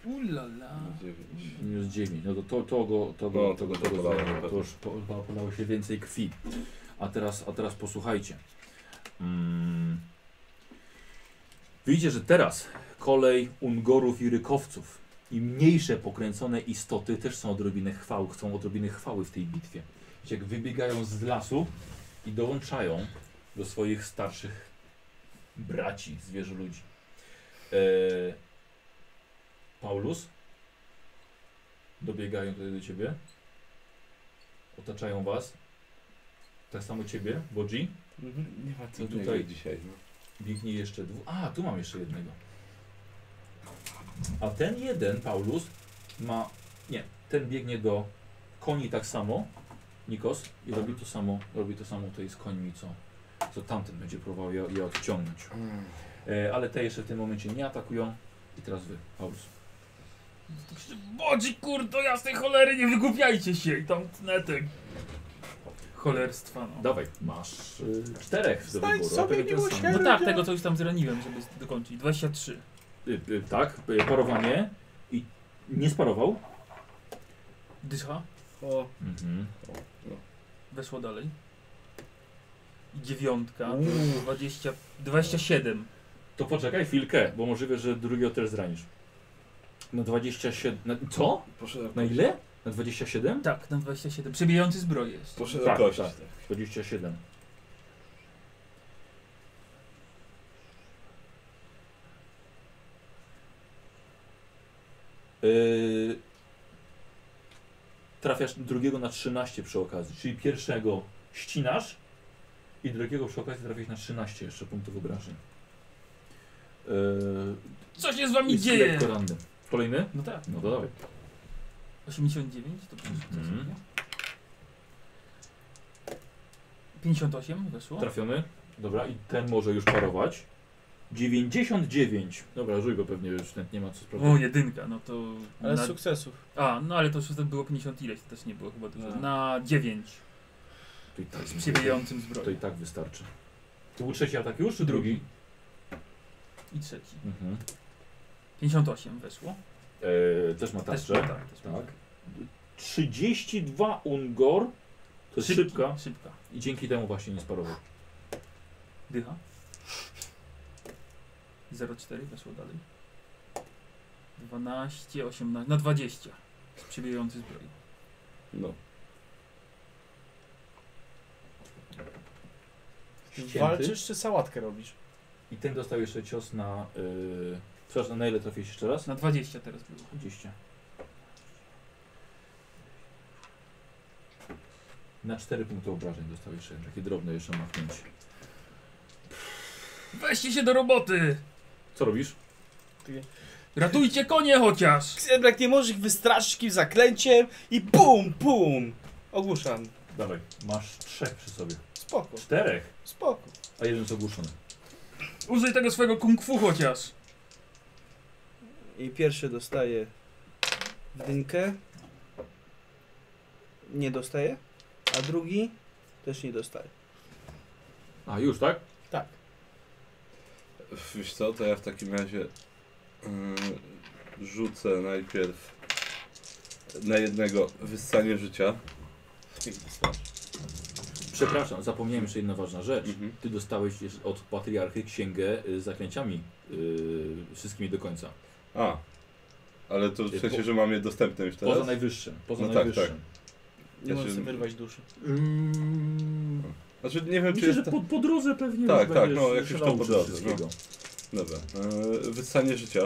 [SPEAKER 9] Ulala.
[SPEAKER 4] Dziewięć.
[SPEAKER 1] Minus 9. No to, to, to go, to go,
[SPEAKER 4] No,
[SPEAKER 1] to go,
[SPEAKER 4] to
[SPEAKER 1] to go
[SPEAKER 4] bolało na
[SPEAKER 1] zajęło.
[SPEAKER 4] pewno.
[SPEAKER 1] To już po- po- polało się więcej krwi. A teraz, a teraz posłuchajcie. Mm. Widzicie, że teraz kolej Ungorów i Rykowców i mniejsze pokręcone istoty też są odrobinę chwały, chcą odrobinę chwały w tej bitwie. Widzicie, jak wybiegają z lasu i dołączają do swoich starszych braci, zwierzę ludzi. Eee, Paulus, dobiegają tutaj do ciebie, otaczają was, tak samo ciebie, Bodzi, Mhm.
[SPEAKER 4] Nie ma co
[SPEAKER 1] I tutaj-
[SPEAKER 4] tutaj dzisiaj. No.
[SPEAKER 1] biegnie jeszcze dwóch, a tu mam jeszcze jednego. A ten jeden, Paulus, ma, nie, ten biegnie do koni tak samo, Nikos, i robi to samo, robi to samo tutaj z końmi, co, co tamten będzie próbował je, je odciągnąć.
[SPEAKER 4] Mm.
[SPEAKER 1] E, ale te jeszcze w tym momencie nie atakują i teraz wy, Paulus.
[SPEAKER 2] Bodzi kurdo jasnej cholery, nie wygłupiajcie się i tam tnę te cholerstwa no.
[SPEAKER 1] Dawaj, masz y, czterech do wyboru. a
[SPEAKER 6] sobie
[SPEAKER 1] pewnie ten sam.
[SPEAKER 6] miłosierdzie.
[SPEAKER 2] No tak, tego coś tam zraniłem, żeby dokończyć. 23.
[SPEAKER 1] Y, y, tak, y, parowanie i nie sparował.
[SPEAKER 2] Dycha,
[SPEAKER 6] O,
[SPEAKER 1] Mhm.
[SPEAKER 2] weszło dalej. I dziewiątka, 20, 27.
[SPEAKER 1] To poczekaj chwilkę, bo możliwe, że drugiego też zranisz. Na 27. Na, co?
[SPEAKER 4] Poszedłem.
[SPEAKER 1] Na ile? Na 27?
[SPEAKER 2] Tak, na 27. Przebijający zbroję jest.
[SPEAKER 4] Poszedłem
[SPEAKER 1] Tak,
[SPEAKER 4] kość.
[SPEAKER 1] tak. 27. Yy, trafiasz drugiego na 13 przy okazji, czyli pierwszego ścinasz i drugiego przy okazji trafiasz na 13 jeszcze punktów obrażeń. Yy,
[SPEAKER 2] Co się z wami
[SPEAKER 1] jest
[SPEAKER 2] dzieje?
[SPEAKER 1] lekko ranny. Kolejny?
[SPEAKER 2] No tak.
[SPEAKER 1] No to dawaj.
[SPEAKER 2] 89 to przecież to
[SPEAKER 1] Mhm.
[SPEAKER 2] sobie. 58 weszło.
[SPEAKER 1] Trafiony. Dobra, i ten może już parować. 99. Dobra, rzuj go pewnie, już ten nie ma co
[SPEAKER 2] O,
[SPEAKER 1] sprawdzić.
[SPEAKER 2] jedynka, no to...
[SPEAKER 6] ale
[SPEAKER 2] na...
[SPEAKER 6] z sukcesów.
[SPEAKER 2] A, no ale to już wtedy było 50 ileś, to też nie było chyba dużo. Na 9
[SPEAKER 1] To i tak,
[SPEAKER 2] z przebijającym
[SPEAKER 1] to i
[SPEAKER 2] zbroję.
[SPEAKER 1] tak wystarczy. To był trzeci atak już, czy drugi?
[SPEAKER 2] I trzeci.
[SPEAKER 1] Mhm.
[SPEAKER 2] 58 weszło.
[SPEAKER 1] Eee, też ma tarczę.
[SPEAKER 2] Też, tak, też
[SPEAKER 1] tak. 32 Ungor. To jest
[SPEAKER 2] Szybki,
[SPEAKER 1] szybka.
[SPEAKER 2] Szybka.
[SPEAKER 1] I dzięki temu właśnie nie sparował.
[SPEAKER 2] Dycha. 0,4 weszło dalej. 12, 18, no 20. Z przebijający zbroi.
[SPEAKER 4] No.
[SPEAKER 1] Ścięty.
[SPEAKER 6] Walczysz czy sałatkę robisz?
[SPEAKER 1] I ten dostał jeszcze cios na... Yy... Przepraszam, na ile trafiłeś jeszcze raz?
[SPEAKER 2] Na 20 teraz było.
[SPEAKER 1] 20. Na 4 punkty obrażeń dostał jeszcze takie drobne jeszcze machnięcie.
[SPEAKER 2] Weźcie się do roboty!
[SPEAKER 1] Co robisz?
[SPEAKER 2] Ratujcie konie chociaż!
[SPEAKER 6] Ksebrak nie możesz ich wystraszyć jakimś zaklęciem i bum, bum! Ogłuszam.
[SPEAKER 1] Dawaj, masz trzech przy sobie.
[SPEAKER 6] Spoko,
[SPEAKER 1] Czterech,
[SPEAKER 6] spoko.
[SPEAKER 1] a jeden jest ogłuszony.
[SPEAKER 7] Użyj tego swojego kung fu chociaż.
[SPEAKER 6] I pierwszy dostaje dynkę. Nie dostaje. A drugi też nie dostaje.
[SPEAKER 1] A, już, tak?
[SPEAKER 6] Tak.
[SPEAKER 4] Wiesz co, to ja w takim razie yy, rzucę najpierw na jednego wyssanie życia.
[SPEAKER 1] Przepraszam, zapomniałem jeszcze jedna ważna rzecz.
[SPEAKER 4] Mhm.
[SPEAKER 1] Ty dostałeś jeszcze od patriarchy księgę y, z zaklęciami y, wszystkimi do końca.
[SPEAKER 4] A, ale to w sensie, że mam je dostępne już teraz?
[SPEAKER 1] Poza najwyższym. Poza
[SPEAKER 4] No tak,
[SPEAKER 1] najwyższym.
[SPEAKER 6] Nie
[SPEAKER 4] Ja
[SPEAKER 6] możesz
[SPEAKER 4] się-
[SPEAKER 6] sobie wyrwać duszy.
[SPEAKER 1] Mm,
[SPEAKER 4] Znaczy nie wiem, czy
[SPEAKER 1] Myślę,
[SPEAKER 4] jest...
[SPEAKER 1] że po, po drodze pewnie
[SPEAKER 4] Tak,
[SPEAKER 1] już
[SPEAKER 4] tak,
[SPEAKER 1] będziesz
[SPEAKER 4] no, jak już to
[SPEAKER 1] szalał
[SPEAKER 4] po
[SPEAKER 1] z
[SPEAKER 4] drodze,
[SPEAKER 1] wszystkiego.
[SPEAKER 4] Dobra. Yy, wyssanie życia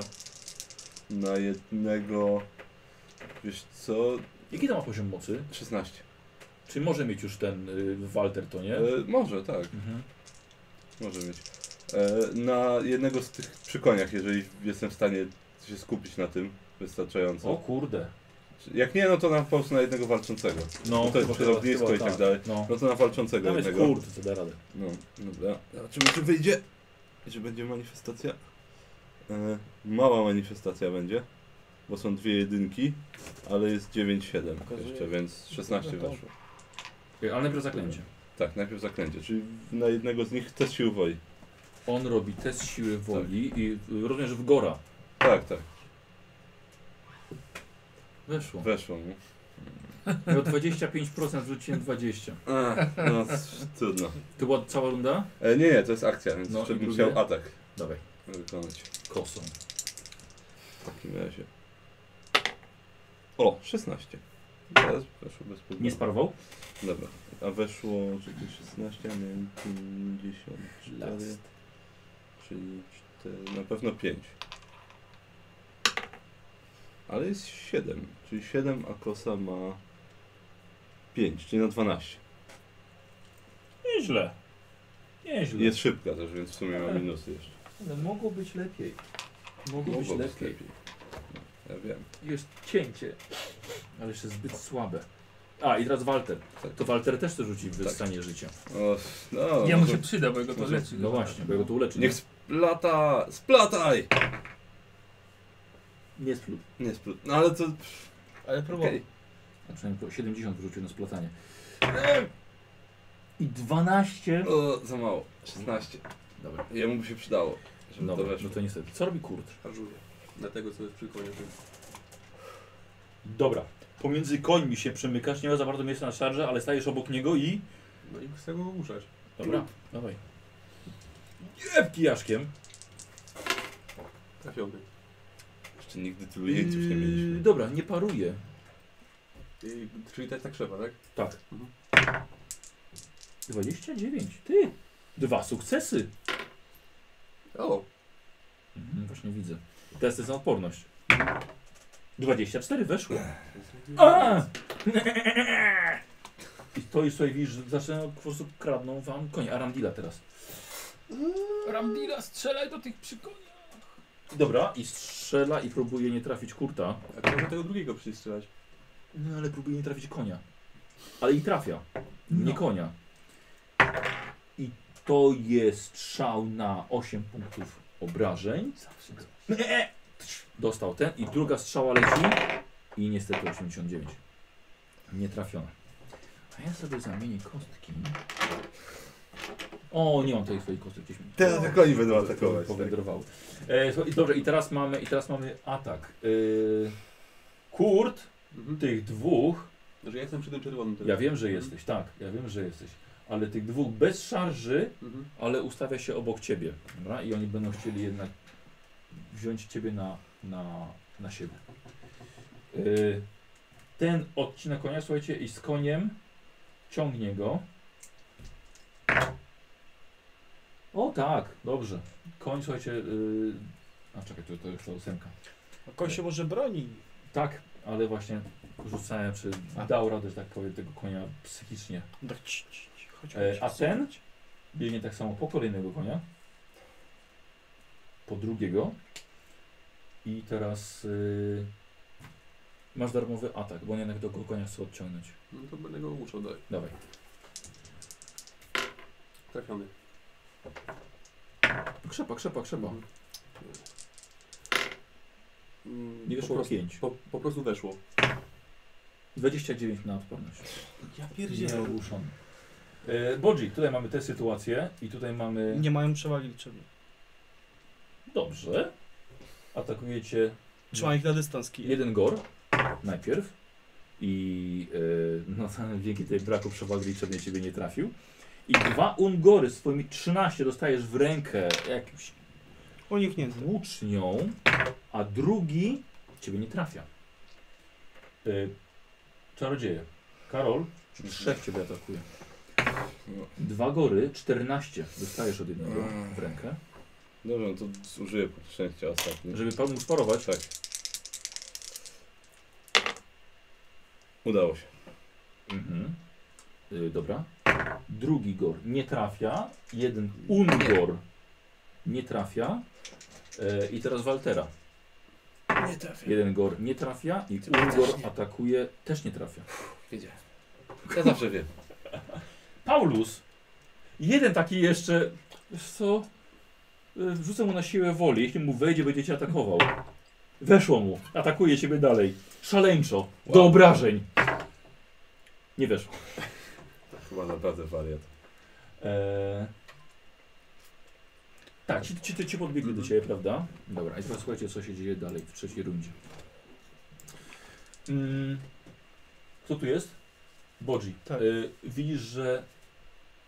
[SPEAKER 4] na jednego... Wiesz co?
[SPEAKER 1] Jaki to ma poziom mocy?
[SPEAKER 4] 16.
[SPEAKER 1] Czy może mieć już ten y, Walter, to nie?
[SPEAKER 4] E, może, tak.
[SPEAKER 1] Mhm.
[SPEAKER 4] Może mieć. E, na jednego z tych przy koniach, jeżeli jestem w stanie się skupić na tym wystarczająco.
[SPEAKER 1] O kurde.
[SPEAKER 4] Jak nie, no to na po prostu na jednego walczącego.
[SPEAKER 1] No,
[SPEAKER 4] to jest
[SPEAKER 1] chyba-
[SPEAKER 4] przez ognisko
[SPEAKER 1] chyba
[SPEAKER 4] i tak dalej.
[SPEAKER 1] No.
[SPEAKER 4] No to na walczącego
[SPEAKER 1] Tam jest
[SPEAKER 4] jednego.
[SPEAKER 1] kurde, co da radę.
[SPEAKER 4] No, dobra. Zobaczymy, czy wyjdzie. Czy będzie manifestacja. E, mała manifestacja będzie, bo są dwie jedynki, ale jest 9-7
[SPEAKER 6] Pokazuję.
[SPEAKER 4] jeszcze, więc 16
[SPEAKER 6] No to-
[SPEAKER 4] weszło.
[SPEAKER 1] Okej, Ale najpierw zaklęcie.
[SPEAKER 4] Tak, najpierw zaklęcie, czyli na jednego z nich też się uwoi.
[SPEAKER 1] On robi test siły woli i y, rozumiem, że w Gora
[SPEAKER 4] Tak, tak,
[SPEAKER 1] weszło.
[SPEAKER 4] weszło mu.
[SPEAKER 1] Miał 25%, rzuciłem 20.
[SPEAKER 4] Ech, no, [LAUGHS] c- trudno.
[SPEAKER 1] To była cała runda?
[SPEAKER 4] E, nie, nie, to jest akcja, więc
[SPEAKER 1] No
[SPEAKER 4] jeszcze
[SPEAKER 1] i
[SPEAKER 4] bym
[SPEAKER 1] drugie?
[SPEAKER 4] chciał atak
[SPEAKER 1] Dawaj,
[SPEAKER 4] wykonać
[SPEAKER 1] kosą.
[SPEAKER 4] w takim razie. O, 16. Teraz weszło bez problemu.
[SPEAKER 1] Nie sparował?
[SPEAKER 4] Dobra, a weszło czyli 16, a miałem 54,
[SPEAKER 1] Last.
[SPEAKER 4] czyli 4, na pewno 5. Ale jest 7, czyli 7, a kosa ma 5, czyli na 12.
[SPEAKER 1] Nieźle. Nieźle.
[SPEAKER 4] Jest szybka też, więc w sumie ma minusy jeszcze.
[SPEAKER 6] no
[SPEAKER 1] Ale mogło być lepiej. Mogło, być
[SPEAKER 4] Mogło być
[SPEAKER 1] lepiej.
[SPEAKER 4] No, Ja wiem.
[SPEAKER 1] Jest cięcie. Ale jeszcze zbyt słabe. A, i teraz Walter.
[SPEAKER 4] Tak.
[SPEAKER 1] To Walter też to rzuci w
[SPEAKER 4] Tak.
[SPEAKER 1] stanie życia.
[SPEAKER 4] O, no,
[SPEAKER 7] Ja mu
[SPEAKER 4] może-
[SPEAKER 7] się przyda, bo jego to
[SPEAKER 4] może-
[SPEAKER 7] leczy.
[SPEAKER 1] No właśnie, bo ja go to uleczy.
[SPEAKER 4] Niech splata! Splataj!
[SPEAKER 1] nie splód.
[SPEAKER 4] Nie splut. No ale to.
[SPEAKER 6] Ale próbował.
[SPEAKER 4] Okej.
[SPEAKER 1] A przynajmniej po 70 wrzucił na splatanie. I 12.
[SPEAKER 4] O, za mało. 16.
[SPEAKER 1] Dobra.
[SPEAKER 4] Jemu by się przydało, żeby
[SPEAKER 1] Dobra,
[SPEAKER 4] to weszło.
[SPEAKER 1] no to niestety. Co robi Kurt?
[SPEAKER 8] Szarżuję. Dlatego co jest przy tak. koniu.
[SPEAKER 1] Dobra. Pomiędzy końmi się przemykasz, nie ma za bardzo miejsca na szarże, ale stajesz obok niego i...
[SPEAKER 8] No i chcę go ogłuszać.
[SPEAKER 1] Dobra, dawaj. Jeb kijaszkiem.
[SPEAKER 8] Trafiony.
[SPEAKER 4] Jeszcze nigdy tylu jeńców nie
[SPEAKER 1] Yy,
[SPEAKER 4] mieliśmy.
[SPEAKER 1] Dobra, nie paruje.
[SPEAKER 8] I, czyli tak tak trzeba, tak?
[SPEAKER 1] Tak.
[SPEAKER 8] Mhm.
[SPEAKER 1] 29. Ty! Dwa sukcesy.
[SPEAKER 8] O!
[SPEAKER 1] Mhm, właśnie widzę. Testy na odporność. 24 weszło.
[SPEAKER 8] A!
[SPEAKER 1] I to i sobie widzisz, że zaczynają po prostu kradną wam konie. Arandila teraz.
[SPEAKER 7] Rambila, strzelaj do tych przy koniach.
[SPEAKER 1] Dobra, i strzela i próbuje nie trafić kurta.
[SPEAKER 8] A to może tego drugiego przystrzelać.
[SPEAKER 1] No ale próbuje nie trafić konia. Ale i trafia. Nie
[SPEAKER 7] No.
[SPEAKER 1] konia. I to jest strzał na 8 punktów obrażeń. No, e,
[SPEAKER 7] Zawsze coś.
[SPEAKER 1] Dostał ten i druga strzała leci i niestety 89. Nie trafiona. A ja sobie zamienię kostki. O, nie mam tej swojej kostki gdzieś. mi-
[SPEAKER 4] Teraz jak oni będą atakować. Tak.
[SPEAKER 1] Powędrowały. E, słuchaj, dobrze, i teraz mamy, i teraz mamy atak. E, Kurt,
[SPEAKER 8] Mhm.
[SPEAKER 1] tych dwóch,
[SPEAKER 8] Znaczy ja jestem przy tym czerwonym teraz.
[SPEAKER 1] ja wiem, że jesteś, tak, ja wiem, że jesteś, ale tych dwóch bez szarży,
[SPEAKER 8] Mhm.
[SPEAKER 1] ale ustawia się obok ciebie, dobra? I oni będą chcieli jednak wziąć ciebie na, na, na siebie. Y, ten odcina konia, słuchajcie, i z koniem ciągnie go. O tak, dobrze. Koń, słuchajcie, yy, a czekaj, to, to jest ta ósemka.
[SPEAKER 6] A koń się może broni.
[SPEAKER 1] Tak, ale właśnie rzucałem, czy dał radę, że tak powiem, tego konia psychicznie.
[SPEAKER 6] Tak, ci, ci, ci, chodź,
[SPEAKER 1] E,
[SPEAKER 6] chodź,
[SPEAKER 1] a
[SPEAKER 6] chodź.
[SPEAKER 1] ten? Biegnie tak samo po kolejnego konia. Po drugiego. I teraz. Yy, y, Masz darmowy atak, bo on jednak do konia chce odciągnąć.
[SPEAKER 8] No to będę go muszał dać.
[SPEAKER 1] Dawaj.
[SPEAKER 8] Trafiony.
[SPEAKER 1] Krzepa, krzepa, krzepa.
[SPEAKER 8] Mhm. Mm,
[SPEAKER 1] Nie
[SPEAKER 8] po
[SPEAKER 1] wyszło
[SPEAKER 8] prostu-
[SPEAKER 1] 5.
[SPEAKER 8] Po, po prostu weszło.
[SPEAKER 1] 29 na odporność.
[SPEAKER 8] Ja
[SPEAKER 1] Nieruszony. E, Bodzi, tutaj mamy tę sytuację i tutaj mamy...
[SPEAKER 6] Nie mają przewagi liczebnej.
[SPEAKER 1] Dobrze. Atakujecie
[SPEAKER 6] Trzyma ich na dystans kij.
[SPEAKER 1] jeden gor najpierw i e, no, [LAUGHS] tam dzięki tej braku przewagi liczebnej ciebie nie trafił. I dwa ungory swoimi 13 dostajesz w rękę jakimś
[SPEAKER 6] Uniknięty.
[SPEAKER 1] włócznią, a drugi ciebie nie trafia. Yy, czarodzieje. Karol, trzech ciebie atakuje. Dwa gory, 14 dostajesz od jednego w rękę.
[SPEAKER 4] Dobrze, no to zużyję punkt szczęścia ostatni.
[SPEAKER 1] Żeby pan mógł sparować.
[SPEAKER 4] Tak. Udało się.
[SPEAKER 1] Mhm. Y, dobra. Drugi gor nie trafia. Jeden ungor nie trafia. E, I teraz Waltera.
[SPEAKER 7] Nie trafię.
[SPEAKER 1] Jeden gor nie trafia i
[SPEAKER 3] też
[SPEAKER 1] ungor
[SPEAKER 3] nie.
[SPEAKER 1] atakuje, też nie trafia.
[SPEAKER 3] Wiedziałem.
[SPEAKER 4] Ja zawsze wiem.
[SPEAKER 1] Paulus! Jeden taki jeszcze. Wiesz co? Y, Wrzucę mu na siłę woli. Jeśli mu wejdzie, będzie cię atakował. Weszło mu. Atakuje ciebie dalej. Szaleńczo. Do
[SPEAKER 4] Wow.
[SPEAKER 1] obrażeń. Nie weszło.
[SPEAKER 4] Chyba naprawdę wariat.
[SPEAKER 1] Eee... Tak, ci, ci, ci, ci podbiegli do ciebie, prawda? Mhm. Dobra, i teraz słuchajcie, co się dzieje dalej w trzeciej rundzie. Mm. Kto tu jest? Bodzi.
[SPEAKER 6] Tak.
[SPEAKER 1] Eee, widzisz, że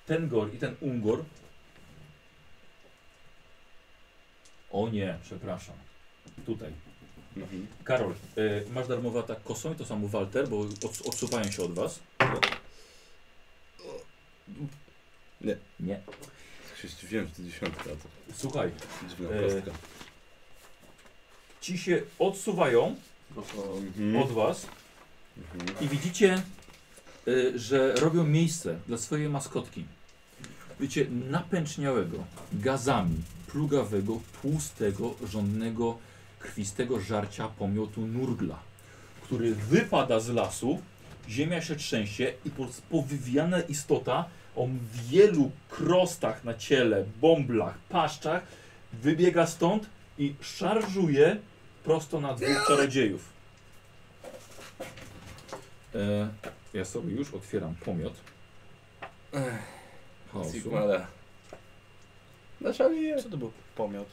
[SPEAKER 1] ten gor i ten ungor. O nie, przepraszam. Tutaj.
[SPEAKER 4] Mhm.
[SPEAKER 1] Karol, e, masz darmowy atak kosą i to samo Walter, bo od, odsuwają się od was.
[SPEAKER 4] Nie.
[SPEAKER 1] Nie.
[SPEAKER 4] Krzyści, wiem, że to dziesiątka, a to
[SPEAKER 1] Słuchaj,
[SPEAKER 4] dziwna
[SPEAKER 1] E,
[SPEAKER 4] kostka.
[SPEAKER 1] ci się odsuwają
[SPEAKER 8] No.
[SPEAKER 4] Mhm.
[SPEAKER 1] od was
[SPEAKER 4] Mhm.
[SPEAKER 1] i widzicie, y, że robią miejsce dla swojej maskotki. Wiecie, napęczniałego, gazami, plugawego, tłustego, żądnego, krwistego żarcia pomiotu nurgla, który wypada z lasu, ziemia się trzęsie i po- powywijana istota o wielu krostach na ciele, bąblach, paszczach wybiega stąd i szarżuje prosto na dwóch czarodziejów. E, ja sobie już otwieram pomiot. Chaosu.
[SPEAKER 4] Sigmara. Nasza linie.
[SPEAKER 6] Co to był pomiot?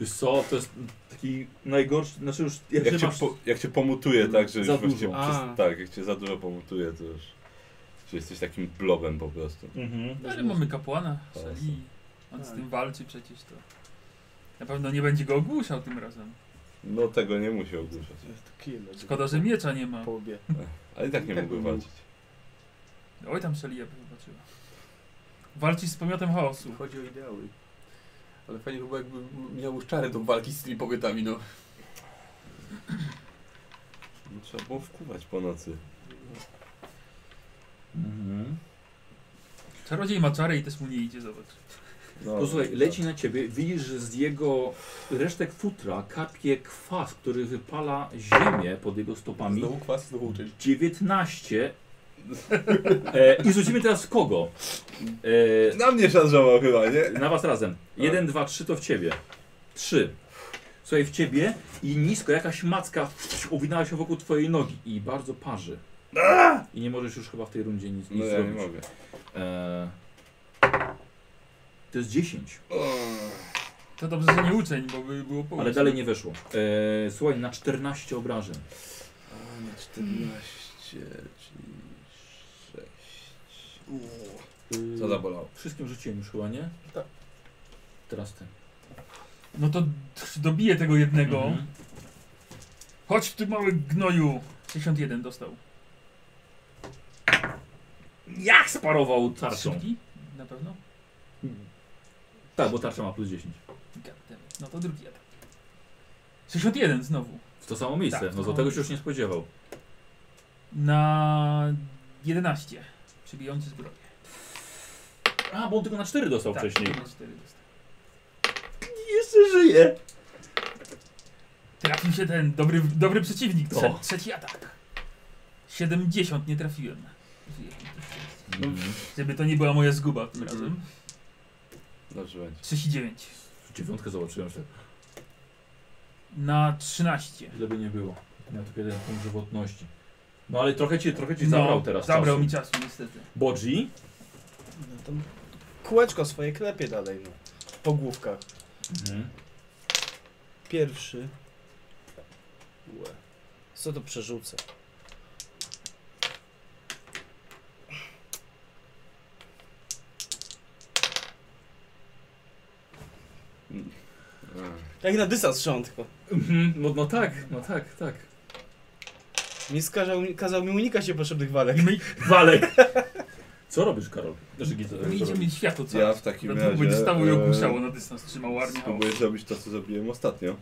[SPEAKER 1] Wiesz co, to jest taki najgorszy, znaczy już jak,
[SPEAKER 4] Jak
[SPEAKER 1] się
[SPEAKER 4] cię,
[SPEAKER 1] masz...
[SPEAKER 4] po, jak cię pomutuje tak, że
[SPEAKER 1] Za
[SPEAKER 4] już
[SPEAKER 1] dużo.
[SPEAKER 4] cię
[SPEAKER 6] A.
[SPEAKER 4] przez, tak, jak cię za dużo pomutuje, to już że jesteś takim blobem po prostu.
[SPEAKER 1] Mhm.
[SPEAKER 7] No, Ale mamy kapłana,
[SPEAKER 4] Awesome.
[SPEAKER 7] szali. On z tym walczy przecież to. Na pewno nie będzie go ogłuszał tym razem.
[SPEAKER 4] No tego nie musi ogłuszać.
[SPEAKER 6] Kij
[SPEAKER 7] Szkoda, że miecza nie ma.
[SPEAKER 6] Po łbie.
[SPEAKER 4] Ale i tak nie mógłby walczyć.
[SPEAKER 7] Oj, tam Szelia by zobaczyła. Walczyć z pomiotem chaosu.
[SPEAKER 3] Chodzi o ideały. Ale fajnie by było, jakby miał już czarę do walki z tymi pobytami, no.
[SPEAKER 4] No, Trzeba było wkuwać po nocy.
[SPEAKER 1] Mhm.
[SPEAKER 7] Czarodziej ma czary i też mu nie idzie, zobacz.
[SPEAKER 4] No,
[SPEAKER 1] Posłuchaj, leci na ciebie, widzisz, że z jego resztek futra kapie kwas, który wypala ziemię pod jego
[SPEAKER 4] No.
[SPEAKER 1] stopami.
[SPEAKER 3] Znowu kwas, znowu uczyć.
[SPEAKER 1] 19. E, I rzucimy teraz w kogo? E,
[SPEAKER 4] Na mnie szarżował chyba, nie?
[SPEAKER 1] na was razem. 1, 2, 3 to w ciebie. 3. Słuchaj, w ciebie i nisko jakaś macka uwinęła się wokół twojej nogi i bardzo parzy. I nie możesz już chyba w tej rundzie nic, nic
[SPEAKER 4] No ja nie
[SPEAKER 1] zrobić.
[SPEAKER 4] mogę.
[SPEAKER 1] E, to jest 10,
[SPEAKER 7] To dobrze, że nie uczeń, bo by było po
[SPEAKER 1] ale dalej nie weszło. E, słuchaj, na 14 obrażeń.
[SPEAKER 4] A, na 14, czyli 6. Co zabolało?
[SPEAKER 1] Wszystkim rzuciłem już chyba, nie? Tak. Teraz ty.
[SPEAKER 7] No to dobiję tego jednego.
[SPEAKER 1] Mhm.
[SPEAKER 7] Chodź ty mały gnoju! 61 dostał.
[SPEAKER 1] Jak sparował tarczą?
[SPEAKER 7] Szybki? Na pewno?
[SPEAKER 1] Tak, bo tarcza ma plus 10.
[SPEAKER 7] Goddammit. No to drugi atak. 61 znowu.
[SPEAKER 1] W to samo miejsce.
[SPEAKER 7] Tak, w to
[SPEAKER 1] no do
[SPEAKER 7] samo
[SPEAKER 1] tego się
[SPEAKER 7] miejsce.
[SPEAKER 1] już nie spodziewał.
[SPEAKER 7] Na 11. Przybijący zbroję.
[SPEAKER 1] A, bo on tylko na 4 dostał
[SPEAKER 7] Tak,
[SPEAKER 1] wcześniej.
[SPEAKER 7] na cztery dostał.
[SPEAKER 1] Jeszcze żyje.
[SPEAKER 7] Trafił się ten dobry, dobry przeciwnik. Trze
[SPEAKER 1] O.
[SPEAKER 7] trzeci atak. 70 nie trafiłem.
[SPEAKER 1] Mhm.
[SPEAKER 7] Żeby to nie była moja zguba tym
[SPEAKER 8] Mhm.
[SPEAKER 7] razem.
[SPEAKER 4] Dobrze będzie.
[SPEAKER 7] 39.
[SPEAKER 1] Dziewiątkę zobaczyłem, że
[SPEAKER 7] Na 13.
[SPEAKER 1] ile by nie było. Miał tylko jeden punkt żywotności. No ale trochę ci, trochę ci
[SPEAKER 7] No,
[SPEAKER 1] zabrał teraz
[SPEAKER 7] Zabrał
[SPEAKER 1] czasu.
[SPEAKER 7] mi czasu niestety.
[SPEAKER 1] Bodzi.
[SPEAKER 6] No to kółeczko swoje klepie dalej, no. Po główkach.
[SPEAKER 1] Mhm.
[SPEAKER 6] Pierwszy. Łe. Co to przerzucę? Jak na dystans szczątko.
[SPEAKER 1] Mhm. No, no tak, no tak, tak.
[SPEAKER 6] Mi skazał, kazał mi unikać niepotrzebnych walek.
[SPEAKER 1] Walek! Co robisz, Karol? Znaczy, Gita,
[SPEAKER 7] My No, idziemy mieć światło co?
[SPEAKER 4] Ja w takim
[SPEAKER 7] Na dwóch
[SPEAKER 4] razie...
[SPEAKER 7] będzie stało i
[SPEAKER 4] e,
[SPEAKER 7] ogłuszało na dystans, trzymał armię.
[SPEAKER 4] Spróbuję zrobić to, co zrobiłem ostatnio.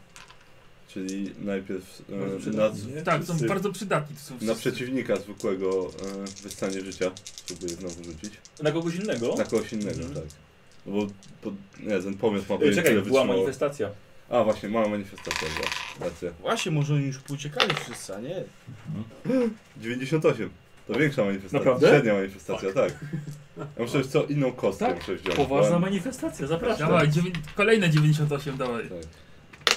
[SPEAKER 4] Czyli najpierw
[SPEAKER 1] Bardzo
[SPEAKER 4] e, na,
[SPEAKER 1] przydatnie.
[SPEAKER 7] Tak, są
[SPEAKER 4] wszyscy-
[SPEAKER 7] bardzo przydatni. To są
[SPEAKER 4] na
[SPEAKER 7] wszyscy.
[SPEAKER 4] przeciwnika zwykłego e, wystanie życia. Spróbuję znowu rzucić.
[SPEAKER 1] Na kogoś innego?
[SPEAKER 4] Na kogoś innego,
[SPEAKER 1] Mhm.
[SPEAKER 4] tak. No Bo po, nie, ten pomysł ma
[SPEAKER 1] Ej,
[SPEAKER 4] pojęcie,
[SPEAKER 1] czekaj,
[SPEAKER 4] tyle
[SPEAKER 1] była
[SPEAKER 4] wytrzymało.
[SPEAKER 1] manifestacja.
[SPEAKER 4] A właśnie, mała manifestacja, była. Racja.
[SPEAKER 6] Właśnie, może oni już uciekali wszyscy, a nie?
[SPEAKER 4] 98. To większa manifestacja.
[SPEAKER 1] Naprawdę?
[SPEAKER 4] Średnia manifestacja, tak. Ja muszę już co inną kostkę
[SPEAKER 1] Tak?
[SPEAKER 4] muszę wziąć.
[SPEAKER 1] Poważna
[SPEAKER 4] bo-
[SPEAKER 1] manifestacja, zapraszam.
[SPEAKER 7] Dawaj, dziewię... kolejne 98, dawaj.
[SPEAKER 4] Tak.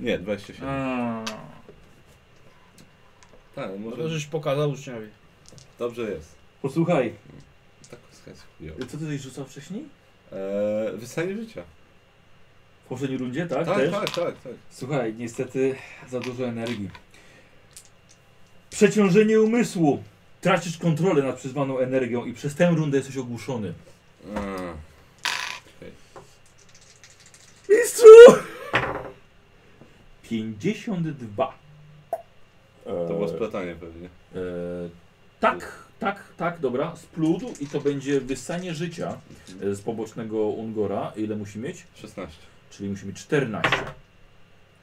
[SPEAKER 4] Nie, 27.
[SPEAKER 7] A,
[SPEAKER 4] Tak,
[SPEAKER 1] No
[SPEAKER 4] może
[SPEAKER 6] Może żeś pokazał uczniowi.
[SPEAKER 4] dobrze jest.
[SPEAKER 1] Posłuchaj,
[SPEAKER 4] Tak kostka jest chujowa.
[SPEAKER 1] co ty tutaj rzucał wcześniej?
[SPEAKER 4] Eee, wystanie życia.
[SPEAKER 1] W poprzedniej rundzie, tak?
[SPEAKER 4] tak,
[SPEAKER 1] Też?
[SPEAKER 4] tak, tak, tak.
[SPEAKER 1] Słuchaj, niestety za dużo energii. Przeciążenie umysłu. Tracisz kontrolę nad przyzwaną energią i przez tę rundę jesteś ogłuszony.
[SPEAKER 4] Eee,
[SPEAKER 1] Mistrzu! 52.
[SPEAKER 4] E, to było splatanie pewnie.
[SPEAKER 1] Eee, tak, tak, tak, dobra. Splódł i to będzie wyssanie życia
[SPEAKER 4] Mhm.
[SPEAKER 1] e, z pobocznego Ungora. Ile musi mieć?
[SPEAKER 4] 16.
[SPEAKER 1] Czyli musi mieć 14.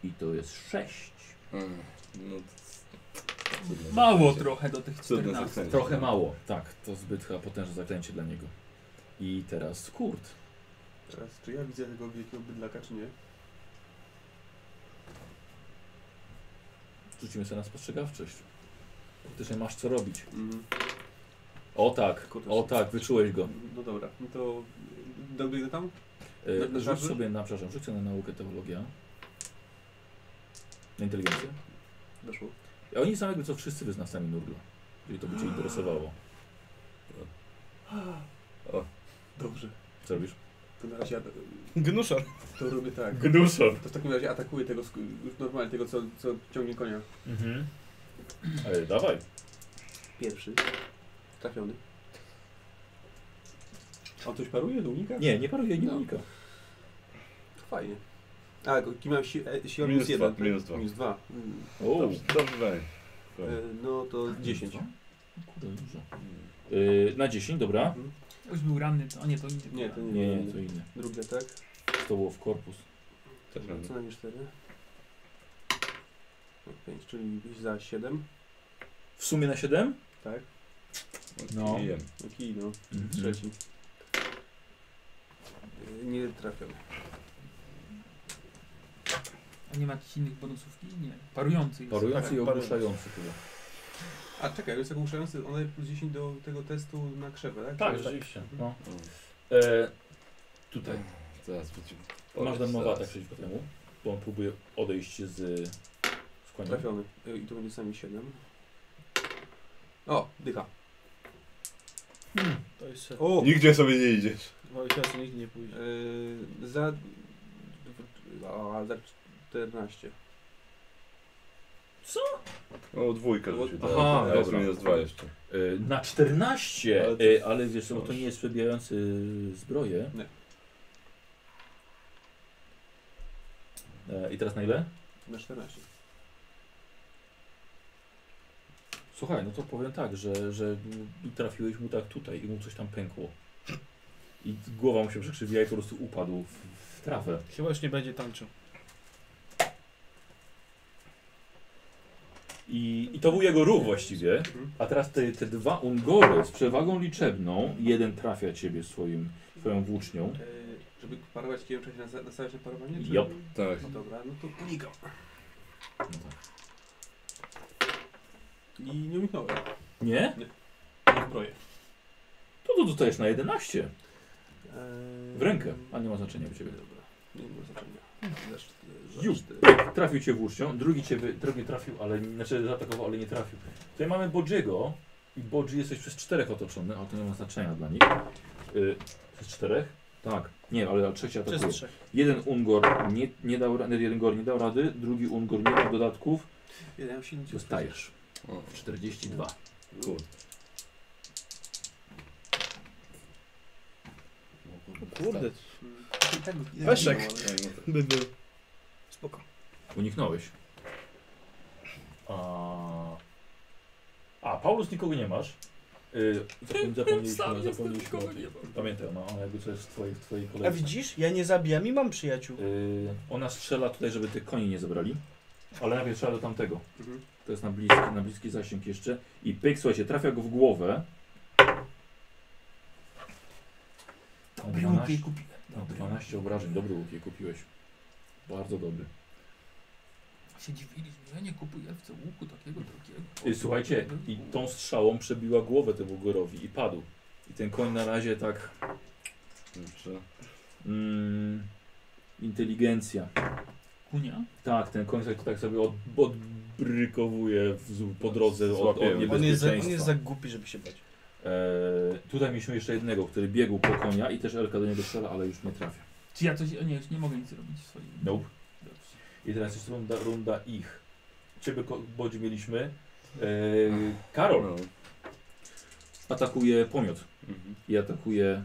[SPEAKER 1] I to jest 6.
[SPEAKER 4] Eee, no, to- cudne
[SPEAKER 7] mało
[SPEAKER 4] zaklęcie.
[SPEAKER 7] trochę do tych
[SPEAKER 4] Cudne
[SPEAKER 7] 14.
[SPEAKER 4] zaklęcie.
[SPEAKER 1] Trochę mało. Tak, to zbyt chyba potężne zaklęcie dla niego. I teraz kurt.
[SPEAKER 8] Teraz, czy ja widzę tego wielkiego bydlaka, czy nie?
[SPEAKER 1] Rzucimy sobie na spostrzegawczość. Faktycznie masz co robić.
[SPEAKER 8] Mhm.
[SPEAKER 1] O tak, o tak, wyczułeś go.
[SPEAKER 8] No dobra, no to dobiegnę tam? Na-
[SPEAKER 1] E,
[SPEAKER 8] na
[SPEAKER 1] Rzuć
[SPEAKER 8] żarty?
[SPEAKER 1] sobie na, przepraszam, rzuć sobie na naukę teologia. Na inteligencję.
[SPEAKER 8] Doszło.
[SPEAKER 1] A oni są jakby co wszyscy wyznawcami nurgla. Czyli to by cię interesowało.
[SPEAKER 8] Dobrze.
[SPEAKER 1] Co robisz?
[SPEAKER 8] To na razie ja
[SPEAKER 6] Gnuszor.
[SPEAKER 8] to robię tak.
[SPEAKER 1] Gnuszon.
[SPEAKER 8] To w takim razie atakuję tego, sk- już normalnie tego, co, co ciągnie konia.
[SPEAKER 1] Mhm. Ej, E, dawaj.
[SPEAKER 8] Pierwszy. Trafiony. On coś paruje? Unika?
[SPEAKER 1] Nie, nie paruje, nie
[SPEAKER 8] No.
[SPEAKER 1] unika.
[SPEAKER 8] Fajnie. A, go- kim mam si- e, siłę
[SPEAKER 4] Minus
[SPEAKER 8] minus jeden?
[SPEAKER 4] dwa, Mhm. minus dwa.
[SPEAKER 8] Minus dwa. Mm.
[SPEAKER 1] O,
[SPEAKER 4] Dobrze, dobrze, weź.
[SPEAKER 8] E, no to 10.
[SPEAKER 1] Kurde, dużo. E, na 10, dobra.
[SPEAKER 8] Mhm.
[SPEAKER 7] Ktoś był ranny, to... a nie, to nie.
[SPEAKER 8] Nie, to nie,
[SPEAKER 1] Nie, nie, to inne.
[SPEAKER 8] Drugi atak.
[SPEAKER 1] To było w korpus.
[SPEAKER 4] Też
[SPEAKER 8] Dobra,
[SPEAKER 4] mam.
[SPEAKER 8] tak? Co najmniej 4. 5, No, czyli za 7.
[SPEAKER 1] W sumie na 7?
[SPEAKER 8] Tak.
[SPEAKER 1] No.
[SPEAKER 4] Kijem.
[SPEAKER 8] No Kij, no.
[SPEAKER 1] Mhm.
[SPEAKER 8] Trzeci.
[SPEAKER 4] Mhm.
[SPEAKER 8] E, Nie trafiony.
[SPEAKER 7] A nie ma jakichś innych bonusów? Nie, parujący jest. [LAUGHS]
[SPEAKER 1] Tak, Parujący i
[SPEAKER 6] parujący.
[SPEAKER 1] ogłuszający chyba.
[SPEAKER 8] A czekaj, jest ogłuszający, one plus 10 do tego testu na krzewę, tak?
[SPEAKER 1] Tak,
[SPEAKER 8] Czy-
[SPEAKER 1] rzeczywiście.
[SPEAKER 8] Mhm.
[SPEAKER 1] No.
[SPEAKER 4] Mm.
[SPEAKER 1] E, tutaj.
[SPEAKER 4] Zaraz będzie.
[SPEAKER 1] Masz tak darmowatek
[SPEAKER 4] Zaraz.
[SPEAKER 1] przeciwko temu, bo on próbuje odejść z skłania.
[SPEAKER 8] Trafiony. E, I to będzie sami 7. O, dycha.
[SPEAKER 6] To jest...
[SPEAKER 8] O!
[SPEAKER 4] Nigdzie sobie nie idziesz.
[SPEAKER 6] Oj, teraz nikt nie pójdzie.
[SPEAKER 8] E, za... A, za 14.
[SPEAKER 4] No dwójkę
[SPEAKER 8] No,
[SPEAKER 4] rzucił.
[SPEAKER 1] aha,
[SPEAKER 4] Aha, teraz
[SPEAKER 1] dobra.
[SPEAKER 4] minus dwa jeszcze.
[SPEAKER 1] E, Na 14,
[SPEAKER 4] Ale
[SPEAKER 1] ale,
[SPEAKER 4] to-
[SPEAKER 1] e, ale wiesz, co, bo to
[SPEAKER 4] Dobrze.
[SPEAKER 1] nie jest przebijający zbroję.
[SPEAKER 8] Nie.
[SPEAKER 1] E, I teraz na ile?
[SPEAKER 8] Na 14.
[SPEAKER 1] Słuchaj, no to powiem tak, że, że trafiłeś mu tak tutaj i mu coś tam pękło. I głowa mu się przekrzywiła i po prostu upadł w, w trawę.
[SPEAKER 6] Chyba już nie będzie tańczył.
[SPEAKER 1] I, I to był jego ruch właściwie. A teraz te, te dwa Ungory z przewagą liczebną, jeden trafia ciebie swoim, swoją włócznią.
[SPEAKER 8] E, żeby parować kijem, trzeba się nastawiać na parowanie? czy-
[SPEAKER 1] Jop.
[SPEAKER 4] Tak.
[SPEAKER 8] No dobra, no to unikam.
[SPEAKER 1] No tak.
[SPEAKER 8] I nie uniknąłem.
[SPEAKER 1] Nie?
[SPEAKER 8] Mam zbroję.
[SPEAKER 1] To tu dostajesz na 11.
[SPEAKER 8] Eee,
[SPEAKER 1] W rękę. A nie ma znaczenia u ciebie.
[SPEAKER 8] Dobra. Nie ma znaczenia. Zesz-
[SPEAKER 1] Ju.
[SPEAKER 8] zesz-
[SPEAKER 1] Znaczy, Trafił cię włócznią, drugi cię wy- drugi trafił, ale znaczy zaatakował, ale nie trafił. Tutaj mamy Bodziego i Bodzi jesteś przez czterech otoczony, ale to nie ma znaczenia dla nich. Y, przez czterech? Tak. Nie, ale trzeci atakuje.
[SPEAKER 6] Przez trzech.
[SPEAKER 1] Jeden Ungor nie, nie dał rady, jeden Gor nie dał rady, drugi Ungor nie dał dodatków.
[SPEAKER 8] Ja miałem silny cios.
[SPEAKER 1] Dostajesz.
[SPEAKER 4] O.
[SPEAKER 1] 42.
[SPEAKER 4] Cool. no
[SPEAKER 6] Kurde.
[SPEAKER 8] Mm, i tak- i tak
[SPEAKER 6] Weszek.
[SPEAKER 8] nie było, ale-
[SPEAKER 6] Byby. Spoko.
[SPEAKER 1] Uniknąłeś. A, a Paulus nikogo nie masz. Yy, zapomnieliśmy,
[SPEAKER 7] Sam
[SPEAKER 1] zapomnieliśmy,
[SPEAKER 7] jestem,
[SPEAKER 1] zapomnieliśmy o
[SPEAKER 7] nikogo
[SPEAKER 1] tym.
[SPEAKER 7] nie mam.
[SPEAKER 1] Pamiętaj, ona, ona jakby co jest w twojej, w twojej
[SPEAKER 6] A
[SPEAKER 1] kolejce.
[SPEAKER 6] widzisz? Ja nie zabijam i mam przyjaciół.
[SPEAKER 1] Yy, ona strzela tutaj, żeby tych koni nie zabrali. Ale najpierw strzela do tamtego.
[SPEAKER 8] Mhm.
[SPEAKER 1] To jest na bliski, na bliski zasięg jeszcze. I pyk, słuchajcie, trafia go w głowę.
[SPEAKER 7] Dobry łuk jej kupiłem.
[SPEAKER 1] No, 12 obrażeń, dobry łuk je kupiłeś. Bardzo dobry.
[SPEAKER 7] Się dziwiliśmy, że ja nie kupuję w co łuku takiego drugiego.
[SPEAKER 1] Y, Słuchajcie, i tą strzałą przebiła głowę temu gorowi i padł. I ten koń na razie tak.
[SPEAKER 4] Dobrze.
[SPEAKER 1] Mm, inteligencja.
[SPEAKER 7] Kunia?
[SPEAKER 1] Tak, ten koń tak, tak sobie od, odbrykowuje w, po drodze od, od
[SPEAKER 4] Złapiemy.
[SPEAKER 1] niebezpieczeństwa.
[SPEAKER 6] On jest, za, on jest za głupi, żeby się bać.
[SPEAKER 1] Eee, tutaj mieliśmy jeszcze jednego, który biegł po konia i też Elka do niego strzela, ale już nie trafia.
[SPEAKER 7] Czy ja coś... o Nie, już nie mogę nic zrobić w swoim...
[SPEAKER 1] Nope.
[SPEAKER 7] Dobrze.
[SPEAKER 1] I teraz jest runda, runda ich. Ciebie ko- bodzi mieliśmy. Eee, Karol
[SPEAKER 4] No.
[SPEAKER 1] atakuje pomiot
[SPEAKER 4] Mhm.
[SPEAKER 1] i atakuje.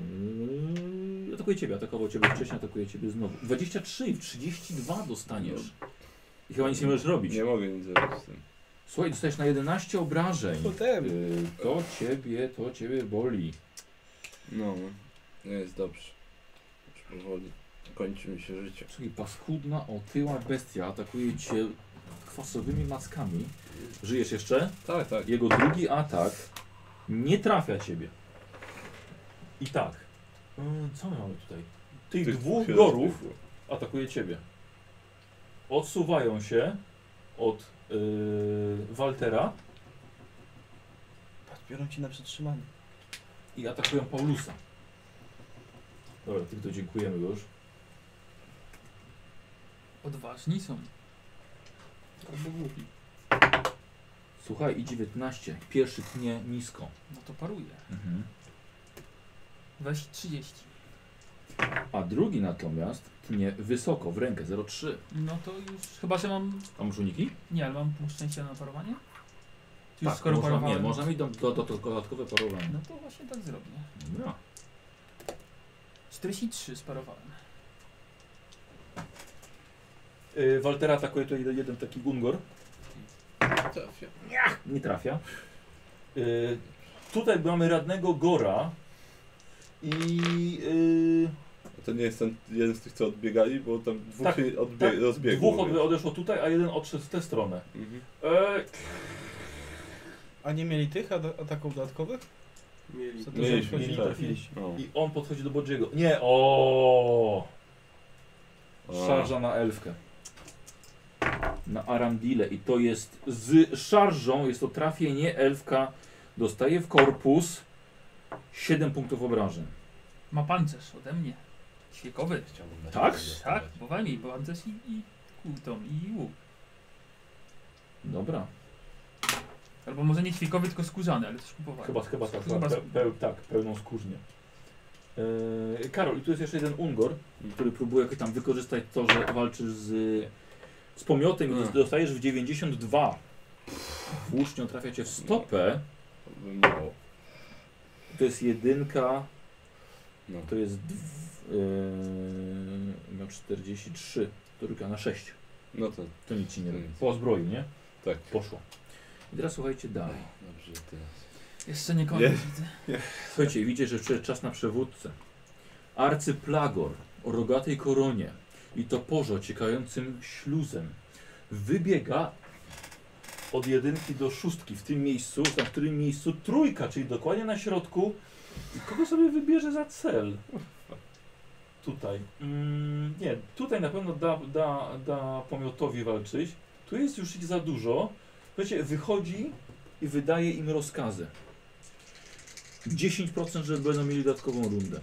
[SPEAKER 1] Eee, atakuje ciebie, atakował ciebie wcześniej, atakuje ciebie znowu. 23 i 32 dostaniesz. I chyba nic nie możesz robić.
[SPEAKER 4] Nie mogę nic zrobić z tym.
[SPEAKER 1] Słuchaj, dostajesz na 11 obrażeń.
[SPEAKER 6] Potem.
[SPEAKER 1] Eee, to ciebie, to ciebie boli.
[SPEAKER 4] No, nie jest dobrze. Już powoli. Kończy mi się życie.
[SPEAKER 1] Czyli paskudna, otyła bestia atakuje cię kwasowymi mackami. Żyjesz jeszcze?
[SPEAKER 4] Tak, tak.
[SPEAKER 1] Jego drugi atak nie trafia ciebie. I tak. Mm, Co my mamy tutaj? Tych,
[SPEAKER 4] Tych
[SPEAKER 1] dwóch
[SPEAKER 4] się
[SPEAKER 1] gorów
[SPEAKER 4] rozbiegło.
[SPEAKER 1] atakuje ciebie. Odsuwają się od yy, Waltera
[SPEAKER 6] Patrz, Biorą ci na przetrzymanie.
[SPEAKER 1] i atakują Paulusa. Dobra, tych to dziękujemy już.
[SPEAKER 7] Odważni są.
[SPEAKER 8] Albo głupi.
[SPEAKER 1] Słuchaj, i 19. Pierwszy tnie nisko.
[SPEAKER 7] No to paruje. Weź 30.
[SPEAKER 1] A drugi natomiast tnie wysoko w rękę 0,3.
[SPEAKER 7] No to już... Chyba, że mam...
[SPEAKER 1] A masz uniki?
[SPEAKER 7] Nie, ale mam punkt szczęścia na parowanie? Czy
[SPEAKER 1] Tak,
[SPEAKER 7] już skoro
[SPEAKER 1] można, nie,
[SPEAKER 7] parowałem?
[SPEAKER 1] można mieć do, do, do, do dodatkowe parowanie.
[SPEAKER 7] No to właśnie tak zrobię.
[SPEAKER 1] Dobra.
[SPEAKER 7] 43 sparowałem.
[SPEAKER 1] Yy, Waltera atakuje tutaj jeden- jeden taki Gungor.
[SPEAKER 3] Trafia.
[SPEAKER 1] Nie trafia. Yy, tutaj mamy radnego Gora. I yy,
[SPEAKER 4] A to nie jest ten jeden z tych, co odbiegali, bo tam dwóch
[SPEAKER 1] Tak,
[SPEAKER 4] się odbie-
[SPEAKER 1] tak.
[SPEAKER 4] rozbiegło.
[SPEAKER 1] dwóch
[SPEAKER 4] więc-
[SPEAKER 1] odbe- odeszło tutaj, a jeden odszedł w tę stronę.
[SPEAKER 4] Mhm.
[SPEAKER 1] Eee,
[SPEAKER 6] A nie mieli tych ada- ataków dodatkowych?
[SPEAKER 8] Mieli.
[SPEAKER 6] Co to
[SPEAKER 4] Mieliśmy,
[SPEAKER 6] za wchodzi?
[SPEAKER 1] tak. Trafiliście.
[SPEAKER 4] No.
[SPEAKER 1] I on podchodzi do Bodziego. Nie, o.
[SPEAKER 4] O.
[SPEAKER 1] Szarża na elfkę. Na Arandile i to jest z szarżą, jest to trafienie elfka. Dostaje w korpus 7 punktów obrażeń.
[SPEAKER 7] Ma pancerz ode mnie. Świekowy.
[SPEAKER 1] Tak?
[SPEAKER 7] Tak, bo walnij, bo pancerz i, i kultom, i łuk.
[SPEAKER 1] Dobra,
[SPEAKER 7] Albo może nie świekowy, tylko skórzany, ale też kupowałem.
[SPEAKER 1] chyba, chyba tak,
[SPEAKER 7] Chyba-
[SPEAKER 1] pe, pe, tak, pełną skórznię. Eee, Karol, i tu jest jeszcze jeden Ungor, który próbuje jakoś tam wykorzystać to, że walczysz z, z pomiotem i
[SPEAKER 4] Mm.
[SPEAKER 1] dostajesz w 92. Włócznią trafia cię w stopę.
[SPEAKER 4] To by mało.
[SPEAKER 1] To jest jedynka.
[SPEAKER 4] No.
[SPEAKER 1] To jest dw, yy, miał 43, trójka na 6.
[SPEAKER 4] No to
[SPEAKER 1] To nic ci nie robi.
[SPEAKER 4] Nic.
[SPEAKER 1] Po zbroi, nie?
[SPEAKER 4] tak.
[SPEAKER 1] Poszło. I teraz słuchajcie dalej.
[SPEAKER 4] Dobrze, że teraz.
[SPEAKER 7] Jeszcze nie
[SPEAKER 4] Nie.
[SPEAKER 7] koniec widzę.
[SPEAKER 1] Słuchajcie, widzicie, że jeszcze czas na przewódcę. Arcyplagor o rogatej koronie i toporze ociekającym śluzem wybiega od jedynki do szóstki w tym miejscu, na którym miejscu trójka, czyli dokładnie na środku. I kogo sobie wybierze za cel? Tutaj. Mm, nie, tutaj na pewno da, da, da pomiotowi walczyć. Tu jest już ich za dużo. Słuchajcie, wychodzi i wydaje im rozkazy. 10%, że będą mieli dodatkową rundę.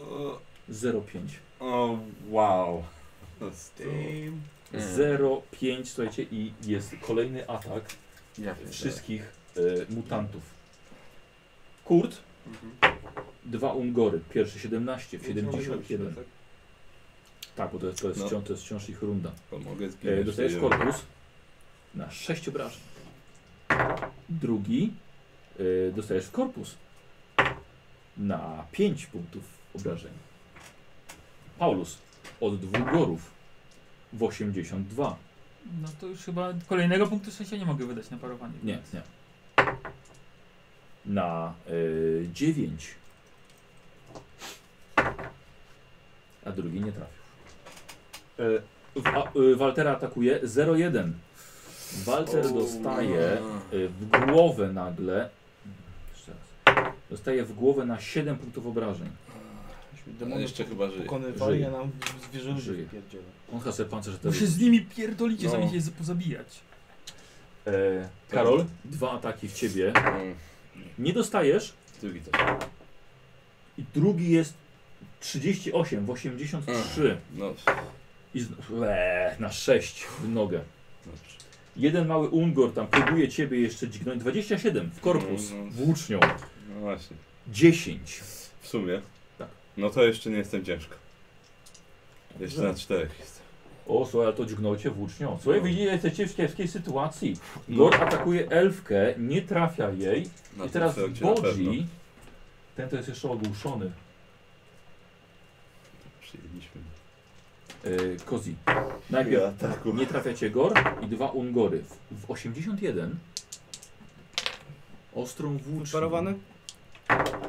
[SPEAKER 1] 0,5.
[SPEAKER 4] O, wow. To jest to-
[SPEAKER 1] Mm.
[SPEAKER 4] Mm.
[SPEAKER 1] 0,5, słuchajcie, i jest kolejny atak
[SPEAKER 10] Ja
[SPEAKER 1] wszystkich e, mutantów. Kurt,
[SPEAKER 8] Mhm.
[SPEAKER 1] dwa Ungory, pierwszy 17, w
[SPEAKER 8] No.
[SPEAKER 1] 71. Tak, bo to jest, to jest,
[SPEAKER 4] No.
[SPEAKER 1] wciąż, to jest wciąż ich runda.
[SPEAKER 4] To mogę
[SPEAKER 1] E,
[SPEAKER 4] zginąć.
[SPEAKER 1] dostajesz
[SPEAKER 4] nie wiem.
[SPEAKER 1] korpus na 6 obrażeń. Drugi e, dostajesz korpus na 5 punktów obrażeń. Paulus od dwóch gorów w 82.
[SPEAKER 2] No to już chyba kolejnego punktu szczęścia nie mogę wydać na parowanie.
[SPEAKER 1] Nie, nie. Na y, 9. A drugi nie trafił. Y, w, a, y, Waltera atakuje 0-1. Walter dostaje
[SPEAKER 4] no.
[SPEAKER 1] y, w głowę nagle. Jeszcze raz. Dostaje w głowę na 7 punktów obrażeń.
[SPEAKER 4] On jeszcze chyba żyje.
[SPEAKER 6] Pokonywali,
[SPEAKER 1] Żyje.
[SPEAKER 6] a nam zwierzę
[SPEAKER 1] Żyje.
[SPEAKER 6] żyje. pierdziele.
[SPEAKER 1] On chce pancerz też.
[SPEAKER 2] Muszę z nimi pierdolicie,
[SPEAKER 4] No.
[SPEAKER 2] zamiast je z- pozabijać.
[SPEAKER 1] E, Karol, dwa ataki w ciebie.
[SPEAKER 4] Mm,
[SPEAKER 1] Nie dostajesz,
[SPEAKER 4] Drugi też.
[SPEAKER 1] I drugi jest 38 w 83
[SPEAKER 4] No,
[SPEAKER 1] i z... Eee, na 6 w nogę.
[SPEAKER 4] dobrze.
[SPEAKER 1] Jeden mały Ungor tam próbuje ciebie jeszcze dźgnąć. 27 w korpus
[SPEAKER 4] Mhm.
[SPEAKER 1] włócznią.
[SPEAKER 4] No właśnie.
[SPEAKER 1] 10.
[SPEAKER 4] W sumie.
[SPEAKER 1] Tak.
[SPEAKER 4] No to jeszcze nie jestem ciężko. Jeszcze na czterech jestem.
[SPEAKER 1] O, słuchaj, ale to dźgnął cię włócznią. Słuchaj,
[SPEAKER 4] No.
[SPEAKER 1] widzicie, jesteście w kiepskiej sytuacji.
[SPEAKER 4] No.
[SPEAKER 1] Gor atakuje elfkę, nie trafia jej.
[SPEAKER 4] Na
[SPEAKER 1] I
[SPEAKER 4] tym
[SPEAKER 1] teraz
[SPEAKER 4] froncie na pewno.
[SPEAKER 1] Bodzi, ten to jest jeszcze ogłuszony,
[SPEAKER 4] Przyjęliśmy.
[SPEAKER 1] yy, Kozi. Najpierw
[SPEAKER 4] Ja ataku.
[SPEAKER 1] Nie trafiacie gor i dwa ungory. W- W 81 ostrą włócznią.
[SPEAKER 6] Parowany?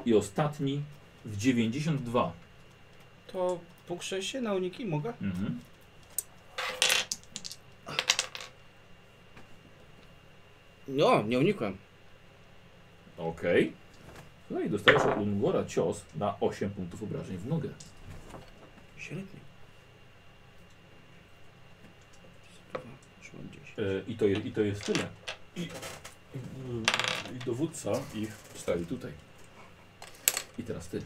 [SPEAKER 1] I ostatni w 92.
[SPEAKER 6] To pokrzę się na uniki, mogę?
[SPEAKER 1] Mhm.
[SPEAKER 10] No, nie unikłem.
[SPEAKER 1] Okej. No i dostajesz od ungora cios na 8 punktów obrażeń w nogę.
[SPEAKER 10] Średnio. Szło gdzieś.
[SPEAKER 1] E, I, to je, I to jest tyle. I, i- i dowódca ich stoi tutaj. I teraz ty.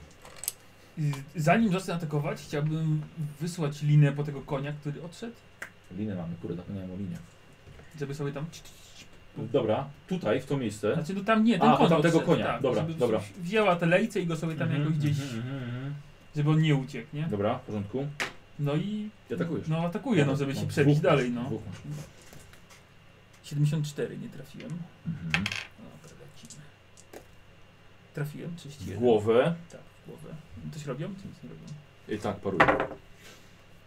[SPEAKER 2] I Zanim zacznę atakować, chciałbym wysłać linę po tego konia, który odszedł,
[SPEAKER 1] Linę mamy, kurde, zapomniałem o linie.
[SPEAKER 2] żeby sobie tam...
[SPEAKER 1] Tak. Dobra, tutaj, w to miejsce.
[SPEAKER 2] Znaczy, no tam nie, ten
[SPEAKER 1] A,
[SPEAKER 2] koń
[SPEAKER 1] to tamtego
[SPEAKER 2] odszedł,
[SPEAKER 1] konia.
[SPEAKER 2] Tak,
[SPEAKER 1] Dobra,
[SPEAKER 2] żeby
[SPEAKER 1] dobra.
[SPEAKER 2] Wzięła te lejce i go sobie tam
[SPEAKER 1] Mhm,
[SPEAKER 2] jakoś gdzieś,
[SPEAKER 1] mhm, mhm, mhm.
[SPEAKER 2] żeby on nie uciekł, nie?
[SPEAKER 1] Dobra, w porządku.
[SPEAKER 2] No i...
[SPEAKER 1] I atakujesz.
[SPEAKER 2] No atakuje, no, żeby się
[SPEAKER 1] dwóch
[SPEAKER 2] przebić
[SPEAKER 1] masz,
[SPEAKER 2] dalej, no.
[SPEAKER 1] dwóch masz.
[SPEAKER 2] 74 nie trafiłem. No,
[SPEAKER 1] Mhm.
[SPEAKER 2] Dobra, lecimy. Trafiłem, 31.
[SPEAKER 1] W głowę.
[SPEAKER 2] Tak, w głowę. Coś robią, czy nic nie robią?
[SPEAKER 1] I tak, paruje.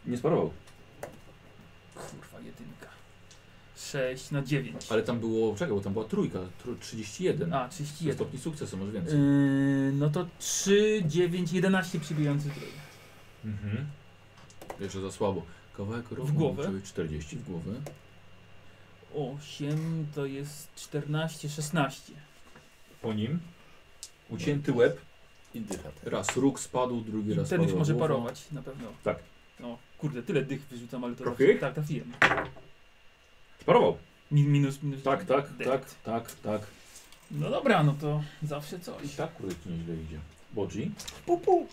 [SPEAKER 1] Nie sparował.
[SPEAKER 2] Kurwa, jedynka. 6 na 9.
[SPEAKER 1] Ale tam było, czekaj, bo tam była trójka, tr- 31.
[SPEAKER 2] A,
[SPEAKER 1] Trzy
[SPEAKER 2] 31.
[SPEAKER 1] stopni sukcesu, może więcej.
[SPEAKER 2] Yy, no to 3, 9, 11 przybijający trój.
[SPEAKER 1] Mhm. Jeszcze za słabo. Kawałek rogu,
[SPEAKER 2] głowę?
[SPEAKER 1] czyli 40 w głowę.
[SPEAKER 2] 8 to jest 14, 16.
[SPEAKER 1] Po nim ucięty łeb.
[SPEAKER 4] I dycha teraz.
[SPEAKER 1] Raz róg spadł, drugi
[SPEAKER 2] I
[SPEAKER 1] raz
[SPEAKER 2] ten już
[SPEAKER 1] spadła
[SPEAKER 2] może
[SPEAKER 1] głowa.
[SPEAKER 2] parować, na pewno.
[SPEAKER 1] Tak.
[SPEAKER 2] No, kurde, tyle dych wyrzucam, ale to...
[SPEAKER 1] Prochy?
[SPEAKER 2] Tak, trafiłem.
[SPEAKER 1] Parował.
[SPEAKER 2] Min, minus, minus.
[SPEAKER 1] Tak, tak,
[SPEAKER 2] dead.
[SPEAKER 1] tak, tak, tak.
[SPEAKER 2] No dobra, no to zawsze coś.
[SPEAKER 1] I tak kurde ci nieźle idzie. Bodzi.
[SPEAKER 6] Pu, pu.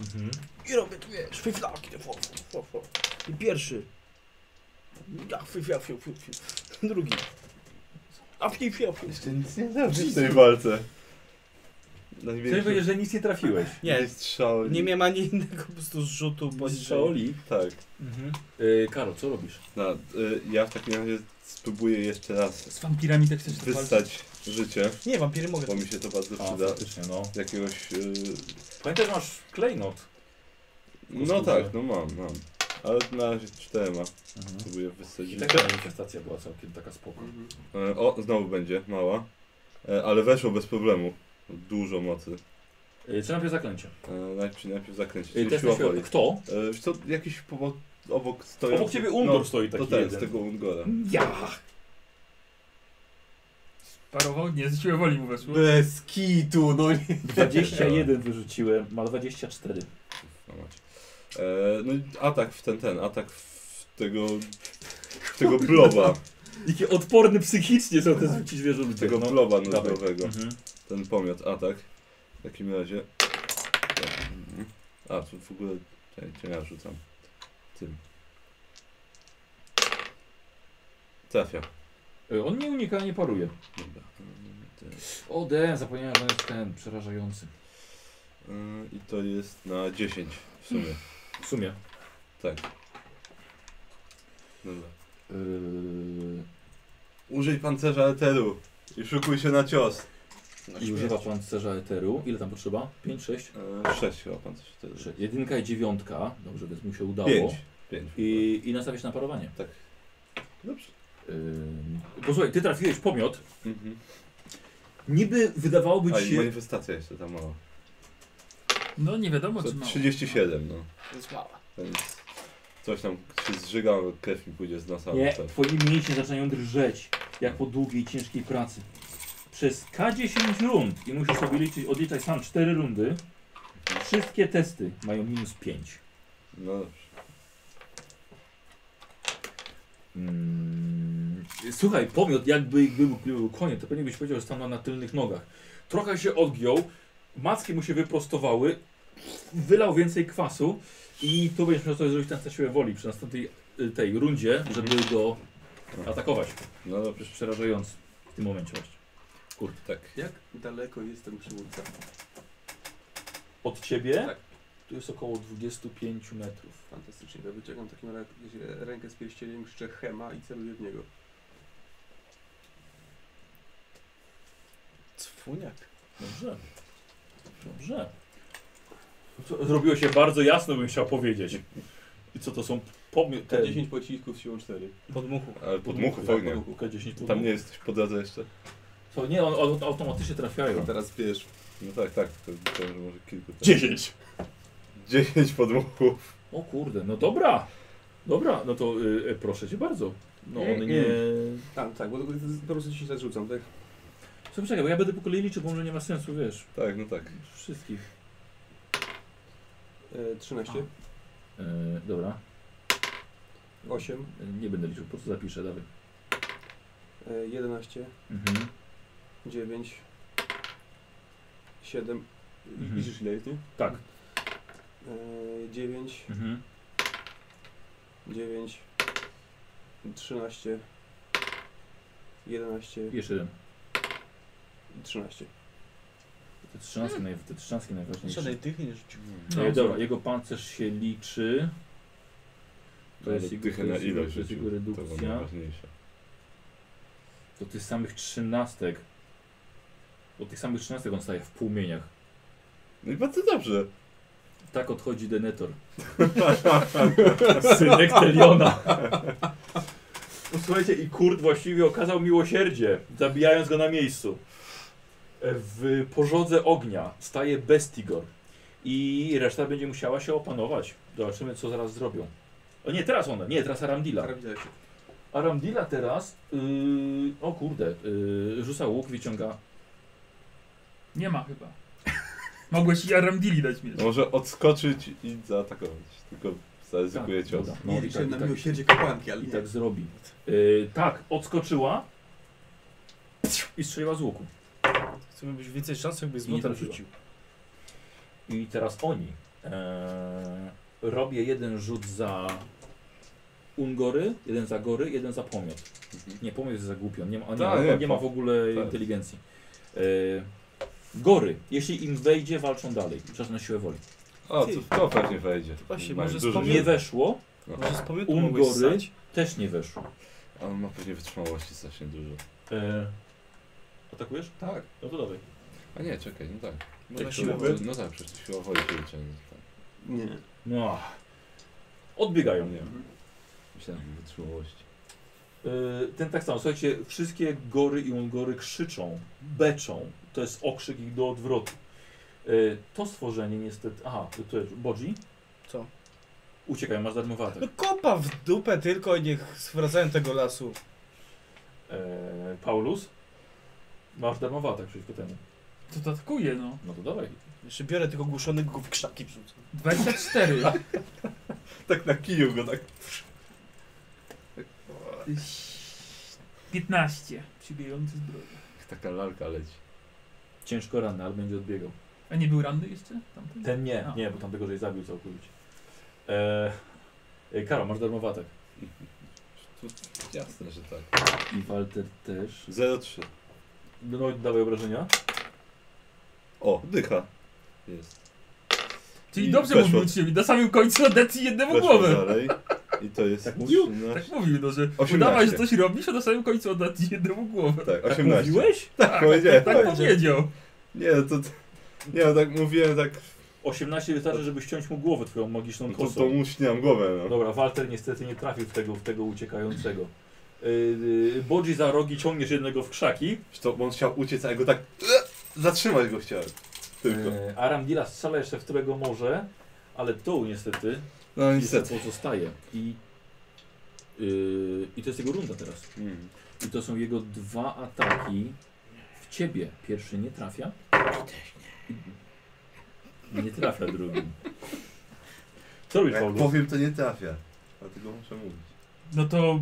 [SPEAKER 1] Mhm.
[SPEAKER 6] I robię tu, wiesz, fiflaki, te fo, fo, fo. I pierwszy. Ja, fiu, fiu, fiu, fiu, fiu. Drugi. A fiu, fiu, fiu.
[SPEAKER 4] Jeszcze nic nie zrobisz w tej walce.
[SPEAKER 1] Chcesz powiedzieć, że nic nie trafiłeś.
[SPEAKER 4] Nie, strzały.
[SPEAKER 6] Nie miałem ani innego po prostu zrzutu, bo
[SPEAKER 4] Strzałoli? Tak.
[SPEAKER 1] Mhm. Yy, Karol, co robisz?
[SPEAKER 4] No, y, ja w takim razie spróbuję jeszcze raz
[SPEAKER 2] Z wampirami tak chcesz to walczyć?
[SPEAKER 4] wystać życie,
[SPEAKER 6] Nie, wampiry mogę.
[SPEAKER 4] bo mi się to bardzo przyda.
[SPEAKER 1] faktycznie, no.
[SPEAKER 4] Z jakiegoś... y,
[SPEAKER 1] Pamiętaj, że masz klejnot.
[SPEAKER 4] No tak, no mam, mam. Ale na razie czterema
[SPEAKER 1] Mhm.
[SPEAKER 4] spróbuję wystać
[SPEAKER 1] I
[SPEAKER 4] życie.
[SPEAKER 1] taka manifestacja była całkiem taka spoko.
[SPEAKER 8] Mhm.
[SPEAKER 4] E, O, znowu będzie, mała. E, Ale weszło bez problemu. Dużo mocy.
[SPEAKER 1] Yy, Czy najpierw zaklęcie?
[SPEAKER 4] E, Najpierw, najpierw
[SPEAKER 1] Yy,
[SPEAKER 4] zakręcić. Czyli
[SPEAKER 1] test
[SPEAKER 4] siła
[SPEAKER 1] na siłę.
[SPEAKER 4] woli.
[SPEAKER 1] Kto?
[SPEAKER 4] E, wiesz co, jakiś obok, obok stojący...
[SPEAKER 1] Obok ciebie Ungor
[SPEAKER 4] No,
[SPEAKER 1] stoi
[SPEAKER 4] To
[SPEAKER 1] taki
[SPEAKER 4] ten, z
[SPEAKER 1] jeden.
[SPEAKER 4] tego Ungora.
[SPEAKER 1] Ja!
[SPEAKER 2] Parował? Nie, z siły woli mu weszło.
[SPEAKER 3] Bez kitu, no nie.
[SPEAKER 1] 21 wyrzuciłem, ma 24.
[SPEAKER 4] No, macie. E, no i atak w ten, ten, atak w tego... w tego bloba.
[SPEAKER 1] Jakie odporne psychicznie są te zwrócić wieżą ludzie.
[SPEAKER 4] Tego
[SPEAKER 1] no.
[SPEAKER 4] globa
[SPEAKER 1] Dawaj.
[SPEAKER 4] nudowego.
[SPEAKER 1] Mhm.
[SPEAKER 4] Ten pomiot, a tak. W takim razie. A, tu w ogóle. Czekaj, cię ja rzucam. Tym. Trafia.
[SPEAKER 1] Y, On nie unika, nie paruje.
[SPEAKER 4] Dobra. Te-
[SPEAKER 1] O, D, zapomniałem, że on jest ten przerażający.
[SPEAKER 4] Yy, I to jest na 10 w sumie.
[SPEAKER 1] W sumie.
[SPEAKER 4] Dobra.
[SPEAKER 1] E, Yy,
[SPEAKER 4] Użyj pancerza eteru i szykuj się na cios.
[SPEAKER 10] No,
[SPEAKER 1] I
[SPEAKER 10] śmierć.
[SPEAKER 1] używa pancerza eteru. Ile tam potrzeba? 5, 6?
[SPEAKER 4] Yy, 6 chyba pancerz eteru.
[SPEAKER 1] Jedynka i dziewiątka. Dobrze, więc mu się udało.
[SPEAKER 4] 5. 5.
[SPEAKER 1] I, I nastawia się na parowanie.
[SPEAKER 4] Dobrze.
[SPEAKER 1] Yy, posłuchaj, ty trafiłeś pomiot.
[SPEAKER 4] Mhm.
[SPEAKER 1] Niby wydawałoby
[SPEAKER 4] A
[SPEAKER 1] ci
[SPEAKER 4] i
[SPEAKER 1] się...
[SPEAKER 4] manifestacja jeszcze tam mała.
[SPEAKER 7] No nie wiadomo
[SPEAKER 4] To
[SPEAKER 7] czy mało.
[SPEAKER 4] 37 no.
[SPEAKER 10] To jest mała.
[SPEAKER 4] Więc coś tam się zżyga, krew mi pójdzie z nosa.
[SPEAKER 1] Nie,
[SPEAKER 4] Tak.
[SPEAKER 1] twoje mięśnie zaczynają drżeć, jak po długiej, ciężkiej pracy. Przez K10 rund i musisz sobie liczyć, odliczać sam 4 rundy. Wszystkie testy mają minus 5.
[SPEAKER 4] No dobrze.
[SPEAKER 1] Mm, Słuchaj, pomiot jakby był, był koniec, to pewnie byś powiedział, że stanął na tylnych nogach. Trochę się odgiął, macki mu się wyprostowały, wylał więcej kwasu i tu będziesz musiał sobie zrobić na siłę woli przy następnej y, tej rundzie, żeby go atakować.
[SPEAKER 4] No
[SPEAKER 1] To
[SPEAKER 4] dobrze.
[SPEAKER 1] jest przerażający w tym momencie właśnie.
[SPEAKER 4] Kurde, tak.
[SPEAKER 8] Jak daleko jest ten przywódca?
[SPEAKER 1] Od ciebie?
[SPEAKER 8] Tak.
[SPEAKER 1] Tu jest około 25 metrów.
[SPEAKER 8] Fantastycznie. Ja wyciągam w takim razie rękę z pierścieniem, krzyczę Hema i celuję w niego.
[SPEAKER 6] Cwuniak.
[SPEAKER 1] Dobrze. Dobrze. Co- Zrobiło się bardzo jasno, bym chciał powiedzieć. I co to są pomioty?
[SPEAKER 8] Te 10 pocisków siłą 4.
[SPEAKER 6] Podmuchu.
[SPEAKER 4] Ale
[SPEAKER 1] Tak,
[SPEAKER 4] podmuchów ognia.
[SPEAKER 1] K10
[SPEAKER 4] Tam nie jesteś po drodze jeszcze?
[SPEAKER 1] To nie, on, on automatycznie trafiają.
[SPEAKER 4] Teraz wiesz. No tak, tak. To, to może- może kilku. Tak.
[SPEAKER 1] 10!
[SPEAKER 4] 10 podmuchów.
[SPEAKER 1] O kurde, no dobra. Dobra, no to y, y, proszę cię bardzo. No one nie...
[SPEAKER 8] Tak, tak, bo to- to- to po prostu ci źle rzucam, tak?
[SPEAKER 1] Słuchaj, czekaj, bo ja będę po kolei liczył, bo może nie ma sensu, wiesz.
[SPEAKER 4] Tak, no tak.
[SPEAKER 1] Wszystkich.
[SPEAKER 8] E, 13,
[SPEAKER 1] Y, dobra,
[SPEAKER 8] 8,
[SPEAKER 1] Y, nie będę liczył, po prostu zapiszę, dawaj.
[SPEAKER 8] e, 11,
[SPEAKER 1] Mhm.
[SPEAKER 8] 9, 7.
[SPEAKER 1] Mhm.
[SPEAKER 8] Widzisz ile jest, nie?
[SPEAKER 1] Tak.
[SPEAKER 8] E, 9,
[SPEAKER 1] Mhm.
[SPEAKER 8] 9, 13, 11
[SPEAKER 1] Jeszcze jeden.
[SPEAKER 8] i 13.
[SPEAKER 1] Te trzynastki, naj, te trzynastki najważniejsze.
[SPEAKER 6] Żadnej tych nie rzucił.
[SPEAKER 1] No, dobra, jego pancerz się liczy. To jest jego, to
[SPEAKER 4] dychę na
[SPEAKER 1] jest jego,
[SPEAKER 4] ilość.
[SPEAKER 1] to jest
[SPEAKER 4] rzucił.
[SPEAKER 1] jego
[SPEAKER 4] To było
[SPEAKER 1] redukcja.
[SPEAKER 4] najważniejsze.
[SPEAKER 1] Do tych samych trzynastek. Do tych samych trzynastek on staje w płomieniach.
[SPEAKER 4] No i bardzo dobrze.
[SPEAKER 1] Tak odchodzi
[SPEAKER 8] [LAUGHS]
[SPEAKER 1] Denetor. Synek Teliona. No, Słuchajcie, i Kurt właściwie okazał miłosierdzie, zabijając go na miejscu. E, W pożodze ognia staje Bestigor. I reszta będzie musiała się opanować. Zobaczymy, co zaraz zrobią. O nie, teraz ona, nie, teraz Aramdila.
[SPEAKER 8] Karabina się.
[SPEAKER 1] Aramdila teraz, yy, o kurde, yy, rzuca łuk, wyciąga.
[SPEAKER 7] Nie ma chyba. Mogłeś i Aramdili dać mi.
[SPEAKER 4] No Może odskoczyć i zaatakować. Tylko zaryzykuję cios.
[SPEAKER 1] doda.
[SPEAKER 8] Nie
[SPEAKER 1] i
[SPEAKER 8] liczę
[SPEAKER 1] tak,
[SPEAKER 8] na
[SPEAKER 1] i tak,
[SPEAKER 8] miłosierdzie kapłanki, ale
[SPEAKER 1] I
[SPEAKER 8] nie.
[SPEAKER 1] tak zrobi. Yy, tak, odskoczyła i strzeliła z łuku.
[SPEAKER 6] Chcemy być więcej szans, jakby z
[SPEAKER 1] I nie
[SPEAKER 6] młotem
[SPEAKER 1] trafiła.
[SPEAKER 6] rzucił.
[SPEAKER 1] I teraz oni. Eee, robię jeden rzut za Ungory, jeden za Gory, jeden za Pomiot.
[SPEAKER 4] Mhm.
[SPEAKER 1] Nie, Pomiot jest za głupi, on nie ma, on nie,
[SPEAKER 4] Tak,
[SPEAKER 1] ma,
[SPEAKER 4] nie,
[SPEAKER 1] on nie ma w ogóle
[SPEAKER 4] tak.
[SPEAKER 1] inteligencji. Eee, gory, jeśli im wejdzie, walczą dalej. Przepraszam, na siłę woli.
[SPEAKER 4] O, to, to pewnie wejdzie.
[SPEAKER 6] Właśnie,
[SPEAKER 4] Mają
[SPEAKER 6] może
[SPEAKER 4] duży
[SPEAKER 6] wspomnę-
[SPEAKER 1] Nie
[SPEAKER 4] życie.
[SPEAKER 1] weszło,
[SPEAKER 6] Może z pomiotu
[SPEAKER 1] Ungory.
[SPEAKER 6] mogłeś ssać?
[SPEAKER 1] też nie weszło.
[SPEAKER 4] A On ma pewnie wytrzymałości strasznie dużo.
[SPEAKER 1] Eee, atakujesz?
[SPEAKER 4] Tak.
[SPEAKER 1] No to dawaj.
[SPEAKER 4] A nie, czekaj, no tak.
[SPEAKER 6] Bo na
[SPEAKER 4] To-
[SPEAKER 6] siłę.
[SPEAKER 4] No tak, przecież to siła woli się wyciągnie. Tak.
[SPEAKER 8] Nie.
[SPEAKER 1] No. Odbiegają.
[SPEAKER 4] Nie. Myślałem, że wytrzymałości.
[SPEAKER 1] Y, Ten tak samo, słuchajcie, wszystkie gory i ungory krzyczą, beczą. To jest okrzyk ich do odwrotu. Y, To stworzenie niestety. Aha, to jest Bodzi?
[SPEAKER 6] Co?
[SPEAKER 1] Uciekaj, masz darmowy atak.
[SPEAKER 6] No kopa w dupę tylko i niech zwracają tego lasu.
[SPEAKER 1] E, Paulus? Masz darmowy atak przeciwko temu.
[SPEAKER 7] To to atakuje no.
[SPEAKER 1] No to dawaj.
[SPEAKER 6] Jeszcze biorę tego głuszonego go w krzaki wrzucam.
[SPEAKER 7] 24.
[SPEAKER 4] Tak na kiju go tak.
[SPEAKER 2] 15 przybiegający zbroję.
[SPEAKER 4] [LAUGHS] Taka lalka leci.
[SPEAKER 1] Ciężko ranny, ale będzie odbiegał.
[SPEAKER 2] A nie był ranny jeszcze? Tamten?
[SPEAKER 1] Ten nie,
[SPEAKER 2] A.
[SPEAKER 1] nie, bo tam gorzej zabił całkowicie. E, e, Karol, masz darmowatek.
[SPEAKER 4] Jasne, że tak.
[SPEAKER 1] I Walter też.
[SPEAKER 4] 0,3.
[SPEAKER 1] No, dawaj obrażenia.
[SPEAKER 4] O, dycha. Jest.
[SPEAKER 2] Czyli
[SPEAKER 4] I
[SPEAKER 2] dobrze mu
[SPEAKER 4] weszło.
[SPEAKER 2] wrócił. Na samym końcu odetnij jednemu
[SPEAKER 4] Weszło
[SPEAKER 2] głowę.
[SPEAKER 4] dalej. I to jest...
[SPEAKER 1] Tak mówił?
[SPEAKER 2] Tak
[SPEAKER 4] 13.
[SPEAKER 2] mówił, no, że
[SPEAKER 4] 18.
[SPEAKER 2] udawaj, że coś robisz, a na samym końcu odetnij jednemu głowę.
[SPEAKER 4] Tak,
[SPEAKER 1] Tak
[SPEAKER 4] 18.
[SPEAKER 1] mówiłeś?
[SPEAKER 4] Tak, powiedziałem.
[SPEAKER 2] Tak
[SPEAKER 4] tak.
[SPEAKER 2] powiedział.
[SPEAKER 4] Nie, no to... Nie, no tak mówiłem tak...
[SPEAKER 1] 18 wystarczy, żeby ściąć mu głowę twoją magiczną
[SPEAKER 4] No to,
[SPEAKER 1] kosą.
[SPEAKER 4] to uśniam głowę, no.
[SPEAKER 1] Dobra, Walter niestety nie trafił w tego, w tego uciekającego. Yy, Bodzi za rogi ciągniesz jednego w krzaki,
[SPEAKER 4] Wiesz co, bo on chciał uciec, a ja go tak... Zatrzymać go chciałem. Tylko.
[SPEAKER 1] Yy, a Ramdila strzela jeszcze w którego może, ale to niestety
[SPEAKER 4] No
[SPEAKER 1] jeszcze
[SPEAKER 4] niestety.
[SPEAKER 1] pozostaje. I, yy, I to jest jego runda teraz.
[SPEAKER 4] Mm.
[SPEAKER 1] I to są jego dwa ataki w ciebie. Pierwszy nie trafia. nie. Nie trafia drugi. Co robisz,
[SPEAKER 4] Jak
[SPEAKER 1] Paulu?
[SPEAKER 4] powiem, to nie trafia. Dlatego muszę mówić.
[SPEAKER 2] No to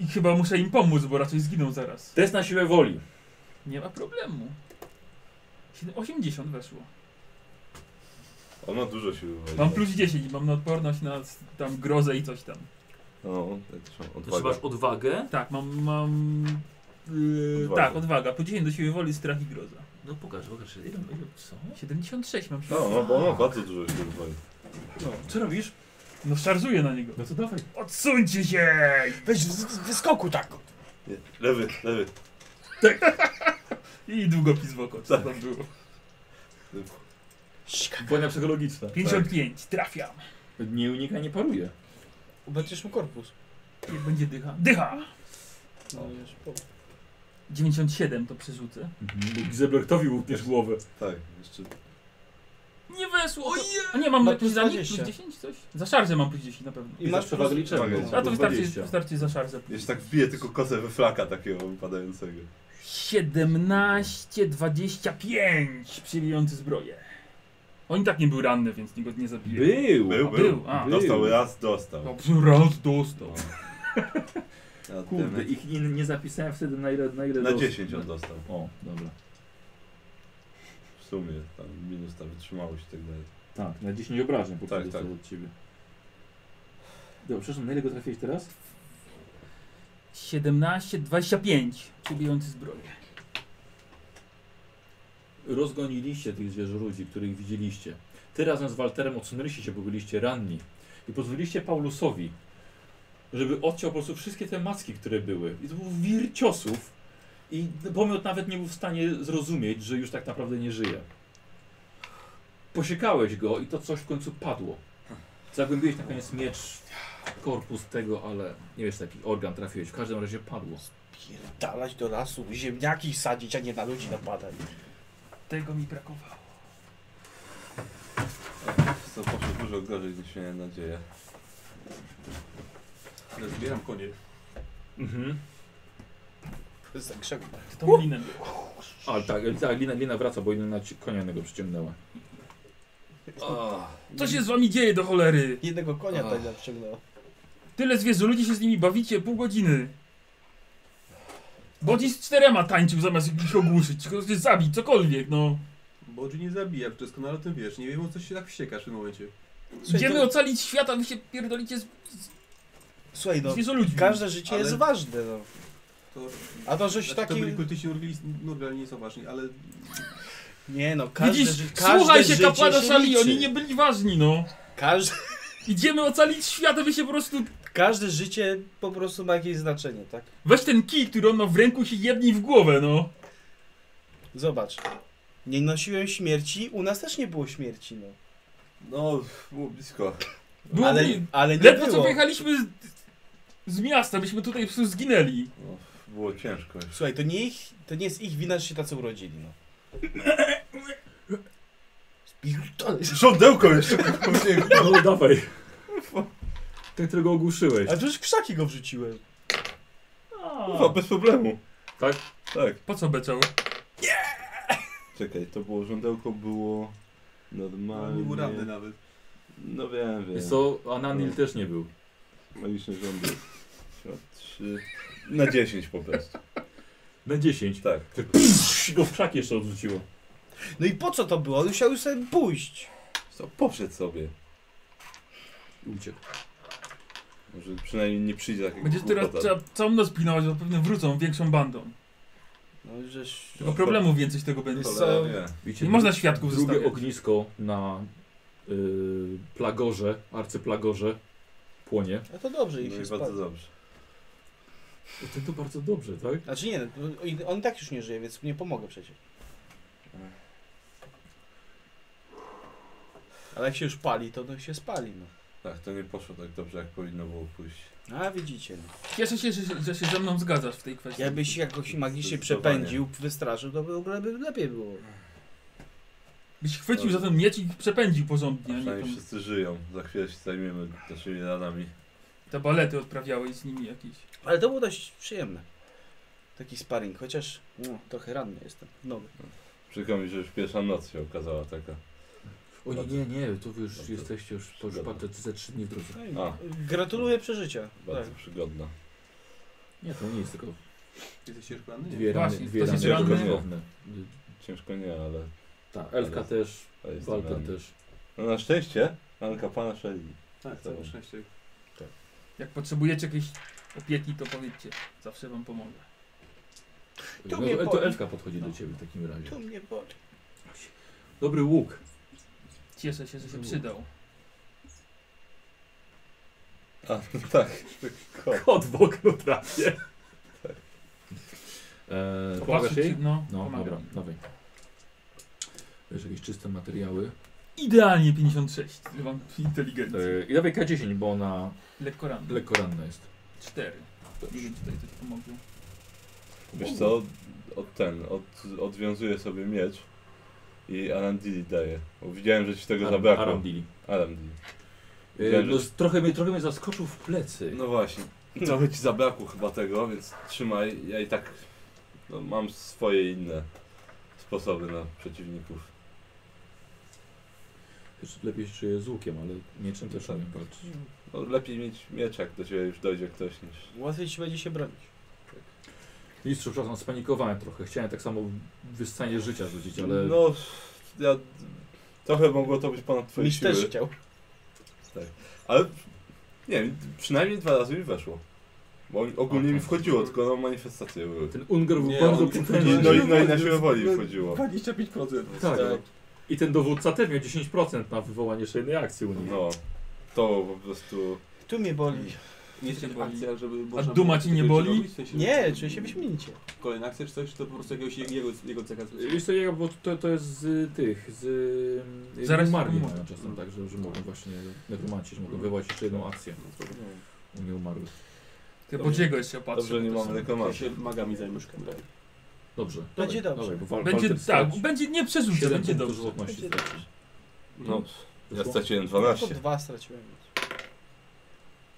[SPEAKER 2] i chyba muszę im pomóc, bo raczej zginą zaraz.
[SPEAKER 1] Test na siłę woli.
[SPEAKER 2] Nie ma problemu. 80 weszło.
[SPEAKER 4] On ma dużo siły.
[SPEAKER 2] Mam plus 10, mam na odporność na s- tam grozę i coś tam.
[SPEAKER 4] No, ja też mam
[SPEAKER 1] Znaczy
[SPEAKER 4] odwagę.
[SPEAKER 1] masz odwagę.
[SPEAKER 2] Tak, mam. mam yy,
[SPEAKER 4] Odwaga.
[SPEAKER 2] Tak, odwaga. Po 10 do siły woli, strach i groza.
[SPEAKER 1] No pokażę, pokażę. Ile, ile, co?
[SPEAKER 2] 76 mam
[SPEAKER 4] No,
[SPEAKER 2] siły.
[SPEAKER 4] no, bo on ma bardzo dużo siły. woli.
[SPEAKER 1] Co robisz?
[SPEAKER 2] No szarżuję na niego.
[SPEAKER 1] No to dawaj.
[SPEAKER 2] Odsuńcie się!
[SPEAKER 6] Weź w z- wyskoku tak!
[SPEAKER 4] Nie, Lewy, lewy.
[SPEAKER 2] I długopis w oko, co tam było.
[SPEAKER 1] Błania psychologiczna.
[SPEAKER 2] 55, trafiam.
[SPEAKER 1] Nie unika, nie paruje.
[SPEAKER 6] Ubędziesz mu korpus.
[SPEAKER 2] Jak będzie dycha? Dycha!
[SPEAKER 6] No, wiesz, po-
[SPEAKER 2] 97 to przerzucę.
[SPEAKER 1] Mhm. Zeblektowi łupniesz głowę.
[SPEAKER 4] Tak, jeszcze
[SPEAKER 2] Nie weszło! A nie, mam
[SPEAKER 6] Ma
[SPEAKER 2] na plus
[SPEAKER 6] No plus
[SPEAKER 2] za nich?
[SPEAKER 6] 20.
[SPEAKER 2] Plus 10 coś? Za szarżę mam plus 10 na pewno.
[SPEAKER 1] I masz przewagę liczebną.
[SPEAKER 4] Przewagę
[SPEAKER 2] A to
[SPEAKER 4] plus
[SPEAKER 2] wystarczy,
[SPEAKER 1] 20.
[SPEAKER 2] wystarczy za szarżę.
[SPEAKER 4] Jeszcze tak wbije tylko kosę we flaka takiego wypadającego.
[SPEAKER 2] 17, 25 przyjmujący zbroję. On i tak nie był ranny, więc nikt go nie zabije.
[SPEAKER 1] Był.
[SPEAKER 4] Był, był.
[SPEAKER 2] był, a.
[SPEAKER 4] Dostał raz, dostał.
[SPEAKER 2] Dobrze, raz dostał.
[SPEAKER 4] A
[SPEAKER 1] Kurde,
[SPEAKER 4] dymy-
[SPEAKER 1] ich nie, nie zapisałem wtedy na ile na ile
[SPEAKER 4] Na
[SPEAKER 1] dos-
[SPEAKER 4] 10 on dostał.
[SPEAKER 1] O, dobra.
[SPEAKER 4] W sumie, tam minus ta wytrzymałość i tak dalej.
[SPEAKER 1] Tak, na 10 obrażeń po
[SPEAKER 4] Tak,
[SPEAKER 1] prostu
[SPEAKER 4] tak.
[SPEAKER 1] od ciebie. Dobra, przepraszam, na ile go trafiłeś teraz?
[SPEAKER 2] 17, 25 przyjmujący zbroję.
[SPEAKER 1] Rozgoniliście tych zwierzoludzi, których widzieliście. Ty razem z Walterem odsunęliście się, bo byliście ranni. I pozwoliliście Paulusowi, żeby odciął po prostu wszystkie te macki, które były. I to był wir ciosów. I pomiot nawet nie był w stanie zrozumieć, że już tak naprawdę nie żyje. Posiekałeś go i to coś w końcu padło. Zagłębiłeś na koniec miecz w korpus tego, ale nie wiesz, taki organ trafiłeś. W każdym razie padło.
[SPEAKER 6] Pierdalać do lasu, ziemniaki sadzić, a nie na ludzi napadać.
[SPEAKER 2] Tego mi brakowało.
[SPEAKER 4] Co poszło dużo gorzej niż miałem nadzieję.
[SPEAKER 3] Ale zbieram konie.
[SPEAKER 1] Mhm.
[SPEAKER 6] Za krzewu.
[SPEAKER 2] Czy to linem było?
[SPEAKER 1] Ale tak, tak Lina, Lina wraca, bo inna ci konia innego przyciągnęła.
[SPEAKER 2] Co się z wami dzieje do cholery?
[SPEAKER 6] Jednego konia tak tutaj zaciągnęło.
[SPEAKER 2] Tyle zwierzę, ludzi się z nimi bawicie, pół godziny. Bodzi z czterema tańczył zamiast ich ogłuszyć, kogoś zabić, cokolwiek, no.
[SPEAKER 8] Bodzi nie zabija, doskonale o tym wiesz. Nie wiem, o co się tak wściekasz w tym momencie.
[SPEAKER 2] Idziemy
[SPEAKER 6] to-
[SPEAKER 2] ocalić świat, a wy się pierdolicie z,
[SPEAKER 6] Słuchaj, no,
[SPEAKER 2] z zwierzoludźmi.
[SPEAKER 6] każde życie
[SPEAKER 8] Ale-
[SPEAKER 6] jest ważne, no.
[SPEAKER 8] To,
[SPEAKER 6] A to żeś
[SPEAKER 8] znaczy,
[SPEAKER 6] taki...
[SPEAKER 8] to byli kultyści Nurgli- Nurgali, nie są ważni, ale
[SPEAKER 6] Nie no, każde,
[SPEAKER 2] Widzisz,
[SPEAKER 6] ży... każde
[SPEAKER 2] słuchaj się
[SPEAKER 6] życie
[SPEAKER 2] kapłana szali,
[SPEAKER 6] liczy.
[SPEAKER 2] oni nie byli ważni, no.
[SPEAKER 6] Każde,
[SPEAKER 2] Idziemy ocalić świat, a wy się po prostu...
[SPEAKER 6] każde życie po prostu ma jakieś znaczenie, tak?
[SPEAKER 2] Weź ten kij, który on ma w ręku i się jedni w głowę, no.
[SPEAKER 6] Zobacz. Nie nosiłem śmierci, u nas też nie było śmierci, no.
[SPEAKER 4] No, było blisko.
[SPEAKER 2] Było
[SPEAKER 6] ale,
[SPEAKER 2] bli-
[SPEAKER 6] ale nie
[SPEAKER 2] Ledwo co
[SPEAKER 6] było.
[SPEAKER 2] wyjechaliśmy z, z miasta, byśmy tutaj po prostu zginęli.
[SPEAKER 4] No, było ciężko.
[SPEAKER 6] Słuchaj, to nie, ich, to nie jest ich wina, że się tacy urodzili, no. Spierdolę.
[SPEAKER 4] Żądełko jeszcze [LAUGHS] później.
[SPEAKER 1] No dawaj. [LAUGHS] Ten, którego ogłuszyłeś.
[SPEAKER 6] A to już krzaki go wrzuciłem.
[SPEAKER 4] Ufa, bez problemu.
[SPEAKER 1] Tak?
[SPEAKER 4] Tak.
[SPEAKER 2] Po co beczał?
[SPEAKER 4] Czekaj, to było żądełko, było
[SPEAKER 8] on nie był ranny
[SPEAKER 4] normalnie...
[SPEAKER 8] nawet.
[SPEAKER 4] No wiem, wiem.
[SPEAKER 1] Wiesz co, Ananil też nie był.
[SPEAKER 4] Magiczny rządy. Świat 3. Na 10 po prostu.
[SPEAKER 1] Na 10.
[SPEAKER 4] Tak.
[SPEAKER 1] Ty- psz, Go w krzak jeszcze odrzuciło.
[SPEAKER 6] No i po co to było? On chciał już sobie pójść.
[SPEAKER 4] Co, poszedł sobie.
[SPEAKER 1] I Uciekł.
[SPEAKER 4] Może przynajmniej nie przyjdzie tak jak
[SPEAKER 7] Będzie teraz
[SPEAKER 4] głupota.
[SPEAKER 7] trzeba całą noc pilnować, bo pewnie wrócą większą bandą.
[SPEAKER 6] No żeż...
[SPEAKER 7] Tylko problemów więcej z tego będzie.
[SPEAKER 4] No
[SPEAKER 6] Jest-
[SPEAKER 4] Cholernie.
[SPEAKER 1] Widzicie,
[SPEAKER 7] Nie można świadków
[SPEAKER 1] tak. Drugie
[SPEAKER 7] zostawiać.
[SPEAKER 1] ognisko na y, plagorze, arcyplagorze płonie.
[SPEAKER 6] No to dobrze, ich
[SPEAKER 4] No
[SPEAKER 6] się
[SPEAKER 4] i
[SPEAKER 6] spadł.
[SPEAKER 4] bardzo dobrze.
[SPEAKER 1] O, ten to bardzo dobrze, tak?
[SPEAKER 6] Znaczy nie, no, on i tak już nie żyje, więc nie pomogę przecież. Ale jak się już pali, to no się spali, no.
[SPEAKER 4] Tak, to nie poszło tak dobrze, jak powinno było pójść.
[SPEAKER 6] A widzicie, no.
[SPEAKER 7] Cieszę się, że, się- że się ze mną zgadzasz w tej kwestii.
[SPEAKER 6] Jakbyś jakoś magicznie
[SPEAKER 4] Zdecydowanie.
[SPEAKER 6] przepędził, wystraszył, to by w ogóle by lepiej było.
[SPEAKER 7] Byś chwycił za ten miecz i przepędził porządnie, a nie
[SPEAKER 4] Przynajmniej
[SPEAKER 7] tam
[SPEAKER 4] wszyscy żyją. Za chwilę się zajmiemy naszymi ranami.
[SPEAKER 7] te balety odprawiałeś z nimi jakieś.
[SPEAKER 6] Ale to było dość przyjemne. Taki sparring, chociaż no, trochę ranny jestem. No,
[SPEAKER 4] Przykro mi, że już pierwsza noc się okazała taka.
[SPEAKER 1] O nie,
[SPEAKER 4] Bardzo-
[SPEAKER 1] nie, nie, to wy już
[SPEAKER 4] bardzo
[SPEAKER 1] jesteście już, to już
[SPEAKER 4] przygodne.
[SPEAKER 1] patrzę, ze trzy dni w drodze.
[SPEAKER 6] no i
[SPEAKER 4] A.
[SPEAKER 6] gratuluję przeżycia. Tak.
[SPEAKER 4] Bardzo przygodna.
[SPEAKER 1] Nie, to nie jest tylko
[SPEAKER 8] Jesteś szklany?
[SPEAKER 1] dwie rany,
[SPEAKER 7] No Właśnie,
[SPEAKER 1] dwie
[SPEAKER 7] ktoś
[SPEAKER 1] rany
[SPEAKER 7] jest
[SPEAKER 4] ranny?
[SPEAKER 1] żołnierzowe. Y,
[SPEAKER 4] Ciężko nie, ale,
[SPEAKER 1] Tak, Elka
[SPEAKER 4] Ale-
[SPEAKER 1] też,
[SPEAKER 4] ale jest
[SPEAKER 1] Walter też.
[SPEAKER 4] No na szczęście, Anka pana szeli.
[SPEAKER 8] Tak, całe szczęście.
[SPEAKER 7] Jak potrzebujecie jakiejś opieki, to powiedzcie. Zawsze wam pomogę.
[SPEAKER 1] No,
[SPEAKER 6] mnie
[SPEAKER 1] to, to
[SPEAKER 6] boli. No.
[SPEAKER 1] Elka podchodzi do ciebie w takim razie.
[SPEAKER 6] To Tak. mnie boli.
[SPEAKER 1] Dobry łuk.
[SPEAKER 7] Cieszę się, że się przydał.
[SPEAKER 4] A, tak. Kot.
[SPEAKER 1] Kot w okno trafie. Eee, pomagasz
[SPEAKER 7] Popatrzcie,
[SPEAKER 1] jej?
[SPEAKER 7] No,
[SPEAKER 1] No,
[SPEAKER 7] pomagam.
[SPEAKER 1] dobra, dawaj. Wiesz, jakieś czyste materiały.
[SPEAKER 7] Idealnie 56. Tyle mam inteligencji.
[SPEAKER 1] Eee, I dawaj K10, bo ona
[SPEAKER 7] Lekko rano.
[SPEAKER 1] lekko ranna jest.
[SPEAKER 7] 4. Nie wiem, czy tutaj coś pomogło.
[SPEAKER 4] Wiesz co, od ten, od, odwiązuje sobie miecz i Arandili daje. Bo widziałem, że ci tego
[SPEAKER 1] Aram-
[SPEAKER 4] zabrakło.
[SPEAKER 1] Arandili.
[SPEAKER 4] Arandili.
[SPEAKER 1] Eee, no, z- trochę, mnie, trochę mnie zaskoczył w plecy.
[SPEAKER 4] No właśnie. Trochę ci zabrakło chyba tego, więc trzymaj. Ja i tak no, mam swoje inne sposoby na przeciwników.
[SPEAKER 1] Jeszcze Lepiej się czuję z łukiem, ale mieczem też
[SPEAKER 4] Tak.
[SPEAKER 1] umiem walczyć.
[SPEAKER 4] No, lepiej mieć miecz, jak do ciebie już dojdzie ktoś niż...
[SPEAKER 6] Łatwiej ci będzie się bronić.
[SPEAKER 1] Mistrzu, przepraszam, spanikowałem trochę. Chciałem tak samo wyssanie życia rzucić, ale...
[SPEAKER 4] No, ja... Trochę mogło to być ponad twoje
[SPEAKER 6] Miś
[SPEAKER 4] siły.
[SPEAKER 6] też chciał.
[SPEAKER 4] Ale nie wiem, przynajmniej dwa razy mi weszło. Bo ogólnie
[SPEAKER 1] tak.
[SPEAKER 4] mi wchodziło, tylko na manifestacje były.
[SPEAKER 1] Ten Unger był
[SPEAKER 8] Nie,
[SPEAKER 1] bardzo
[SPEAKER 8] on-
[SPEAKER 1] przytężny.
[SPEAKER 4] No i, no i na siłę woli wchodziło.
[SPEAKER 8] 25%.
[SPEAKER 1] Tak. I ten dowódca też miał 10% na wywołanie szejnej akcji u niego.
[SPEAKER 4] No, to po prostu...
[SPEAKER 6] Tu mnie boli.
[SPEAKER 8] Nie jest
[SPEAKER 7] Cię
[SPEAKER 8] jakaś
[SPEAKER 7] boli.
[SPEAKER 8] akcja, żeby...
[SPEAKER 7] A duma ci nie boli?
[SPEAKER 6] Nie, czuję się wyśmienicie.
[SPEAKER 8] Kolejna akcja czy coś, czy to po prostu jakiegoś jego, jego cecha
[SPEAKER 1] Wiesz co, ja, bo to, to jest z tych, z... y,
[SPEAKER 7] Zaraz
[SPEAKER 1] Nieumarli
[SPEAKER 7] mówię.
[SPEAKER 1] mają czasem tak, że, że mogą właśnie nekromanci, że mogą wywołać jeszcze jedną akcję u nieumarłych.
[SPEAKER 7] Tylko Bodziego jeszcze opatrzę.
[SPEAKER 4] Dobrze, nie
[SPEAKER 7] bo to
[SPEAKER 4] mamy
[SPEAKER 7] są-
[SPEAKER 8] Ja
[SPEAKER 4] reklamacji.
[SPEAKER 8] się magami zajmę szkoda.
[SPEAKER 1] Dobrze.
[SPEAKER 6] Będzie
[SPEAKER 1] dawaj,
[SPEAKER 6] dobrze.
[SPEAKER 1] Dawaj, bo Wal-
[SPEAKER 7] Będzie
[SPEAKER 1] Walter
[SPEAKER 7] tak,
[SPEAKER 1] straci
[SPEAKER 7] będzie nie przerzucę,
[SPEAKER 1] siedem
[SPEAKER 7] będzie
[SPEAKER 1] punktów
[SPEAKER 7] dobrze.
[SPEAKER 1] żywotności
[SPEAKER 6] Będzie
[SPEAKER 1] straci.
[SPEAKER 4] No, ja
[SPEAKER 1] Wyszło?
[SPEAKER 4] straciłem
[SPEAKER 6] To
[SPEAKER 4] 12.
[SPEAKER 6] dwa straciłem.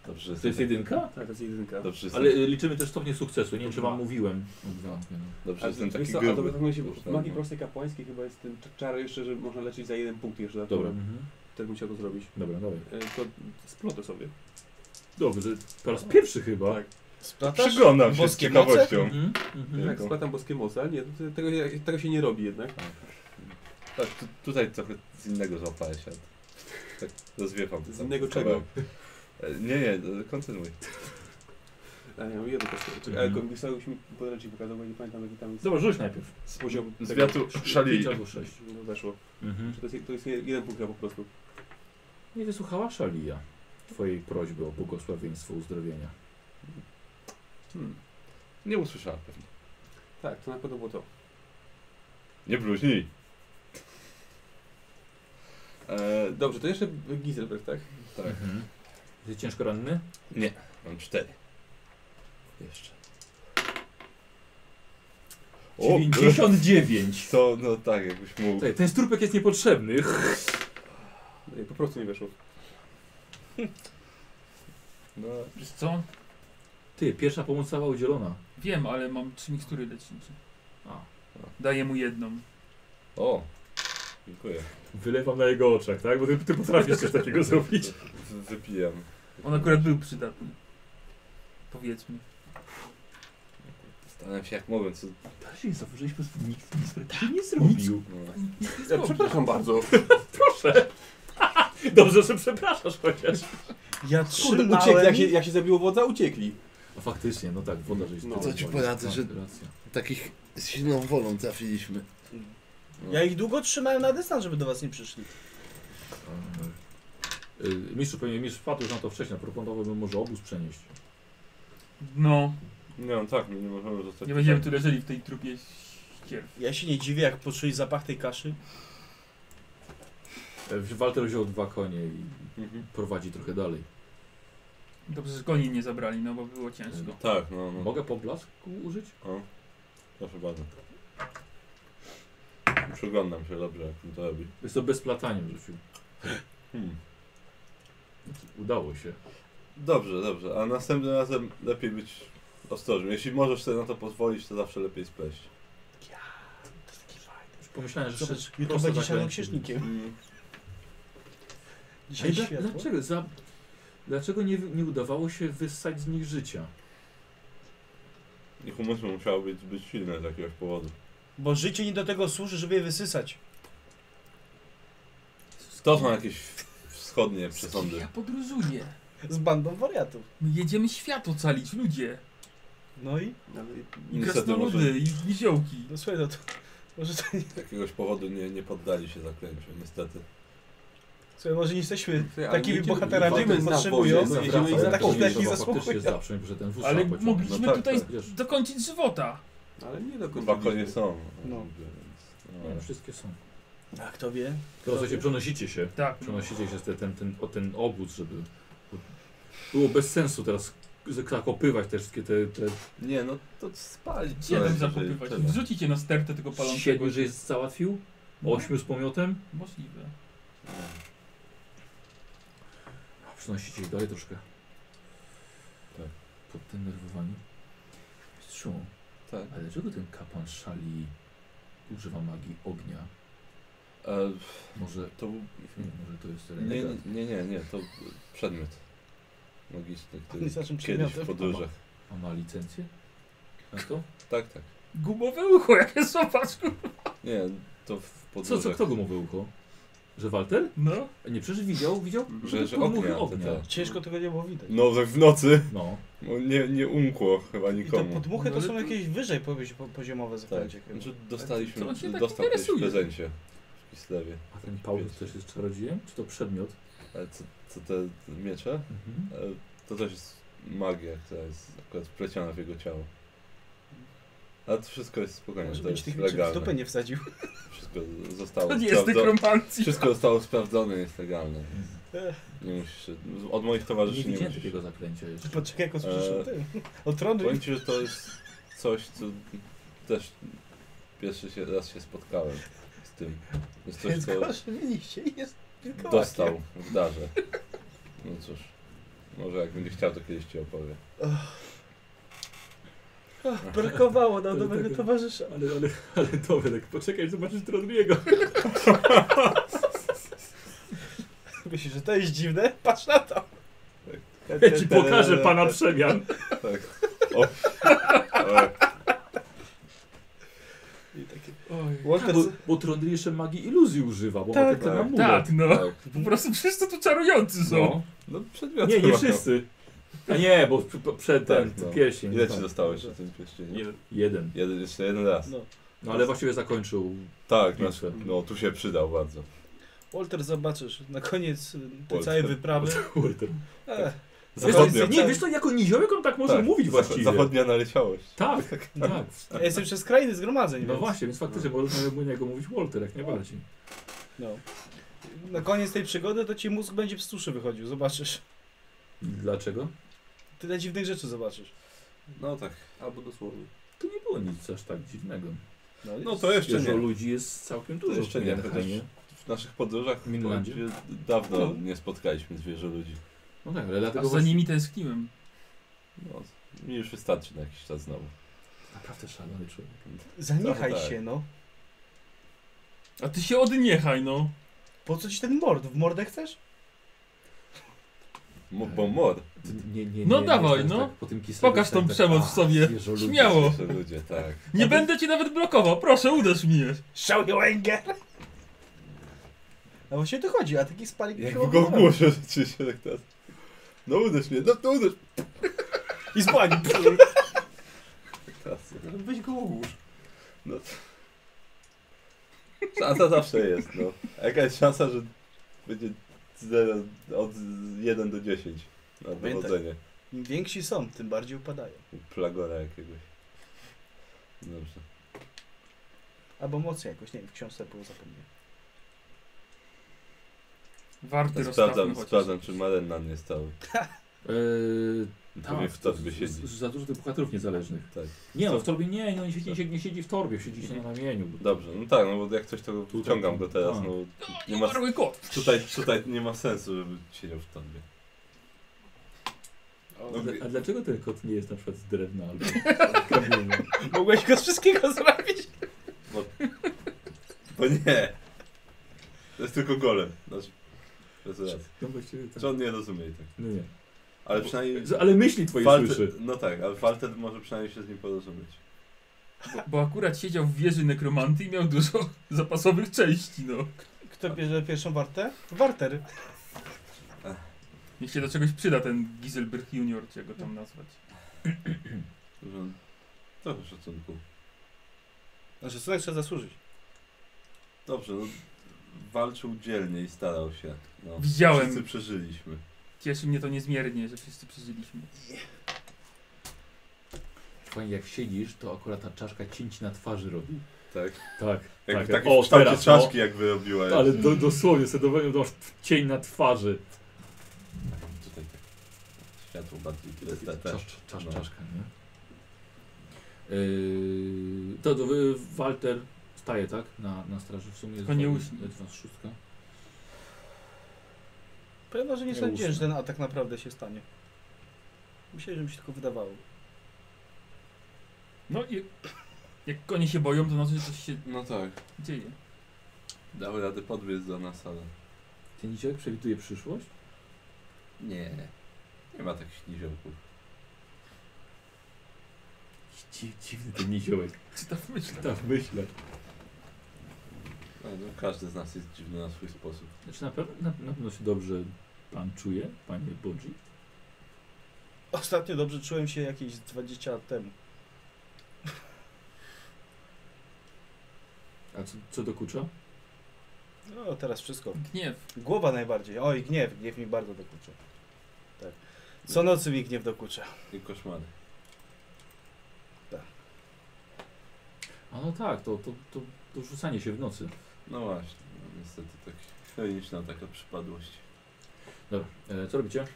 [SPEAKER 4] Dobrze,
[SPEAKER 1] To jest jedynka?
[SPEAKER 8] Tak, to jest jedynka.
[SPEAKER 4] Dobrze, jestem,
[SPEAKER 1] Ale y, liczymy też stopnie sukcesu, nie wiem czy wam mówiłem. Dwa.
[SPEAKER 4] dobrze, jestem
[SPEAKER 8] Wiesz
[SPEAKER 4] taki
[SPEAKER 8] co, a to
[SPEAKER 4] gruby. no.
[SPEAKER 8] wygląda się w
[SPEAKER 4] Dobrze.
[SPEAKER 8] magii prostej kapłańskiej chyba jest ten cz- czar jeszcze, że można leczyć za jeden punkt jeszcze.
[SPEAKER 1] Dobra. Mhm.
[SPEAKER 8] Też bym chciał to zrobić.
[SPEAKER 1] Dobra, dawaj.
[SPEAKER 8] E, To splotę sobie.
[SPEAKER 1] Dobrze, po raz pierwszy chyba.
[SPEAKER 8] Tak.
[SPEAKER 6] Splatasz?
[SPEAKER 4] Przyglądam się z
[SPEAKER 6] Boskie
[SPEAKER 4] ciekawością.
[SPEAKER 1] Mhm. Mhm.
[SPEAKER 8] Tak,
[SPEAKER 4] Wielką.
[SPEAKER 8] splatam boskie moce, ale nie, to- tego, tego się nie robi jednak.
[SPEAKER 4] Tak, tu, tutaj trochę z innego złapałeś, ale tak rozwiewam.
[SPEAKER 8] Z
[SPEAKER 4] tam
[SPEAKER 8] innego
[SPEAKER 4] kawałek. E, Nie, nie, e, kontynuuj.
[SPEAKER 8] A ja mam jedno kosztuje. Czekaj,
[SPEAKER 1] Mhm.
[SPEAKER 8] ale komisarz już mi podręcznik pokazał, bo nie pamiętam jaki tam jest
[SPEAKER 1] Dobra, rzuć najpierw.
[SPEAKER 8] z poziomu.
[SPEAKER 4] Z
[SPEAKER 8] tego-
[SPEAKER 4] wiatru szali.
[SPEAKER 1] Pięć albo sześć.
[SPEAKER 8] No weszło.
[SPEAKER 1] Mhm.
[SPEAKER 8] Czy to jest, to jest jeden punkt po prostu.
[SPEAKER 1] Nie wysłuchała Szalia twojej prośby o błogosławieństwo uzdrowienia.
[SPEAKER 8] Hmm.
[SPEAKER 4] Nie usłyszała pewnie.
[SPEAKER 8] Tak, to na pewno było to.
[SPEAKER 4] Nie bluźnij. E,
[SPEAKER 8] Dobrze, to jeszcze Giselbrecht, tak?
[SPEAKER 4] Tak.
[SPEAKER 1] Mhm. Jesteś ciężko ranny?
[SPEAKER 4] Mam cztery. Jeszcze. O,
[SPEAKER 1] 99!
[SPEAKER 4] To, no tak, jakbyś mógł.
[SPEAKER 1] Tutaj, ten strupek jest niepotrzebny.
[SPEAKER 8] Nie, Po prostu nie weszło.
[SPEAKER 4] [LAUGHS] No,
[SPEAKER 7] Wiesz co?
[SPEAKER 1] Ty, pierwsza pomoc cała udzielona.
[SPEAKER 7] Wiem, ale mam trzy mikstury lecznicze.
[SPEAKER 1] A.
[SPEAKER 7] Daję mu jedną.
[SPEAKER 4] o, dziękuję.
[SPEAKER 1] Wylewam na jego oczach, tak? Bo ty, ty potrafisz coś takiego
[SPEAKER 8] [LAUGHS]
[SPEAKER 1] zrobić.
[SPEAKER 4] W- Wypijam.
[SPEAKER 7] On akurat był przydatny. Powiedzmy.
[SPEAKER 4] Zastanawiam się jak mogę, co...
[SPEAKER 1] Też nie zauważyliśmy, że nikt Tak, nic praktycznie nie zrobił.
[SPEAKER 4] No.
[SPEAKER 8] Ja przepraszam bardzo.
[SPEAKER 1] Proszę. Dobrze, że przepraszasz chociaż.
[SPEAKER 6] Ja
[SPEAKER 8] Kurde,
[SPEAKER 6] trzymałem...
[SPEAKER 8] uciekli, jak się, jak się zabiło wodza, uciekli.
[SPEAKER 1] A faktycznie, no tak, woda, że jest
[SPEAKER 8] No,
[SPEAKER 1] tylko
[SPEAKER 3] co ci
[SPEAKER 1] woda,
[SPEAKER 3] poradzę,
[SPEAKER 1] tak,
[SPEAKER 3] że-
[SPEAKER 1] racja.
[SPEAKER 3] Takich z silną wolą trafiliśmy.
[SPEAKER 4] No.
[SPEAKER 6] Ja ich długo trzymałem na dystans, żeby do was nie przyszli.
[SPEAKER 1] Y, Mistrz, pewnie mistrz wpadł już na to wcześniej, proponowałbym może obóz przenieść.
[SPEAKER 2] No,
[SPEAKER 4] Nie, no tak, my nie możemy zostać
[SPEAKER 2] nie będziemy
[SPEAKER 4] tutaj.
[SPEAKER 2] tu leżeli w tej trupie ścierw.
[SPEAKER 6] Ja się nie dziwię, jak poczuli zapach tej kaszy.
[SPEAKER 1] Y, Walter wziął dwa konie i
[SPEAKER 4] Mhm.
[SPEAKER 1] prowadzi trochę dalej.
[SPEAKER 2] Dobrze, że koni nie zabrali, no bo było ciężko.
[SPEAKER 4] Tak, no, no.
[SPEAKER 1] Mogę poblasku użyć?
[SPEAKER 4] O, proszę bardzo. Przyglądam się dobrze, jak on to robi.
[SPEAKER 1] Jest to bez platania rzucił.
[SPEAKER 4] Hmm.
[SPEAKER 1] Udało się.
[SPEAKER 4] Dobrze, dobrze. A następnym razem lepiej być ostrożnym. Jeśli możesz sobie na to pozwolić, to zawsze lepiej spleść.
[SPEAKER 1] Już pomyślałem, że
[SPEAKER 6] Zobacz,
[SPEAKER 1] szedł
[SPEAKER 6] jutro
[SPEAKER 1] prosto tak
[SPEAKER 6] będzie
[SPEAKER 1] za
[SPEAKER 6] siadł
[SPEAKER 1] kręg.
[SPEAKER 6] księżnikiem.
[SPEAKER 4] Mm.
[SPEAKER 1] Ej,
[SPEAKER 6] Dzisiaj
[SPEAKER 1] dla-
[SPEAKER 6] światło.
[SPEAKER 1] Dlaczego, za, dlaczego nie, nie udawało się wyssać z nich życia?
[SPEAKER 4] Ich umysł musiał być, być silny z jakiegoś powodu.
[SPEAKER 6] Bo życie nie do tego służy, żeby je wysysać.
[SPEAKER 4] To są jakieś wschodnie przesądy.
[SPEAKER 2] Ja podróżuję.
[SPEAKER 6] Z bandą wariatów.
[SPEAKER 2] My jedziemy świat ocalić, ludzie.
[SPEAKER 6] No i?
[SPEAKER 2] I
[SPEAKER 4] Niestety może-
[SPEAKER 2] krasnoludy, i niziołki.
[SPEAKER 6] No słuchaj, no to... Może to nie...
[SPEAKER 4] Z jakiegoś powodu nie, nie poddali się zaklęciu, niestety.
[SPEAKER 6] Słuchaj, może nie jesteśmy
[SPEAKER 8] Słuchaj, ale
[SPEAKER 6] takimi
[SPEAKER 8] jedziemy-
[SPEAKER 6] bohaterami,
[SPEAKER 8] jedziemy
[SPEAKER 6] jak
[SPEAKER 8] na
[SPEAKER 6] potrzebują.
[SPEAKER 8] wozie,
[SPEAKER 6] i
[SPEAKER 8] jedziemy i
[SPEAKER 6] takich,
[SPEAKER 8] na
[SPEAKER 6] takich
[SPEAKER 8] konie,
[SPEAKER 1] zapomnieć,
[SPEAKER 6] takich
[SPEAKER 1] trzeba
[SPEAKER 6] zasługują.
[SPEAKER 1] faktycznie zawsze, że ten wóz
[SPEAKER 2] Ale
[SPEAKER 1] trzeba pociągnąć. No,
[SPEAKER 2] mogliśmy
[SPEAKER 4] tak,
[SPEAKER 2] tutaj
[SPEAKER 4] tak.
[SPEAKER 1] Wiesz,
[SPEAKER 2] dokończyć żywota.
[SPEAKER 8] Ale nie do końca.
[SPEAKER 4] Dwa konie są.
[SPEAKER 6] No.
[SPEAKER 4] Więc,
[SPEAKER 1] no,
[SPEAKER 4] no.
[SPEAKER 1] wszystkie są.
[SPEAKER 6] A kto wie?
[SPEAKER 1] To w sensie przenosicie się.
[SPEAKER 2] Tak, no.
[SPEAKER 1] Przenosicie się z te, ten, ten, o ten obóz, żeby... Było bez sensu teraz zakopywać te wszystkie te, te
[SPEAKER 4] Nie, no to spalić.
[SPEAKER 2] Gdzie tam zakopywać? Wrzucicie na stertę tego palącego.
[SPEAKER 1] siedmiu, że jest załatwił? Ośmiu z pomiotem?
[SPEAKER 2] Możliwe.
[SPEAKER 1] A, Przenosicie ich dalej troszkę.
[SPEAKER 4] Tak.
[SPEAKER 1] Poddenerwowani. Mistrzu,
[SPEAKER 4] Tak.
[SPEAKER 1] ale dlaczego ten kapłan szali używa magii ognia?
[SPEAKER 4] E,
[SPEAKER 1] Może,
[SPEAKER 4] to był
[SPEAKER 1] nie, wiem, może to jest
[SPEAKER 4] Nie,
[SPEAKER 1] renegat?
[SPEAKER 4] nie, nie, nie, to przedmiot magiczny,
[SPEAKER 6] On
[SPEAKER 4] który
[SPEAKER 6] jest naszym
[SPEAKER 4] kiedyś w
[SPEAKER 6] przedmiotem.
[SPEAKER 4] podróżach.
[SPEAKER 1] A ma licencję? Na to?
[SPEAKER 4] Tak, tak.
[SPEAKER 2] Gumowe ucho, jakie sopaczku.
[SPEAKER 4] Nie, to w
[SPEAKER 1] Co,
[SPEAKER 4] podróżach.
[SPEAKER 1] co, kto go mówi ucho? Że Walter?
[SPEAKER 2] No.
[SPEAKER 1] Nie, przecież widział, widział?
[SPEAKER 4] Że, że
[SPEAKER 1] Tylko mówił
[SPEAKER 4] ognia, to
[SPEAKER 1] ognia.
[SPEAKER 4] tak.
[SPEAKER 6] Ciężko tego nie było widać.
[SPEAKER 4] No, że w nocy
[SPEAKER 1] No,
[SPEAKER 4] no, nie, nie umkło chyba
[SPEAKER 6] I te
[SPEAKER 4] nikomu.
[SPEAKER 6] podmuchy
[SPEAKER 2] No,
[SPEAKER 6] to
[SPEAKER 2] ale
[SPEAKER 6] są
[SPEAKER 2] to-
[SPEAKER 6] jakieś wyżej powie- po- poziomowe
[SPEAKER 4] Tak,
[SPEAKER 6] zaklęcie chyba.
[SPEAKER 4] znaczy dostaliśmy,
[SPEAKER 2] To on się tak
[SPEAKER 4] dostał kiedyś w
[SPEAKER 2] interesuje.
[SPEAKER 4] prezencie w Kislewie.
[SPEAKER 1] a ten Paulus też jest czarodziejem? Czy to przedmiot?
[SPEAKER 4] Ale co, co te miecze?
[SPEAKER 1] Mhm.
[SPEAKER 4] E, To też jest magia, która jest akurat wpleciona w jego ciało. Ale to wszystko jest spokojnie,
[SPEAKER 6] Może
[SPEAKER 4] to
[SPEAKER 6] być
[SPEAKER 4] jest
[SPEAKER 6] tych liczek w dupę
[SPEAKER 4] legalne.
[SPEAKER 6] nie wsadził. [LAUGHS]
[SPEAKER 4] Wszystko zostało
[SPEAKER 2] To nie jest
[SPEAKER 4] sprawdzone.
[SPEAKER 2] nekromancji.
[SPEAKER 4] Wszystko zostało sprawdzone, jest legalne. Nie musisz, się- od moich
[SPEAKER 1] Nie
[SPEAKER 4] towarzyszy nie,
[SPEAKER 1] widziałem
[SPEAKER 4] musisz.
[SPEAKER 1] takiego zaklęcia jeszcze.
[SPEAKER 6] Poczekaj, jak usłyszysz o
[SPEAKER 4] Eee.
[SPEAKER 6] tym. O tronu.
[SPEAKER 4] Powiem ci, że to jest coś, co też pierwszy się, raz się spotkałem z tym. Jest coś,
[SPEAKER 6] Jest
[SPEAKER 4] co
[SPEAKER 6] gorszy niż się jest wilkołakiem.
[SPEAKER 4] dostał w darze. No cóż, może jak będzie chciał, to kiedyś ci opowie.
[SPEAKER 6] Ach, Brakowało
[SPEAKER 1] To
[SPEAKER 6] nam
[SPEAKER 1] tego-
[SPEAKER 6] nowego towarzysza.
[SPEAKER 1] Ale, ale, ale Tomek, poczekaj, zobaczysz Trondiego.
[SPEAKER 6] Myślisz, że to jest dziwne? Patrz na to!
[SPEAKER 1] Ja ci pokażę pana przemian.
[SPEAKER 4] Tak. O. Tak. Ale
[SPEAKER 6] I takie...
[SPEAKER 2] Oj.
[SPEAKER 6] Walter,
[SPEAKER 1] Bo, bo Trondri jeszcze magii iluzji używa, bo
[SPEAKER 6] Tak.
[SPEAKER 1] tak, ma
[SPEAKER 4] Tak.
[SPEAKER 1] murę.
[SPEAKER 2] Tak, no.
[SPEAKER 4] tak.
[SPEAKER 2] Po prostu wszyscy tu czarujący są.
[SPEAKER 1] No.
[SPEAKER 4] No przedmioty. [LAUGHS]
[SPEAKER 1] Nie, nie
[SPEAKER 4] ma,
[SPEAKER 1] wszyscy. A nie, bo przed prze ten
[SPEAKER 4] Tak, no.
[SPEAKER 1] pierścień.
[SPEAKER 4] No. Ile
[SPEAKER 1] tak.
[SPEAKER 4] ci zostało jeszcze w tym pieścieniu?
[SPEAKER 1] Jeden.
[SPEAKER 4] Jeden, jeszcze jeden raz.
[SPEAKER 6] no,
[SPEAKER 1] No ale właściwie zakończył.
[SPEAKER 4] Tak, no,
[SPEAKER 1] Bitwę.
[SPEAKER 4] no tu się przydał bardzo.
[SPEAKER 6] Walter zobaczysz, na koniec y, tej
[SPEAKER 4] Walter.
[SPEAKER 6] całej wyprawy.
[SPEAKER 1] Kurde.
[SPEAKER 6] E,
[SPEAKER 4] Zachodnia.
[SPEAKER 1] Nie, Tak. wiesz to jako niziołek on tak może
[SPEAKER 4] Tak,
[SPEAKER 1] mówić
[SPEAKER 4] zach-
[SPEAKER 1] właściwie.
[SPEAKER 4] Zachodnia naleciałość.
[SPEAKER 1] Tak, tak.
[SPEAKER 6] ja jestem przez krainy zgromadzeń.
[SPEAKER 1] No
[SPEAKER 6] więc-
[SPEAKER 1] właśnie, więc faktycznie można mu niego mówić Walter, jak
[SPEAKER 4] Tak.
[SPEAKER 1] najbardziej.
[SPEAKER 6] No. Na koniec tej przygody to ci mózg będzie z suszy wychodził, zobaczysz.
[SPEAKER 1] Dlaczego?
[SPEAKER 6] Tyle dziwnych rzeczy zobaczysz.
[SPEAKER 4] No tak.
[SPEAKER 8] Albo dosłownie.
[SPEAKER 1] To nie było nic aż tak dziwnego.
[SPEAKER 4] No to jeszcze
[SPEAKER 1] Dużo
[SPEAKER 4] nie.
[SPEAKER 1] ludzi jest całkiem dużo.
[SPEAKER 4] jeszcze
[SPEAKER 1] w
[SPEAKER 4] nie,
[SPEAKER 1] Mindenheimie.
[SPEAKER 4] chociaż- W naszych podróżach
[SPEAKER 1] W Inlandzie?
[SPEAKER 4] powiem ci, dawno
[SPEAKER 6] No.
[SPEAKER 4] nie spotkaliśmy zwierzę ludzi.
[SPEAKER 1] No tak, ale
[SPEAKER 2] A
[SPEAKER 1] dlatego
[SPEAKER 2] za
[SPEAKER 1] właśnie...
[SPEAKER 2] nimi tęskniłem.
[SPEAKER 4] No, mi już wystarczy na jakiś czas znowu.
[SPEAKER 1] Naprawdę szalony człowiek.
[SPEAKER 6] Zaniechaj
[SPEAKER 4] Trochę tak.
[SPEAKER 6] się, no.
[SPEAKER 2] A ty się odniechaj, no.
[SPEAKER 6] Po co ci ten mord? W mordę chcesz?
[SPEAKER 4] Mo- Bo mor.
[SPEAKER 1] Ty- Nie, nie, nie,
[SPEAKER 7] No
[SPEAKER 1] nie,
[SPEAKER 7] dawaj,
[SPEAKER 1] jestem
[SPEAKER 7] no.
[SPEAKER 1] Tak, po tym kiselu
[SPEAKER 7] Pokaż
[SPEAKER 1] jestem
[SPEAKER 7] tą
[SPEAKER 1] tak,
[SPEAKER 7] przemoc
[SPEAKER 1] a,
[SPEAKER 7] w sobie.
[SPEAKER 1] zwierzoludzie.
[SPEAKER 7] Śmiało.
[SPEAKER 4] Jeszcze ludzie, tak.
[SPEAKER 7] Nie będę cię nawet blokował, proszę uderz mnie.
[SPEAKER 6] Show your anger! No właśnie tu chodzi, a taki spalik
[SPEAKER 4] Jak
[SPEAKER 6] się
[SPEAKER 4] w
[SPEAKER 1] No.
[SPEAKER 4] go
[SPEAKER 6] obudzi.
[SPEAKER 4] głosie rzeczywiście tak teraz. No uderz mnie, no to uderz.
[SPEAKER 6] I spali.
[SPEAKER 4] Klasy.
[SPEAKER 8] No, Weź go ogłusz.
[SPEAKER 4] No. Szansa zawsze jest, no. A Jaka jest szansa, że będzie zero, od 1 do 10 na
[SPEAKER 6] Pamiętaj.
[SPEAKER 4] dowodzenie
[SPEAKER 6] Im więksi są, tym bardziej upadają.
[SPEAKER 4] plagora jakiegoś. Dobrze.
[SPEAKER 6] Albo mocniej jakoś, nie wiem, w książce było zapomniałem.
[SPEAKER 7] Warty rozstawmy
[SPEAKER 4] Sprawdzam,
[SPEAKER 7] chociaż.
[SPEAKER 4] sprawdzam, czy Maren na mnie stał.
[SPEAKER 1] Eee,
[SPEAKER 4] Pewnie w torbie
[SPEAKER 1] z-
[SPEAKER 4] siedzi.
[SPEAKER 1] z- Za dużo tych bohaterów niezależnych.
[SPEAKER 4] Tak.
[SPEAKER 1] Nie, no w torbie nie, no nie siedzi, nie siedzi w torbie, siedzi na ramieniu.
[SPEAKER 4] Dobrze, no tak, no bo jak coś to
[SPEAKER 1] Tutaj-
[SPEAKER 4] wyciągam go teraz,
[SPEAKER 1] tak.
[SPEAKER 4] no. Nie ma,
[SPEAKER 7] Umarły kot.
[SPEAKER 4] tutaj, tutaj nie ma sensu, żeby siedział w torbie. no,
[SPEAKER 1] A dla- A dlaczego ten kot nie jest na przykład z drewna albo
[SPEAKER 4] [LAUGHS]
[SPEAKER 6] Mogłeś go z wszystkiego zrobić.
[SPEAKER 4] Bo nie! To jest tylko golem. Znaczy, bez racji.
[SPEAKER 1] No właściwie tak.
[SPEAKER 4] Czy on nie rozumie i tak.
[SPEAKER 1] No nie.
[SPEAKER 4] Ale przynajmniej...
[SPEAKER 1] Z- Ale myśli twoje
[SPEAKER 4] Walter-
[SPEAKER 1] słyszy.
[SPEAKER 4] No tak, ale Walter może przynajmniej się z nim porozumieć.
[SPEAKER 7] Bo, bo akurat siedział w wieży nekromanty i miał dużo [LAUGHS] zapasowych części, no.
[SPEAKER 6] Kto bierze pierwszą wartę? Warter.
[SPEAKER 7] Niech się do czegoś przyda ten Giselberg Junior, czy jak go tam nazwać.
[SPEAKER 4] Że on- Trochę szacunku.
[SPEAKER 6] Na szacunek Znaczy, tak trzeba zasłużyć.
[SPEAKER 4] Dobrze, no, walczył dzielnie i starał się. No.
[SPEAKER 7] Widziałem.
[SPEAKER 4] Wszyscy przeżyliśmy.
[SPEAKER 7] Cieszy mnie to niezmiernie, że wszyscy przeżyliśmy.
[SPEAKER 1] Fajnie, jak siedzisz, to akurat ta czaszka cięć na twarzy robi.
[SPEAKER 4] Tak?
[SPEAKER 1] Tak,
[SPEAKER 4] Jak
[SPEAKER 1] tak.
[SPEAKER 4] tak, w kształcie czaszki jakby robiła.
[SPEAKER 7] no.
[SPEAKER 1] O, ale do, dosłownie, sobie masz cień na twarzy.
[SPEAKER 4] Tutaj tak. Światło bardziej tyle
[SPEAKER 1] Czas,
[SPEAKER 4] te, te.
[SPEAKER 1] czas, czas,
[SPEAKER 4] No.
[SPEAKER 1] czaszka, nie? Yy, to, to wy- Walter staje, tak? Na, na straży w sumie.
[SPEAKER 7] Tylko nie
[SPEAKER 1] Dwa-
[SPEAKER 7] uśnie.
[SPEAKER 1] dwa z szóstka.
[SPEAKER 6] Powiem wam, że nie
[SPEAKER 1] Ja
[SPEAKER 6] sądziłem,
[SPEAKER 1] usnę.
[SPEAKER 6] że ten atak naprawdę się stanie. Myślałem, że mi się tylko wydawało.
[SPEAKER 7] No i jak konie się boją, to znaczy, że coś się
[SPEAKER 4] No tak.
[SPEAKER 7] dzieje.
[SPEAKER 4] Dały radę podbiec do nas, ale...
[SPEAKER 1] Ten niziołek przewiduje przyszłość?
[SPEAKER 4] Nie. Nie ma takich niziołków.
[SPEAKER 1] Dzi- Dziwny ten niziołek.
[SPEAKER 7] Czy tak myślę?
[SPEAKER 1] Tak, myślę.
[SPEAKER 4] No, no, każdy z nas jest dziwny na swój sposób.
[SPEAKER 1] Znaczy na pewno, na, na pewno się dobrze pan czuje, panie Bodzi?
[SPEAKER 6] Ostatnio dobrze czułem się jakieś 20 lat temu.
[SPEAKER 1] A co, co dokucza?
[SPEAKER 6] No teraz wszystko.
[SPEAKER 7] Gniew.
[SPEAKER 6] Głowa najbardziej. Oj, gniew. Gniew mi bardzo dokucza. Tak. Co nocy mi gniew dokucza.
[SPEAKER 4] I koszmary.
[SPEAKER 1] A no tak, to, to, to, to rzucanie się w nocy.
[SPEAKER 4] No właśnie, no, niestety tak chroniczna taka przypadłość.
[SPEAKER 1] Dobra, e, co robicie?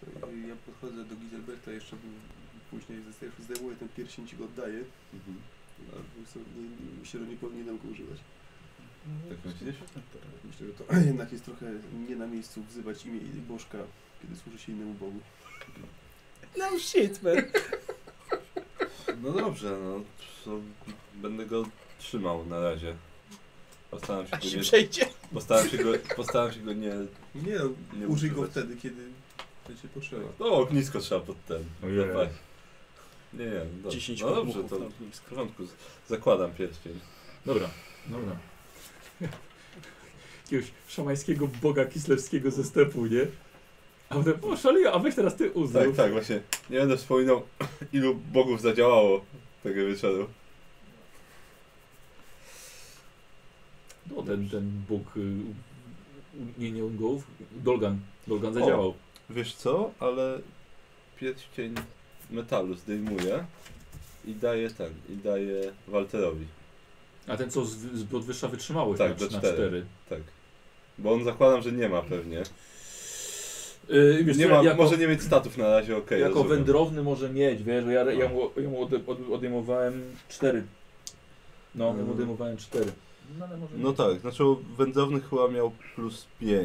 [SPEAKER 8] Słuchaj, Ja podchodzę do Gizelberta jeszcze był później zostaje- zdejmuję ten pierścień ci go oddaję.
[SPEAKER 4] Mhm.
[SPEAKER 8] Bo są- nie- nie- Myślę, że nie powinienem go używać.
[SPEAKER 4] Tak myślisz?
[SPEAKER 8] Myślę, że to [CLEARS THROAT] jednak jest trochę nie na miejscu wzywać imię Bożka, kiedy służy się innemu Bogu.
[SPEAKER 6] No shit, man.
[SPEAKER 4] [LAUGHS] No dobrze, no to będę go trzymał na razie. Postaram się
[SPEAKER 6] Aż
[SPEAKER 4] go
[SPEAKER 6] się
[SPEAKER 4] nie,
[SPEAKER 6] przejdzie.
[SPEAKER 4] postaram się go, postaram się go nie,
[SPEAKER 8] Nie no,
[SPEAKER 4] nie
[SPEAKER 8] użyj go
[SPEAKER 4] używać.
[SPEAKER 8] wtedy, kiedy będzie potrzeba.
[SPEAKER 4] No ognisko trzeba pod ten.
[SPEAKER 1] Ojej.
[SPEAKER 4] zapalić. Nie, nie, no, dobrze.
[SPEAKER 6] 10
[SPEAKER 4] no dobrze, to w porządku, z- zakładam pierścień.
[SPEAKER 1] Dobra, dobra. [LAUGHS] Jakiegoś szamańskiego boga kislewskiego ze stepu, nie? A potem, o szaleję, a weź teraz ty uznaj.
[SPEAKER 4] Tak, tak, właśnie. Nie będę wspominał [CLEARS THROAT] ilu bogów zadziałało tego wieczoru.
[SPEAKER 1] No, ten, ten bóg, y, u- nie, nie Ungołów, Dolgan, Dolgan zadziałał.
[SPEAKER 4] Wiesz co, ale pierścień metalu zdejmuję i daję ten, i daję Walterowi.
[SPEAKER 1] A ten co z, z podwyższa wytrzymałość
[SPEAKER 4] Tak,
[SPEAKER 1] na,
[SPEAKER 4] do
[SPEAKER 1] na
[SPEAKER 4] cztery.
[SPEAKER 1] 4.
[SPEAKER 4] Tak. Bo on zakładam, że nie ma pewnie.
[SPEAKER 1] Yy, wiesz,
[SPEAKER 4] Nie
[SPEAKER 1] co,
[SPEAKER 4] ma,
[SPEAKER 1] jako,
[SPEAKER 4] może nie mieć statów na razie, okej.
[SPEAKER 1] jako
[SPEAKER 4] rozumiem.
[SPEAKER 1] wędrowny może mieć, wiesz, ja, ja mu, ja mu ode, od, odejmowałem 4. No, ja mu
[SPEAKER 4] Mm.
[SPEAKER 1] odejmowałem 4. No, ale może
[SPEAKER 4] No tak, znaczy wędrowny chyba miał plus 5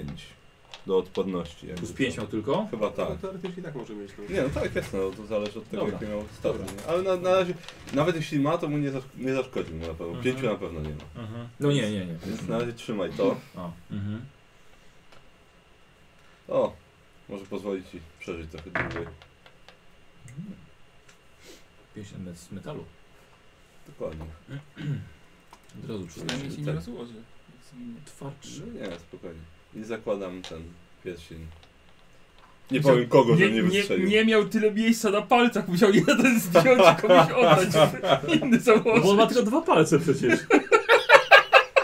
[SPEAKER 4] do odporności. jakby
[SPEAKER 1] Plus
[SPEAKER 4] co.
[SPEAKER 1] 5 miał tylko?
[SPEAKER 4] Chyba
[SPEAKER 8] Tak.
[SPEAKER 4] tak.
[SPEAKER 8] No, teoretycznie tak może mieć. No.
[SPEAKER 4] Nie, no tak, jasne, no, to zależy od tego,
[SPEAKER 1] Dobra.
[SPEAKER 4] jakie miał staty. nie? Ale na, na razie, nawet jeśli ma, to mu nie, zaszk- nie zaszkodzi mu na pewno.
[SPEAKER 1] Mhm.
[SPEAKER 4] Pięciu na pewno nie ma.
[SPEAKER 1] No nie, nie, nie. Mhm.
[SPEAKER 4] Więc na razie trzymaj to.
[SPEAKER 1] A, mhm.
[SPEAKER 4] O, Może pozwolić ci przeżyć trochę dłużej.
[SPEAKER 1] Mhm. Pieśń met- z metalu.
[SPEAKER 4] Dokładnie.
[SPEAKER 1] Od razu
[SPEAKER 2] Przynajmniej się nie
[SPEAKER 4] Tak.
[SPEAKER 2] rozłoży. jak zginie.
[SPEAKER 1] Twardszy.
[SPEAKER 4] No nie, spokojnie. I zakładam ten pierścień. Nie
[SPEAKER 2] Musiał-
[SPEAKER 4] powiem kogo, że
[SPEAKER 2] nie,
[SPEAKER 4] nie
[SPEAKER 2] nie,
[SPEAKER 4] wystrzelił.
[SPEAKER 2] nie miał tyle miejsca na palcach, musiał jeden zdjąć i komuś oddać,
[SPEAKER 4] [LAUGHS]
[SPEAKER 2] żeby inny
[SPEAKER 1] No
[SPEAKER 2] założyć.
[SPEAKER 1] bo on ma tylko dwa palce przecież.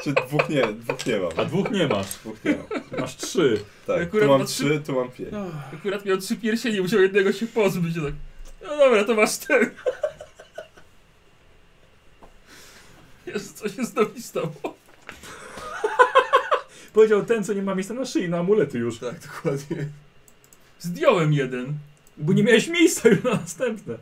[SPEAKER 4] Czy dwóch nie, dwóch nie mam.
[SPEAKER 1] A dwóch nie masz.
[SPEAKER 4] Dwóch nie mam.
[SPEAKER 1] Masz trzy.
[SPEAKER 4] Tak,
[SPEAKER 2] Akurat
[SPEAKER 4] tu mam
[SPEAKER 2] na trzy-
[SPEAKER 4] trzy, tu mam
[SPEAKER 6] No.
[SPEAKER 4] pięć.
[SPEAKER 2] Akurat miał trzy pierścienie, musiał jednego się pozbyć. i Tak. No dobra, to masz ten. Jezu, co się z nami stało?
[SPEAKER 1] Powiedział ten, co nie ma miejsca na szyi, na amulety już.
[SPEAKER 3] Tak, dokładnie.
[SPEAKER 2] Zdjąłem jeden.
[SPEAKER 1] Bo nie miałeś miejsca już na następne.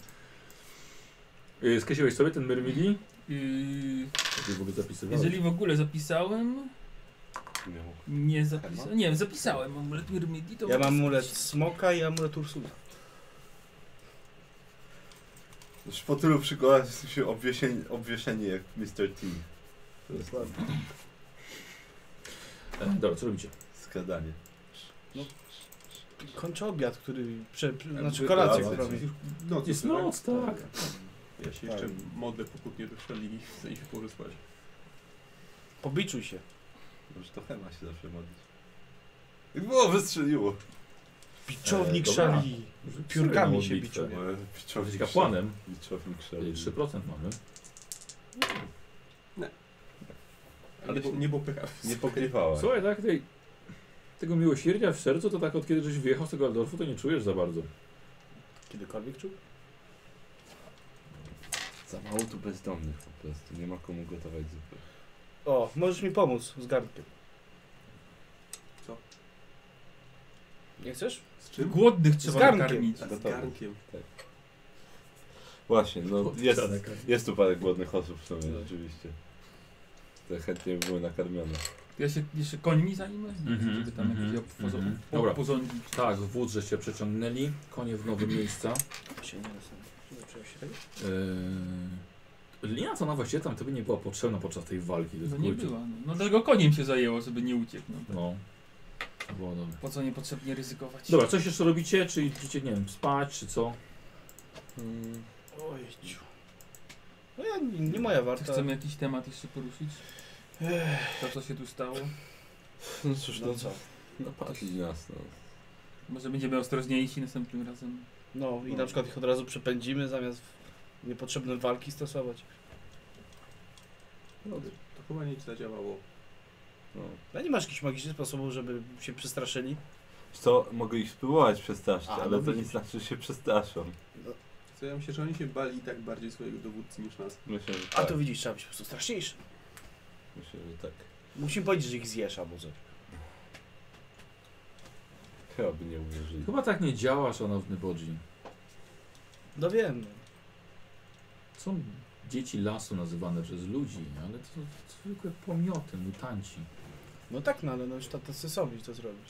[SPEAKER 1] Yy, Skreśliłeś sobie ten myrmili?
[SPEAKER 2] Yy,
[SPEAKER 1] Czy Tak w ogóle zapisywałeś?
[SPEAKER 2] jeżeli w ogóle zapisałem...
[SPEAKER 4] Nie mam.
[SPEAKER 2] Nie zapisałem. Nie, zapisałem. Amulet Myrmidii to...
[SPEAKER 6] Ja mam amulet smoka i amulet Ursula.
[SPEAKER 4] W fotelu przykłada się obwieszenie, obwieszenie jak Mr. T. To jest
[SPEAKER 1] E, Dobra, co robicie?
[SPEAKER 4] skradanie.
[SPEAKER 6] Kończę obiad, który... Prze, prze, znaczy
[SPEAKER 4] Jakby-
[SPEAKER 6] kolację,
[SPEAKER 4] kolację.
[SPEAKER 6] która mi-
[SPEAKER 8] Noc,
[SPEAKER 1] Jest
[SPEAKER 8] tak?
[SPEAKER 1] noc, tak.
[SPEAKER 8] Ja
[SPEAKER 4] Tak.
[SPEAKER 8] się jeszcze modlę, póki nie doszczeli i chcę się położyć spać.
[SPEAKER 6] Pobiczuj się.
[SPEAKER 4] Może to Hema się zawsze modlić. I było, wystrzeliło.
[SPEAKER 6] Biczownik
[SPEAKER 1] E, dobra.
[SPEAKER 6] szali. Piórkami się biczą.
[SPEAKER 4] Moje
[SPEAKER 1] Być
[SPEAKER 4] Biczownik
[SPEAKER 1] kapłanem.
[SPEAKER 4] szedł. Biczownik
[SPEAKER 1] Czyli
[SPEAKER 4] szedł.
[SPEAKER 1] 3% mamy.
[SPEAKER 8] Ale nie, było- nie było pecha.
[SPEAKER 4] Nie pokrywałaś.
[SPEAKER 1] Słuchaj, tak tej, tego miłosierdzia w sercu, to tak od kiedy żeś wyjechał z tego Aldorfu, to nie czujesz za bardzo.
[SPEAKER 6] Kiedykolwiek czuł?
[SPEAKER 4] Za mało tu bezdomnych po prostu. Nie ma komu gotować zupy.
[SPEAKER 6] O, możesz mi pomóc z garnkiem.
[SPEAKER 8] Co?
[SPEAKER 6] Nie chcesz?
[SPEAKER 8] Z czym?
[SPEAKER 2] Głodnych
[SPEAKER 6] Z
[SPEAKER 2] trzeba
[SPEAKER 6] garnkiem.
[SPEAKER 2] nakarmić.
[SPEAKER 8] A, Z
[SPEAKER 4] Gotowe.
[SPEAKER 8] garnkiem.
[SPEAKER 4] Właśnie, no jest,
[SPEAKER 1] Siadek.
[SPEAKER 4] jest tu parę głodnych osób w sumie, rzeczywiście. Te chętnie by były nakarmione.
[SPEAKER 2] Ja się jeszcze końmi zajmę?
[SPEAKER 1] Mhm,
[SPEAKER 2] Żeby tam
[SPEAKER 1] mhm,
[SPEAKER 2] jakieś obwozo-
[SPEAKER 1] mhm.
[SPEAKER 2] po-
[SPEAKER 1] Dobra.
[SPEAKER 2] porządnić.
[SPEAKER 1] Tak, wód, żeście przeciągnęli, konie w nowe miejsca.
[SPEAKER 6] Się nie da się tego?
[SPEAKER 1] Yy... Linia to ona właściwie tam tobie nie była potrzebna podczas tej walki. To
[SPEAKER 2] No
[SPEAKER 1] jest
[SPEAKER 2] nie
[SPEAKER 1] kurczę-
[SPEAKER 2] była. No, no dlatego koniem się zajęło, żeby nie uciekł. No.
[SPEAKER 1] No. To było dobre.
[SPEAKER 2] Po co niepotrzebnie ryzykować?
[SPEAKER 1] Dobra, coś jeszcze robicie? Czy idziecie, nie wiem, spać, czy co?
[SPEAKER 6] Ojciu. No ja, nie, nie moja
[SPEAKER 2] Czy
[SPEAKER 6] warta.
[SPEAKER 2] chcemy jakiś temat jeszcze poruszyć? To co się tu stało?
[SPEAKER 4] No cóż,
[SPEAKER 6] No co?
[SPEAKER 4] Napadli nas, no.
[SPEAKER 2] Może będziemy ostrożniejsi następnym razem.
[SPEAKER 6] No i
[SPEAKER 4] No.
[SPEAKER 6] na przykład ich od razu przepędzimy zamiast w- niepotrzebne walki stosować.
[SPEAKER 4] no,
[SPEAKER 8] To chyba nie zadziałało.
[SPEAKER 4] no.
[SPEAKER 6] No nie masz jakichś magicznych sposobów, żeby się przestraszyli?
[SPEAKER 4] Wiesz Co, mogę ich spróbować przestraszyć,
[SPEAKER 6] A, no
[SPEAKER 4] ale to nie
[SPEAKER 6] widzisz.
[SPEAKER 4] znaczy, że się przestraszą.
[SPEAKER 8] Co ja myślę, że oni się bali i tak bardziej swojego dowódcy niż nas.
[SPEAKER 4] Myślę, że
[SPEAKER 6] A
[SPEAKER 4] tak.
[SPEAKER 6] to widzisz, trzeba być po prostu straszniejszy.
[SPEAKER 4] Myślę, że tak.
[SPEAKER 6] Musimy powiedzieć, że ich zjesz, albo coś.
[SPEAKER 4] Chyba by nie uwierzyli.
[SPEAKER 1] Chyba tak nie działa, szanowny Bodzi.
[SPEAKER 6] No wiem.
[SPEAKER 1] Są dzieci lasu nazywane przez ludzi, ale to są zwykłe pomioty, mutanci.
[SPEAKER 6] No tak, no ale no już tacy są i to zrobić.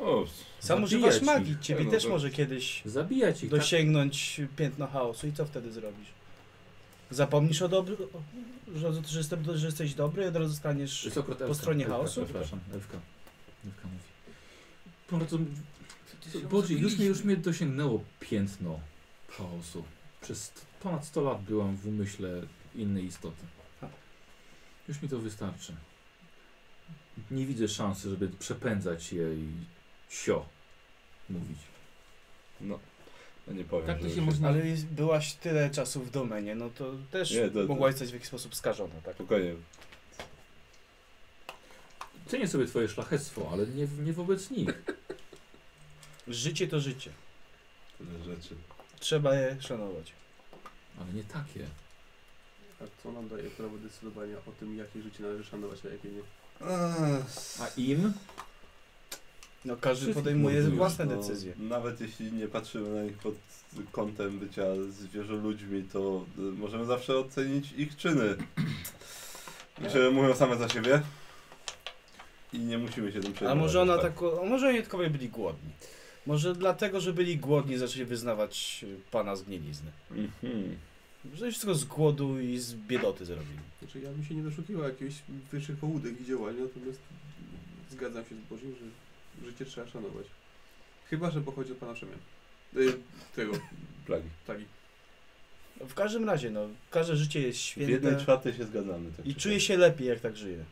[SPEAKER 4] O,
[SPEAKER 6] Sam
[SPEAKER 1] Zabijać
[SPEAKER 6] używasz
[SPEAKER 1] ich.
[SPEAKER 6] magii, ciebie
[SPEAKER 4] No
[SPEAKER 6] też
[SPEAKER 4] to-
[SPEAKER 6] może kiedyś
[SPEAKER 1] Zabijać ich tak
[SPEAKER 6] dosięgnąć piętno chaosu i co wtedy zrobisz? Zapomnisz o dobry, o- że, że, jestem, że jesteś dobry i od razu staniesz...
[SPEAKER 1] Jest akurat
[SPEAKER 6] po
[SPEAKER 1] Elfka.
[SPEAKER 6] stronie
[SPEAKER 1] Elfka,
[SPEAKER 6] chaosu?
[SPEAKER 1] Przepraszam, Elfka. Elfka mówi. Bardzo... Boże, już mnie, już mnie dosięgnęło piętno chaosu. Przez t- ponad 100 lat byłam w umyśle innej istoty. Już mi to wystarczy. Nie widzę szansy, żeby przepędzać je i sio mówić.
[SPEAKER 4] No, no nie powiem,
[SPEAKER 2] Tak to
[SPEAKER 4] że
[SPEAKER 2] się można...
[SPEAKER 6] Ale jest, byłaś tyle czasu w domenie, no to też
[SPEAKER 4] Nie, to- to-
[SPEAKER 6] mogłaś zostać w jakiś sposób skażona, tak?
[SPEAKER 4] Spokojnie,
[SPEAKER 1] Cenię sobie twoje szlachectwo, ale nie, nie wobec nich.
[SPEAKER 6] Życie to życie.
[SPEAKER 4] tyle rzeczy.
[SPEAKER 6] Trzeba je szanować.
[SPEAKER 1] Ale nie takie.
[SPEAKER 8] A co nam daje prawo decydowania o tym, jakie życie należy szanować, a jakie nie?
[SPEAKER 1] A im?
[SPEAKER 6] No każdy
[SPEAKER 1] Wszystkich
[SPEAKER 6] podejmuje
[SPEAKER 1] mordujesz,
[SPEAKER 6] własne
[SPEAKER 4] No,
[SPEAKER 6] decyzje.
[SPEAKER 4] Nawet jeśli nie patrzymy na nich pod kątem bycia zwierzoludźmi, to y, możemy zawsze ocenić ich
[SPEAKER 6] [CLEARS THROAT]
[SPEAKER 4] czyny. Że mówią same za siebie. I nie musimy się tym
[SPEAKER 6] A
[SPEAKER 4] przejmować.
[SPEAKER 6] może ona tak, a może oni tylko byli głodni. Może dlatego, że byli głodni, zaczęli wyznawać y, pana z gnielizny.
[SPEAKER 4] Mhm.
[SPEAKER 6] Że wszystko z głodu i z biedoty zrobili.
[SPEAKER 8] Znaczy, ja bym się nie doszukiwał jakichś wyższych połudek i działań, natomiast zgadzam się z Bożym, że Życie trzeba szanować. Chyba, że pochodzi od pana Przemian. Y, tego,
[SPEAKER 4] Plagi.
[SPEAKER 8] tagi.
[SPEAKER 6] No, W każdym razie, no, każde życie jest
[SPEAKER 4] W jednej
[SPEAKER 6] święte
[SPEAKER 4] czwartej się zgadzamy. Tak
[SPEAKER 6] i
[SPEAKER 4] czy
[SPEAKER 6] czuję
[SPEAKER 4] tak.
[SPEAKER 6] się lepiej, jak tak żyję.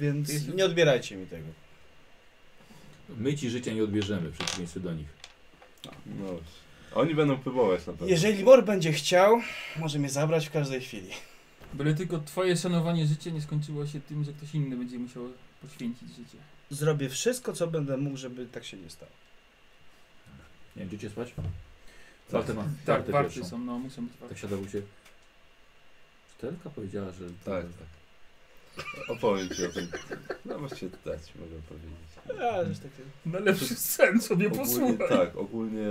[SPEAKER 6] Więc
[SPEAKER 2] Jest-
[SPEAKER 6] nie odbierajcie mi tego.
[SPEAKER 1] My ci życia nie odbierzemy, w przeciwieństwie do nich.
[SPEAKER 4] No właśnie. Oni będą próbować na pewno.
[SPEAKER 6] Jeżeli Mor będzie chciał, może mnie zabrać w każdej chwili.
[SPEAKER 2] Byle tylko twoje szanowanie życia nie skończyło się tym, że ktoś inny będzie musiał poświęcić życie.
[SPEAKER 6] Zrobię wszystko, co będę mógł, żeby tak się nie stało.
[SPEAKER 1] Nie wiem, czy cię spać?
[SPEAKER 4] Tak.
[SPEAKER 1] Wartę ma.
[SPEAKER 2] Tak,
[SPEAKER 1] wartę
[SPEAKER 2] warty
[SPEAKER 1] pierwszą.
[SPEAKER 2] są, no muszą być
[SPEAKER 1] Tak
[SPEAKER 2] warty.
[SPEAKER 1] siadał się. Czterka powiedziała, że.
[SPEAKER 4] Tak, tak. Opowiem ci o tym. No właściwie dać mogę powiedzieć.
[SPEAKER 6] Ja tak też takie...
[SPEAKER 7] Na lepszy sen sobie
[SPEAKER 4] Ogólnie,
[SPEAKER 7] posłuchaj.
[SPEAKER 4] tak, ogólnie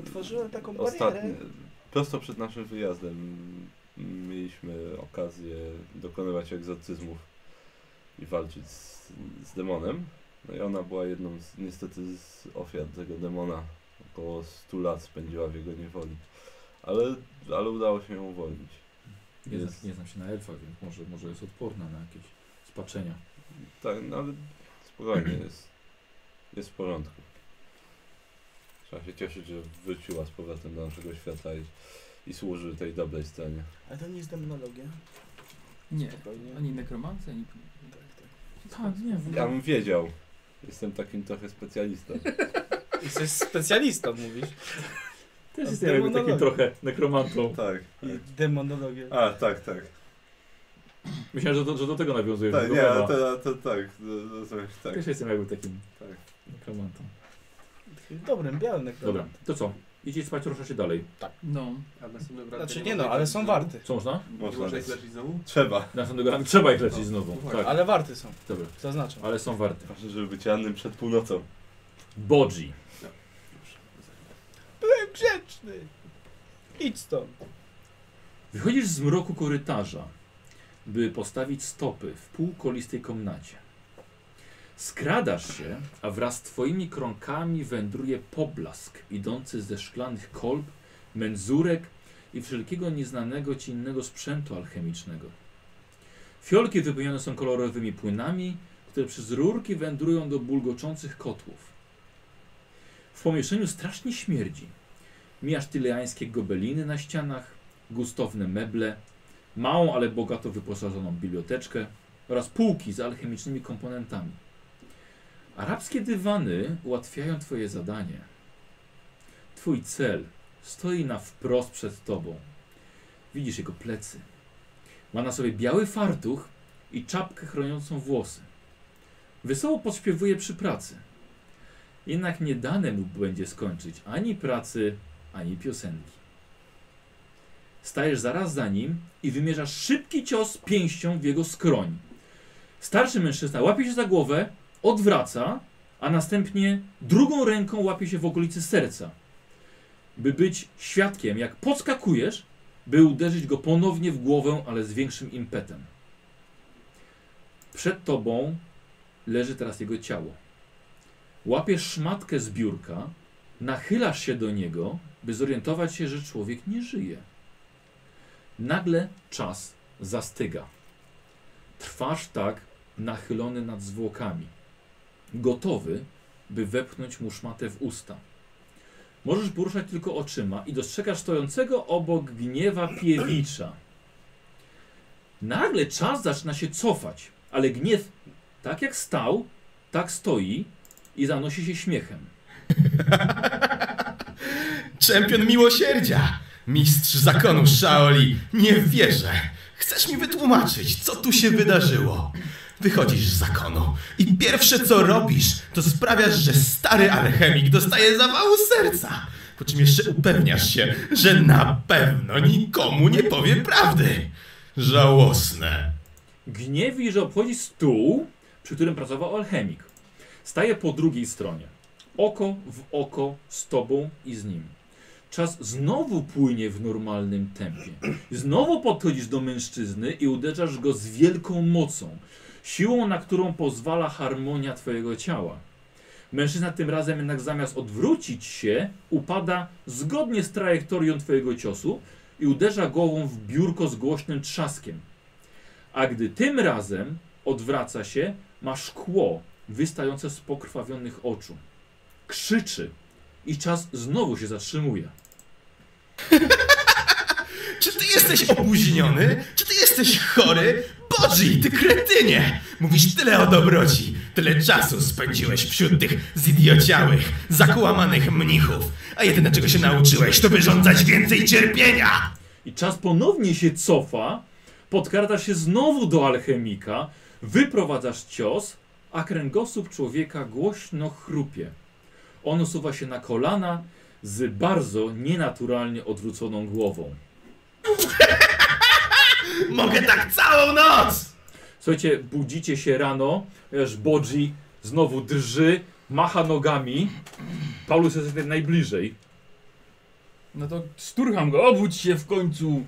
[SPEAKER 6] Otworzyłem no, taką
[SPEAKER 4] ostatnio,
[SPEAKER 6] barierę.
[SPEAKER 4] prosto przed naszym wyjazdem mieliśmy okazję dokonywać egzorcyzmów i walczyć z, z demonem. No i ona była jedną z, niestety z ofiar tego demona. Około 100 lat spędziła w jego niewoli. Ale, ale udało się ją uwolnić.
[SPEAKER 1] Nie,
[SPEAKER 4] Jest.
[SPEAKER 1] znam, nie znam się na elfach, więc może, może jest odporna na jakieś spaczenia.
[SPEAKER 4] Tak, no ale spokojnie jest. Jest w porządku. Trzeba się cieszyć, że wróciła z powrotem do naszego świata i, i służy tej dobrej stronie.
[SPEAKER 6] Ale to nie jest demonologia.
[SPEAKER 2] Nie,
[SPEAKER 6] Spokojnie.
[SPEAKER 2] ani nekromancja, ani...
[SPEAKER 6] Tak, tak.
[SPEAKER 2] Tak, nie
[SPEAKER 4] Ja bym wiedział. Jestem takim trochę specjalistą.
[SPEAKER 6] Jesteś specjalistą, mówisz.
[SPEAKER 1] Też
[SPEAKER 6] A
[SPEAKER 1] jestem jakby takim
[SPEAKER 6] demonologiem.
[SPEAKER 1] trochę nekromantą.
[SPEAKER 4] [LAUGHS] tak.
[SPEAKER 6] I demonologia.
[SPEAKER 4] A, tak, tak.
[SPEAKER 1] Myślałem, że do, że do tego nawiązujesz.
[SPEAKER 4] Tak,
[SPEAKER 1] do
[SPEAKER 4] nie,
[SPEAKER 1] Bena.
[SPEAKER 4] to, to, to tak. To, to, coś, tak.
[SPEAKER 1] Też jestem jakby takim
[SPEAKER 4] Tak.
[SPEAKER 1] nekromantą.
[SPEAKER 6] Dobrym, białym nekromantem.
[SPEAKER 4] Tak.
[SPEAKER 1] Dobra, to co? Idzie spać, rusza się dalej.
[SPEAKER 2] No,
[SPEAKER 8] A następnego ranka
[SPEAKER 6] Znaczy
[SPEAKER 8] ma
[SPEAKER 6] nie no,
[SPEAKER 8] tej
[SPEAKER 6] ale
[SPEAKER 8] leki
[SPEAKER 6] są
[SPEAKER 8] znowu?
[SPEAKER 6] warty.
[SPEAKER 1] Co można?
[SPEAKER 8] Nie
[SPEAKER 4] Można
[SPEAKER 8] Można ich
[SPEAKER 4] lecieć.
[SPEAKER 8] leczyć znowu?
[SPEAKER 4] Trzeba.
[SPEAKER 1] Następnego rana trzeba ich lecieć znowu.
[SPEAKER 8] Uwaga.
[SPEAKER 1] Tak,
[SPEAKER 6] Ale warty są,
[SPEAKER 1] dobra.
[SPEAKER 6] zaznaczam.
[SPEAKER 1] Ale są warte.
[SPEAKER 4] Proszę, żeby być rannym przed północą.
[SPEAKER 1] Bodzi.
[SPEAKER 6] Byłem grzeczny. Idź stąd.
[SPEAKER 1] Wychodzisz z mroku korytarza, by postawić stopy w półkolistej komnacie. Skradasz się, a wraz z twoimi krąkami wędruje poblask idący ze szklanych kolb, menzurek i wszelkiego nieznanego ci innego sprzętu alchemicznego. Fiolki wypełnione są kolorowymi płynami, które przez rurki wędrują do bulgoczących kotłów. W pomieszczeniu strasznie śmierdzi. Mijasz tyleańskie gobeliny na ścianach, gustowne meble, małą, ale bogato wyposażoną biblioteczkę oraz półki z alchemicznymi komponentami. Arabskie dywany ułatwiają Twoje zadanie. Twój cel stoi na wprost przed Tobą. Widzisz jego plecy. Ma na sobie biały fartuch i czapkę chroniącą włosy. Wesoło podśpiewuje przy pracy. Jednak nie dane mu będzie skończyć ani pracy, ani piosenki. Stajesz zaraz za nim i wymierzasz szybki cios pięścią w jego skroń. Starszy mężczyzna łapie się za głowę, odwraca, a następnie drugą ręką łapie się w okolicy serca, by być świadkiem, jak podskakujesz, by uderzyć go ponownie w głowę, ale z większym impetem. Przed tobą leży teraz jego ciało. Łapiesz szmatkę z biurka, nachylasz się do niego, by zorientować się, że człowiek nie żyje. Nagle czas zastyga. Trwasz tak nachylony nad zwłokami, gotowy, by wepchnąć mu szmatę w usta. Możesz poruszać tylko oczyma i dostrzegasz stojącego obok gniewa Piewicza. Nagle czas zaczyna się cofać, ale gniew, tak jak stał, tak stoi i zanosi się śmiechem.
[SPEAKER 11] Czempion miłosierdzia! Mistrz zakonu Shaoli! Nie wierzę! Chcesz mi wytłumaczyć, co tu się wydarzyło? Wychodzisz z zakonu i pierwsze co robisz, to sprawiasz, że stary alchemik dostaje zawału serca. Po czym jeszcze upewniasz się, że na pewno nikomu nie powie prawdy. Żałosne.
[SPEAKER 1] Gniewi, że obchodzi stół, przy którym pracował alchemik. Staje po drugiej stronie. Oko w oko z tobą i z nim. Czas znowu płynie w normalnym tempie. Znowu podchodzisz do mężczyzny i uderzasz go z wielką mocą. Siłą, na którą pozwala harmonia twojego ciała. Mężczyzna tym razem jednak zamiast odwrócić się, upada zgodnie z trajektorią twojego ciosu i uderza głową w biurko z głośnym trzaskiem. A gdy tym razem odwraca się, ma szkło wystające z pokrwawionych oczu. Krzyczy i czas znowu się zatrzymuje.
[SPEAKER 11] Czy ty jesteś opóźniony? Czy ty jesteś chory? Bodzi, ty kretynie! Mówisz tyle o dobroci, tyle czasu spędziłeś wśród tych zidiociałych, zakłamanych mnichów, a jedyne czego się nauczyłeś to wyrządzać więcej cierpienia!
[SPEAKER 1] I czas ponownie się cofa, podkradasz się znowu do alchemika, wyprowadzasz cios, a kręgosłup człowieka głośno chrupie. On usuwa się na kolana z bardzo nienaturalnie odwróconą głową.
[SPEAKER 11] [LAUGHS] Mogę tak całą noc!
[SPEAKER 1] Słuchajcie, budzicie się rano, ponieważ Bodzi znowu drży, macha nogami. Paulus jest wtedy najbliżej.
[SPEAKER 7] No to szturcham go, obudź się w końcu!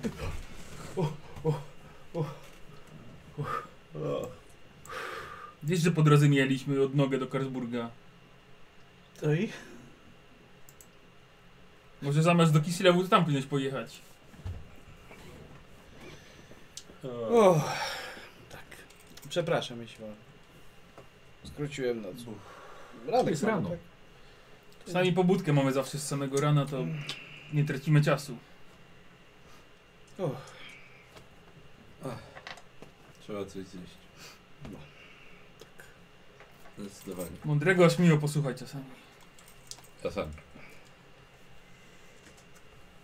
[SPEAKER 7] Wiesz, że po drodze mieliśmy odnogę do Karlsburga.
[SPEAKER 6] To i?
[SPEAKER 7] Może zamiast do Kislewu to tam powinieneś pojechać.
[SPEAKER 6] O, tak. Przepraszam, jeśli mam. Skróciłem noc. Ranek
[SPEAKER 1] Jest
[SPEAKER 6] mamy,
[SPEAKER 1] rano.
[SPEAKER 6] tak?
[SPEAKER 7] Sami pobudkę mamy zawsze z samego rana, to
[SPEAKER 6] tak-
[SPEAKER 7] nie tracimy czasu.
[SPEAKER 4] Trzeba coś zjeść. Zdecydowanie.
[SPEAKER 7] Mądrego aż miło posłuchać czasami.
[SPEAKER 4] Czasami.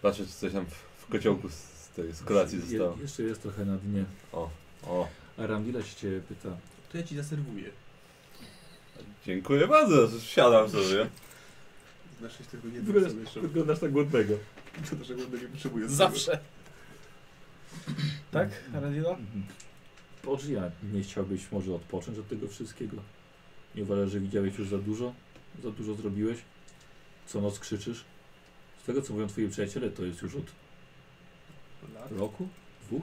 [SPEAKER 4] Patrzę, czy coś tam w, w kociołku z, z tej z kolacji
[SPEAKER 1] Je,
[SPEAKER 4] zostało.
[SPEAKER 1] jeszcze jest trochę na dnie.
[SPEAKER 4] O, o.
[SPEAKER 1] A Ramdila się ciebie pyta.
[SPEAKER 3] To ja ci zaserwuję.
[SPEAKER 4] Dziękuję bardzo, siadam sobie.
[SPEAKER 3] Znasz się tego nie sobie
[SPEAKER 1] [LAUGHS]
[SPEAKER 3] jeszcze.
[SPEAKER 1] Wyglądasz tak głodnego.
[SPEAKER 3] To naszego nie potrzebuję.
[SPEAKER 6] Zawsze. tak, Radilo?
[SPEAKER 1] Mhm. Bodzi, a nie chciałbyś może odpocząć od tego wszystkiego? Nie uważasz, że widziałeś już za dużo? Za dużo zrobiłeś? Co noc krzyczysz? Z tego co mówią twoi przyjaciele, to jest już od
[SPEAKER 3] Lat?
[SPEAKER 1] roku? Dwóch?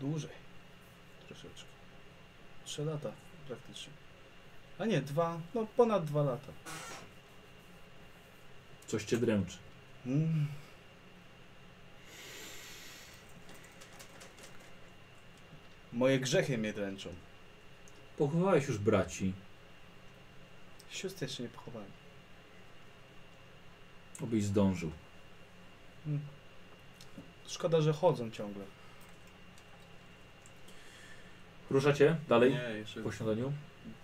[SPEAKER 6] Dłużej. Troszeczkę. Trzy lata praktycznie. A nie, dwa, no ponad dwa lata.
[SPEAKER 1] Coś cię dręczy.
[SPEAKER 6] Mm. Moje grzechy mnie dręczą.
[SPEAKER 1] Pochowałeś już braci.
[SPEAKER 6] Sióstr jeszcze nie pochowałem.
[SPEAKER 1] Obyś zdążył.
[SPEAKER 6] Szkoda, że chodzą ciągle.
[SPEAKER 1] Ruszacie dalej
[SPEAKER 3] Nie, jeszcze
[SPEAKER 1] po śniadaniu?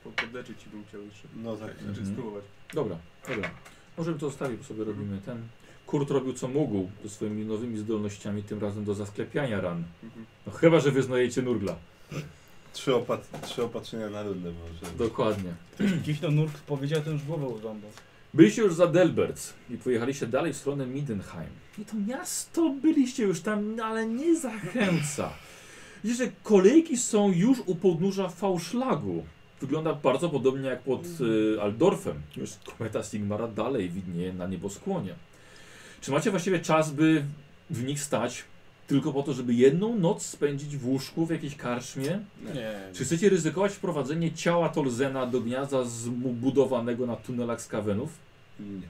[SPEAKER 3] po- podleczyć ci bym chciał jeszcze.
[SPEAKER 4] No tak.
[SPEAKER 3] Znaczy
[SPEAKER 1] Mhm.
[SPEAKER 3] spróbować.
[SPEAKER 1] Dobra, dobra. Możemy to zostawić, bo sobie robimy ten. Kurt robił co mógł ze swoimi nowymi zdolnościami, tym razem do zasklepiania ran.
[SPEAKER 3] Mhm.
[SPEAKER 1] No chyba, że wyznajecie nurgla.
[SPEAKER 4] Trzy, opat trzy opatrzenia na rundę może.
[SPEAKER 1] Dokładnie.
[SPEAKER 6] Kichno nurt powiedział, to już głowę urządzał.
[SPEAKER 1] Byliście już za Delberts i pojechaliście dalej w stronę Midenheim. I to miasto byliście już tam, ale nie zachęca. Widzicie, że kolejki są już u podnóża Fałszlagu. Wygląda bardzo podobnie jak pod y, Aldorfem. Już kometa Sigmara dalej widnieje na nieboskłonie. Czy macie właściwie czas, by w nich stać tylko po to, żeby jedną noc spędzić w łóżku, w jakiejś karczmie?
[SPEAKER 6] Nie.
[SPEAKER 1] Czy chcecie ryzykować wprowadzenie ciała Tolzena do gniazda zbudowanego na tunelach z kawenów?
[SPEAKER 4] Nie.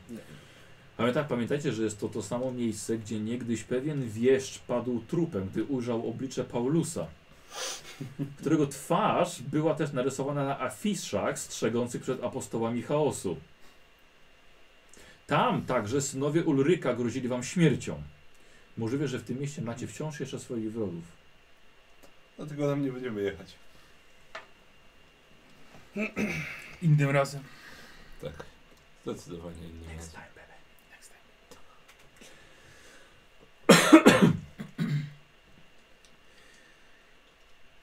[SPEAKER 1] Ale tak, pamiętajcie, że jest to to samo miejsce, gdzie niegdyś pewien wieszcz padł trupem, gdy ujrzał oblicze Paulusa, którego twarz była też narysowana na afiszach strzegących przed apostołami chaosu. Tam także synowie Ulryka grozili wam śmiercią. Możliwe, że w tym mieście macie wciąż jeszcze swoich wrogów.
[SPEAKER 4] Dlatego No tam nie będziemy jechać.
[SPEAKER 7] Innym razem.
[SPEAKER 4] Tak. Zdecydowanie inny raz.
[SPEAKER 1] [COUGHS]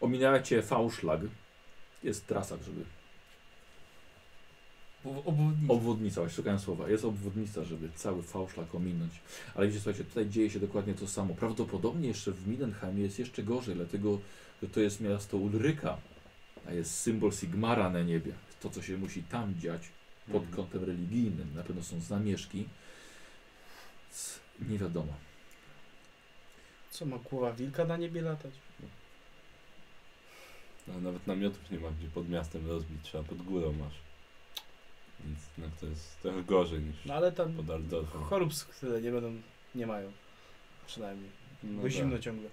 [SPEAKER 1] Ominacie Fałszlag. Jest trasa, żeby
[SPEAKER 7] Bo obwodnica.
[SPEAKER 1] Obwodnica, właśnie szukałem słowa. Jest obwodnica, żeby cały fałszlak ominąć. Ale widzicie, słuchajcie, tutaj dzieje się dokładnie to samo. Prawdopodobnie jeszcze w Mindenheimie jest jeszcze gorzej, dlatego że to jest miasto Ulryka, a jest symbol Sigmara na niebie. To, co się musi tam dziać pod
[SPEAKER 4] Mhm.
[SPEAKER 1] kątem religijnym. Na pewno są zamieszki. Więc Nie wiadomo.
[SPEAKER 6] Co ma głowa wilka na niebie latać?
[SPEAKER 4] A No, nawet namiotów nie ma gdzie pod miastem rozbić, trzeba pod górą masz. Więc no, to jest trochę gorzej niż
[SPEAKER 6] No ale tam
[SPEAKER 4] pod Aldorfem.
[SPEAKER 6] chorób tyle nie będą, nie mają. Przynajmniej.
[SPEAKER 4] No
[SPEAKER 6] Bo zimno
[SPEAKER 4] tak.
[SPEAKER 6] ciągle.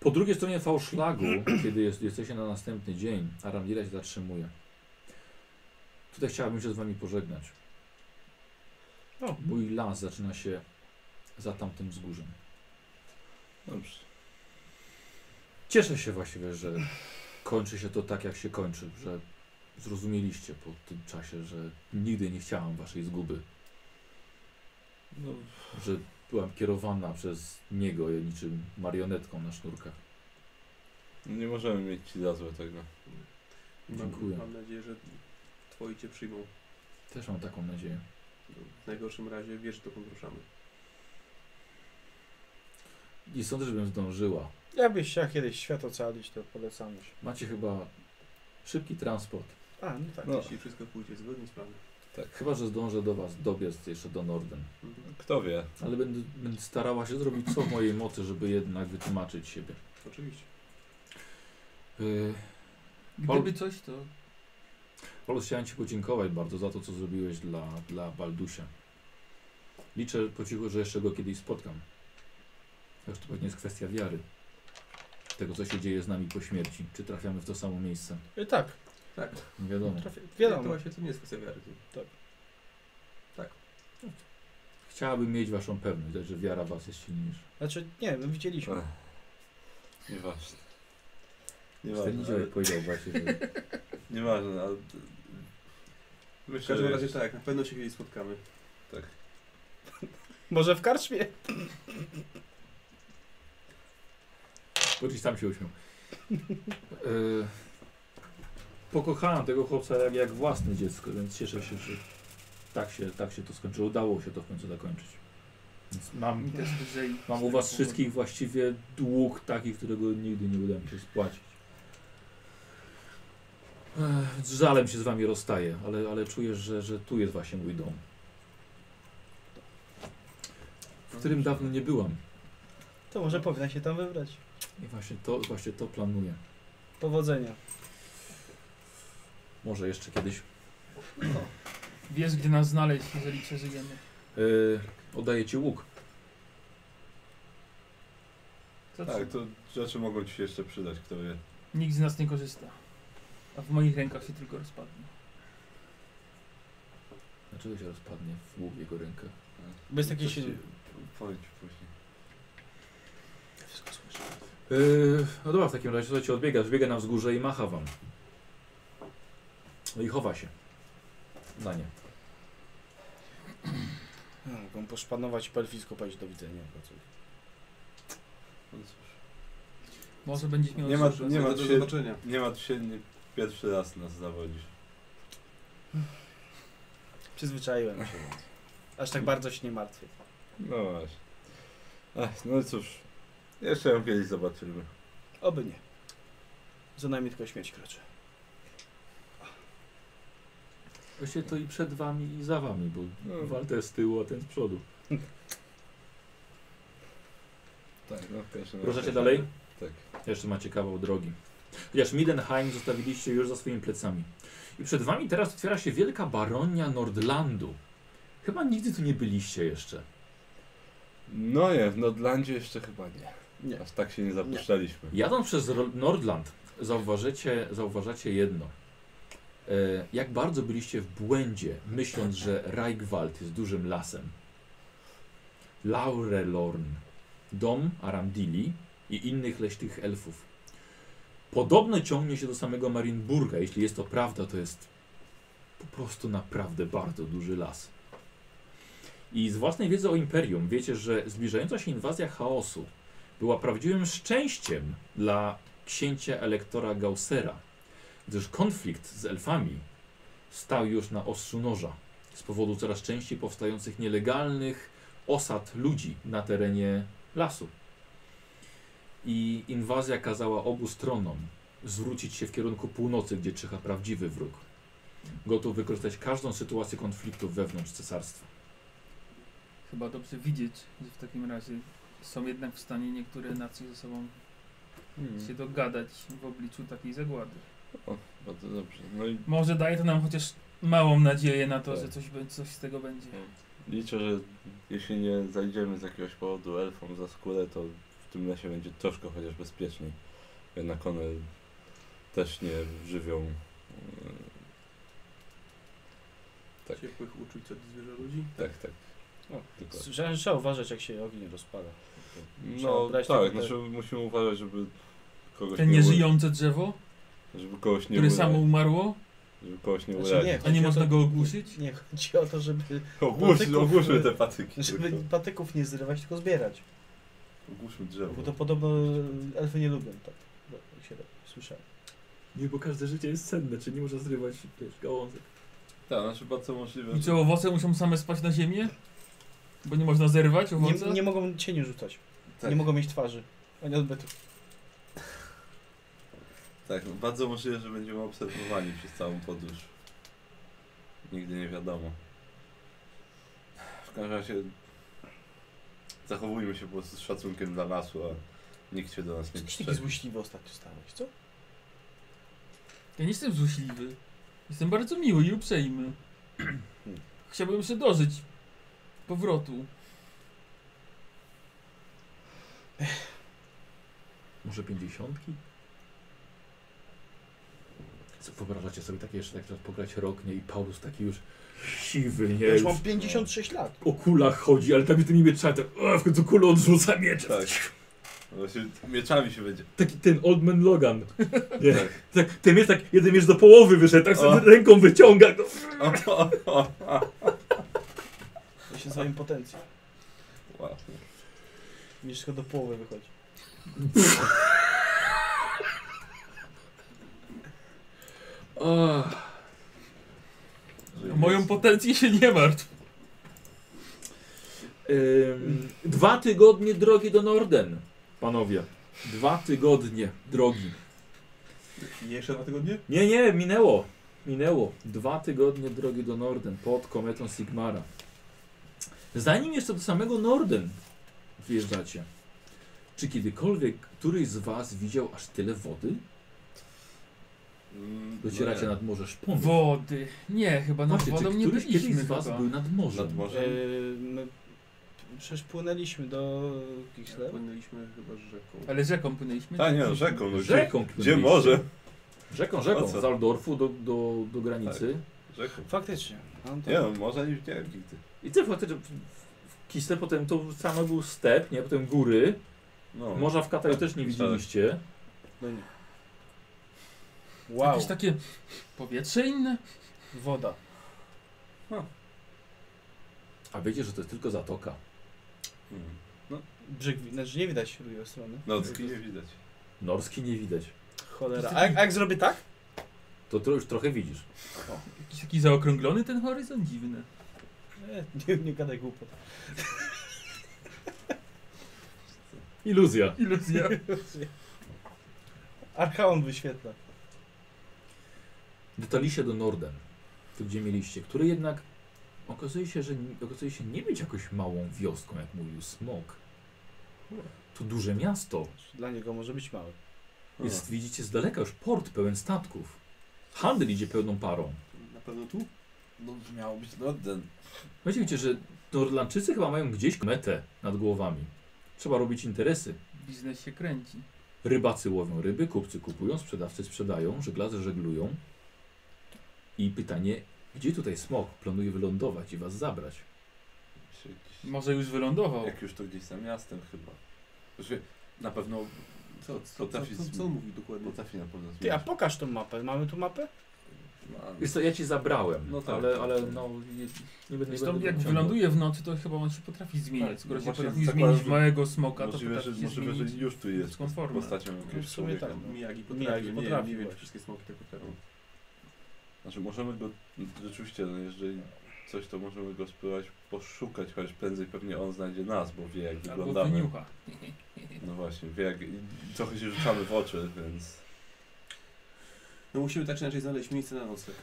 [SPEAKER 1] Po drugiej stronie fałszlagu, kiedy jest, jesteście na następny dzień, Aramdira się zatrzymuje. Tutaj chciałabym się z wami pożegnać.
[SPEAKER 6] O.
[SPEAKER 1] Mój las zaczyna się za tamtym wzgórzem.
[SPEAKER 4] Dobrze.
[SPEAKER 1] Cieszę się właściwie, że kończy się to tak, jak się kończy, że zrozumieliście po tym czasie, że nigdy nie chciałam waszej zguby,
[SPEAKER 4] No,
[SPEAKER 1] że byłam kierowana przez niego niczym marionetką na sznurkach.
[SPEAKER 4] nie możemy mieć ci za złe tego.
[SPEAKER 1] Dziękuję.
[SPEAKER 8] Mam, mam nadzieję, że twoi cię przyjmą.
[SPEAKER 1] Też mam taką nadzieję.
[SPEAKER 8] W najgorszym razie wiesz, dokąd ruszamy.
[SPEAKER 1] Nie sądzę, żebym zdążyła.
[SPEAKER 6] Jakbyś chciał kiedyś świat ocalić, to polecam już.
[SPEAKER 1] Macie chyba szybki transport.
[SPEAKER 6] A, no tak.
[SPEAKER 4] No.
[SPEAKER 8] Jeśli wszystko pójdzie zgodnie z planem.
[SPEAKER 1] Chyba, że zdążę do was dobiec jeszcze do Norden.
[SPEAKER 4] Kto wie?
[SPEAKER 1] Ale będę, będę starała się zrobić co w mojej mocy, żeby jednak wytłumaczyć siebie.
[SPEAKER 8] Oczywiście.
[SPEAKER 1] Yy,
[SPEAKER 2] Gdyby coś, to
[SPEAKER 1] Polus, chciałem ci podziękować bardzo za to, co zrobiłeś dla, dla Baldusia. Liczę po cichu, że jeszcze go kiedyś spotkam. Zresztą pewnie jest kwestia wiary. Tego, co się dzieje z nami po śmierci. Czy trafiamy w to samo miejsce.
[SPEAKER 6] I tak,
[SPEAKER 8] Tak,
[SPEAKER 1] Nie wiadomo.
[SPEAKER 6] trafi-
[SPEAKER 8] to
[SPEAKER 6] wiadomo.
[SPEAKER 8] właśnie to nie jest kwestia wiary.
[SPEAKER 1] Chciałabym mieć waszą pewność, że wiara w was jest silniejsza.
[SPEAKER 6] Znaczy, nie, no widzieliśmy.
[SPEAKER 4] Ech, Nieważne.
[SPEAKER 1] Nieważne,
[SPEAKER 4] Nieważne,
[SPEAKER 1] ale...
[SPEAKER 4] ale,
[SPEAKER 1] powiedział właśnie, że...
[SPEAKER 4] nieważne, ale...
[SPEAKER 8] W
[SPEAKER 4] Myślę,
[SPEAKER 8] każdym
[SPEAKER 4] że
[SPEAKER 8] razie
[SPEAKER 4] jest-
[SPEAKER 8] tak, na pewno się kiedyś spotkamy.
[SPEAKER 6] Może w karczmie?
[SPEAKER 1] Bo gdzieś tam się uśmiał. E, Yy, pokochałem tego chłopca jak, jak własne dziecko, więc cieszę się, że tak się, tak się to skończyło. Udało się to w końcu zakończyć. Więc mam,
[SPEAKER 2] mi też lżej.
[SPEAKER 1] mam u was wszystkich właściwie dług taki, którego nigdy nie uda mi się spłacić. Ech, Z żalem się z wami rozstaję, ale, ale czuję, że, że tu jest właśnie mój dom. W którym dawno nie byłam.
[SPEAKER 6] To może powinna się tam wybrać.
[SPEAKER 1] I właśnie to, właśnie to planuję.
[SPEAKER 6] Powodzenia.
[SPEAKER 1] Może jeszcze kiedyś.
[SPEAKER 2] Wiesz, gdzie nas znaleźć, jeżeli przeżyjemy.
[SPEAKER 1] Yy, oddaję ci łuk.
[SPEAKER 2] To
[SPEAKER 4] Tak,
[SPEAKER 2] co?
[SPEAKER 4] to rzeczy mogą ci się jeszcze przydać, kto wie.
[SPEAKER 2] Nikt z nas nie korzysta. A w moich rękach się tylko rozpadnie.
[SPEAKER 1] Dlaczego Znaczy, się rozpadnie w łuk jego rękę?
[SPEAKER 6] Bo jest
[SPEAKER 4] No Coś
[SPEAKER 6] taki
[SPEAKER 4] ci-
[SPEAKER 6] silny.
[SPEAKER 4] Powiem ci później.
[SPEAKER 1] Yy, no dobra, w takim razie słuchajcie, odbiega, odbiega na wzgórze i macha wam. No i chowa się. Na nie.
[SPEAKER 6] Hmm, Mogą poszpanować pelfisko, powiedzieć do widzenia.
[SPEAKER 4] No cóż.
[SPEAKER 2] Może będziesz miał
[SPEAKER 4] Nie ma-
[SPEAKER 2] sukces.
[SPEAKER 4] nie ma-
[SPEAKER 8] do
[SPEAKER 4] tu się-
[SPEAKER 8] zobaczenia.
[SPEAKER 4] Nie ma tu się, nie pierwszy raz nas zawodzisz.
[SPEAKER 6] Przyzwyczaiłem się. więc. Aż tak bardzo się nie martwię.
[SPEAKER 4] No właśnie. Ach, no cóż. Jeszcze ją kiedyś zobaczymy.
[SPEAKER 6] Oby nie. Za nami tylko śmierć kroczy.
[SPEAKER 1] Właściwie to i przed wami i za wami, bo
[SPEAKER 4] No.
[SPEAKER 1] walter z tyłu, a ten z przodu.
[SPEAKER 4] Tak, no w każdym razie-
[SPEAKER 1] Ruszacie dalej?
[SPEAKER 4] Tak.
[SPEAKER 1] Jeszcze macie kawał drogi. Chociaż Midenheim zostawiliście już za swoimi plecami. I przed wami teraz otwiera się wielka baronia Nordlandu. Chyba nigdy tu nie byliście jeszcze.
[SPEAKER 4] No nie, w Nordlandzie jeszcze chyba nie.
[SPEAKER 6] Nie.
[SPEAKER 4] Aż tak się nie zapuszczaliśmy.
[SPEAKER 1] Jadąc przez Ro- Nordland, zauważycie, zauważacie jedno. E, Jak bardzo byliście w błędzie, myśląc, że Reichwald jest dużym lasem. Laurelorn, dom Aramdili i innych leśnych elfów. Podobno ciągnie się do samego Marienburga. Jeśli jest to prawda, to jest po prostu naprawdę bardzo duży las. I z własnej wiedzy o Imperium wiecie, że zbliżająca się inwazja chaosu była prawdziwym szczęściem dla księcia elektora Gaussera, gdyż konflikt z elfami stał już na ostrzu noża z powodu coraz częściej powstających nielegalnych osad ludzi na terenie lasu. I inwazja kazała obu stronom zwrócić się w kierunku północy, gdzie czyha prawdziwy wróg, gotów wykorzystać każdą sytuację konfliktu wewnątrz cesarstwa.
[SPEAKER 2] Chyba dobrze widzieć, że w takim razie są jednak w stanie niektóre nacje ze sobą
[SPEAKER 6] Hmm.
[SPEAKER 2] się dogadać w obliczu takiej zagłady.
[SPEAKER 4] O, bardzo dobrze. No i
[SPEAKER 2] Może daje to nam chociaż małą nadzieję na to,
[SPEAKER 4] Tak.
[SPEAKER 2] że coś, bę- coś z tego będzie.
[SPEAKER 4] Liczę, że jeśli nie zajdziemy z jakiegoś powodu elfom za skórę, to tym lesie będzie troszkę chociaż bezpieczniej. Jednak one też nie żywią mm, tak.
[SPEAKER 8] Ciepłych uczuć od zwierzę ludzi?
[SPEAKER 4] Tak, tak.
[SPEAKER 6] O,
[SPEAKER 4] Tylko-
[SPEAKER 6] Słyszałem, że trzeba uważać, jak się ogień rozpala. Trzeba
[SPEAKER 4] No
[SPEAKER 6] brać
[SPEAKER 4] tak,
[SPEAKER 6] tylko te-
[SPEAKER 4] znaczy musimy uważać, żeby kogoś
[SPEAKER 2] Te
[SPEAKER 4] nie ura-
[SPEAKER 2] nieżyjące drzewo,
[SPEAKER 4] żeby kogoś nie
[SPEAKER 2] które
[SPEAKER 4] ura-
[SPEAKER 2] samo umarło?
[SPEAKER 4] żeby kogoś nie
[SPEAKER 6] Znaczy,
[SPEAKER 4] urazić.
[SPEAKER 2] A nie
[SPEAKER 6] chodzi o
[SPEAKER 2] można
[SPEAKER 6] to-
[SPEAKER 2] go ogłuszyć?
[SPEAKER 6] Nie, chodzi o to, żeby
[SPEAKER 4] Ogłuszmy,
[SPEAKER 6] patyków,
[SPEAKER 4] ogłuszmy
[SPEAKER 6] e,
[SPEAKER 4] te patyki.
[SPEAKER 6] Żeby
[SPEAKER 4] tylko.
[SPEAKER 6] patyków nie zrywać, tylko zbierać.
[SPEAKER 4] Ogłuszmy
[SPEAKER 6] Bo
[SPEAKER 4] drzewo.
[SPEAKER 6] to podobno elfy nie lubią tak. Jak się robi. Słyszałem.
[SPEAKER 7] Nie, bo każde życie jest cenne, czy nie można zrywać wiesz, gałązek.
[SPEAKER 4] Tak, znaczy bardzo możliwe.
[SPEAKER 2] I
[SPEAKER 4] że-
[SPEAKER 2] czy owoce muszą same spać na ziemię? Bo nie można zerwać owoce?
[SPEAKER 6] Nie, nie mogą cieniu rzucać.
[SPEAKER 4] Tak.
[SPEAKER 6] Nie mogą mieć twarzy. Ani odbytów.
[SPEAKER 4] Tak, no bardzo możliwe, że będziemy obserwowani przez całą podróż. Nigdy nie wiadomo. W każdym razie zachowujmy się po prostu z szacunkiem dla lasu, a nikt się do nas nie
[SPEAKER 6] Jesteś taki
[SPEAKER 4] przyszedł.
[SPEAKER 6] złośliwy ostatnio stałeś, co?
[SPEAKER 2] Ja nie jestem złośliwy. Jestem bardzo miły
[SPEAKER 1] [CLEARS THROAT]
[SPEAKER 2] i uprzejmy. Chciałbym się dożyć powrotu.
[SPEAKER 1] Może pięćdziesiątki? Co, wyobrażacie sobie takie jeszcze tak teraz pograć rok, nie? I Paulus taki już siwy, nie?
[SPEAKER 6] Ja już
[SPEAKER 1] Już
[SPEAKER 6] mam 56 lat.
[SPEAKER 1] o kulach chodzi, ale tak mi tym nie mieczami, tak o, w końcu kulę odrzuca miecz.
[SPEAKER 4] Tak. No Właśnie mieczami się będzie.
[SPEAKER 1] Taki ten Old Man Logan. Nie.
[SPEAKER 4] Tak.
[SPEAKER 1] Tak, ten miecz tak, jeden miecz do połowy wyszedł, tak sobie ręką wyciąga. No.
[SPEAKER 4] O, o, o, o.
[SPEAKER 6] Ja się nazywam potencjał.
[SPEAKER 4] Wow.
[SPEAKER 6] Mi wszystko do połowy wychodzi.
[SPEAKER 1] O,
[SPEAKER 2] O moją potencję się nie martw.
[SPEAKER 1] ym, dwa tygodnie drogi do Norden, panowie. Dwa tygodnie drogi.
[SPEAKER 8] I jeszcze Tak, dwa tygodnie?
[SPEAKER 1] Nie, nie, minęło. Minęło. Dwa tygodnie drogi do Norden pod kometą Sigmara. Zanim jeszcze do samego Norden wjeżdżacie, czy kiedykolwiek któryś z Was widział aż tyle wody?
[SPEAKER 4] Mm,
[SPEAKER 1] Docieracie
[SPEAKER 4] no nie.
[SPEAKER 1] nad morze szponów.
[SPEAKER 2] Wody. Nie, chyba nad
[SPEAKER 1] Właśnie,
[SPEAKER 2] wodą
[SPEAKER 1] czy
[SPEAKER 2] nie
[SPEAKER 1] któryś kiedyś
[SPEAKER 2] byliśmy
[SPEAKER 1] z Was
[SPEAKER 2] chyba.
[SPEAKER 1] był nad morzem?
[SPEAKER 4] Nad morzem.
[SPEAKER 6] Yy, my przecież płynęliśmy do Kislewu.
[SPEAKER 8] Płynęliśmy chyba rzeką.
[SPEAKER 2] Ale rzeką płynęliśmy?
[SPEAKER 4] A nie, no, rzeką. No, gdzie,
[SPEAKER 1] Rzeką
[SPEAKER 4] gdzie
[SPEAKER 1] płynęliście.
[SPEAKER 4] może?
[SPEAKER 1] Rzeką,
[SPEAKER 4] O
[SPEAKER 1] rzeką.
[SPEAKER 4] co?
[SPEAKER 1] Z Aldorfu do, do, do granicy.
[SPEAKER 4] Rzeką.
[SPEAKER 6] Faktycznie. No to...
[SPEAKER 4] Nie no, morza nie widziałem nigdy.
[SPEAKER 1] I co faktycznie w- w Kisle potem to samo był step, nie? Potem góry.
[SPEAKER 4] No.
[SPEAKER 1] Morza w Kataju też nie widzieliście.
[SPEAKER 6] No nie.
[SPEAKER 2] Jakieś tak-
[SPEAKER 6] Wow,
[SPEAKER 2] takie powietrze inne?
[SPEAKER 6] woda.
[SPEAKER 1] A wiecie, że to jest tylko zatoka.
[SPEAKER 4] Mm.
[SPEAKER 6] Brzeg, wi- znaczy nie widać drugiej strony.
[SPEAKER 4] Nocki nie widać.
[SPEAKER 1] Norski nie widać.
[SPEAKER 6] Cholera. A jak, a jak zrobię tak?
[SPEAKER 1] To tro- już trochę widzisz.
[SPEAKER 2] Jakiś taki zaokrąglony ten horyzont? Dziwny.
[SPEAKER 6] Nie, nie, nie gadaj głupot.
[SPEAKER 1] Iluzja.
[SPEAKER 2] Iluzja.
[SPEAKER 6] Archaon wyświetla.
[SPEAKER 1] Dotarliście do Norden, tu gdzie mieliście, który jednak okazuje się, że n- okazuje się nie być jakąś małą wioską, jak mówił Smok. To duże miasto.
[SPEAKER 6] Dla niego może być mały.
[SPEAKER 1] Jest, widzicie, z daleka już port pełen statków. Handel idzie pełną parą.
[SPEAKER 3] Na pewno tu? No miało być Norden.
[SPEAKER 1] Wiecie, wiecie, że Norlandczycy chyba mają gdzieś metę nad głowami. Trzeba robić interesy.
[SPEAKER 2] Biznes się kręci.
[SPEAKER 1] Rybacy łowią ryby, kupcy kupują, sprzedawcy sprzedają, żeglarze żeglują. I pytanie, gdzie tutaj smok planuje wylądować i was zabrać?
[SPEAKER 4] Się gdzieś-
[SPEAKER 2] Może już wylądował.
[SPEAKER 4] Jak już to gdzieś za miastem chyba. Znaczy, na pewno
[SPEAKER 8] Co, co, co,
[SPEAKER 4] Potrafi
[SPEAKER 8] co,
[SPEAKER 4] z-
[SPEAKER 8] co on mówi dokładnie?
[SPEAKER 4] potrafi na pewno
[SPEAKER 6] Ty, a
[SPEAKER 4] zmienić.
[SPEAKER 6] pokaż tą mapę. Mamy tu mapę?
[SPEAKER 1] Wiesz co, ja ci zabrałem,
[SPEAKER 4] No tak.
[SPEAKER 1] ale, ale no, nie, nie będę... nie
[SPEAKER 2] Zresztą
[SPEAKER 1] będę
[SPEAKER 2] jak
[SPEAKER 1] wyciągał.
[SPEAKER 2] wyląduje w nocy, to chyba on się potrafi zmieniać.
[SPEAKER 4] Tak,
[SPEAKER 2] Skoro się
[SPEAKER 4] właśnie
[SPEAKER 2] potrafi
[SPEAKER 4] zakładam,
[SPEAKER 2] zmienić w
[SPEAKER 4] że-
[SPEAKER 2] małego smoka, to
[SPEAKER 4] możliwe,
[SPEAKER 2] potrafi
[SPEAKER 4] że,
[SPEAKER 2] się
[SPEAKER 4] możliwe, że
[SPEAKER 2] zmienić.
[SPEAKER 4] już tu jest
[SPEAKER 2] ludzką formę.
[SPEAKER 4] postacią
[SPEAKER 6] No, w
[SPEAKER 4] jakiegoś
[SPEAKER 6] sumie
[SPEAKER 4] człowieka.
[SPEAKER 6] tak. No.
[SPEAKER 8] Miyagi potrafi, nie,
[SPEAKER 6] potrafi
[SPEAKER 8] nie wiem, czy
[SPEAKER 6] właśnie.
[SPEAKER 8] wszystkie smoki tak potrafią.
[SPEAKER 4] Znaczy możemy go, rzeczywiście, no, jeżeli coś, to możemy go spróbować poszukać, chociaż prędzej pewnie on znajdzie nas, bo wie jak
[SPEAKER 2] Albo
[SPEAKER 4] wyglądamy.
[SPEAKER 2] wyniucha.
[SPEAKER 4] No właśnie, wie jak, i trochę się rzucamy w oczy, więc
[SPEAKER 8] No musimy tak czy inaczej znaleźć miejsce na nocleg.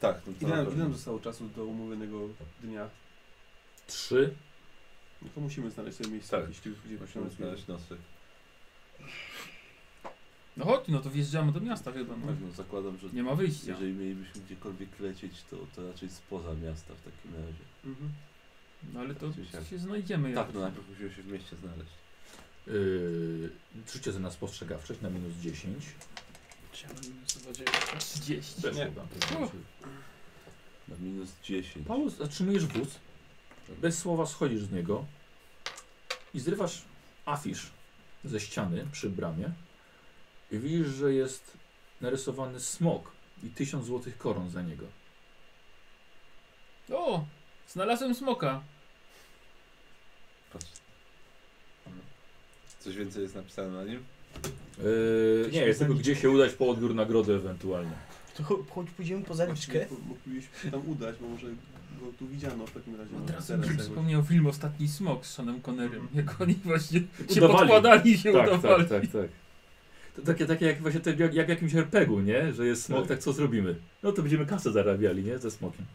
[SPEAKER 4] tak. No, to
[SPEAKER 8] Ile
[SPEAKER 4] na
[SPEAKER 8] nam, ile
[SPEAKER 4] pewno.
[SPEAKER 8] nam zostało czasu do umówionego dnia?
[SPEAKER 1] Trzy.
[SPEAKER 8] No to musimy znaleźć sobie miejsce,
[SPEAKER 4] Tak.
[SPEAKER 8] jeśli już gdzieś
[SPEAKER 4] Musimy
[SPEAKER 8] musimy
[SPEAKER 4] znaleźć nosy.
[SPEAKER 2] No chodź, no to wjeżdżamy do miasta chyba. No.
[SPEAKER 4] Tak, no zakładam, że
[SPEAKER 2] Nie ma wyjścia.
[SPEAKER 4] jeżeli mielibyśmy gdziekolwiek lecieć, to, to raczej spoza miasta w takim razie.
[SPEAKER 8] Mhm.
[SPEAKER 2] No ale to
[SPEAKER 4] Gdzieś tam.
[SPEAKER 2] się znajdziemy.
[SPEAKER 4] Tak,
[SPEAKER 2] jakoś.
[SPEAKER 4] no najpierw musimy się w mieście znaleźć.
[SPEAKER 1] Yy, rzućcie sobie na spostrzegawczość na minus 10.
[SPEAKER 2] tak?
[SPEAKER 1] Też
[SPEAKER 2] Nie.
[SPEAKER 1] chyba. znaczy,
[SPEAKER 4] Na minus 10.
[SPEAKER 1] Paulus, zatrzymujesz wóz, bez słowa schodzisz z niego i zrywasz afisz ze ściany przy bramie i widzisz, że jest narysowany smok i tysiąc złotych koron za niego.
[SPEAKER 2] O! Znalazłem smoka.
[SPEAKER 4] Patrz. Coś więcej jest napisane na nim?
[SPEAKER 1] Yy, nie, jest tylko gdzie się udać po odbiór nagrody ewentualnie.
[SPEAKER 6] To cho- chodź pójdziemy po zaliczkę.
[SPEAKER 8] Właściwie mo- Moglibyśmy się tam udać, bo może go tu widziano w takim
[SPEAKER 4] No,
[SPEAKER 8] razie.
[SPEAKER 2] Od razu
[SPEAKER 8] Teraz
[SPEAKER 2] mi się
[SPEAKER 8] jakoś.
[SPEAKER 2] przypomniał film Ostatni Smok z Seanem Connerym,
[SPEAKER 4] Mhm.
[SPEAKER 2] jak oni właśnie się
[SPEAKER 1] Udawali.
[SPEAKER 2] podkładali i się
[SPEAKER 1] tak,
[SPEAKER 2] udawali.
[SPEAKER 1] Tak, tak, tak. To takie, takie jak właśnie te, jak, jak w jakimś RPG-u, nie? Że jest smok, tak. co zrobimy? No to będziemy kasę zarabiali, nie? Ze smokiem.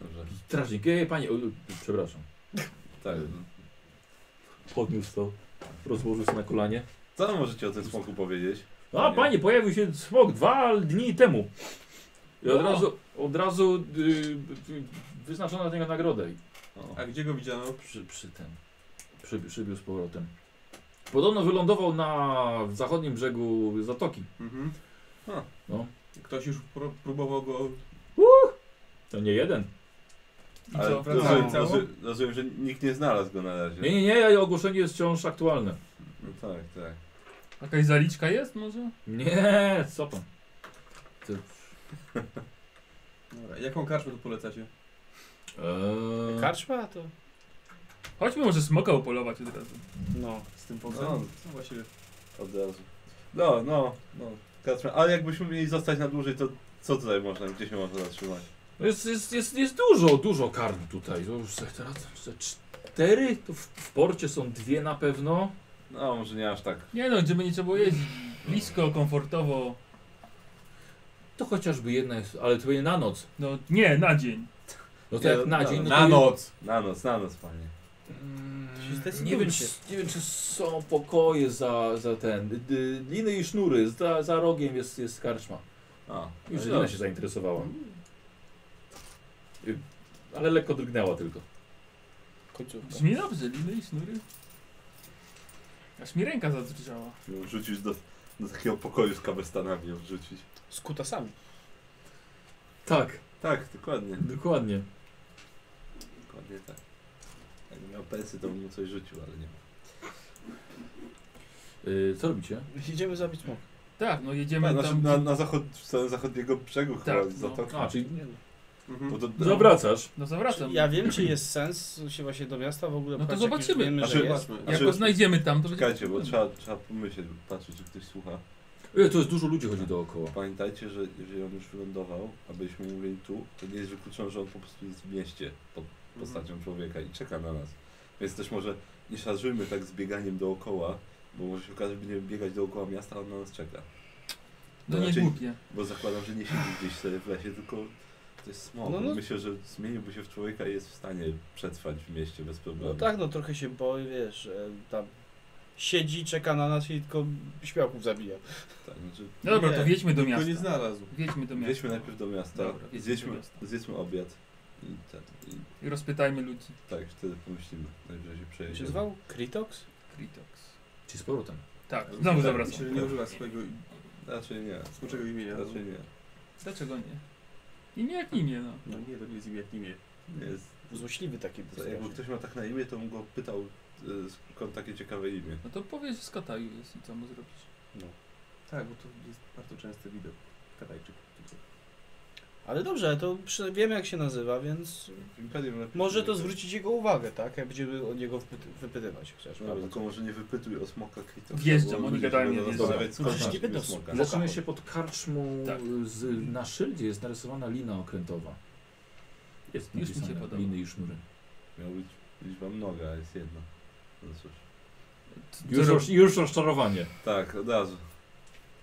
[SPEAKER 4] Dobrze.
[SPEAKER 1] Strażnik, ej, panie, o, przepraszam.
[SPEAKER 4] Tak.
[SPEAKER 1] Podniósł to, rozłożył się na kolanie.
[SPEAKER 4] Co możecie o tym smoku powiedzieć?
[SPEAKER 1] A panie, pojawił się smok dwa dni temu. No. I od
[SPEAKER 2] O.
[SPEAKER 1] razu, od razu y, y, wyznaczono dla niego nagrodę.
[SPEAKER 4] O,
[SPEAKER 8] A gdzie go widziano?
[SPEAKER 1] Przy, przy tym. Przy, przybił z powrotem. Podobno wylądował na zachodnim brzegu zatoki.
[SPEAKER 8] Mhm.
[SPEAKER 4] A.
[SPEAKER 1] No.
[SPEAKER 8] Ktoś już pró- próbował go...
[SPEAKER 1] To nie jeden.
[SPEAKER 2] I
[SPEAKER 4] Ale
[SPEAKER 2] co?
[SPEAKER 4] rozumiem,
[SPEAKER 8] Cało?
[SPEAKER 4] rozumiem, rozumiem, że nikt nie znalazł go na razie.
[SPEAKER 1] Nie, nie, nie, ogłoszenie jest wciąż aktualne.
[SPEAKER 4] No tak, tak.
[SPEAKER 2] Jakaś zaliczka jest może?
[SPEAKER 1] Nie, co pan?
[SPEAKER 8] Dobra, jaką karczmę tu polecacie?
[SPEAKER 1] Eee,
[SPEAKER 6] Karczma to...
[SPEAKER 2] Chodźmy może smoka upolować od razu.
[SPEAKER 6] No.
[SPEAKER 8] Z tym
[SPEAKER 4] No.
[SPEAKER 8] podzem? No właściwie.
[SPEAKER 4] Od razu. No, no, no. Kacper, ale jakbyśmy mieli zostać na dłużej, to co tutaj można, gdzie się można zatrzymać?
[SPEAKER 1] no jest, jest, jest, jest dużo, dużo karm tutaj. To już se- teraz se cztery, to w, w porcie są dwie na pewno.
[SPEAKER 4] No, może nie aż tak.
[SPEAKER 2] Nie no, gdzie będzie trzeba było jeździć. Blisko, komfortowo.
[SPEAKER 1] To chociażby jedna jest, ale to nie na noc.
[SPEAKER 2] No nie, na dzień.
[SPEAKER 1] No to
[SPEAKER 4] Nie,
[SPEAKER 1] jak na
[SPEAKER 4] no,
[SPEAKER 1] dzień. No
[SPEAKER 3] Na
[SPEAKER 1] to
[SPEAKER 3] noc!
[SPEAKER 4] Na noc, na noc, panie.
[SPEAKER 1] Mm,
[SPEAKER 6] To się zdecydujmy
[SPEAKER 1] Nie wiem, czy,
[SPEAKER 6] się.
[SPEAKER 1] nie wiem, czy są pokoje za, za ten. y, y, Liny i sznury, za, za rogiem jest, jest karczma.
[SPEAKER 4] A,
[SPEAKER 1] Już
[SPEAKER 4] no,
[SPEAKER 1] Lina się zainteresowała. Y, Ale lekko drgnęła tylko.
[SPEAKER 6] Końcówka.
[SPEAKER 2] Brzmi dobrze, liny i sznury. Aż mi ręka zadrżała.
[SPEAKER 4] ją Wrzucić do, do takiego pokoju z kamerstanami, ją wrzucić.
[SPEAKER 6] Z kutasami.
[SPEAKER 1] Tak,
[SPEAKER 4] Tak, dokładnie.
[SPEAKER 1] dokładnie.
[SPEAKER 4] Dokładnie tak. Jakby miał pensy, to bym mu coś rzucił, ale nie ma.
[SPEAKER 1] Y, co robicie?
[SPEAKER 6] Idziemy zabić smoka.
[SPEAKER 2] Tak, no jedziemy
[SPEAKER 4] Tak, znaczy,
[SPEAKER 2] tam.
[SPEAKER 4] na, na zachod, w stronę zachodniego brzegu chyba,
[SPEAKER 2] no.
[SPEAKER 4] zatoki.
[SPEAKER 1] A, czyli
[SPEAKER 4] Bo
[SPEAKER 8] Mhm.
[SPEAKER 4] to,
[SPEAKER 1] zawracasz.
[SPEAKER 2] No
[SPEAKER 4] znaczy,
[SPEAKER 2] zawracam.
[SPEAKER 6] Ja wiem, czy jest sens się właśnie do miasta w ogóle
[SPEAKER 2] No to
[SPEAKER 6] pchać, jak już
[SPEAKER 2] zobaczymy.
[SPEAKER 6] Wiemy,
[SPEAKER 4] Znaczy,
[SPEAKER 6] że jest.
[SPEAKER 8] Zobaczmy.
[SPEAKER 2] Jak
[SPEAKER 4] Znaczy-
[SPEAKER 2] go znajdziemy tam, to będzie...
[SPEAKER 4] Czekajcie, bo trzeba, trzeba pomyśleć, patrzeć, czy ktoś słucha.
[SPEAKER 1] Y, to jest dużo ludzi chodzi dookoła.
[SPEAKER 4] Pamiętajcie, że jeżeli on już wylądował, a byliśmy mówili tu, to nie jest wykluczone, że on po prostu jest w mieście pod
[SPEAKER 8] Mhm.
[SPEAKER 2] No
[SPEAKER 1] Mhm.
[SPEAKER 4] postacią człowieka i czeka na nas. Więc też może nie szarżujmy tak z bieganiem dookoła, bo może się okazać, że będziemy biegać dookoła miasta, a on na nas czeka.
[SPEAKER 2] No nie
[SPEAKER 4] Raczej-
[SPEAKER 2] głupie.
[SPEAKER 4] Bo zakładam, że nie siedzi gdzieś sobie w lesie, tylko to jest smog.
[SPEAKER 6] No, no.
[SPEAKER 4] Myślę, że zmieniłby się w człowieka i jest w stanie przetrwać w mieście bez problemu.
[SPEAKER 6] No tak, no trochę się boi, wiesz, e, tam siedzi, czeka na nas i tylko śmiałków zabija.
[SPEAKER 4] tak znaczy,
[SPEAKER 2] No dobra,
[SPEAKER 8] Nie,
[SPEAKER 2] to wjedźmy do
[SPEAKER 8] Go nie
[SPEAKER 2] miasta.
[SPEAKER 8] znalazł.
[SPEAKER 2] Wiedźmy do miasta.
[SPEAKER 4] Jedźmy najpierw do miasta,
[SPEAKER 2] Dobra, jedźmy
[SPEAKER 4] zjedźmy,
[SPEAKER 2] do miasta.
[SPEAKER 4] zjedźmy obiad i, ten, i
[SPEAKER 2] I rozpytajmy ludzi.
[SPEAKER 4] tak, wtedy pomyślimy, najwyżej się
[SPEAKER 6] Jak się
[SPEAKER 4] przejedziemy.
[SPEAKER 6] zwał? Kritox?
[SPEAKER 2] Kritox.
[SPEAKER 1] Czyli z powrotem.
[SPEAKER 2] Tak, znowu zawracam. Znaczy-
[SPEAKER 8] Myślę, że nie używa swojego
[SPEAKER 4] Raczej nie.
[SPEAKER 8] skoczego imienia. znaczy-
[SPEAKER 4] Raczej nie.
[SPEAKER 2] Dlaczego nie? Imię jak imię, no.
[SPEAKER 8] No nie, to nie jest imię jak imię.
[SPEAKER 4] nie jest,
[SPEAKER 6] Złośliwy taki
[SPEAKER 4] to
[SPEAKER 6] był.
[SPEAKER 4] jakby ktoś ma tak na imię, to bym go pytał, y, skąd takie ciekawe imię.
[SPEAKER 2] No to powiedz, że z Kataju jest i co mu zrobić.
[SPEAKER 8] Tak, bo to jest bardzo częsty widok. Katajczyk. tutaj.
[SPEAKER 6] Ale dobrze, to przy, wiemy jak się nazywa, więc
[SPEAKER 4] W Imperium lepiej
[SPEAKER 6] może
[SPEAKER 4] się
[SPEAKER 6] to
[SPEAKER 4] nie-
[SPEAKER 6] zwrócić jego uwagę, tak? Jak będziemy od niego wypyty- wypytywać chociaż.
[SPEAKER 4] No, tylko może nie wypytuj o smoka Kritosa.
[SPEAKER 2] Wjeżdżam,
[SPEAKER 4] bo
[SPEAKER 2] oni
[SPEAKER 4] ludzie
[SPEAKER 2] gadają,
[SPEAKER 4] się będą
[SPEAKER 2] ja
[SPEAKER 4] zastanawiać,
[SPEAKER 6] wjeżdżam.
[SPEAKER 4] skąd
[SPEAKER 6] Przecież nie
[SPEAKER 4] masz
[SPEAKER 6] będą
[SPEAKER 4] imię smoka.
[SPEAKER 6] słuchać.
[SPEAKER 1] Zaczyna się pod karczmą
[SPEAKER 2] Tak.
[SPEAKER 1] z, na szyldzie jest narysowana lina okrętowa. Jest
[SPEAKER 2] Już mi się
[SPEAKER 1] napisane
[SPEAKER 2] podoba.
[SPEAKER 1] liny i sznury.
[SPEAKER 4] Miał być liczba mnoga, a jest jedna. No cóż.
[SPEAKER 2] Co,
[SPEAKER 1] Już,
[SPEAKER 2] rob-
[SPEAKER 1] roz, już rozczarowanie.
[SPEAKER 4] Tak, od razu.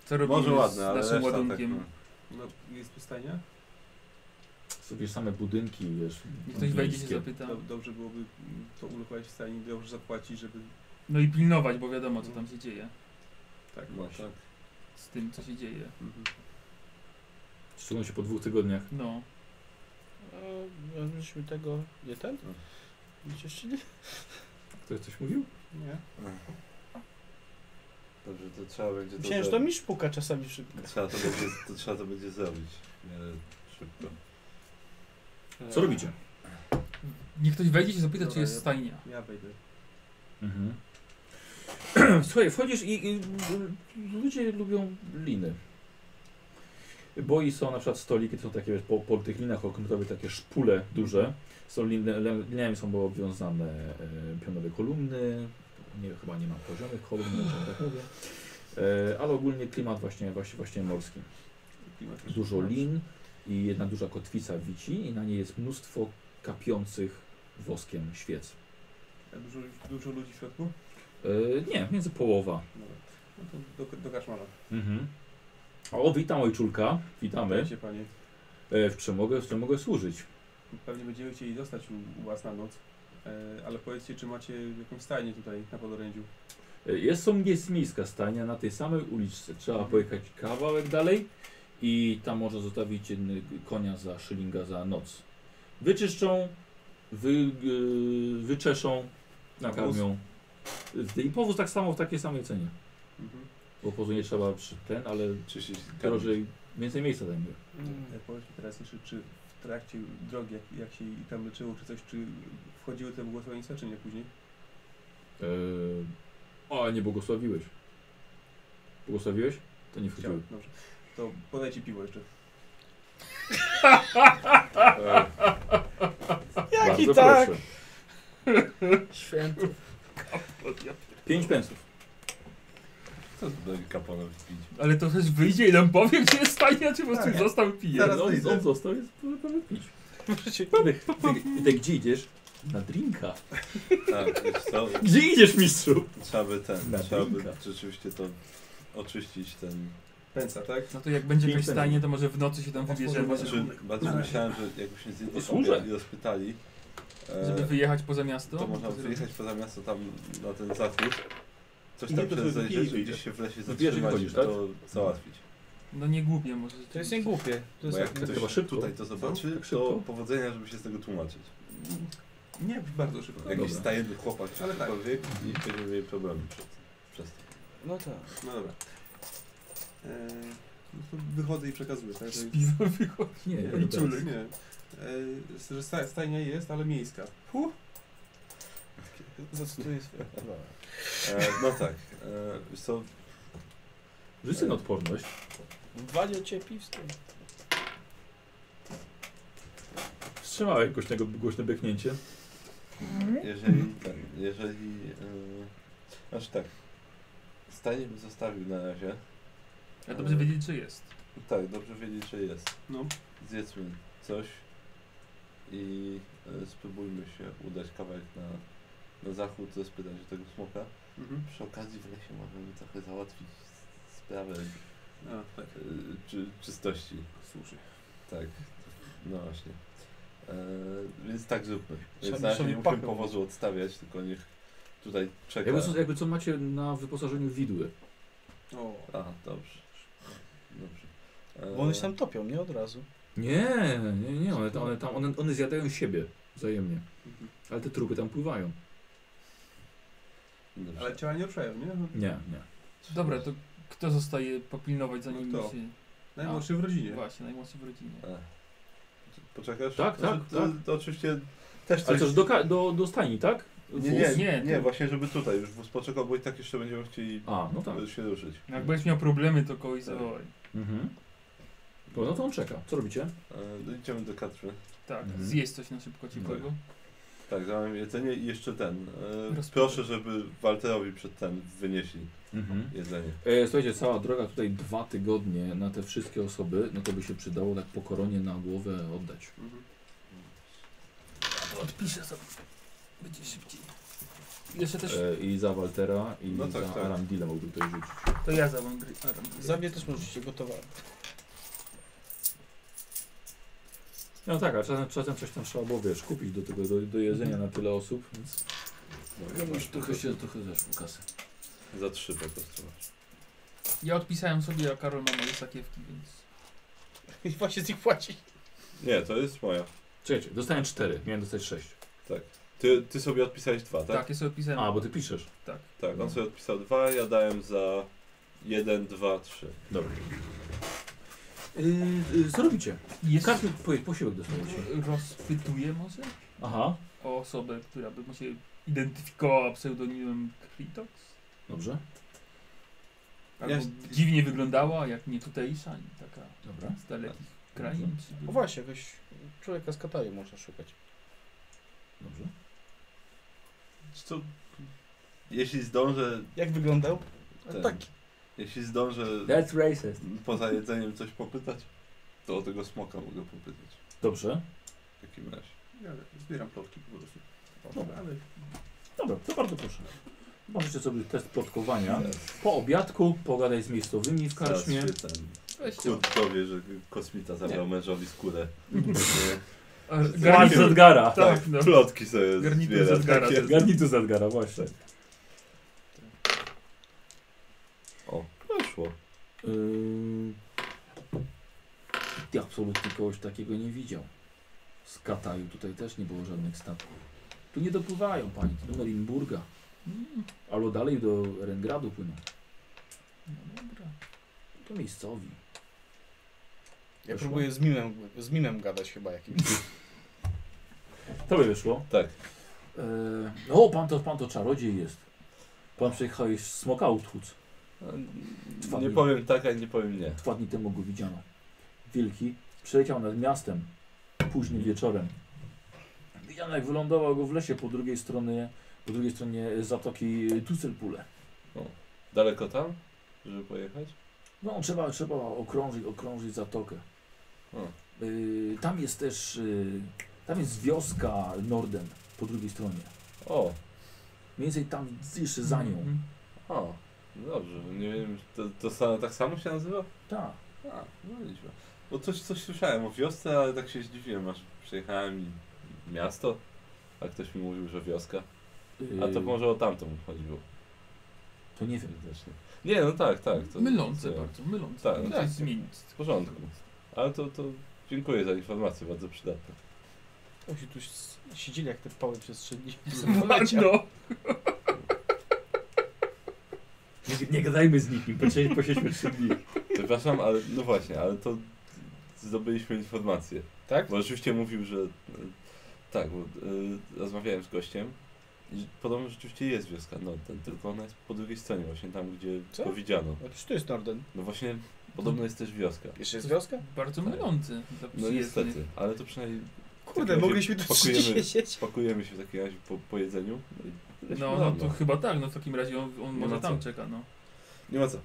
[SPEAKER 2] co robimy
[SPEAKER 4] Może ładne,
[SPEAKER 2] z
[SPEAKER 4] ale
[SPEAKER 2] naszym
[SPEAKER 4] reszta
[SPEAKER 2] ładunkiem?
[SPEAKER 4] tak.
[SPEAKER 8] No, jest pustajnia?
[SPEAKER 1] Są wiesz, same budynki, wiesz.
[SPEAKER 2] Niech ktoś wejdzie się
[SPEAKER 1] miejskie.
[SPEAKER 2] zapyta.
[SPEAKER 8] Do, dobrze byłoby mm, to ulokować w stajni, dobrze zapłacić, żeby...
[SPEAKER 2] No i pilnować, bo wiadomo co tam się dzieje.
[SPEAKER 8] Tak,
[SPEAKER 4] No, no
[SPEAKER 8] właśnie.
[SPEAKER 4] tak.
[SPEAKER 2] Z tym co się dzieje.
[SPEAKER 8] Mhm.
[SPEAKER 1] Ściągną
[SPEAKER 7] No.
[SPEAKER 1] się po dwóch tygodniach.
[SPEAKER 2] No.
[SPEAKER 4] No.
[SPEAKER 6] Myśmy tego nie ten?
[SPEAKER 10] Jeszcze nie.
[SPEAKER 1] Ktoś coś mówił?
[SPEAKER 6] Nie.
[SPEAKER 4] Dobrze, to trzeba będzie to
[SPEAKER 6] Myślałem, że to
[SPEAKER 4] zrobić.
[SPEAKER 6] mi szpuka czasami szybko.
[SPEAKER 4] Trzeba to będzie, to trzeba to będzie zrobić w miarę szybko.
[SPEAKER 2] E,
[SPEAKER 1] Co robicie?
[SPEAKER 2] Niech ktoś wejdzie i się zapyta,
[SPEAKER 8] Dobra,
[SPEAKER 2] czy jest
[SPEAKER 8] ja-
[SPEAKER 2] stajnia.
[SPEAKER 8] Ja wejdę.
[SPEAKER 1] Mhm. [CLEARS THROAT] Słuchaj, wchodzisz i, i y, ludzie lubią liny. Bo i są na przykład stoliki, to są takie wiesz, po, po tych linach okrętowych takie szpule duże. Są liny, le- liniami są obowiązane e, pionowe kolumny. Nie, chyba nie ma poziomych kolumn, czy tak mówię. E, ale ogólnie klimat właśnie, właśnie, właśnie morski. Dużo
[SPEAKER 8] Tak.
[SPEAKER 1] lin i jedna duża kotwica wici i na niej jest mnóstwo kapiących woskiem świec.
[SPEAKER 8] A Dużo, dużo ludzi w środku?
[SPEAKER 1] E, nie, między połowa.
[SPEAKER 8] Dobra. No to do, do kaszmara.
[SPEAKER 1] Mhm. O, witam ojczulka, witamy.
[SPEAKER 8] Witajcie, panie.
[SPEAKER 1] E, w czym mogę, w czym mogę służyć?
[SPEAKER 8] Pewnie będziemy chcieli dostać u, u was na noc. E, ale powiedzcie, czy macie jakąś stajnię tutaj na podorędziu?
[SPEAKER 1] E, Jest, są- jest miejska stajnia na tej samej uliczce. Trzeba pojechać kawałek dalej i tam można zostawić jedny konia za szylinga za noc. Wyczyszczą, wy, y, wyczeszą, nakarmią. Y, I powóz tak samo w takiej samej cenie.
[SPEAKER 8] Mhm.
[SPEAKER 1] Bo pozu nie trzeba przy ten, ale
[SPEAKER 4] Czyścić
[SPEAKER 1] Tak. drożej, więcej miejsca zajmuje.
[SPEAKER 4] Mm.
[SPEAKER 8] E, powiedzcie teraz jeszcze, czy w trakcie drogi, jak, jak się i tam leczyło, czy coś, czy wchodziły te błogosławieństwa, czy nie później?
[SPEAKER 1] Eee, o, nie błogosławiłeś. Błogosławiłeś? To nie wchodziło.
[SPEAKER 8] Chciałem, dobrze. To podajcie piwo jeszcze.
[SPEAKER 4] E,
[SPEAKER 6] Jak i
[SPEAKER 1] Bardzo
[SPEAKER 6] tak?
[SPEAKER 1] proszę.
[SPEAKER 10] Święty.
[SPEAKER 1] tak. Pięć pensów.
[SPEAKER 4] Co z tym kaponem pić?
[SPEAKER 7] Ale to też wyjdzie i nam powie, gdzie jest stajnia, czy po prostu
[SPEAKER 8] Tak.
[SPEAKER 7] został i pije.
[SPEAKER 8] Zaraz
[SPEAKER 1] No, on,
[SPEAKER 8] wyjdę.
[SPEAKER 1] on został, jest prawie pić. Ty, ty gdzie idziesz? Na drinka.
[SPEAKER 4] Tak, wiesz co?
[SPEAKER 1] Gdzie idziesz, mistrzu?
[SPEAKER 4] Trzeba by ten,
[SPEAKER 1] Na
[SPEAKER 4] trzeba by
[SPEAKER 1] drinka.
[SPEAKER 4] rzeczywiście to oczyścić ten...
[SPEAKER 8] Pensa, tak?
[SPEAKER 7] No to jak będzie
[SPEAKER 1] Piękne.
[SPEAKER 7] jakaś stajnia, to może w nocy się tam wybierzemy,
[SPEAKER 4] Znaczy, bardzo myślałem, że jakbyśmy zjedli
[SPEAKER 1] Służę.
[SPEAKER 4] obiad i rozpytali, e,
[SPEAKER 8] Eee,
[SPEAKER 7] żeby wyjechać poza miasto.
[SPEAKER 4] to można wyjechać poza miasto tam na ten zachód. Coś
[SPEAKER 8] I
[SPEAKER 4] tam
[SPEAKER 8] nie to,
[SPEAKER 4] przez
[SPEAKER 8] żeby pili
[SPEAKER 4] znajdziesz,
[SPEAKER 8] wyjdzie.
[SPEAKER 4] gdzieś się w lesie
[SPEAKER 1] Wyjdziesz i
[SPEAKER 4] zatrzymać i
[SPEAKER 1] wychodzisz, tak?
[SPEAKER 4] to załatwić.
[SPEAKER 7] No nie głupie może.
[SPEAKER 6] To jest niegłupie. To
[SPEAKER 4] Bo
[SPEAKER 6] jest
[SPEAKER 4] jak
[SPEAKER 6] tak-
[SPEAKER 1] chyba
[SPEAKER 4] ktoś
[SPEAKER 1] szybko.
[SPEAKER 4] tutaj to zobaczy,
[SPEAKER 1] Tak szybko?
[SPEAKER 4] to powodzenia, żeby się z tego tłumaczyć.
[SPEAKER 8] Nie, bardzo szybko.
[SPEAKER 1] No
[SPEAKER 4] Jakiś
[SPEAKER 1] dobra.
[SPEAKER 4] stajenny chłopak czy
[SPEAKER 8] Ale tak.
[SPEAKER 4] cokolwiek i będziemy mieli problemy przez, przez to.
[SPEAKER 6] No tak.
[SPEAKER 8] No dobra. E, no to wychodzę i przekazuję, tak? Że-
[SPEAKER 7] Piwo wychodzi.
[SPEAKER 1] Nie,
[SPEAKER 8] Nie,
[SPEAKER 1] nie,
[SPEAKER 8] dobra, nie. E, że sta- stajnia jest, ale miejska.
[SPEAKER 6] Za co tu jest?
[SPEAKER 4] E, no tak, e, wiesz co,
[SPEAKER 1] Rzucę na odporność.
[SPEAKER 6] Walił cię piwskiem.
[SPEAKER 1] Wstrzymałem głośnego, głośne beknięcie.
[SPEAKER 8] Hmm?
[SPEAKER 4] Jeżeli tak, jeżeli. E, znaczy tak. Stanie bym zostawił na razie.
[SPEAKER 7] Ja dobrze wiedzieć, czy jest.
[SPEAKER 4] Tak, dobrze wiedzieć, że jest.
[SPEAKER 8] No.
[SPEAKER 4] Zjedzmy coś i e, spróbujmy się udać kawałek na, na zachód, spytać o tego smoka.
[SPEAKER 8] Mhm.
[SPEAKER 4] Przy okazji w lesie możemy trochę załatwić s- sprawę e,
[SPEAKER 8] A, tak,
[SPEAKER 4] czy, czystości.
[SPEAKER 8] słusznie.
[SPEAKER 4] Tak, no właśnie. E, więc tak zróbmy. Więc
[SPEAKER 6] Trzeba-
[SPEAKER 4] na razie
[SPEAKER 6] trzeba
[SPEAKER 4] nie
[SPEAKER 6] pachę
[SPEAKER 4] musimy powozu odstawiać, tylko niech tutaj czeka.
[SPEAKER 1] Jakby co, jakby co macie na wyposażeniu widły?
[SPEAKER 8] O,
[SPEAKER 4] A, dobrze. Dobrze. E,
[SPEAKER 6] Bo one się tam topią, nie od razu.
[SPEAKER 1] Nie, nie, nie, one, one tam, one, one zjadają siebie wzajemnie.
[SPEAKER 4] Mhm.
[SPEAKER 1] Ale te trupy tam pływają.
[SPEAKER 4] dobrze.
[SPEAKER 8] ale ciała nie obszają, nie? No,
[SPEAKER 1] Nie, nie.
[SPEAKER 7] Dobra, to kto zostaje popilnować zanim
[SPEAKER 8] No kto?
[SPEAKER 7] się...
[SPEAKER 8] Najmłodszy w rodzinie.
[SPEAKER 7] Właśnie, najmłodszy w rodzinie.
[SPEAKER 4] E. Poczekasz?
[SPEAKER 1] Tak,
[SPEAKER 4] Znaczy,
[SPEAKER 1] tak,
[SPEAKER 4] to,
[SPEAKER 1] tak.
[SPEAKER 4] to oczywiście też
[SPEAKER 1] Ale
[SPEAKER 4] coś...
[SPEAKER 1] też do, ka- do, do stajni, tak?
[SPEAKER 4] nie, nie,
[SPEAKER 7] wóz?
[SPEAKER 4] nie,
[SPEAKER 7] Nie,
[SPEAKER 4] nie,
[SPEAKER 7] to-
[SPEAKER 4] właśnie żeby tutaj już wóz poczekał, bo i tak jeszcze będziemy chcieli e,
[SPEAKER 1] A, no tak.
[SPEAKER 4] się ruszyć.
[SPEAKER 7] No Jak będziesz miał problemy, to kogoś
[SPEAKER 4] Tak.
[SPEAKER 7] zawołaj.
[SPEAKER 1] Mhm. No, no to on czeka. Co robicie?
[SPEAKER 4] E, no idziemy do Katry.
[SPEAKER 7] Tak,
[SPEAKER 1] Mhm.
[SPEAKER 7] zjeść coś na szybko ciepłego.
[SPEAKER 4] Tak, zamawiam jedzenie i jeszcze ten. E,
[SPEAKER 7] Rozpróbuj.
[SPEAKER 4] proszę, żeby Walterowi przed ten wynieśli
[SPEAKER 1] Mhm.
[SPEAKER 4] jedzenie.
[SPEAKER 1] E, słuchajcie, cała droga tutaj dwa tygodnie na te wszystkie osoby, no to by się przydało tak po koronie na głowę oddać.
[SPEAKER 8] Mhm.
[SPEAKER 7] Odpiszę sobie. Będzie szybciej. Jeszcze też...
[SPEAKER 1] E, I za Waltera, i
[SPEAKER 4] No tak,
[SPEAKER 1] za
[SPEAKER 4] tak.
[SPEAKER 1] Arandila mógłby ktoś rzucić.
[SPEAKER 7] To ja zawołam gry. a, ram.
[SPEAKER 6] Za mnie też możecie, gotowałem.
[SPEAKER 1] No tak, a czasem, czasem coś tam trzeba było, wiesz, kupić do tego, do, do jedzenia na tyle osób, więc...
[SPEAKER 4] Dobra,
[SPEAKER 1] No, już
[SPEAKER 4] masz
[SPEAKER 1] trochę
[SPEAKER 4] tylko-
[SPEAKER 1] się, trochę zeszło kasy.
[SPEAKER 4] Za trzy po prostu. masz.
[SPEAKER 7] Ja odpisałem sobie, a Karol ma moje sakiewki, więc...
[SPEAKER 6] [LAUGHS] I właśnie z nich płaci.
[SPEAKER 4] Nie, to jest moja.
[SPEAKER 1] Czekajcie, dostałem cztery, miałem dostać sześć.
[SPEAKER 4] Tak. Ty, ty sobie odpisałeś dwa, tak?
[SPEAKER 2] Tak, ja sobie odpisałem.
[SPEAKER 1] A, bo ty piszesz.
[SPEAKER 2] Tak.
[SPEAKER 4] Tak,
[SPEAKER 1] No.
[SPEAKER 4] on sobie odpisał dwa, ja dałem za jeden, dwa, trzy.
[SPEAKER 1] Dobra. Yy, yy, co robicie?
[SPEAKER 2] Jest-
[SPEAKER 1] Każdy po, posiłek dostajecie.
[SPEAKER 2] Rozpytuję może
[SPEAKER 1] Aha,
[SPEAKER 2] o osobę, która by mu się identyfikowała pseudonimem Kritox.
[SPEAKER 1] dobrze.
[SPEAKER 2] Albo
[SPEAKER 6] Jest.
[SPEAKER 2] dziwnie wyglądała, jak nie tutejsza, nie taka
[SPEAKER 1] Dobra.
[SPEAKER 2] z dalekich krain.
[SPEAKER 6] O No właśnie, jakoś człowieka z Kataju można szukać.
[SPEAKER 1] Dobrze.
[SPEAKER 4] Co? Jeśli zdążę,
[SPEAKER 6] Jak wyglądał?
[SPEAKER 4] Ten.
[SPEAKER 6] Tak.
[SPEAKER 4] jeśli zdążę
[SPEAKER 10] That's racist.
[SPEAKER 4] poza jedzeniem coś popytać, to o tego smoka mogę popytać.
[SPEAKER 1] Dobrze.
[SPEAKER 4] W takim razie.
[SPEAKER 8] Ja zbieram plotki po prostu.
[SPEAKER 4] No,
[SPEAKER 1] Dobra.
[SPEAKER 8] Ale
[SPEAKER 1] Dobra, to bardzo proszę. Możecie sobie test plotkowania. Po obiadku pogadaj z miejscowymi w
[SPEAKER 4] Zaraz
[SPEAKER 1] karczmie.
[SPEAKER 4] się ten
[SPEAKER 2] Weźcie.
[SPEAKER 4] Kurt dowie, że kosmita zabrał mężowi skórę. Nie.
[SPEAKER 2] A,
[SPEAKER 1] Garnitur z Edgara.
[SPEAKER 2] Tak, no.
[SPEAKER 4] Plotki sobie
[SPEAKER 2] Garnitur
[SPEAKER 4] zbiera.
[SPEAKER 2] z Edgara
[SPEAKER 4] takie.
[SPEAKER 2] też.
[SPEAKER 1] Garnitur z Edgara, właśnie.
[SPEAKER 4] O, weszło.
[SPEAKER 1] Yy... Ja absolutnie kogoś takiego nie widział. Z Kataju tutaj też nie było żadnych statków. Tu nie dopływają, pani, tu do Marinburga.
[SPEAKER 2] Mm,
[SPEAKER 1] Albo dalej do Rengradu płyną.
[SPEAKER 2] No dobra.
[SPEAKER 1] To miejscowi.
[SPEAKER 6] Ja
[SPEAKER 1] Wyszło?
[SPEAKER 6] próbuję z mimem, z mimem gadać chyba [LAUGHS] jakimś.
[SPEAKER 1] To by wyszło.
[SPEAKER 4] Tak.
[SPEAKER 1] Yy... O, pan to, pan to czarodziej jest. Pan przejechałeś smoka utłuc. Dwa
[SPEAKER 4] Nie
[SPEAKER 1] dni.
[SPEAKER 4] powiem tak, a nie powiem nie.
[SPEAKER 1] Dwa dni temu go widziano. Wilki przeleciał nad miastem późnym wieczorem. Widziano jak wylądował go w lesie po drugiej stronie, po drugiej stronie zatoki Tucelpule.
[SPEAKER 4] Daleko tam, żeby pojechać?
[SPEAKER 1] No trzeba, trzeba okrążyć, okrążyć zatokę.
[SPEAKER 4] O.
[SPEAKER 1] Yy, tam jest też, yy, tam jest wioska Norden po drugiej stronie.
[SPEAKER 4] O,
[SPEAKER 1] Mniej więcej tam jeszcze za nią.
[SPEAKER 2] Mhm.
[SPEAKER 4] o. No Dobrze, nie wiem, to, to sa, tak samo się nazywa?
[SPEAKER 1] Tak.
[SPEAKER 4] A, no liczba. Bo coś, coś słyszałem o wiosce, ale tak się zdziwiłem, aż przyjechałem i miasto, a ktoś mi mówił, że wioska.
[SPEAKER 1] Yy,
[SPEAKER 4] A
[SPEAKER 6] Y,
[SPEAKER 4] to może o tamtą chodziło.
[SPEAKER 1] To nie wiem.
[SPEAKER 4] Widocznie. Nie, no tak, tak. To,
[SPEAKER 2] Mylące
[SPEAKER 4] to,
[SPEAKER 2] bardzo, mylące.
[SPEAKER 4] Tak,
[SPEAKER 2] Tak,
[SPEAKER 4] tak.
[SPEAKER 2] tak. zmienić.
[SPEAKER 4] W porządku. Ale to, to dziękuję za informację, bardzo przydatne.
[SPEAKER 6] O, się tu s- siedzieli jak te pały przez trzy [LAUGHS] dni.
[SPEAKER 2] No,
[SPEAKER 1] Nie, nie gadajmy z nikim, posiedźmy, posiedźmy trzy dni.
[SPEAKER 4] Przepraszam, ale no właśnie, ale to zdobyliśmy informację.
[SPEAKER 6] Tak?
[SPEAKER 4] Bo rzeczywiście mówił, że. e, Tak, bo e, rozmawiałem z gościem. i że Podobno rzeczywiście jest wioska, no ten, tylko ona jest po drugiej stronie, właśnie tam, gdzie
[SPEAKER 6] Co?
[SPEAKER 4] powiedziano.
[SPEAKER 6] A przecież tu jest Norden.
[SPEAKER 4] No właśnie, podobno jest też wioska.
[SPEAKER 6] Jeszcze jest wioska?
[SPEAKER 2] bardzo
[SPEAKER 4] Tak.
[SPEAKER 2] mylące. dla
[SPEAKER 4] No
[SPEAKER 2] przyjezdnych.
[SPEAKER 4] niestety, ale to przynajmniej
[SPEAKER 6] Kurde,
[SPEAKER 4] razie
[SPEAKER 6] mogliśmy tu [LAUGHS] trzy dni
[SPEAKER 4] Tak, pakujemy.
[SPEAKER 6] siedzieć.
[SPEAKER 4] pakujemy się w takim razie po, po jedzeniu. No, i lecimy
[SPEAKER 2] No,
[SPEAKER 4] za
[SPEAKER 2] no
[SPEAKER 4] mną.
[SPEAKER 2] to chyba tak, no w takim razie on, on
[SPEAKER 4] Nie
[SPEAKER 2] może
[SPEAKER 4] ma
[SPEAKER 2] tam
[SPEAKER 4] co.
[SPEAKER 2] czeka, no.
[SPEAKER 4] Nie ma co.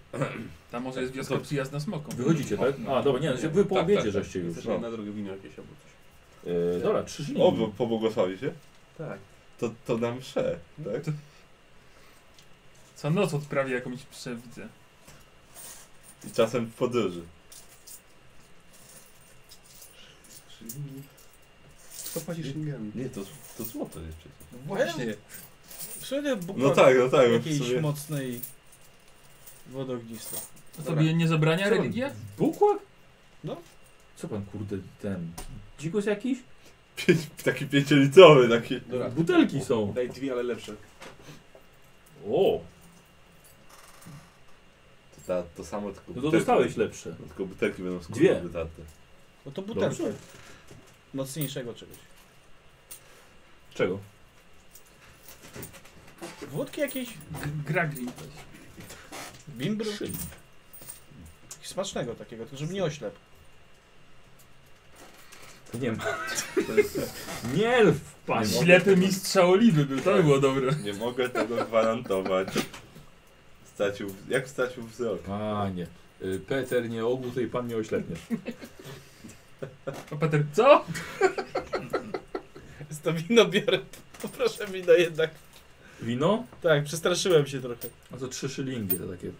[SPEAKER 2] Tam może jest
[SPEAKER 4] Tak,
[SPEAKER 2] wioska
[SPEAKER 4] to-
[SPEAKER 2] przyjazna smokom.
[SPEAKER 1] Wychodzicie, tak? A, dobra, nie, wy po
[SPEAKER 4] Tak,
[SPEAKER 1] obiedzie
[SPEAKER 4] tak, tak.
[SPEAKER 1] żeście już.
[SPEAKER 8] chcesz
[SPEAKER 4] no.
[SPEAKER 8] na drogę wino jakieś albo coś.
[SPEAKER 4] E,
[SPEAKER 1] Yy, dobra, trzy dni.
[SPEAKER 4] O, bo pobłogosławi się?
[SPEAKER 8] Tak.
[SPEAKER 4] To, to na mszę, tak?
[SPEAKER 2] Co noc odprawia jakąś przewidzę.
[SPEAKER 4] I czasem w podróży.
[SPEAKER 8] Co płacisz Schengen?
[SPEAKER 4] Nie, to, to złoto jest przecież.
[SPEAKER 6] No Właśnie. Wtedy
[SPEAKER 4] No tak, no tak. w
[SPEAKER 6] Jakiejś
[SPEAKER 4] sumie.
[SPEAKER 6] mocnej wody ognistej.
[SPEAKER 2] To
[SPEAKER 8] Dobra.
[SPEAKER 2] tobie nie zabrania
[SPEAKER 1] Co?
[SPEAKER 2] religia?
[SPEAKER 1] Bukłak?
[SPEAKER 6] No.
[SPEAKER 1] Co pan kurde ten? Dzikus jakiś?
[SPEAKER 4] Pięć, taki pięciolicowy, taki.
[SPEAKER 8] Dobra.
[SPEAKER 1] Butelki są.
[SPEAKER 8] Daj dwie, ale lepsze.
[SPEAKER 1] O,
[SPEAKER 4] To, ta, to samo tylko.
[SPEAKER 1] no to
[SPEAKER 4] butelki-
[SPEAKER 1] dostałeś lepsze.
[SPEAKER 4] No, tylko butelki będą
[SPEAKER 1] Dwie.
[SPEAKER 4] skórne wytarte.
[SPEAKER 6] No to butelkę.
[SPEAKER 1] Dobrze.
[SPEAKER 6] Mocniejszego czegoś.
[SPEAKER 1] Czego?
[SPEAKER 6] Wódki jakiejś?
[SPEAKER 2] G- Graglin coś.
[SPEAKER 6] Bimbru?
[SPEAKER 1] Trzy.
[SPEAKER 6] Smacznego takiego, tylko żeby nie oślep.
[SPEAKER 1] To nie ma. [LAUGHS] Nie elf, panie.
[SPEAKER 2] Ślepy mistrz oliwy był, to by było dobre.
[SPEAKER 4] Nie mogę tego gwarantować. Stracił, jak stracił wzrok?
[SPEAKER 1] Panie. y, Peter nie ogłuł, to i pan nie oślepnie.
[SPEAKER 2] A Peter, co?
[SPEAKER 6] Z to wino biorę, poproszę wino jednak.
[SPEAKER 1] Wino?
[SPEAKER 6] Tak, przestraszyłem się trochę.
[SPEAKER 1] A to trzy szylingi, to takie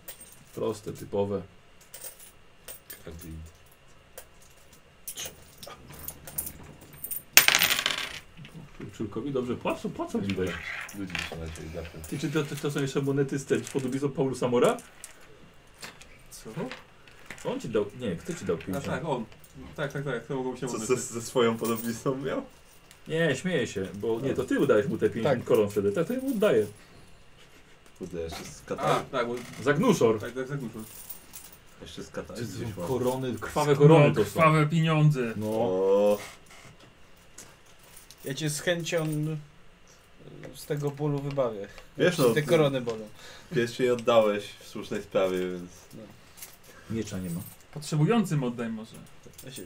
[SPEAKER 1] proste, typowe.
[SPEAKER 4] Taki
[SPEAKER 1] Czulkowi dobrze płacą, płacą widać.
[SPEAKER 4] Ludzi się raczej zawsze.
[SPEAKER 1] Ty, czy to, to, to są jeszcze monety z tej podobizną Paulu Samora?
[SPEAKER 8] Co?
[SPEAKER 1] On ci dał, nie, kto ci dał
[SPEAKER 8] A
[SPEAKER 1] pięćdziesiąt?
[SPEAKER 8] tak, on. Tak, tak, tak, to mogło się
[SPEAKER 4] Co
[SPEAKER 8] mówić.
[SPEAKER 4] ze, ze swoją podobizną miał?
[SPEAKER 1] Nie, śmieję się, bo nie, to ty udajesz mu te 50 koron wtedy, tak to ja mu oddaję.
[SPEAKER 4] Kurde, jeszcze z
[SPEAKER 8] A,
[SPEAKER 4] Katar.
[SPEAKER 8] tak, bo...
[SPEAKER 1] Zagnuszor.
[SPEAKER 8] Tak, tak, zagnuszor.
[SPEAKER 4] Jeszcze z Katar.
[SPEAKER 1] Jezu,
[SPEAKER 4] gdzieś mam.
[SPEAKER 1] Korony, No, krwawe korony to są.
[SPEAKER 2] Krwawe pieniądze.
[SPEAKER 1] No,
[SPEAKER 4] O,
[SPEAKER 6] Ja cię z chęcią y, z tego bólu wybawię.
[SPEAKER 4] Wiesz, no,
[SPEAKER 6] Te korony bolą.
[SPEAKER 4] pierwszy jej oddałeś w słusznej sprawie, więc...
[SPEAKER 1] miecza nie ma.
[SPEAKER 2] Potrzebującym oddaj może.
[SPEAKER 6] Ja się-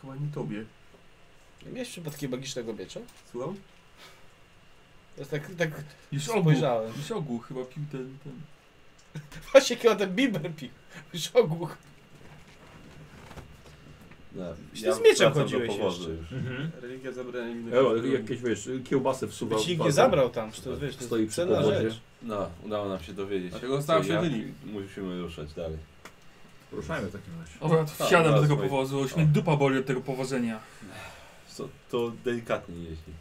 [SPEAKER 8] Chyba nie tobie.
[SPEAKER 6] nie Miałeś przypadkiem magicznego miecza?
[SPEAKER 8] Słucham?
[SPEAKER 6] Ja tak, tak
[SPEAKER 2] Już ogół,
[SPEAKER 6] spojrzałem. [LAUGHS]
[SPEAKER 2] już ogół chyba pił ten, ten.
[SPEAKER 6] Właśnie kiedy on ten biber pił. Już ogłuch.
[SPEAKER 4] No,
[SPEAKER 6] Przecież ty z mieczem
[SPEAKER 4] wracam do
[SPEAKER 6] chodziłeś
[SPEAKER 4] powozu
[SPEAKER 6] jeszcze.
[SPEAKER 4] już.
[SPEAKER 1] Mhm.
[SPEAKER 8] Religia zabrania mi
[SPEAKER 1] Ewa, jakieś wiesz, kiełbasę wsuwa.
[SPEAKER 6] Byś nikt
[SPEAKER 1] walka.
[SPEAKER 6] nie zabrał tam, czy to wiesz, to
[SPEAKER 1] Stoi
[SPEAKER 6] jest
[SPEAKER 1] przy
[SPEAKER 6] cenna
[SPEAKER 1] powodzie.
[SPEAKER 6] rzecz.
[SPEAKER 4] No, udało nam się dowiedzieć.
[SPEAKER 8] Dlatego zostałem
[SPEAKER 4] co
[SPEAKER 8] się
[SPEAKER 4] jak
[SPEAKER 8] jedyni.
[SPEAKER 4] Musimy ruszać dalej.
[SPEAKER 1] Ruszajmy w takim razie.
[SPEAKER 2] Dobra, to wsiadam do
[SPEAKER 4] zaraz
[SPEAKER 2] tego
[SPEAKER 4] pojedzie.
[SPEAKER 2] powozu, już mnie
[SPEAKER 4] O.
[SPEAKER 2] dupa boli od tego powożenia.
[SPEAKER 4] Co, to delikatnie jeździ.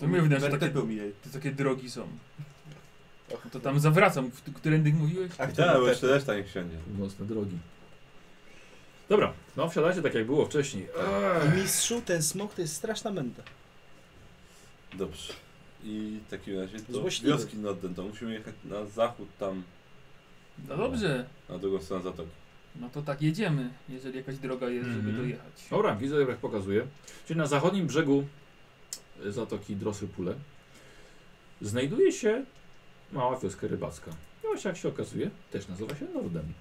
[SPEAKER 2] To mnie wydaje, że takie,
[SPEAKER 8] był mi jej.
[SPEAKER 2] to takie drogi są. To tam zawracam, w- którędy mówiłeś?
[SPEAKER 4] A kto? bo jeszcze reszta niech wsiądzie.
[SPEAKER 1] Mocne drogi. Dobra, no wsiadacie tak jak było wcześniej. Eee. tak.
[SPEAKER 6] I mistrzu, ten smok to jest straszna męta.
[SPEAKER 4] Dobrze. I w takim razie do
[SPEAKER 6] Złośliwy.
[SPEAKER 4] wioski Norden, to musimy jechać na zachód tam,
[SPEAKER 2] No dobrze,
[SPEAKER 4] na drugą stronę zatoki.
[SPEAKER 2] no to tak jedziemy, jeżeli jakaś droga jest, żeby
[SPEAKER 1] Mhm.
[SPEAKER 2] dojechać.
[SPEAKER 1] Dobra, widzę, jak pokazuje. Czyli na zachodnim brzegu e, zatoki Drosypule znajduje się mała wioska rybacka. I właśnie jak się okazuje, też nazywa się Nordem.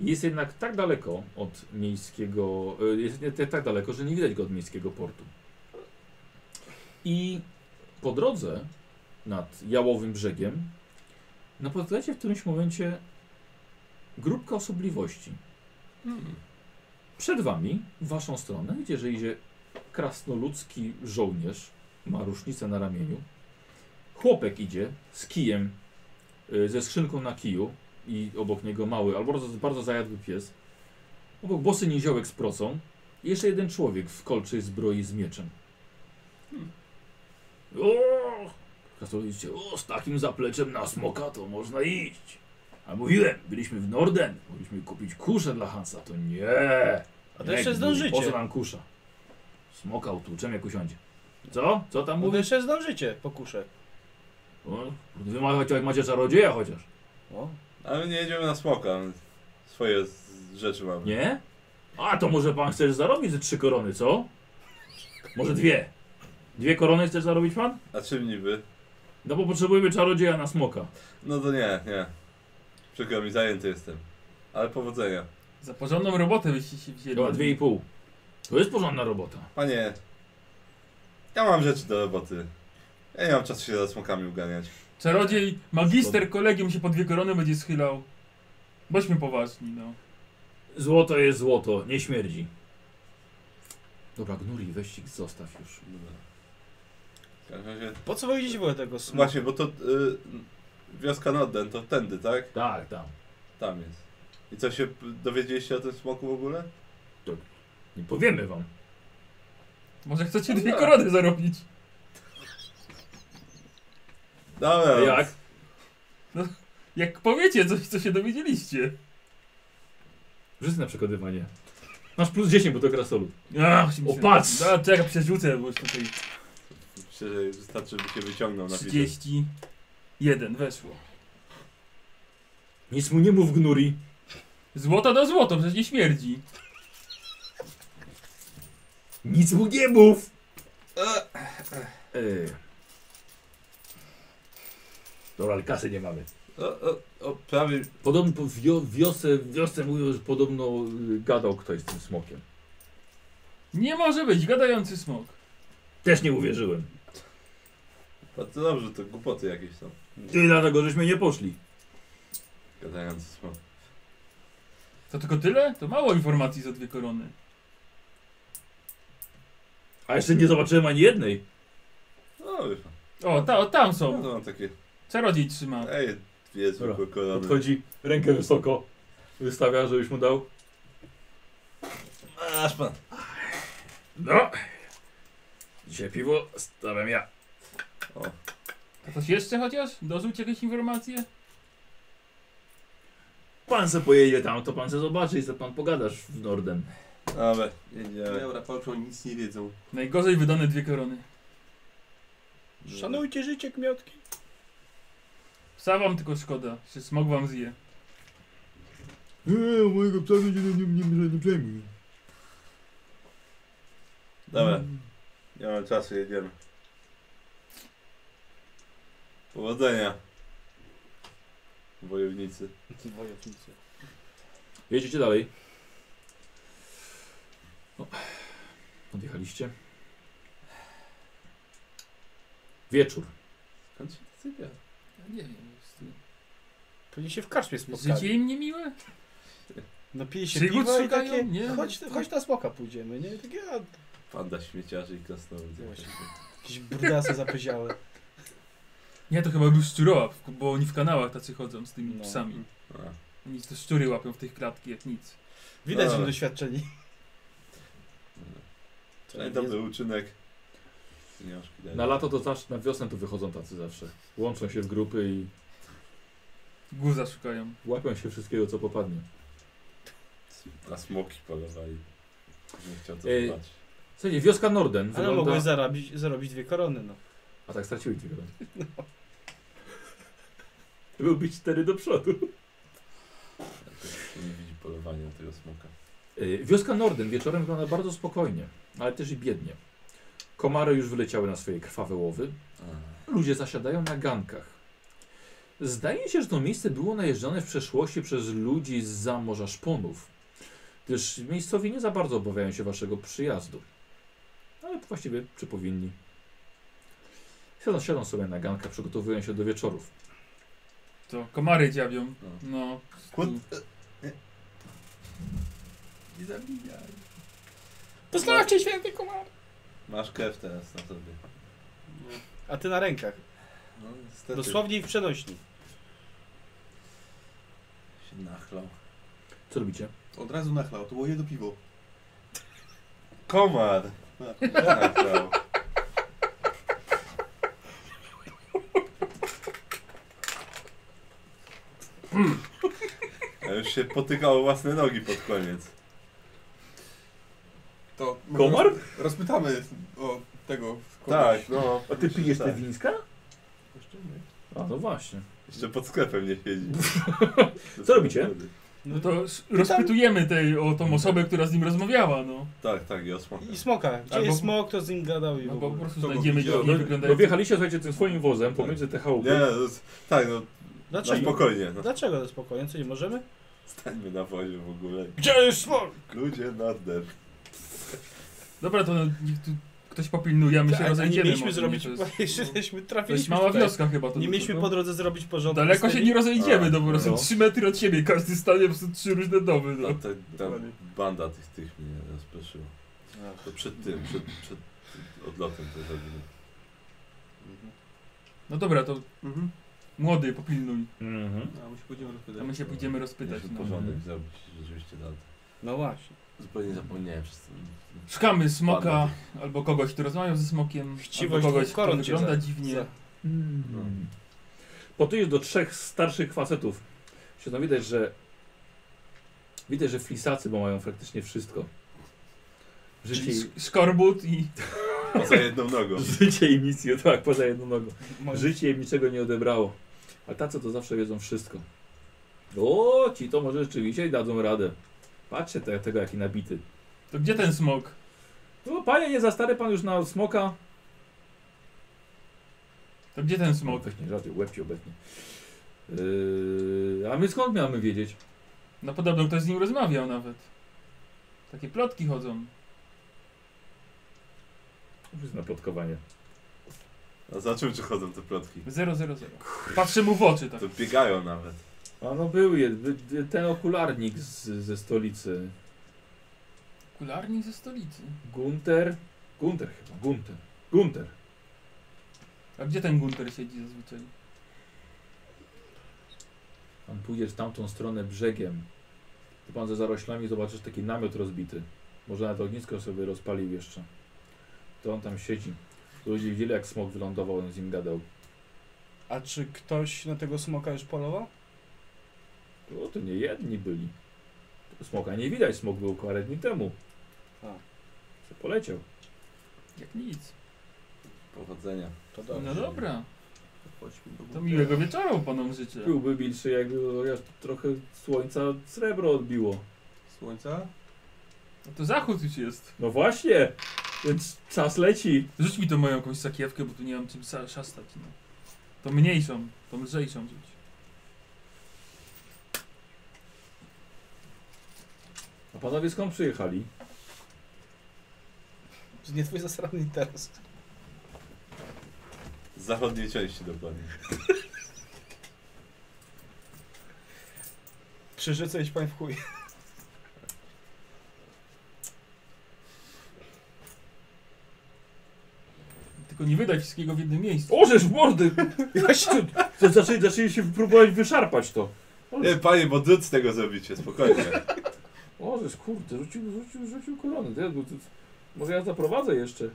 [SPEAKER 1] Jest jednak tak daleko od miejskiego, y, jest nie- tak daleko, że nie widać go od miejskiego portu. I po drodze nad jałowym brzegiem napotkacie w którymś momencie grupkę osobliwości. Przed wami, w waszą stronę, widzicie, że idzie krasnoludzki żołnierz, ma różnicę na ramieniu. Chłopek idzie z kijem, y, ze skrzynką na kiju i obok niego mały, albo bardzo, bardzo zajadły pies. Obok bosy niziołek z procą i jeszcze jeden człowiek w kolczej zbroi z mieczem.
[SPEAKER 6] Hmm.
[SPEAKER 1] O! Krasnolud idzie, o, z takim zapleczem na smoka to można iść. A mówiłem, byliśmy w Norden, mogliśmy kupić kuszę dla Hansa, to nie.
[SPEAKER 6] A to jeszcze
[SPEAKER 1] Regnuj,
[SPEAKER 6] zdążycie.
[SPEAKER 1] Po co nam kusza? Smoka utłuczem jak usiądzie. Co? Co tam
[SPEAKER 6] Mówię,
[SPEAKER 1] mówisz?
[SPEAKER 6] jeszcze zdążycie, pokuszę.
[SPEAKER 1] O, Wy ma, chociaż macie czarodzieja chociaż.
[SPEAKER 6] No.
[SPEAKER 4] Ale my nie jedziemy na smoka, swoje z- rzeczy mamy.
[SPEAKER 1] Nie? A to może pan chcesz zarobić ze trzy korony, co? Może dwie. Dwie korony chcesz zarobić pan?
[SPEAKER 4] A czym niby?
[SPEAKER 1] No bo potrzebujemy czarodzieja na smoka.
[SPEAKER 4] No to nie, nie. Przykro mi, zajęty jestem. Ale powodzenia.
[SPEAKER 2] Za porządną robotę byście się wzięli.
[SPEAKER 1] Chyba dwie i pół. To jest porządna robota.
[SPEAKER 4] Panie, ja mam rzeczy do roboty. Ja nie mam czasu się za smokami uganiać.
[SPEAKER 2] Czarodziej, magister kolegium się po dwie korony będzie schylał. Bądźmy poważni, no.
[SPEAKER 1] Złoto jest złoto, nie śmierdzi. Dobra, Gnuri, weź ich, zostaw już.
[SPEAKER 4] Dobra. W każdym razie...
[SPEAKER 6] Po co wy idziecie tego smoka?
[SPEAKER 4] Właśnie, bo to... Y, wioska Norden, to tędy, tak?
[SPEAKER 1] Tak, tam.
[SPEAKER 4] Tam jest. I co się p- dowiedzieliście o tym smoku w ogóle?
[SPEAKER 1] Nie powiemy wam.
[SPEAKER 2] Może chcecie dwie korony zarobić.
[SPEAKER 4] Dobra.
[SPEAKER 1] Jak?
[SPEAKER 2] Jak powiecie coś, co się dowiedzieliście.
[SPEAKER 1] Wszyscy na przekonywanie. Masz plus 10, bo to krasolut.
[SPEAKER 2] Ach,
[SPEAKER 1] O, patrz!
[SPEAKER 2] A, czekaj, przerzucę, bo już tutaj
[SPEAKER 4] Myślę, że wystarczy, by cię wyciągnął na widok.
[SPEAKER 2] 31 weszło.
[SPEAKER 1] Nic mu nie mów, Gnuri.
[SPEAKER 2] Złoto do złoto, przecież nie śmierdzi.
[SPEAKER 1] Nic mu nie mów! Ej. Dobra, ale kasy nie mamy.
[SPEAKER 4] O, o, o, prawie...
[SPEAKER 1] Podobno po wio, wiosce, wiosce mówią, że podobno y, gadał ktoś z tym smokiem.
[SPEAKER 2] Nie może być, gadający smok.
[SPEAKER 1] Też nie uwierzyłem.
[SPEAKER 4] Bardzo dobrze, to głupoty jakieś są.
[SPEAKER 1] I dlatego żeśmy nie poszli.
[SPEAKER 4] Gadający smok.
[SPEAKER 2] To tylko tyle? To mało informacji za dwie korony.
[SPEAKER 1] A jeszcze nie zobaczyłem ani jednej.
[SPEAKER 4] No, wie pan.
[SPEAKER 2] O, ta, o tam
[SPEAKER 4] No,
[SPEAKER 2] są.
[SPEAKER 4] to mam takie...
[SPEAKER 2] Czarodziej trzyma.
[SPEAKER 4] Ej, dwie zwykłe korony.
[SPEAKER 1] Podchodzi, rękę wysoko, wystawia, żebyś mu dał.
[SPEAKER 4] Aż pan.
[SPEAKER 1] No! Dzisiaj piwo stawiam ja.
[SPEAKER 2] A coś jeszcze chociaż? Dorzuć jakieś informacje?
[SPEAKER 1] Pan se pojedzie tam, to pan se zobaczy i se pan pogadasz w Norden.
[SPEAKER 4] Dobra, jedziemy.
[SPEAKER 8] Dobra, Pauczą nic nie wiedzą.
[SPEAKER 2] Najgorzej wydane dwie korony.
[SPEAKER 6] Szanujcie życie, kmiotki.
[SPEAKER 2] Psa wam tylko szkoda, się smog wam zje.
[SPEAKER 4] Eee, mojego psa będzie nie, nie, nie, nie przejmuj. Dobra,
[SPEAKER 1] Mm.
[SPEAKER 4] nie mamy czasu, jedziemy. Powodzenia. Wojownicy.
[SPEAKER 6] Wojownicy.
[SPEAKER 1] Jedziecie dalej. O, Odjechaliście. Wieczór.
[SPEAKER 3] Skąd się to sypia?
[SPEAKER 2] Ja Nie wiem, jest...
[SPEAKER 6] Pewnie się w karczmie spotkali.
[SPEAKER 2] Życie im niemiłe?
[SPEAKER 6] Napili No się
[SPEAKER 2] Przygód
[SPEAKER 6] piwa i
[SPEAKER 2] szukają?
[SPEAKER 6] takie,
[SPEAKER 2] Nie.
[SPEAKER 6] chodź, chodź na smoka pójdziemy, nie? Takie, a,
[SPEAKER 4] Panda śmieciarzy i krasnoludzy.
[SPEAKER 6] Właśnie. jakieś brudasy zapyziały.
[SPEAKER 2] Nie, to chyba był szczurołap, bo oni w kanałach tacy chodzą z tymi
[SPEAKER 6] No.
[SPEAKER 2] psami.
[SPEAKER 4] A.
[SPEAKER 2] Oni te szczury łapią w tych klatki jak nic.
[SPEAKER 6] Widać, że
[SPEAKER 4] Dobra.
[SPEAKER 6] doświadczeni.
[SPEAKER 4] Przynajmniej No dobry uczynek. Pieniążki dali.
[SPEAKER 1] Na lato to zawsze, na wiosnę to wychodzą tacy zawsze. Łączą się w grupy i
[SPEAKER 2] Guza szukają.
[SPEAKER 1] łapią się wszystkiego, co popadnie.
[SPEAKER 4] Na smoki polowali. Nie chciał to
[SPEAKER 1] Ej.
[SPEAKER 4] zobaczyć.
[SPEAKER 1] Słuchajcie, wioska Norden
[SPEAKER 6] Ale
[SPEAKER 1] wygląda...
[SPEAKER 6] mogłeś zarobić, zarobić dwie korony, no.
[SPEAKER 1] A tak straciły dwie korony. To byłby cztery do przodu.
[SPEAKER 4] Nie widzi polowania na tego smoka.
[SPEAKER 1] Y, Wioska Norden wieczorem wygląda bardzo spokojnie, ale też i biednie. Komary już wyleciały na swoje krwawe łowy. Ludzie zasiadają na gankach. Zdaje się, że to miejsce było najeżdżane w przeszłości przez ludzi z morza szponów, gdyż miejscowi nie za bardzo obawiają się waszego przyjazdu. Ale właściwie, czy powinni? Siedzą, siedzą sobie na gankach, przygotowują się do wieczorów.
[SPEAKER 2] To komary dziabią.
[SPEAKER 4] No.
[SPEAKER 2] No.
[SPEAKER 3] Nie zabijaj.
[SPEAKER 10] Poznawcie święty komar.
[SPEAKER 4] Masz krew teraz na sobie.
[SPEAKER 6] A ty na rękach.
[SPEAKER 4] No, niestety.
[SPEAKER 6] Dosłownie i w przenośni.
[SPEAKER 4] Się nachlał.
[SPEAKER 1] Co robicie?
[SPEAKER 8] Od razu nachlał, to było jedno piwo.
[SPEAKER 4] Komar! Nachlał. A już się potykał o własne nogi pod koniec.
[SPEAKER 8] To
[SPEAKER 1] Komar?
[SPEAKER 8] Rozpytamy o tego
[SPEAKER 4] Tak, no.
[SPEAKER 1] A ty pijesz
[SPEAKER 4] tak.
[SPEAKER 1] te wińska? A no właśnie.
[SPEAKER 4] Jeszcze pod sklepem nie siedzi.
[SPEAKER 1] [LAUGHS] Co robicie?
[SPEAKER 2] No to s- rozpytujemy tej, o tą osobę, która z nim rozmawiała, no.
[SPEAKER 4] Tak, tak, i o smoka.
[SPEAKER 6] I smoka. Gdzie
[SPEAKER 2] Albo-
[SPEAKER 6] jest smok, kto z nim gadał i w
[SPEAKER 2] no bo po
[SPEAKER 6] ogóle.
[SPEAKER 2] prostu
[SPEAKER 8] To go
[SPEAKER 2] znajdziemy
[SPEAKER 8] widziałem.
[SPEAKER 2] drogi wyglądające.
[SPEAKER 1] No wjechaliście, słuchajcie, tym swoim wozem pomiędzy te chałupy.
[SPEAKER 4] Nie, no, z- tak, no, na
[SPEAKER 6] Dlaczego?
[SPEAKER 4] spokojnie. No.
[SPEAKER 6] Dlaczego to spokojnie? Co, nie możemy?
[SPEAKER 4] Stańmy na wozie w ogóle.
[SPEAKER 6] Gdzie jest smok?
[SPEAKER 4] Ludzie na dew.
[SPEAKER 2] Dobra, to niech tu ktoś popilnuje, a my się
[SPEAKER 6] Tak, a nie
[SPEAKER 2] rozejdziemy.
[SPEAKER 6] mieliśmy
[SPEAKER 2] może,
[SPEAKER 6] zrobić...
[SPEAKER 2] [LAUGHS] nie? To jest,
[SPEAKER 6] [LAUGHS]
[SPEAKER 2] no.
[SPEAKER 6] Jesteśmy
[SPEAKER 2] to jest
[SPEAKER 6] trafiliśmy
[SPEAKER 2] mała
[SPEAKER 6] tutaj.
[SPEAKER 2] wioska chyba. To,
[SPEAKER 6] Nie mieliśmy
[SPEAKER 2] to,
[SPEAKER 6] po drodze zrobić porządku.
[SPEAKER 2] Daleko
[SPEAKER 6] z
[SPEAKER 2] się
[SPEAKER 6] tymi-
[SPEAKER 2] nie rozejdziemy,
[SPEAKER 4] A,
[SPEAKER 2] no bo są
[SPEAKER 1] no.
[SPEAKER 2] 3 metry od siebie, każdy stanie po prostu trzy różne domy,
[SPEAKER 4] No, [LAUGHS]
[SPEAKER 2] no.
[SPEAKER 4] ta, ta
[SPEAKER 8] Dokładnie.
[SPEAKER 4] banda tych, tych mnie rozproszyła. To przed tym, przed, przed odlotem to zrobimy.
[SPEAKER 2] No dobra, to
[SPEAKER 8] Mhm.
[SPEAKER 2] młody, popilnuj,
[SPEAKER 1] Mhm.
[SPEAKER 8] A my się pójdziemy
[SPEAKER 2] a
[SPEAKER 8] rozpytać.
[SPEAKER 2] my się pójdziemy rozpytać,
[SPEAKER 4] Musimy
[SPEAKER 2] no.
[SPEAKER 4] porządek
[SPEAKER 1] Mhm.
[SPEAKER 4] zrobić rzeczywiście na to.
[SPEAKER 6] No właśnie.
[SPEAKER 4] Zupełnie zapomniałem przez ten...
[SPEAKER 2] Szukamy smoka, albo kogoś, kto rozmawiał ze smokiem,
[SPEAKER 6] Chciwość
[SPEAKER 2] albo kogoś,
[SPEAKER 6] dwóch
[SPEAKER 2] kto
[SPEAKER 6] koron cię
[SPEAKER 2] wygląda
[SPEAKER 6] za-
[SPEAKER 2] dziwnie.
[SPEAKER 6] za-
[SPEAKER 1] Mm. Podchodzisz do trzech starszych facetów. Się no widać, że widać, że flisacy, bo mają praktycznie wszystko. Życie,
[SPEAKER 2] Czyli
[SPEAKER 1] i-
[SPEAKER 2] sz- szkorbut i...
[SPEAKER 4] Poza jedną nogą.
[SPEAKER 1] życie im nic nie tak, poza jedną nogą.
[SPEAKER 6] Moim-
[SPEAKER 1] Życie im niczego nie odebrało. A tacy to zawsze wiedzą wszystko. O, ci to może rzeczywiście dadzą radę. Patrzcie te, tego, jaki nabity.
[SPEAKER 2] To gdzie ten smok?
[SPEAKER 1] No panie, nie za stary pan już na smoka.
[SPEAKER 2] To gdzie ten smok?
[SPEAKER 1] Weź nie żartuj, łeb ci obecnie. Yy, a my skąd miamy wiedzieć?
[SPEAKER 2] No podobno ktoś z nim rozmawiał nawet. Takie plotki chodzą.
[SPEAKER 1] Na plotkowanie.
[SPEAKER 4] A za czym czy chodzą te plotki?
[SPEAKER 2] 000. Patrzę mu w oczy tak.
[SPEAKER 4] To biegają nawet.
[SPEAKER 1] A no był je, by- by- ten okularnik z, ze stolicy.
[SPEAKER 2] Kularnik ze stolicy.
[SPEAKER 1] Gunter? Gunter chyba, Gunter. Gunter.
[SPEAKER 2] A gdzie ten Gunter siedzi zazwyczaj?
[SPEAKER 1] Pan pójdziesz w tamtą stronę brzegiem. Tu pan ze zaroślami zobaczysz taki namiot rozbity. Może nawet ognisko sobie rozpalił jeszcze. To on tam siedzi. Ludzie widzieli jak smok wylądował, on z nim gadał.
[SPEAKER 6] A czy ktoś na tego smoka już polował?
[SPEAKER 1] O, to nie jedni byli. Smoka nie widać, smok był parę dni temu. Że poleciał.
[SPEAKER 2] Jak nic.
[SPEAKER 4] Powodzenia.
[SPEAKER 6] To
[SPEAKER 2] No dobra.
[SPEAKER 1] Chodźmy do
[SPEAKER 2] To
[SPEAKER 1] bunkra.
[SPEAKER 2] miłego wieczoru panom życzę.
[SPEAKER 1] Byłby milszy, jakby chociaż trochę słońca srebro odbiło.
[SPEAKER 8] Słońca?
[SPEAKER 2] No to zachód już jest.
[SPEAKER 1] No właśnie, więc czas leci.
[SPEAKER 2] Rzuć mi to moją jakąś sakiewkę, bo tu nie mam czym sa- szastać. No. To mniejszą, to lżejszą rzuć.
[SPEAKER 1] A panowie skąd przyjechali?
[SPEAKER 6] To nie twój zasrany interes.
[SPEAKER 4] Z zachodniej części dokładnie.
[SPEAKER 6] Krzyżyce idź pan w chuj.
[SPEAKER 2] Tylko nie wydać wszystkiego w jednym miejscu.
[SPEAKER 1] Ożeż [LAUGHS] mordy! Zaczę- Zaczęli, zaczęli się próbować wyszarpać to.
[SPEAKER 4] Nie, E, panie, bo dud z tego zrobicie, spokojnie.
[SPEAKER 1] Ożeż kurde, rzucił, rzucił, rzucił koronę. To ja- to- to- Może ja zaprowadzę jeszcze.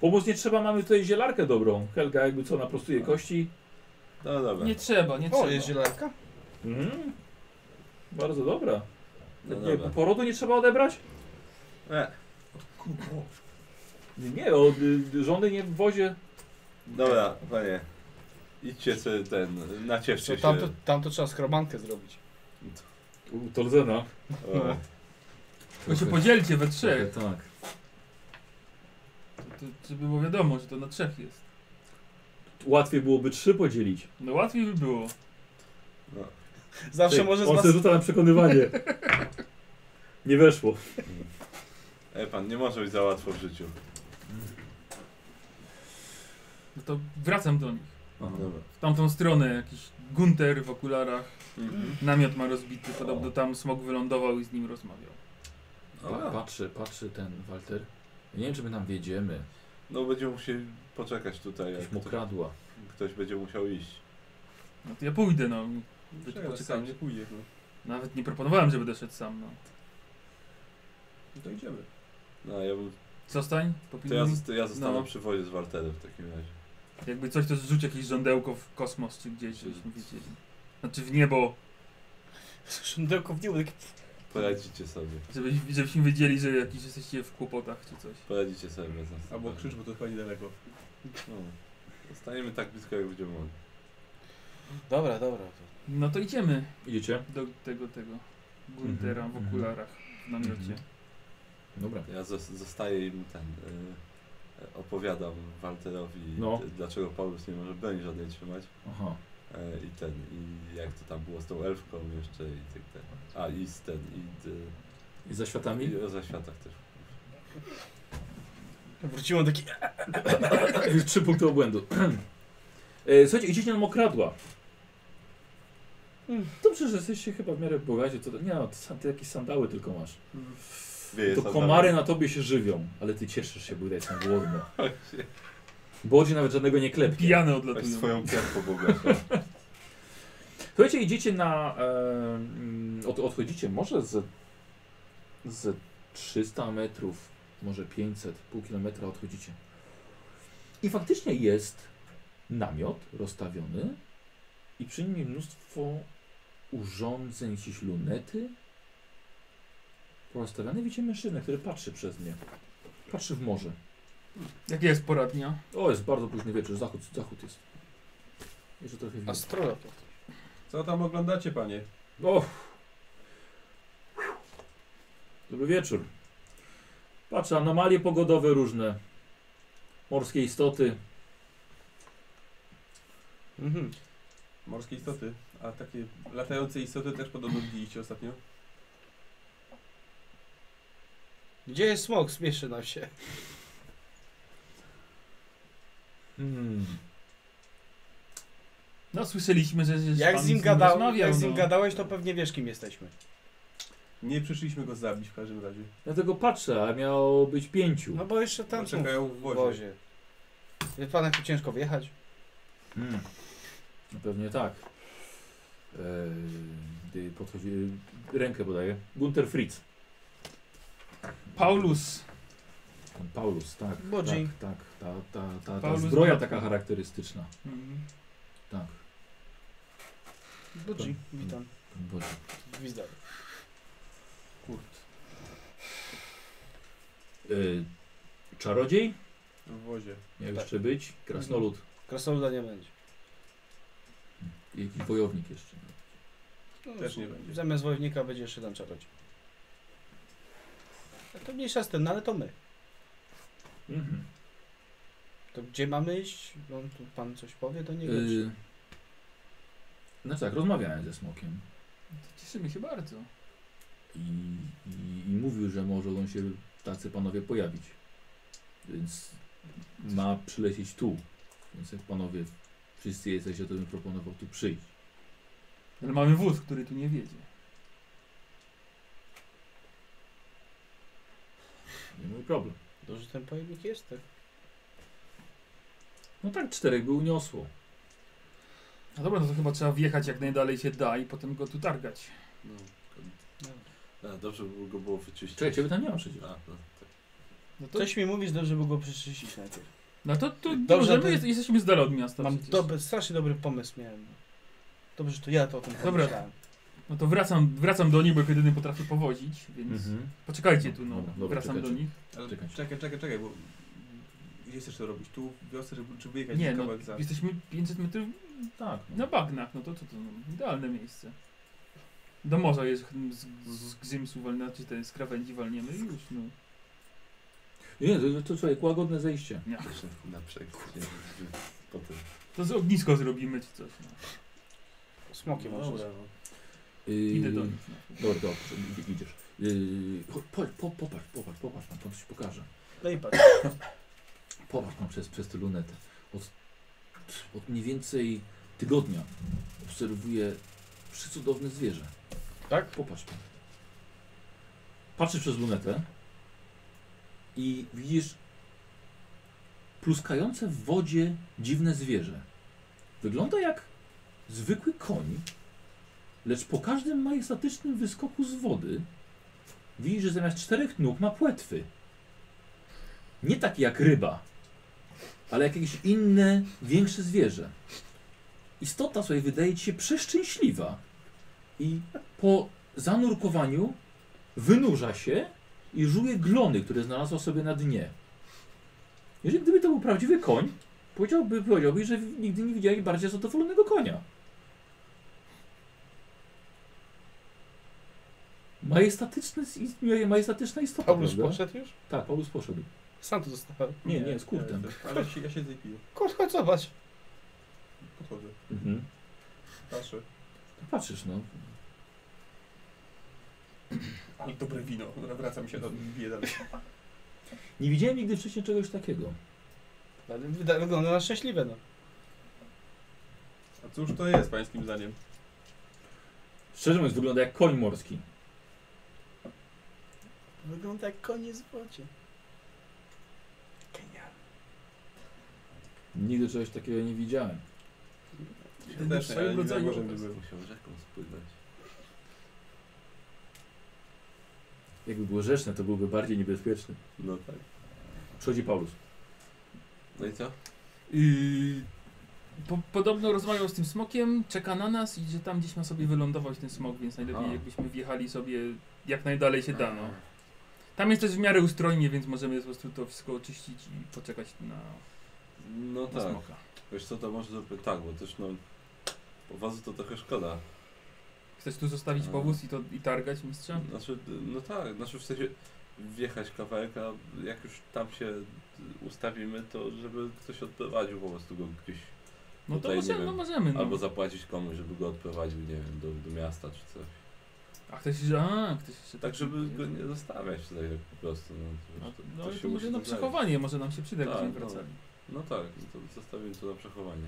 [SPEAKER 1] Pomóc nie trzeba, mamy tutaj zielarkę dobrą. Tak. Helga jakby co, naprostuje kości.
[SPEAKER 4] No dobra.
[SPEAKER 2] Nie trzeba, nie
[SPEAKER 6] O,
[SPEAKER 2] trzeba.
[SPEAKER 6] jest zielarka?
[SPEAKER 1] Mm. Bardzo dobra.
[SPEAKER 4] No
[SPEAKER 1] nie,
[SPEAKER 4] dobra.
[SPEAKER 1] porodu nie trzeba odebrać?
[SPEAKER 4] E,
[SPEAKER 1] Nie, od y, żony nie w wozie.
[SPEAKER 4] dobra, panie. Idźcie sobie ten, nacieszcie
[SPEAKER 6] Co,
[SPEAKER 4] się.
[SPEAKER 6] tam, to, tam to trzeba schrobankę zrobić.
[SPEAKER 1] U, Tolzena.
[SPEAKER 4] O,
[SPEAKER 2] Tylko się podzielcie we
[SPEAKER 4] E,
[SPEAKER 2] trzech.
[SPEAKER 1] Trochę Tak.
[SPEAKER 2] To, to, żeby było wiadomo, że to na trzech jest.
[SPEAKER 1] Łatwiej byłoby trzy podzielić.
[SPEAKER 2] No łatwiej by było.
[SPEAKER 4] no.
[SPEAKER 6] Zawsze
[SPEAKER 1] Ej,
[SPEAKER 6] może z
[SPEAKER 1] on
[SPEAKER 6] was...
[SPEAKER 1] se rzuca na
[SPEAKER 6] [LAUGHS]
[SPEAKER 1] przekonywanie. Nie weszło.
[SPEAKER 4] E, pan, nie może być za łatwo w życiu.
[SPEAKER 2] No to wracam do nich.
[SPEAKER 4] Dobra.
[SPEAKER 2] W tamtą stronę jakiś Gunter w okularach.
[SPEAKER 4] Mhm.
[SPEAKER 2] Namiot ma rozbity, podobno tam smog wylądował i z nim rozmawiał.
[SPEAKER 1] Pa, patrzy, patrzy ten Walter. Ja nie wiem, czy my tam wiedziemy.
[SPEAKER 4] No będziemy musieli poczekać tutaj, jak
[SPEAKER 1] Jakieś
[SPEAKER 4] ktoś,
[SPEAKER 1] mokradła.
[SPEAKER 4] ktoś będzie musiał iść.
[SPEAKER 2] No to ja pójdę, no. Wy tu
[SPEAKER 8] Czekaj, sam nie
[SPEAKER 2] poczekajcie.
[SPEAKER 8] pójdziesz. No.
[SPEAKER 2] Nawet nie proponowałem, żeby doszedł sam, no.
[SPEAKER 8] no to idziemy.
[SPEAKER 4] No, ja, bym-
[SPEAKER 2] Zostań,
[SPEAKER 4] to ja,
[SPEAKER 2] popilnuj.
[SPEAKER 4] zosta- ja zostanę
[SPEAKER 2] No.
[SPEAKER 4] przy wozie z Walterem w takim razie.
[SPEAKER 2] Jakby coś, to zrzuć jakieś żądełko w kosmos czy gdzieś, żebyśmy wiedzieli. Znaczy w niebo,
[SPEAKER 6] Szyndełko w niebo, takie...
[SPEAKER 4] Poradzicie sobie.
[SPEAKER 2] żeby, żebyśmy wiedzieli, że jakiś jesteście w kłopotach czy coś.
[SPEAKER 4] Poradzicie sobie bez nas.
[SPEAKER 8] Albo krzyż, bo to chyba niedaleko.
[SPEAKER 4] No. Zostaniemy tak blisko, jak będziemy mogli.
[SPEAKER 6] Dobra, dobra.
[SPEAKER 2] No to idziemy
[SPEAKER 1] Idziecie?
[SPEAKER 2] do tego, tego Guntera w
[SPEAKER 1] mhm.
[SPEAKER 2] okularach w namiocie.
[SPEAKER 1] Mhm. Dobra.
[SPEAKER 4] Ja zos- zostaję im ten. Y- opowiadam Walterowi,
[SPEAKER 1] No.
[SPEAKER 4] d- dlaczego Paulus nie może broni żadnej trzymać.
[SPEAKER 1] Aha.
[SPEAKER 4] E, I ten, i jak to tam było z tą elfką jeszcze i tak dalej. A i z ten, i, d-
[SPEAKER 1] I za światami?
[SPEAKER 6] [LAUGHS]
[SPEAKER 4] i o zaświatach też.
[SPEAKER 6] Wróciłem taki...
[SPEAKER 1] Trzy punkty obłędu. [CLEARS THROAT] E, Słuchajcie, idziecie na mokradła. Dobrze, że jesteście chyba w miarę bogaci. To, nie, no, ty, sam- ty jakieś sandały tylko masz.
[SPEAKER 6] Mhm.
[SPEAKER 4] Wieje
[SPEAKER 1] To
[SPEAKER 4] tam
[SPEAKER 1] komary na tobie się żywią, ale ty cieszysz się, bo ja jestem
[SPEAKER 6] [LAUGHS]
[SPEAKER 1] głodny. Bodzie nawet żadnego nie klepie.
[SPEAKER 2] Pijane
[SPEAKER 4] Weź
[SPEAKER 2] odlatują.
[SPEAKER 4] swoją pianką bogatą.
[SPEAKER 1] Słuchajcie, idziecie na. E, mm, od, odchodzicie może ze, ze 300 metrów, może 500, pół kilometra odchodzicie. I faktycznie jest namiot rozstawiony i przy nim mnóstwo urządzeń, jakieś lunety. Porozstawiane widzicie mężczyznę, który patrzy przez nie. Patrzy w morze.
[SPEAKER 2] Jaka jest pora dnia?
[SPEAKER 1] O, jest bardzo późny wieczór, zachód, zachód jest. Jeszcze trochę widać.
[SPEAKER 6] Astrolog.
[SPEAKER 8] Co tam oglądacie, panie?
[SPEAKER 1] O! Dobry wieczór. Patrzę, anomalie pogodowe różne. Morskie istoty.
[SPEAKER 6] Mhm.
[SPEAKER 8] Morskie istoty. A takie latające istoty też podobno widzieliście ostatnio?
[SPEAKER 6] Gdzie jest smok? Śmieszy nam się.
[SPEAKER 1] Hmm.
[SPEAKER 2] No słyszeliśmy, że, że
[SPEAKER 6] Jak
[SPEAKER 2] pan
[SPEAKER 6] z nim,
[SPEAKER 2] nim
[SPEAKER 6] gadał,
[SPEAKER 2] rozmawiał,
[SPEAKER 6] jak z nim
[SPEAKER 2] no.
[SPEAKER 6] gadałeś, to pewnie wiesz, kim jesteśmy.
[SPEAKER 8] Nie przyszliśmy go zabić w każdym razie.
[SPEAKER 1] Dlatego patrzę, a miało być pięciu.
[SPEAKER 6] No bo jeszcze tam są
[SPEAKER 8] Czekają w
[SPEAKER 6] w
[SPEAKER 8] wozie.
[SPEAKER 6] wozie. Wie pan, jak tu ciężko wjechać?
[SPEAKER 1] Hmm. No Pewnie tak. Eee, gdy podchodzi, rękę podaje. Gunter Fritz.
[SPEAKER 2] Paulus.
[SPEAKER 1] Pan Paulus, tak.
[SPEAKER 6] Bodzi.
[SPEAKER 1] Tak, tak. Ta, ta, ta, ta
[SPEAKER 2] Paulus
[SPEAKER 1] zbroja
[SPEAKER 2] Bodzi.
[SPEAKER 1] taka charakterystyczna.
[SPEAKER 2] Mhm.
[SPEAKER 1] Tak.
[SPEAKER 6] Budzi, witam.
[SPEAKER 1] Bodzi.
[SPEAKER 6] Gwizdar.
[SPEAKER 8] Kurt.
[SPEAKER 1] Y, czarodziej
[SPEAKER 8] W wozie.
[SPEAKER 1] miał
[SPEAKER 6] Tak.
[SPEAKER 1] jeszcze być, krasnolud,
[SPEAKER 6] Krasnoluda nie będzie.
[SPEAKER 1] jakiś wojownik jeszcze.
[SPEAKER 6] No,
[SPEAKER 8] Też nie będzie.
[SPEAKER 6] Zamiast wojownika będzie jeszcze tam czarodziej. A To mniejsza z tym, no ale to my.
[SPEAKER 1] Mhm.
[SPEAKER 6] To gdzie mamy iść? No, tu pan coś powie do niego? czy-
[SPEAKER 1] Y, no tak, rozmawiałem ze Smokiem
[SPEAKER 2] To cieszymy się bardzo.
[SPEAKER 1] i, i, i mówił, że może on się tacy panowie pojawić, więc ma przylecieć tu, więc jak panowie wszyscy jesteście, to bym proponował tu przyjść.
[SPEAKER 2] Ale mamy wóz, który tu nie wiedzie.
[SPEAKER 1] Nie mój problem.
[SPEAKER 6] Duży ten pojemnik jest, tak?
[SPEAKER 1] No tak, czterech by uniosło.
[SPEAKER 2] No dobra, no to chyba trzeba wjechać jak najdalej się da i potem go tu targać.
[SPEAKER 4] No. A, dobrze by go było wyczyścić.
[SPEAKER 1] Czekaj, ciebie tam nie ma przecież.
[SPEAKER 4] A, no, tak.
[SPEAKER 2] No to,
[SPEAKER 6] Coś mi mówisz, dobrze by go przeczyścić najpierw.
[SPEAKER 2] no to, to
[SPEAKER 6] Dobrze,
[SPEAKER 2] możemy,
[SPEAKER 6] to-
[SPEAKER 2] jest- jesteśmy z dala od miasta
[SPEAKER 6] Mam
[SPEAKER 2] przecież.
[SPEAKER 6] dobry, strasznie dobry pomysł miałem. Dobrze, że to ja to o tym
[SPEAKER 2] Dobra.
[SPEAKER 6] pomyślałem.
[SPEAKER 2] No to wracam, wracam do nich, bo ich jedyny potrafię powozić, więc
[SPEAKER 8] Mhm.
[SPEAKER 2] poczekajcie tu, no,
[SPEAKER 1] Dobra, dobra,
[SPEAKER 2] wracam
[SPEAKER 1] czekajcie.
[SPEAKER 2] do nich.
[SPEAKER 8] Ale
[SPEAKER 1] Czekaj.
[SPEAKER 8] czekaj, czekaj, czekaj, bo gdzie chcesz to robić? Tu w wiosce, żeby, czy wyjechać
[SPEAKER 2] Nie,
[SPEAKER 8] na
[SPEAKER 2] no,
[SPEAKER 8] kawałek za...
[SPEAKER 2] Jesteśmy 500 metrów
[SPEAKER 1] Tak.
[SPEAKER 2] na bagnach, no to to, to no, idealne miejsce. Do morza jest ch- z, z Gzymsu walna, czy ten z krawędzi walniemy i już, no.
[SPEAKER 1] Nie, to, to człowiek, łagodne zejście.
[SPEAKER 4] Na przekór. nie? Potem.
[SPEAKER 2] To z ognisko zrobimy czy coś, no.
[SPEAKER 6] Smoki
[SPEAKER 8] No
[SPEAKER 6] może.
[SPEAKER 8] Dobra, no.
[SPEAKER 1] Yy,
[SPEAKER 2] Idę do nich, no.
[SPEAKER 1] Dobra, dobrze, id- idziesz. Yy, chodź, po, po, popatrz, popatrz, popatrz, tam, tam coś pokażę.
[SPEAKER 6] No i patrz.
[SPEAKER 1] Popatrz tam przez, przez tę lunetę. Od, od mniej więcej tygodnia obserwuję przycudowne zwierzę.
[SPEAKER 6] Tak?
[SPEAKER 1] Popatrz pan. Patrzysz przez lunetę i widzisz pluskające w wodzie dziwne zwierzę. Wygląda jak zwykły koń, lecz po każdym majestatycznym wyskoku z wody widzisz, że zamiast czterech nóg ma płetwy. Nie takie jak ryba, ale jak jakieś inne, większe zwierzę. Istota sobie wydaje ci się przeszczęśliwa i po zanurkowaniu wynurza się i żuje glony, które znalazła sobie na dnie. Jeżeli gdyby to był prawdziwy koń, powiedziałby, powiedziałby że nigdy nie widziałeś bardziej zadowolonego konia. Majestatyczny, majestatyczna istota,
[SPEAKER 6] Paulus
[SPEAKER 1] prawda?
[SPEAKER 6] poszedł już?
[SPEAKER 1] Tak, Paulus poszedł.
[SPEAKER 6] Sam to zostałem.
[SPEAKER 1] Nie, nie, z kurtem.
[SPEAKER 8] Ale się, ja się piję.
[SPEAKER 6] Kurde, chodź zobacz.
[SPEAKER 8] Podchodzę,
[SPEAKER 1] Mhm.
[SPEAKER 8] patrzę.
[SPEAKER 1] No Patrzysz, no.
[SPEAKER 8] Ale dobre wino. Dobra, Wracam się do nich, piję dalej.
[SPEAKER 1] Nie widziałem nigdy wcześniej czegoś takiego.
[SPEAKER 6] Ale wyda- Wygląda na szczęśliwe, no.
[SPEAKER 8] A cóż to jest, pańskim zdaniem?
[SPEAKER 1] Szczerze mówiąc, wygląda jak koń morski.
[SPEAKER 6] Wygląda jak koniec w wodzie. Genialne.
[SPEAKER 1] Nigdy czegoś takiego nie widziałem.
[SPEAKER 8] Ja też nie, ale nie wiem, może by
[SPEAKER 4] obraz.
[SPEAKER 8] był.
[SPEAKER 4] Musiał rzeką spływać.
[SPEAKER 1] Jakby było rzeczne, to byłby bardziej niebezpieczny.
[SPEAKER 4] No tak.
[SPEAKER 1] Przychodzi Paulus.
[SPEAKER 4] No i co?
[SPEAKER 2] Yy, po, podobno rozmawiał z tym smokiem, czeka na nas i że tam gdzieś ma sobie wylądować ten smok, więc najlepiej
[SPEAKER 4] A.
[SPEAKER 2] jakbyśmy wjechali sobie jak najdalej się da. No. Tam jest też w miarę ustrojnie, więc możemy po prostu to wszystko oczyścić i poczekać na,
[SPEAKER 4] No
[SPEAKER 2] na
[SPEAKER 4] tak.
[SPEAKER 2] smoka.
[SPEAKER 4] Wiesz co, to może zróbmy tak, bo też no... Powozu to trochę szkoda.
[SPEAKER 2] Chcesz tu zostawić
[SPEAKER 4] A.
[SPEAKER 2] powóz i, to, i targać mistrza?
[SPEAKER 4] Znaczy, no tak, znaczy w sensie wjechać kawałek, a jak już tam się ustawimy, to żeby ktoś odprowadził po prostu go gdzieś.
[SPEAKER 2] No to
[SPEAKER 4] Tutaj nie
[SPEAKER 2] możemy,
[SPEAKER 4] wiem.
[SPEAKER 2] no możemy. No.
[SPEAKER 4] Albo zapłacić komuś, żeby go odprowadził, nie wiem, do, do miasta czy coś.
[SPEAKER 2] A ktoś jeszcze, a, ktoś jeszcze
[SPEAKER 4] Tak, żeby go nie zostawiać tutaj tak po prostu. No,
[SPEAKER 2] No,
[SPEAKER 4] wiesz,
[SPEAKER 2] to- no i
[SPEAKER 4] się
[SPEAKER 2] to
[SPEAKER 4] musi
[SPEAKER 2] może na
[SPEAKER 4] tu znaleźć.
[SPEAKER 2] przechowanie, może nam się przyda, jak
[SPEAKER 4] Tak,
[SPEAKER 2] będziemy
[SPEAKER 4] no.
[SPEAKER 2] wracali.
[SPEAKER 4] No tak, to zostawimy to na przechowanie.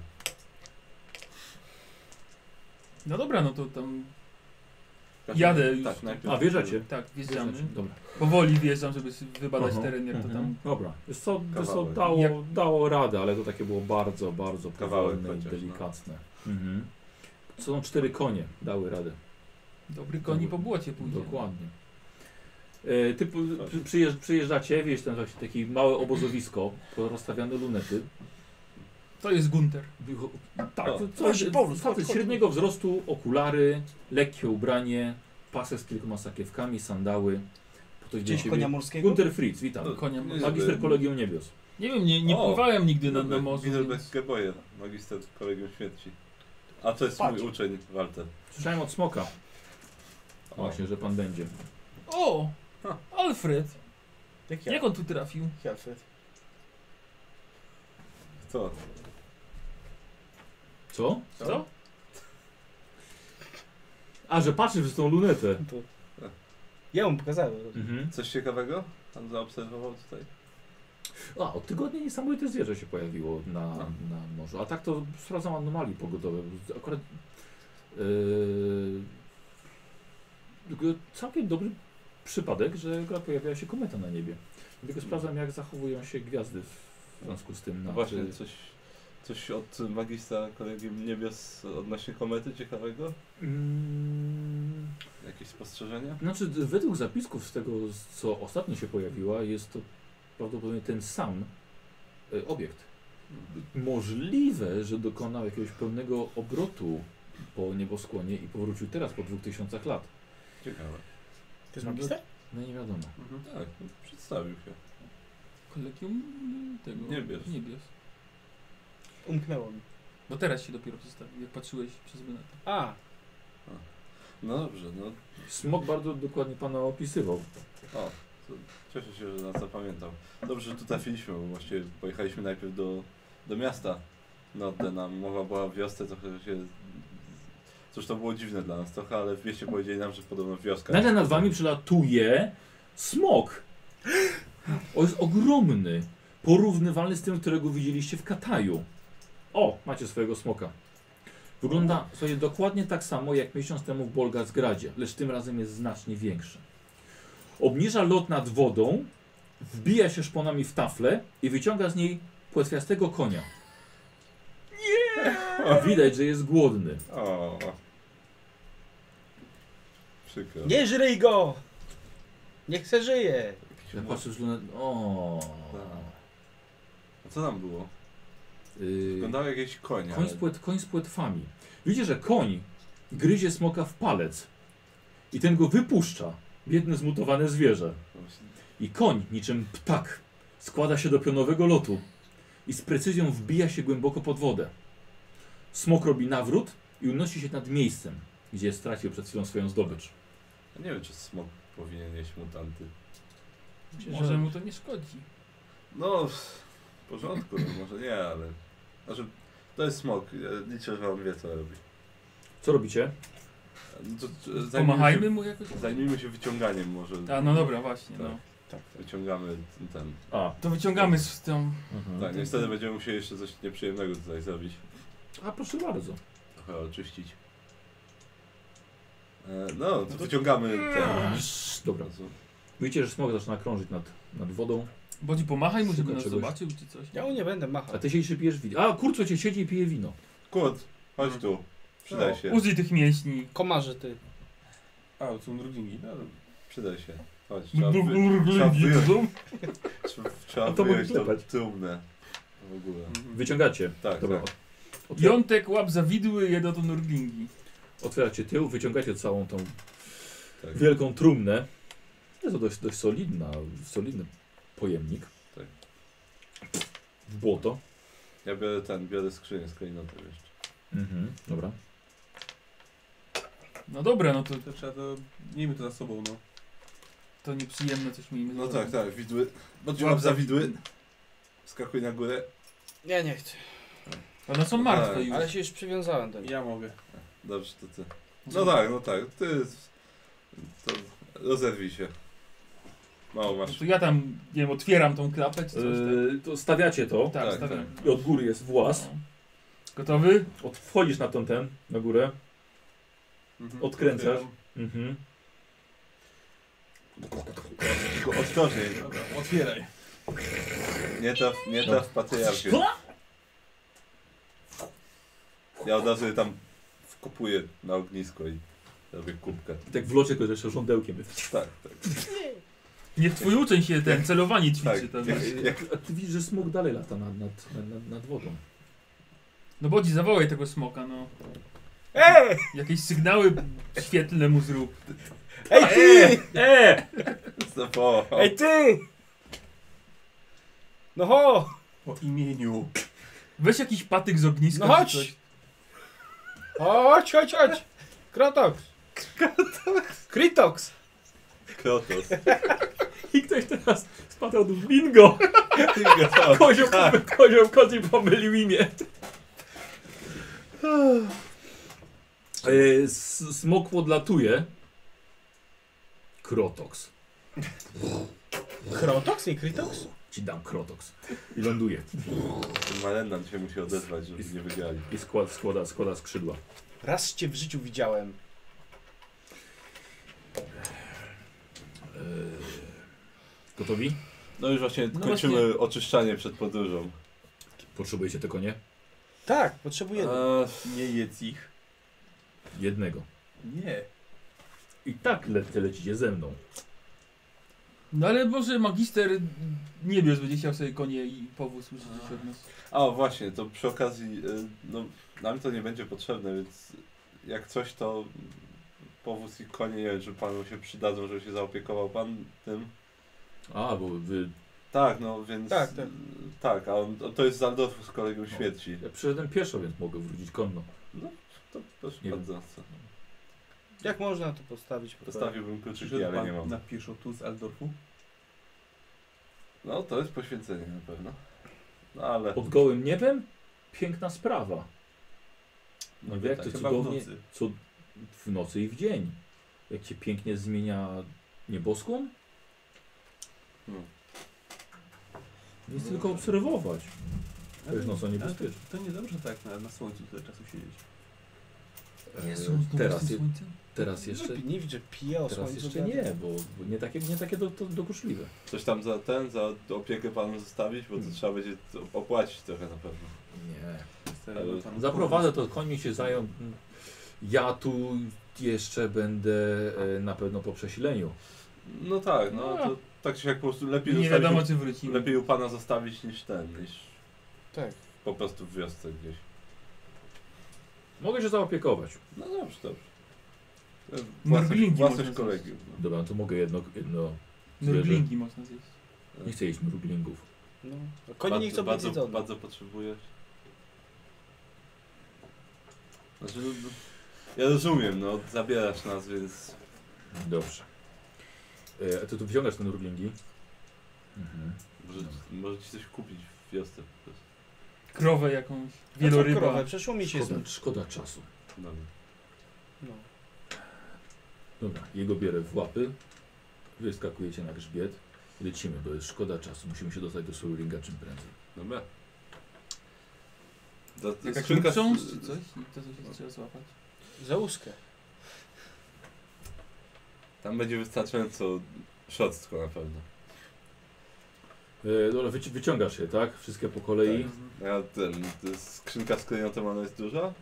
[SPEAKER 2] No dobra, no to tam,
[SPEAKER 4] W każdym-
[SPEAKER 2] Jadę już.
[SPEAKER 4] Tak, najpierw.
[SPEAKER 1] A, wjeżdżacie?
[SPEAKER 2] tak, wjeżdżamy.
[SPEAKER 1] Dobra.
[SPEAKER 2] Powoli wjeżdżam, żeby s- wybadać
[SPEAKER 1] Aha. Mhm.
[SPEAKER 2] teren, jak to tam
[SPEAKER 1] Dobra. Wiesz co, wiesz co
[SPEAKER 4] Kawałek.
[SPEAKER 1] dało,
[SPEAKER 2] Jak-
[SPEAKER 1] dało radę, ale to takie było bardzo, bardzo
[SPEAKER 4] Kawałek
[SPEAKER 1] powolne i
[SPEAKER 4] chociaż, no.
[SPEAKER 1] delikatne. Mhm. Co są cztery konie, dały radę.
[SPEAKER 2] Dobry koni po błocie pójdzie.
[SPEAKER 1] Dokładnie. E, Ty pu- przy- przyjeżdż, przyjeżdżacie, wiesz, tam właśnie takie małe obozowisko, rozstawiane lunety.
[SPEAKER 2] To jest Gunter.
[SPEAKER 1] Wycho- Tak,
[SPEAKER 4] O.
[SPEAKER 1] to coś, facet średniego wzrostu, okulary, lekkie ubranie, pasek z kilkoma sakiewkami, sandały. Ktoś
[SPEAKER 6] Gdzieś
[SPEAKER 1] do
[SPEAKER 6] konia
[SPEAKER 1] ciebie.
[SPEAKER 6] morskiego?
[SPEAKER 1] Gunter Fritz,
[SPEAKER 2] No,
[SPEAKER 1] witam.
[SPEAKER 7] Konia
[SPEAKER 1] Magister Kolegium Niebios.
[SPEAKER 7] Nie wiem, nie, nie
[SPEAKER 4] O,
[SPEAKER 7] pływałem nigdy na,
[SPEAKER 4] Dobry,
[SPEAKER 7] na morzu.
[SPEAKER 4] Heidelberg
[SPEAKER 7] Więc...
[SPEAKER 4] Geboje, magister kolegium śmierci. A to jest mój uczeń, Walter.
[SPEAKER 1] Słyszałem od smoka.
[SPEAKER 4] O.
[SPEAKER 1] Właśnie, że pan będzie.
[SPEAKER 7] O! Alfred!
[SPEAKER 6] Jak ja?
[SPEAKER 7] Jak on tu trafił?
[SPEAKER 6] Alfred.
[SPEAKER 4] Co?
[SPEAKER 1] Co?
[SPEAKER 7] Co?
[SPEAKER 1] A, że patrzysz przez tą lunetę.
[SPEAKER 6] To... Ja mu pokazałem.
[SPEAKER 1] Mhm.
[SPEAKER 4] Coś ciekawego? Pan zaobserwował tutaj?
[SPEAKER 1] A, od tygodnia niesamowite zwierzę się pojawiło na, na morzu. A tak to sprawdzam anomalii pogodowe. Akurat yy, tylko całkiem dobry przypadek, że akurat pojawiała się kometa na niebie. Tylko sprawdzam, jak zachowują się gwiazdy w związku z tym.
[SPEAKER 4] No
[SPEAKER 1] nad-
[SPEAKER 4] właśnie, coś, coś od magistra kolegium niebios odnośnie komety ciekawego?
[SPEAKER 1] Mm,
[SPEAKER 4] Jakieś spostrzeżenia?
[SPEAKER 1] Znaczy, d- według zapisków z tego, z- co ostatnio się pojawiła, jest to prawdopodobnie ten sam e, obiekt. Możliwe, że dokonał jakiegoś pełnego obrotu po nieboskłonie i powrócił teraz po 2000 lat.
[SPEAKER 4] Ciekawe.
[SPEAKER 6] To jest magister?
[SPEAKER 1] No nie wiadomo.
[SPEAKER 8] Mhm.
[SPEAKER 4] Tak, no, przedstawił się.
[SPEAKER 7] Kolegium y, tego.
[SPEAKER 4] Niebios.
[SPEAKER 7] Niebios.
[SPEAKER 6] Umknęło mi.
[SPEAKER 7] Bo teraz się dopiero przedstawił, jak patrzyłeś przez lunetę.
[SPEAKER 6] A,
[SPEAKER 4] No dobrze, no.
[SPEAKER 1] Smok bardzo dokładnie pana opisywał.
[SPEAKER 4] O, to cieszę się, że nas zapamiętał. Dobrze, że tu trafiliśmy, bo właściwie pojechaliśmy najpierw do, do miasta. No, nam mowa była o wiosce, trochę się... Cóż, to było dziwne dla nas trochę, ale w mieście powiedzieli nam, że podobno wioska...
[SPEAKER 1] Nagle nad wami przelatuje smok. [GASPS] On jest ogromny. Porównywalny z tym, którego widzieliście w Kataju. O, macie swojego smoka. Wygląda sobie dokładnie tak samo jak miesiąc temu w Bolgazgradzie, lecz tym razem jest znacznie większy. Obniża lot nad wodą, wbija się szponami w taflę i wyciąga z niej płetwiastego konia. Nie! Widać, że jest głodny.
[SPEAKER 4] O. Przykro.
[SPEAKER 6] nie żryj go! Niech se żyje!
[SPEAKER 4] No
[SPEAKER 1] Ja patrzę, że... O.
[SPEAKER 4] A co tam było?
[SPEAKER 1] Yy,
[SPEAKER 4] Wyglądało jakieś konie.
[SPEAKER 1] Koń
[SPEAKER 4] ale-
[SPEAKER 1] z, płet, koń z płetwami. Widzicie, że koń gryzie smoka w palec i ten go wypuszcza. Biedne zmutowane zwierzę.
[SPEAKER 4] No
[SPEAKER 1] I koń, niczym ptak, składa się do pionowego lotu i z precyzją wbija się głęboko pod wodę. Smok robi nawrót i unosi się nad miejscem, gdzie stracił przed chwilą swoją zdobycz.
[SPEAKER 4] Nie wiem, czy smok powinien jeść mutanty.
[SPEAKER 7] Może mu to nie szkodzi.
[SPEAKER 4] No, w porządku, no, może nie, ale... Znaczy, to jest smok. Ja liczę, że on wie, co robi.
[SPEAKER 1] Co robicie?
[SPEAKER 4] No to, e, zajmijmy
[SPEAKER 7] Pomachajmy
[SPEAKER 4] się,
[SPEAKER 7] mu jakoś.
[SPEAKER 4] zajmijmy się wyciąganiem może.
[SPEAKER 7] A no dobra, właśnie. No.
[SPEAKER 4] Tak, wyciągamy ten... ten.
[SPEAKER 1] A,
[SPEAKER 7] To wyciągamy z tą.
[SPEAKER 1] No,
[SPEAKER 4] tak, niestety będziemy musieli jeszcze coś nieprzyjemnego tutaj zrobić.
[SPEAKER 1] a proszę bardzo.
[SPEAKER 4] Trochę oczyścić. E, no, to wyciągamy ten...
[SPEAKER 1] Dobra. Widzicie, że smok zaczyna krążyć nad, nad wodą.
[SPEAKER 7] Bodzi pomachaj mu, żeby
[SPEAKER 1] Szuka
[SPEAKER 7] nas
[SPEAKER 1] czegoś.
[SPEAKER 7] zobaczył czy coś.
[SPEAKER 6] Ja mu nie będę
[SPEAKER 1] A
[SPEAKER 6] machał.
[SPEAKER 1] ty się jeszcze pijesz wino. A kurczę, cię siedzi i pije wino.
[SPEAKER 4] Kurt, chodź tu. Przydaj
[SPEAKER 6] No.
[SPEAKER 4] się.
[SPEAKER 7] Użyj tych mięśni.
[SPEAKER 6] Komarze ty.
[SPEAKER 3] A, to są drudingi. No,
[SPEAKER 4] Przydaj się. Chodź, trzeba, wy... trzeba
[SPEAKER 2] [LAUGHS]
[SPEAKER 4] wyjąć,
[SPEAKER 7] Urglingidzum.
[SPEAKER 4] trzeba- trzeba
[SPEAKER 1] A to mogę
[SPEAKER 4] wyjąć tą
[SPEAKER 1] klepać.
[SPEAKER 4] trumnę. W ogóle.
[SPEAKER 8] Mhm.
[SPEAKER 1] Wyciągacie.
[SPEAKER 4] Tak,
[SPEAKER 1] Dobra.
[SPEAKER 4] tak.
[SPEAKER 1] Otwier-
[SPEAKER 7] Jątek łap zawidły, jedno to nurglingi.
[SPEAKER 1] Otwieracie tył, wyciągacie całą tą
[SPEAKER 4] tak.
[SPEAKER 1] wielką trumnę. Jest to dość, dość solidna, solidny pojemnik.
[SPEAKER 4] Tak.
[SPEAKER 1] W błoto.
[SPEAKER 4] Ja biorę ten, biorę skrzynię z klejnotem jeszcze.
[SPEAKER 1] Mhm, dobra.
[SPEAKER 7] No dobra, no to,
[SPEAKER 3] to trzeba to... Miejmy to za sobą, no.
[SPEAKER 7] to nieprzyjemne coś miejmy.
[SPEAKER 4] No
[SPEAKER 7] zrobić.
[SPEAKER 4] tak, tak, widły. Podciągam za widły. Skakuj na górę.
[SPEAKER 6] Ja nie chcę.
[SPEAKER 7] One są
[SPEAKER 4] Tak,
[SPEAKER 7] martwe już.
[SPEAKER 6] Ale się już przywiązałem do nich.
[SPEAKER 3] Ja mogę.
[SPEAKER 4] Dobrze, to ty. No tak, no tak, ty... To rozerwij się. Mało
[SPEAKER 7] No
[SPEAKER 4] masz.
[SPEAKER 7] to ja tam, nie wiem, otwieram tą klapę czy coś tak.
[SPEAKER 1] Yy, to stawiacie to.
[SPEAKER 7] Tak,
[SPEAKER 4] tak,
[SPEAKER 7] stawiam.
[SPEAKER 1] I od góry jest włas.
[SPEAKER 7] No. Gotowy?
[SPEAKER 1] Od, wchodzisz na tą ten, na górę.
[SPEAKER 3] Mhm.
[SPEAKER 1] Odkręcasz. Mhm.
[SPEAKER 4] Tylko ostrożniej.
[SPEAKER 3] Dobra, otwieraj.
[SPEAKER 4] Nie traf, nie traf patriarchy. Ja od razu je tam wkopuję na ognisko i robię kubkę.
[SPEAKER 1] I tak w locie go jeszcze żądełkiem.
[SPEAKER 4] Tak, tak.
[SPEAKER 7] Niech twój uczeń się ten celowanie ćwiczy.
[SPEAKER 4] tak.
[SPEAKER 7] Tam.
[SPEAKER 4] [LAUGHS] Jak, jak,
[SPEAKER 1] A ty widzisz, że smok dalej lata nad, nad, nad, nad wodą.
[SPEAKER 7] No bodzi zawołaj tego smoka, no.
[SPEAKER 6] Ej!
[SPEAKER 7] Jakieś sygnały świetlne mu zrób.
[SPEAKER 6] Ej ty!
[SPEAKER 1] Eee!
[SPEAKER 4] po.
[SPEAKER 6] Ej ty! No ho!
[SPEAKER 8] Po imieniu.
[SPEAKER 7] Weź jakiś patyk z ogniska.
[SPEAKER 6] No
[SPEAKER 7] czy
[SPEAKER 6] chodź!
[SPEAKER 7] coś.
[SPEAKER 6] Chodź, chodź, chodź! Krotox! Krotox! Kritox!
[SPEAKER 4] Krotos.
[SPEAKER 1] I ktoś teraz spadał w bingo. tak. [LAUGHS] Kozioł, kozioł kozi pomylił imię. E, s- smok podlatuje. Krotox.
[SPEAKER 6] Krotox, nie Kritox?
[SPEAKER 1] Ci dam krotox. I ląduje.
[SPEAKER 4] Malendan się musi odezwać, żeby nie wygrali.
[SPEAKER 1] I składa, składa, składa skrzydła.
[SPEAKER 6] Raz cię w życiu widziałem.
[SPEAKER 1] Gotowi?
[SPEAKER 4] No już właśnie
[SPEAKER 7] No
[SPEAKER 4] kończymy oczyszczanie przed podróżą.
[SPEAKER 1] Potrzebujecie tego, nie?
[SPEAKER 6] Tak, potrzebujemy.
[SPEAKER 4] Eee.
[SPEAKER 3] nie jedz ich.
[SPEAKER 1] Jednego.
[SPEAKER 3] Nie.
[SPEAKER 1] I tak le lecicie ze mną.
[SPEAKER 7] No ale może magister niebios będzie chciał sobie konie i powóz użyczyć od nas.
[SPEAKER 4] A właśnie, to przy okazji, y, no nam to nie będzie potrzebne, więc jak coś to powóz i konie, nie wiem, czy panu się przydadzą, żeby się zaopiekował pan tym.
[SPEAKER 1] A, bo wy...
[SPEAKER 4] Tak, no więc...
[SPEAKER 6] Tak, tak.
[SPEAKER 4] y, tak a on, to jest Zaldorf z kolegą śmierci.
[SPEAKER 1] Ja przyszedłem pieszo, więc mogę wrócić konno.
[SPEAKER 4] To proszę
[SPEAKER 1] Nie
[SPEAKER 4] bardzo. co?
[SPEAKER 6] Jak można to postawić? po
[SPEAKER 4] Postawiłbym kluczyki,
[SPEAKER 3] Przyszedł
[SPEAKER 4] ale nie
[SPEAKER 3] pan
[SPEAKER 4] mam.
[SPEAKER 3] na pieszo tu z Aldorfu?
[SPEAKER 4] No to jest poświęcenie na pewno. No ale...
[SPEAKER 1] Pod gołym niebem? Piękna sprawa. No
[SPEAKER 4] No
[SPEAKER 1] wie, jak
[SPEAKER 4] tak,
[SPEAKER 1] to
[SPEAKER 4] chyba w
[SPEAKER 1] cudownie,
[SPEAKER 4] nocy.
[SPEAKER 1] co w nocy i w dzień. Jak cię pięknie zmienia nieboskłon?
[SPEAKER 4] No.
[SPEAKER 1] Nic tylko obserwować. To jest nocą
[SPEAKER 3] Ale to,
[SPEAKER 1] niebezpieczne.
[SPEAKER 3] to niedobrze tak na, na słońcu tyle czasu siedzieć.
[SPEAKER 1] E,
[SPEAKER 4] Eee,
[SPEAKER 7] Jezu, teraz
[SPEAKER 1] teraz,
[SPEAKER 7] z tym
[SPEAKER 1] je,
[SPEAKER 7] słońcem?
[SPEAKER 1] teraz
[SPEAKER 6] prostu.
[SPEAKER 1] jeszcze,
[SPEAKER 6] Żeby Nie widzi, że pije o
[SPEAKER 1] teraz
[SPEAKER 6] słońcu
[SPEAKER 1] jeszcze
[SPEAKER 6] gada.
[SPEAKER 1] nie, bo bo nie takie, nie takie do, do, dokuczliwe.
[SPEAKER 4] Coś tam za ten, za opiekę panu zostawić, bo to trzeba będzie to opłacić trochę na pewno.
[SPEAKER 1] Nie.
[SPEAKER 3] Stary,
[SPEAKER 4] Ale
[SPEAKER 3] no tam-
[SPEAKER 1] Zaprowadzę to, koń mi się zajął. Ja tu jeszcze będę e, na pewno po przesileniu.
[SPEAKER 4] No tak, no to tak się jak po prostu lepiej
[SPEAKER 7] Nie
[SPEAKER 4] zostawić.
[SPEAKER 7] wiadomo czy wrócimy.
[SPEAKER 4] Lepiej u pana zostawić niż ten, niż
[SPEAKER 6] Tak.
[SPEAKER 4] po prostu w wiosce gdzieś.
[SPEAKER 1] Mogę się zaopiekować.
[SPEAKER 4] No dobrze, dobrze. E, Własność,
[SPEAKER 7] Mrglingi
[SPEAKER 4] własność
[SPEAKER 7] można zjeść.
[SPEAKER 4] kolegium. no.
[SPEAKER 1] Dobra, to mogę jedno. jedno
[SPEAKER 7] Nurglingi można zjeść.
[SPEAKER 1] Nie chcę jeść mruglingów.
[SPEAKER 6] No. Konie nie chcą być
[SPEAKER 4] bardzo,
[SPEAKER 6] jedzone.
[SPEAKER 4] bardzo potrzebujesz. Znaczy, no, no, ja rozumiem, no zabierasz nas, więc
[SPEAKER 1] Dobrze. E, a ty tu wziągasz te mruglingi? Mhm.
[SPEAKER 4] może,
[SPEAKER 7] No.
[SPEAKER 4] może ci coś kupić w wiosce po prostu.
[SPEAKER 7] Krowę jakąś,
[SPEAKER 6] No co
[SPEAKER 7] wieloryba.
[SPEAKER 6] krowę, przeszło mi się z
[SPEAKER 1] Szkoda, szkoda czasu.
[SPEAKER 4] Dobra.
[SPEAKER 6] No.
[SPEAKER 1] Dobra, jego bierę w łapy. Wyskakujecie na grzbiet. i Lecimy, bo jest szkoda czasu. Musimy się dostać do Surlinga czym prędzej.
[SPEAKER 4] Dobra. no Za-
[SPEAKER 7] Jakaś
[SPEAKER 4] skrzynka z-
[SPEAKER 7] książ czy coś? I to coś trzeba złapać.
[SPEAKER 6] Za łuskę.
[SPEAKER 4] Tam będzie wystarczająco szorstko na pewno.
[SPEAKER 1] E, dobra, wyci- wyciągasz je, tak? Wszystkie po kolei.
[SPEAKER 4] Tak. A ten, to jest skrzynka z klejnotem, ona jest duża?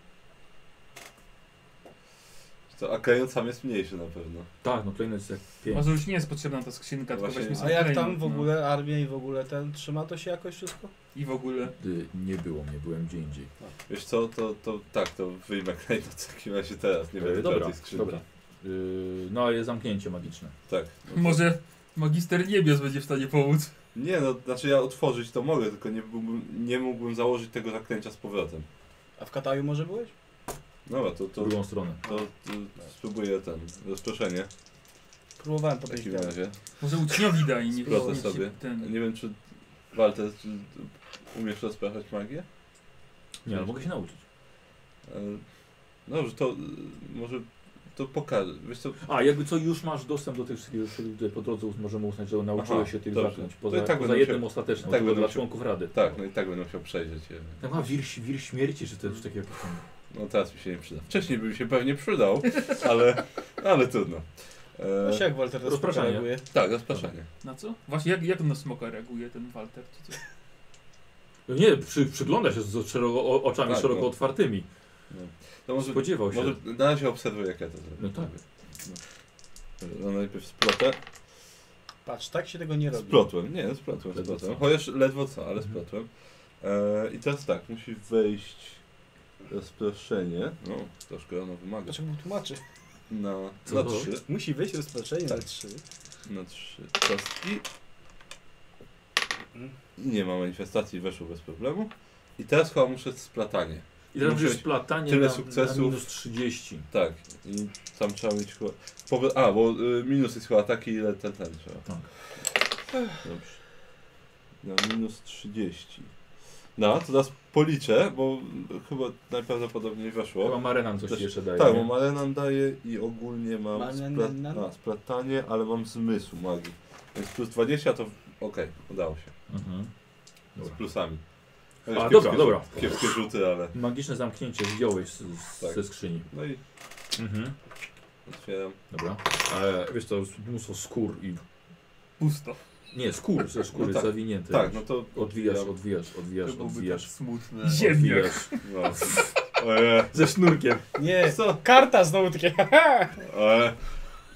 [SPEAKER 4] Czy To, a klejnot sam jest mniejszy na pewno.
[SPEAKER 1] Tak, no klejnot jest jak pięć.
[SPEAKER 7] Może już nie jest potrzebna ta skrzynka, tylko
[SPEAKER 4] Właśnie.
[SPEAKER 7] weźmy
[SPEAKER 6] A
[SPEAKER 7] sobie
[SPEAKER 6] jak
[SPEAKER 7] klejnot,
[SPEAKER 6] tam w
[SPEAKER 7] no.
[SPEAKER 6] ogóle armia i w ogóle ten, trzyma to się jakoś wszystko?
[SPEAKER 7] I w ogóle.
[SPEAKER 1] Gdy nie było mnie, byłem gdzie indziej.
[SPEAKER 4] Wiesz co, to, to tak, to wyjmę klejnot w takim razie teraz, nie będę
[SPEAKER 1] E,
[SPEAKER 4] brał
[SPEAKER 1] dobra,
[SPEAKER 4] tej skrzynki.
[SPEAKER 1] dobra. E, no ale jest zamknięcie magiczne.
[SPEAKER 4] Tak. to-
[SPEAKER 7] Może magister niebios będzie w stanie pomóc.
[SPEAKER 4] Nie no, znaczy ja otworzyć to mogę, tylko nie, byłbym, nie mógłbym założyć tego zaklęcia z powrotem.
[SPEAKER 6] A w Kataju może byłeś?
[SPEAKER 4] Dobra, to, to, to,
[SPEAKER 1] drugą stronę.
[SPEAKER 4] to, spróbuję ten, rozproszenie
[SPEAKER 6] Próbowałem
[SPEAKER 4] w takim
[SPEAKER 6] powiedzieć.
[SPEAKER 4] razie.
[SPEAKER 7] Może uczniowi da i nie
[SPEAKER 4] Sprawdzę
[SPEAKER 7] niech się
[SPEAKER 4] sobie.
[SPEAKER 7] Ten.
[SPEAKER 4] Nie wiem czy, Walter, czy umiesz rozpraszać magię?
[SPEAKER 1] Nie, ale mogę się nauczyć.
[SPEAKER 4] E, No dobrze, to e, może to pokażę. Wiesz co,
[SPEAKER 1] A, jakby co, już masz dostęp do tych wszystkich, już tutaj po drodze uz- możemy uznać, że nauczyłeś
[SPEAKER 4] Aha,
[SPEAKER 1] się tych
[SPEAKER 4] dobrze.
[SPEAKER 1] zaklęć.
[SPEAKER 4] To
[SPEAKER 1] Poza,
[SPEAKER 4] i tak
[SPEAKER 1] poza
[SPEAKER 4] będę
[SPEAKER 1] jednym
[SPEAKER 4] musiał-
[SPEAKER 1] ostatecznym,
[SPEAKER 4] tak
[SPEAKER 1] tak
[SPEAKER 4] będę
[SPEAKER 1] dla
[SPEAKER 4] musiał-
[SPEAKER 1] członków rady.
[SPEAKER 4] tak, no i tak będę musiał przejrzeć je.
[SPEAKER 1] Tam Tak ma wir, wir śmierci, czy to już takie jakieś tam...
[SPEAKER 4] No teraz mi się nie przyda. Wcześniej by mi się pewnie
[SPEAKER 1] [LAUGHS]
[SPEAKER 4] przydał, ale, ale trudno. E,
[SPEAKER 1] No
[SPEAKER 6] Właśnie jak Walter na smoka
[SPEAKER 1] Rozpraszanie.
[SPEAKER 6] reaguje?
[SPEAKER 4] tak, rozpraszanie.
[SPEAKER 7] Na co? Właśnie jak, jak na smoka reaguje ten Walter czy coś?
[SPEAKER 1] No Nie, przy, przygląda się z szeroko, o, oczami
[SPEAKER 4] Tak,
[SPEAKER 1] szeroko
[SPEAKER 4] no.
[SPEAKER 1] otwartymi.
[SPEAKER 4] To może,
[SPEAKER 1] Spodziewał się.
[SPEAKER 4] może na razie obserwuję jak ja to zrobię.
[SPEAKER 1] No tak.
[SPEAKER 4] No najpierw splotę.
[SPEAKER 6] Patrz, tak się tego nie robi.
[SPEAKER 4] Splotłem, nie, no, splotłem,
[SPEAKER 1] Ledwo
[SPEAKER 4] splotłem.
[SPEAKER 1] co.
[SPEAKER 4] Chociaż ledwo co, ale
[SPEAKER 1] Mhm.
[SPEAKER 4] splotłem. E, I teraz tak, musi wejść rozproszenie. No, troszkę ono wymaga.
[SPEAKER 6] Dlaczego mu tłumaczy?
[SPEAKER 4] Na,
[SPEAKER 1] Znaczy, Co
[SPEAKER 4] na
[SPEAKER 1] to?
[SPEAKER 4] trzy.
[SPEAKER 6] Musi wyjść rozproszenie
[SPEAKER 4] Tak.
[SPEAKER 6] na trzy.
[SPEAKER 4] na trzy kostki. I nie ma manifestacji, weszło bez problemu. I teraz chyba muszę splatanie.
[SPEAKER 1] I teraz
[SPEAKER 4] Muszę
[SPEAKER 1] już
[SPEAKER 4] mieć
[SPEAKER 1] splatanie
[SPEAKER 4] tyle
[SPEAKER 1] na,
[SPEAKER 4] sukcesów.
[SPEAKER 1] na minus 30.
[SPEAKER 4] Tak, i tam trzeba mieć chyba... Po, a, bo y, minus jest chyba taki, ile ten, ten trzeba.
[SPEAKER 1] Tak.
[SPEAKER 4] Dobrze. Na minus 30. No, to teraz policzę, bo chyba najprawdopodobniej weszło.
[SPEAKER 1] Chyba Marenan coś jeszcze daje,
[SPEAKER 4] Tak,
[SPEAKER 1] nie?
[SPEAKER 4] bo Marenan daje i ogólnie mam
[SPEAKER 6] Marenan?
[SPEAKER 4] splat- a, splatanie, ale mam zmysł magii. Więc plus 20 to w- okej, udało się.
[SPEAKER 1] Mhm.
[SPEAKER 4] Z plusami.
[SPEAKER 1] A,
[SPEAKER 4] Chociaż
[SPEAKER 1] dobra,
[SPEAKER 4] kiepskie-
[SPEAKER 1] dobra.
[SPEAKER 4] Kiepskie rzuty, ale
[SPEAKER 1] Magiczne zamknięcie zdjąłeś z, z,
[SPEAKER 4] Tak.
[SPEAKER 1] ze skrzyni.
[SPEAKER 4] No i-
[SPEAKER 1] Mhm.
[SPEAKER 4] otwieram.
[SPEAKER 1] Dobra. E, wiesz, to jest mnóstwo skór i...
[SPEAKER 2] Pusto.
[SPEAKER 1] Nie, skór, ze skóry
[SPEAKER 4] No tak.
[SPEAKER 1] zawinięte.
[SPEAKER 4] Tak, no to
[SPEAKER 1] Odwijasz,
[SPEAKER 4] otwieram.
[SPEAKER 1] odwijasz, odwijasz,
[SPEAKER 8] tak
[SPEAKER 4] tak
[SPEAKER 1] odwijasz.
[SPEAKER 2] smutne.
[SPEAKER 4] [LAUGHS]
[SPEAKER 1] Odwijasz.
[SPEAKER 4] No. Ojej.
[SPEAKER 1] Ze sznurkiem.
[SPEAKER 6] Nie,
[SPEAKER 4] Co?
[SPEAKER 6] karta znowu takie, [LAUGHS] haha!
[SPEAKER 4] Ojej.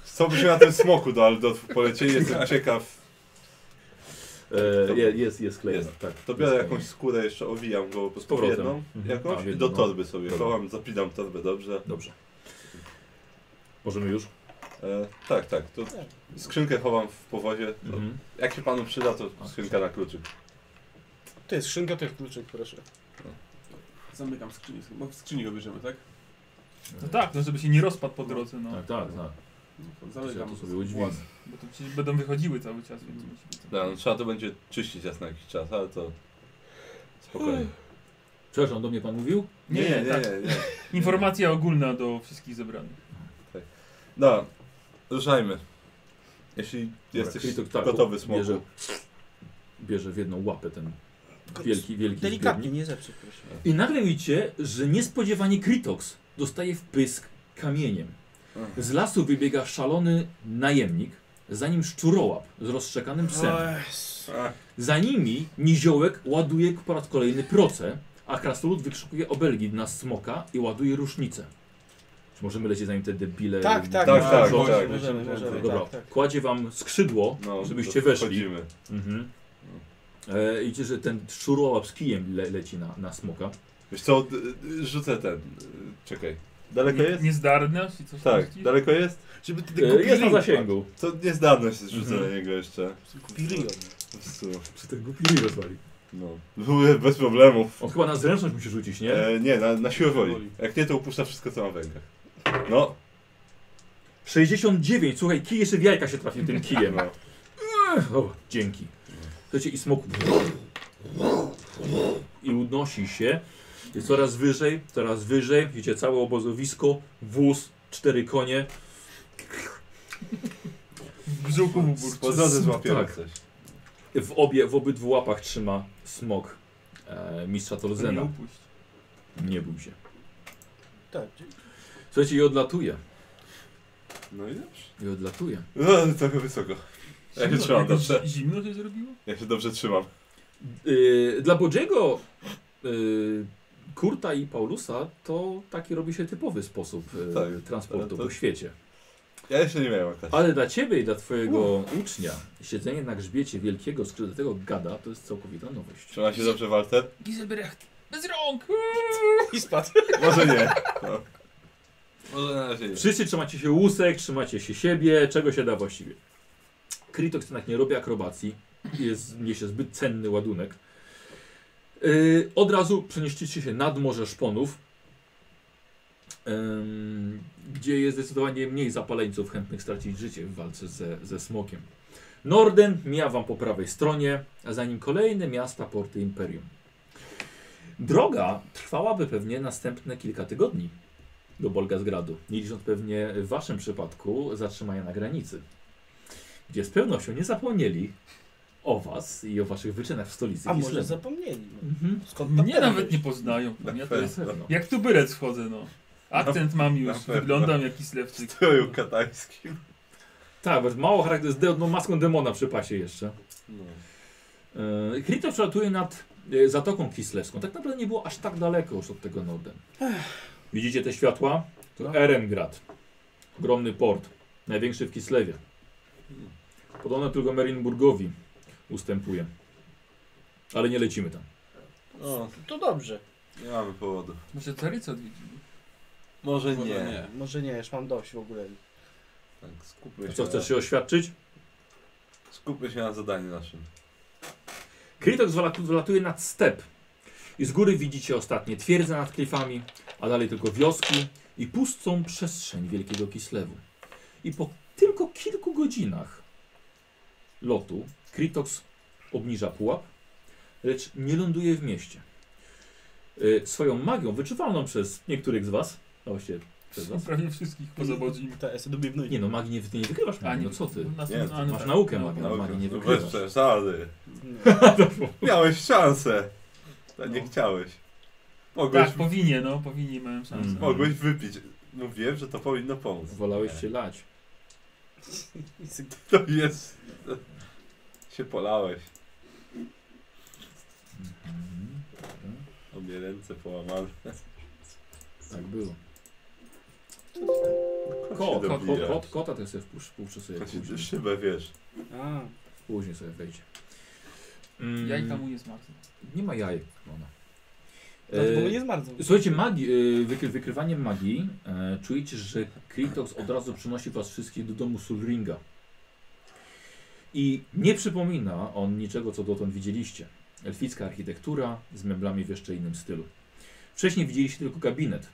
[SPEAKER 4] Co byśmy na tym smoku do Aldotów polecieli? Jestem ciekaw.
[SPEAKER 1] E, je- jest, jest klejona.
[SPEAKER 4] Jest.
[SPEAKER 1] Tak,
[SPEAKER 4] To biorę
[SPEAKER 1] jest
[SPEAKER 4] jakąś skórę, jeszcze owijam go po prostu w
[SPEAKER 1] powrotem.
[SPEAKER 4] jedną
[SPEAKER 1] Mhm. A,
[SPEAKER 4] jakąś
[SPEAKER 1] w
[SPEAKER 4] i
[SPEAKER 1] jedną,
[SPEAKER 4] do
[SPEAKER 1] no.
[SPEAKER 4] torby sobie
[SPEAKER 1] Dobra.
[SPEAKER 4] chowam, zapinam torbę dobrze.
[SPEAKER 1] Dobrze. Możemy już?
[SPEAKER 4] E, tak, tak. To skrzynkę chowam w powozie. To
[SPEAKER 1] Mhm. tak.
[SPEAKER 4] Jak się panu przyda, to skrzynka na kluczyk.
[SPEAKER 6] To jest szynka, to jest kluczyk, proszę.
[SPEAKER 8] Zamykam skrzynię,
[SPEAKER 4] No,
[SPEAKER 8] bo w skrzyni go bierzemy, tak?
[SPEAKER 2] No tak, no żeby się nie rozpadł po drodze, no.
[SPEAKER 1] Tak, tak, tak.
[SPEAKER 8] No to
[SPEAKER 1] To, ja to
[SPEAKER 8] Zamykam.
[SPEAKER 1] sobie udźwignę.
[SPEAKER 2] Bo to przecież będą wychodziły cały czas, więc musi być.
[SPEAKER 4] Da, no, trzeba to będzie czyścić raz na jakiś czas, ale to spokojnie.
[SPEAKER 1] Przepraszam, do mnie pan mówił?
[SPEAKER 2] Nie, nie, tak.
[SPEAKER 4] nie, nie.
[SPEAKER 2] Informacja ogólna do wszystkich zebranych.
[SPEAKER 4] No, ruszajmy. Jeśli jesteś
[SPEAKER 1] czyli to tak,
[SPEAKER 4] gotowy smoku.
[SPEAKER 1] bierze- Bierze w jedną łapę ten wielki, wielki
[SPEAKER 6] Delikatnie,
[SPEAKER 1] zbiornik.
[SPEAKER 6] nie zepsuć, proszę.
[SPEAKER 1] I nagle widzicie, że niespodziewanie Kritox dostaje w pysk kamieniem. Z lasu wybiega szalony najemnik, za nim szczurołap z rozszczekanym psem.
[SPEAKER 4] Ach,
[SPEAKER 1] Za nimi niziołek ładuje po raz kolejny proce, a krasnolud wykrzykuje obelgi na smoka i ładuje rusznicę. Czy możemy lecieć za nim te debile?
[SPEAKER 6] Tak, tak,
[SPEAKER 4] Tak,
[SPEAKER 6] no,
[SPEAKER 4] tak,
[SPEAKER 6] możemy,
[SPEAKER 4] tak.
[SPEAKER 6] możemy, możemy,
[SPEAKER 1] Dobra,
[SPEAKER 6] tak, tak.
[SPEAKER 1] kładzie wam skrzydło,
[SPEAKER 4] No,
[SPEAKER 1] żebyście
[SPEAKER 4] to
[SPEAKER 1] weszli.
[SPEAKER 4] wchodzimy.
[SPEAKER 1] Mhm. E, idzie, że ten szurołap z kijem le, leci na, na smoka.
[SPEAKER 4] Wiesz co, d- d- rzucę ten. y, Czekaj. Daleko
[SPEAKER 2] Nie,
[SPEAKER 4] jest?
[SPEAKER 2] niezdarność i coś
[SPEAKER 4] Tak,
[SPEAKER 2] tam
[SPEAKER 4] daleko jest?
[SPEAKER 5] Żeby ty
[SPEAKER 1] E,
[SPEAKER 5] kupił
[SPEAKER 1] jest na
[SPEAKER 5] link.
[SPEAKER 1] zasięgu.
[SPEAKER 4] To niezdawność rzucę
[SPEAKER 1] Mhm.
[SPEAKER 4] na niego jeszcze.
[SPEAKER 6] tak.
[SPEAKER 5] Pirion.
[SPEAKER 4] Po prostu,
[SPEAKER 1] Czy ten głupi ryj rozwali?
[SPEAKER 4] No. [LAUGHS] Bez problemów.
[SPEAKER 1] On chyba na zręczność musi rzucić, nie?
[SPEAKER 4] E, nie, na, na siłę woli.
[SPEAKER 8] Woli.
[SPEAKER 4] Jak nie, to upuszcza wszystko, co ma w rękach. No,
[SPEAKER 1] 69, słuchaj, kij jeszcze w jajka się trafił tym kijem.
[SPEAKER 4] no.
[SPEAKER 1] O, dzięki. Słuchajcie, i smok i unosi się. Jest coraz wyżej, coraz wyżej. Widzicie całe obozowisko, wóz, cztery konie.
[SPEAKER 2] W brzuchu mu
[SPEAKER 4] Po
[SPEAKER 2] burczy.
[SPEAKER 4] drodze złapiemy
[SPEAKER 1] tak.
[SPEAKER 4] coś.
[SPEAKER 1] W, obie, w obydwu łapach trzyma smok e, mistrza
[SPEAKER 2] Nie
[SPEAKER 1] Tolzena.
[SPEAKER 2] upuść.
[SPEAKER 1] Nie bój się.
[SPEAKER 6] Tak,
[SPEAKER 1] Słuchajcie, i odlatuje.
[SPEAKER 4] No i dobrze.
[SPEAKER 1] I odlatuje.
[SPEAKER 4] No, trochę wysoko. Ja się
[SPEAKER 2] Zimno-
[SPEAKER 4] trzymam
[SPEAKER 2] jakoś
[SPEAKER 4] dobrze.
[SPEAKER 2] Zimno się zrobiło?
[SPEAKER 4] Ja się dobrze trzymam.
[SPEAKER 1] Yy, dla Bodziego, yy, Kurta i Paulusa to taki robi się typowy sposób yy,
[SPEAKER 4] Tak,
[SPEAKER 1] transportu
[SPEAKER 4] ale to-
[SPEAKER 1] po świecie.
[SPEAKER 4] Ja jeszcze nie miałem okazji.
[SPEAKER 1] Ale dla ciebie i dla twojego ucznia siedzenie na grzbiecie wielkiego, skrzydlatego gada to jest całkowita nowość.
[SPEAKER 4] Trzyma się dobrze, Walter?
[SPEAKER 2] Giselbrecht, bez rąk!
[SPEAKER 6] I spadł.
[SPEAKER 4] Może nie. No. Może na razie nie.
[SPEAKER 1] Wszyscy trzymacie się łusek, trzymacie się siebie, czego się da właściwie. Krytok jednak nie robi akrobacji, jest, niesie zbyt cenny ładunek. Yy, od razu przenieśliście się nad Morze Szponów, em, gdzie jest zdecydowanie mniej zapaleńców chętnych stracić życie w walce ze, ze smokiem. Norden mija wam po prawej stronie, a za nim kolejne miasta, porty Imperium. Droga trwałaby pewnie następne kilka tygodni do Bolgazgradu. Nie licząc pewnie w waszym przypadku zatrzymania na granicy, gdzie z pewnością nie zapomnieli o was i o waszych wyczynach w stolicy
[SPEAKER 6] A może
[SPEAKER 1] Kislewu.
[SPEAKER 6] zapomnieli. no.
[SPEAKER 1] Mhm.
[SPEAKER 6] Skąd tam
[SPEAKER 2] Mnie nawet nie
[SPEAKER 6] pewność?
[SPEAKER 2] poznają. No, Ja to
[SPEAKER 1] To
[SPEAKER 4] Tak.
[SPEAKER 1] jest pewno.
[SPEAKER 2] Jak tu bylec wchodzę, no. Akcent mam już,
[SPEAKER 4] pewno.
[SPEAKER 2] wyglądam jak
[SPEAKER 4] W
[SPEAKER 2] Kislewczyk.
[SPEAKER 4] stroju katańskim.
[SPEAKER 1] Tak, bo mało charakter z deodną maską demona przy pasie jeszcze.
[SPEAKER 4] No.
[SPEAKER 1] Yy, Krito przelatuje nad e, Zatoką Kislewską. Tak naprawdę nie było aż tak daleko już od tego Norden. Widzicie te światła? To Erengrad. Ogromny port. Największy w Kislewie. Podobno tylko Merinburgowi ustępuje. Ale nie lecimy tam.
[SPEAKER 4] No,
[SPEAKER 6] To dobrze.
[SPEAKER 4] nie mamy powodu.
[SPEAKER 2] Może Caryca odwiedzili.
[SPEAKER 4] Może
[SPEAKER 8] Może
[SPEAKER 4] nie.
[SPEAKER 8] nie.
[SPEAKER 6] Może nie, już mam dość w ogóle.
[SPEAKER 4] Tak, skupmy się.
[SPEAKER 1] Co,
[SPEAKER 4] na-
[SPEAKER 1] chcesz się oświadczyć?
[SPEAKER 4] Skupmy się na zadaniu naszym.
[SPEAKER 1] Krytok wylatu- wylatuje nad step. I z góry widzicie ostatnie twierdze nad klifami, a dalej tylko wioski i pustą przestrzeń Wielkiego Kislewu. I po tylko kilku godzinach lotu Krytox obniża pułap, lecz nie ląduje w mieście. Y, Swoją magią, wyczuwalną przez niektórych z Was, no a właściwie przez Was.
[SPEAKER 7] Prawie wszystkich poza Bodzim.
[SPEAKER 6] Ta, jest dobry
[SPEAKER 1] Nie no, magii nie, ty nie wykrywasz magii, no co ty?
[SPEAKER 7] na-
[SPEAKER 4] Nie,
[SPEAKER 7] na-
[SPEAKER 1] Masz
[SPEAKER 7] na-
[SPEAKER 1] naukę
[SPEAKER 7] na-
[SPEAKER 1] magii, no,
[SPEAKER 4] Dobra,
[SPEAKER 1] magii nie
[SPEAKER 4] no
[SPEAKER 1] wykrywasz.
[SPEAKER 4] Bez przesady. Miałeś szansę. A nie
[SPEAKER 7] No.
[SPEAKER 4] chciałeś. Mogłeś, Mhm.
[SPEAKER 7] Tak, powinien, no, powinien, miałem szansę.
[SPEAKER 1] Mm.
[SPEAKER 4] mogłeś wypić. Mówiłem, że to powinno pomóc. [LAUGHS]
[SPEAKER 1] Wolałeś się lać.
[SPEAKER 4] To jest... Się polałeś.
[SPEAKER 1] Mhm.
[SPEAKER 4] Obie ręce połamane.
[SPEAKER 1] Tak było.
[SPEAKER 4] Kot
[SPEAKER 1] Kot,
[SPEAKER 4] się
[SPEAKER 1] kot,
[SPEAKER 4] dobija.
[SPEAKER 1] kot, kot, kota to sobie wpuszczę, wpuszczę sobie
[SPEAKER 4] Chodź,
[SPEAKER 1] później.
[SPEAKER 4] Szybę, wiesz.
[SPEAKER 6] A,
[SPEAKER 1] Później sobie wejdzie. Mm,
[SPEAKER 7] Jajka mu nie smaczą.
[SPEAKER 1] Nie ma no. jaj. Ona.
[SPEAKER 4] E,
[SPEAKER 6] dlatego nie zmarzł.
[SPEAKER 1] Słuchajcie, magii, e, wykry, wykrywanie magii, e, czujecie, że Krytox od razu przynosi was wszystkich do domu Sulringa. I nie przypomina on niczego, co dotąd widzieliście. Elficka architektura z meblami w jeszcze innym stylu. Wcześniej widzieliście tylko gabinet,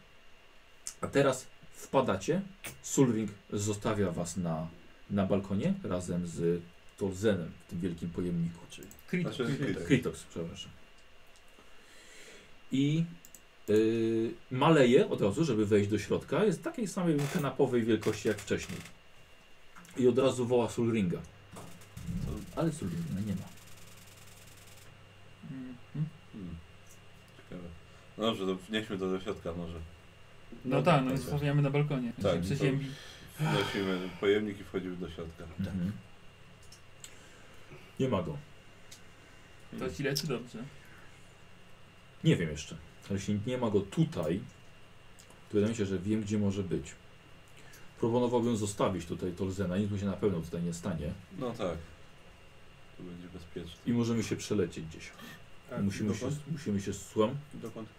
[SPEAKER 1] a teraz wpadacie. Sulring zostawia was na, na balkonie razem z Torzenem w tym wielkim pojemniku. Czyli
[SPEAKER 7] Krytok.
[SPEAKER 4] Znaczy,
[SPEAKER 1] Krytox, przepraszam. I yy, maleje od razu, żeby wejść do środka. Jest takiej samej kanapowej wielkości jak wcześniej. I od razu woła Sulringa. Ale Sulringa nie ma.
[SPEAKER 7] Mhm.
[SPEAKER 4] Hmm. Ciekawe. No Dobrze, to wnieśmy to do środka może.
[SPEAKER 7] No tak, no zostawiamy na balkonie.
[SPEAKER 4] Tak,
[SPEAKER 7] Tak,
[SPEAKER 4] to-
[SPEAKER 7] przeziębi.
[SPEAKER 4] Wnosimy pojemnik i wchodzimy do środka.
[SPEAKER 1] Mhm. Nie ma go.
[SPEAKER 7] To ci leczy dobrze.
[SPEAKER 1] Nie wiem jeszcze. Ale jeśli nie ma go tutaj, to wydaje mi się, że wiem, gdzie może być. Proponowałbym zostawić tutaj Tolzena, nic mu się na pewno tutaj nie stanie.
[SPEAKER 4] No tak. To będzie bezpieczne.
[SPEAKER 1] I możemy się przelecieć gdzieś.
[SPEAKER 8] Tak,
[SPEAKER 1] musimy, się,
[SPEAKER 8] dokąd?
[SPEAKER 1] musimy się słucham.
[SPEAKER 8] Dokąd?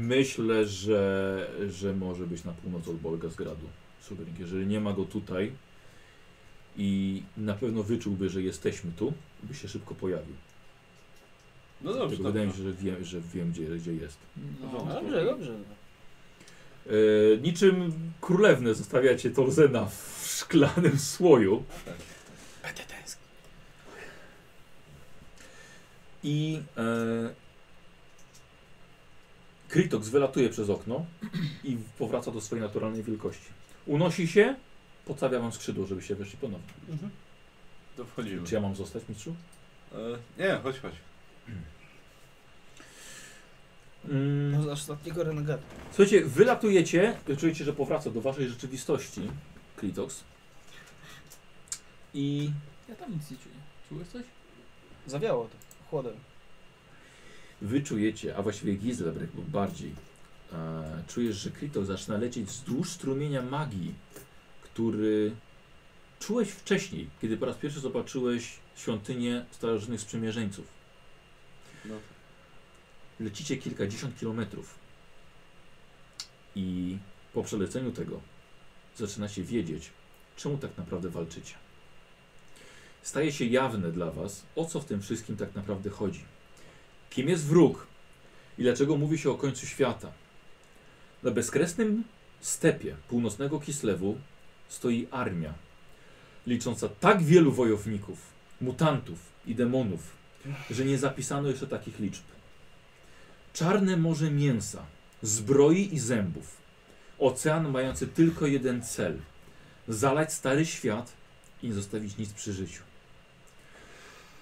[SPEAKER 1] Myślę, że, że może być na północ od Bolgasgradu. Subering, jeżeli nie ma go tutaj i na pewno wyczułby, że jesteśmy tu, by się szybko pojawił.
[SPEAKER 4] No dobrze,
[SPEAKER 1] Tylko
[SPEAKER 4] dobra.
[SPEAKER 1] wydaje mi się, że wiem, że wiem gdzie, gdzie jest.
[SPEAKER 7] No,
[SPEAKER 4] Dobra.
[SPEAKER 6] Dobrze, dobrze.
[SPEAKER 1] E, niczym królewne zostawiacie Torzena w szklanym słoju. I e, Krytox wylatuje przez okno i powraca do swojej naturalnej wielkości. Unosi się, podstawia wam skrzydło, żeby się weszli ponownie.
[SPEAKER 6] Mhm.
[SPEAKER 4] To wchodzimy.
[SPEAKER 1] Czy ja mam zostać, mistrzu?
[SPEAKER 4] E, nie, chodź, chodź.
[SPEAKER 1] Mm,
[SPEAKER 6] No, aż ostatniego renegatu.
[SPEAKER 1] Słuchajcie, wylatujecie, czujecie, że powraca do waszej rzeczywistości, Krytox. I
[SPEAKER 7] ja tam nic nie czuję. Czułeś coś?
[SPEAKER 6] Zawiało to, chłodem.
[SPEAKER 1] Wy czujecie, a właściwie Gizlebrek bo bardziej, e, czujesz, że Kryto zaczyna lecieć wzdłuż strumienia magii, który czułeś wcześniej, kiedy po raz pierwszy zobaczyłeś świątynię starożytnych sprzymierzeńców.
[SPEAKER 4] No.
[SPEAKER 1] Lecicie kilkadziesiąt kilometrów i po przeleceniu tego zaczynacie wiedzieć, czemu tak naprawdę walczycie. Staje się jawne dla was, o co w tym wszystkim tak naprawdę chodzi kim jest wróg i dlaczego mówi się o końcu świata. Na bezkresnym stepie północnego Kislewu stoi armia, licząca tak wielu wojowników, mutantów i demonów, że nie zapisano jeszcze takich liczb. Czarne morze mięsa, zbroi i zębów. Ocean mający tylko jeden cel zalać stary świat i nie zostawić nic przy życiu.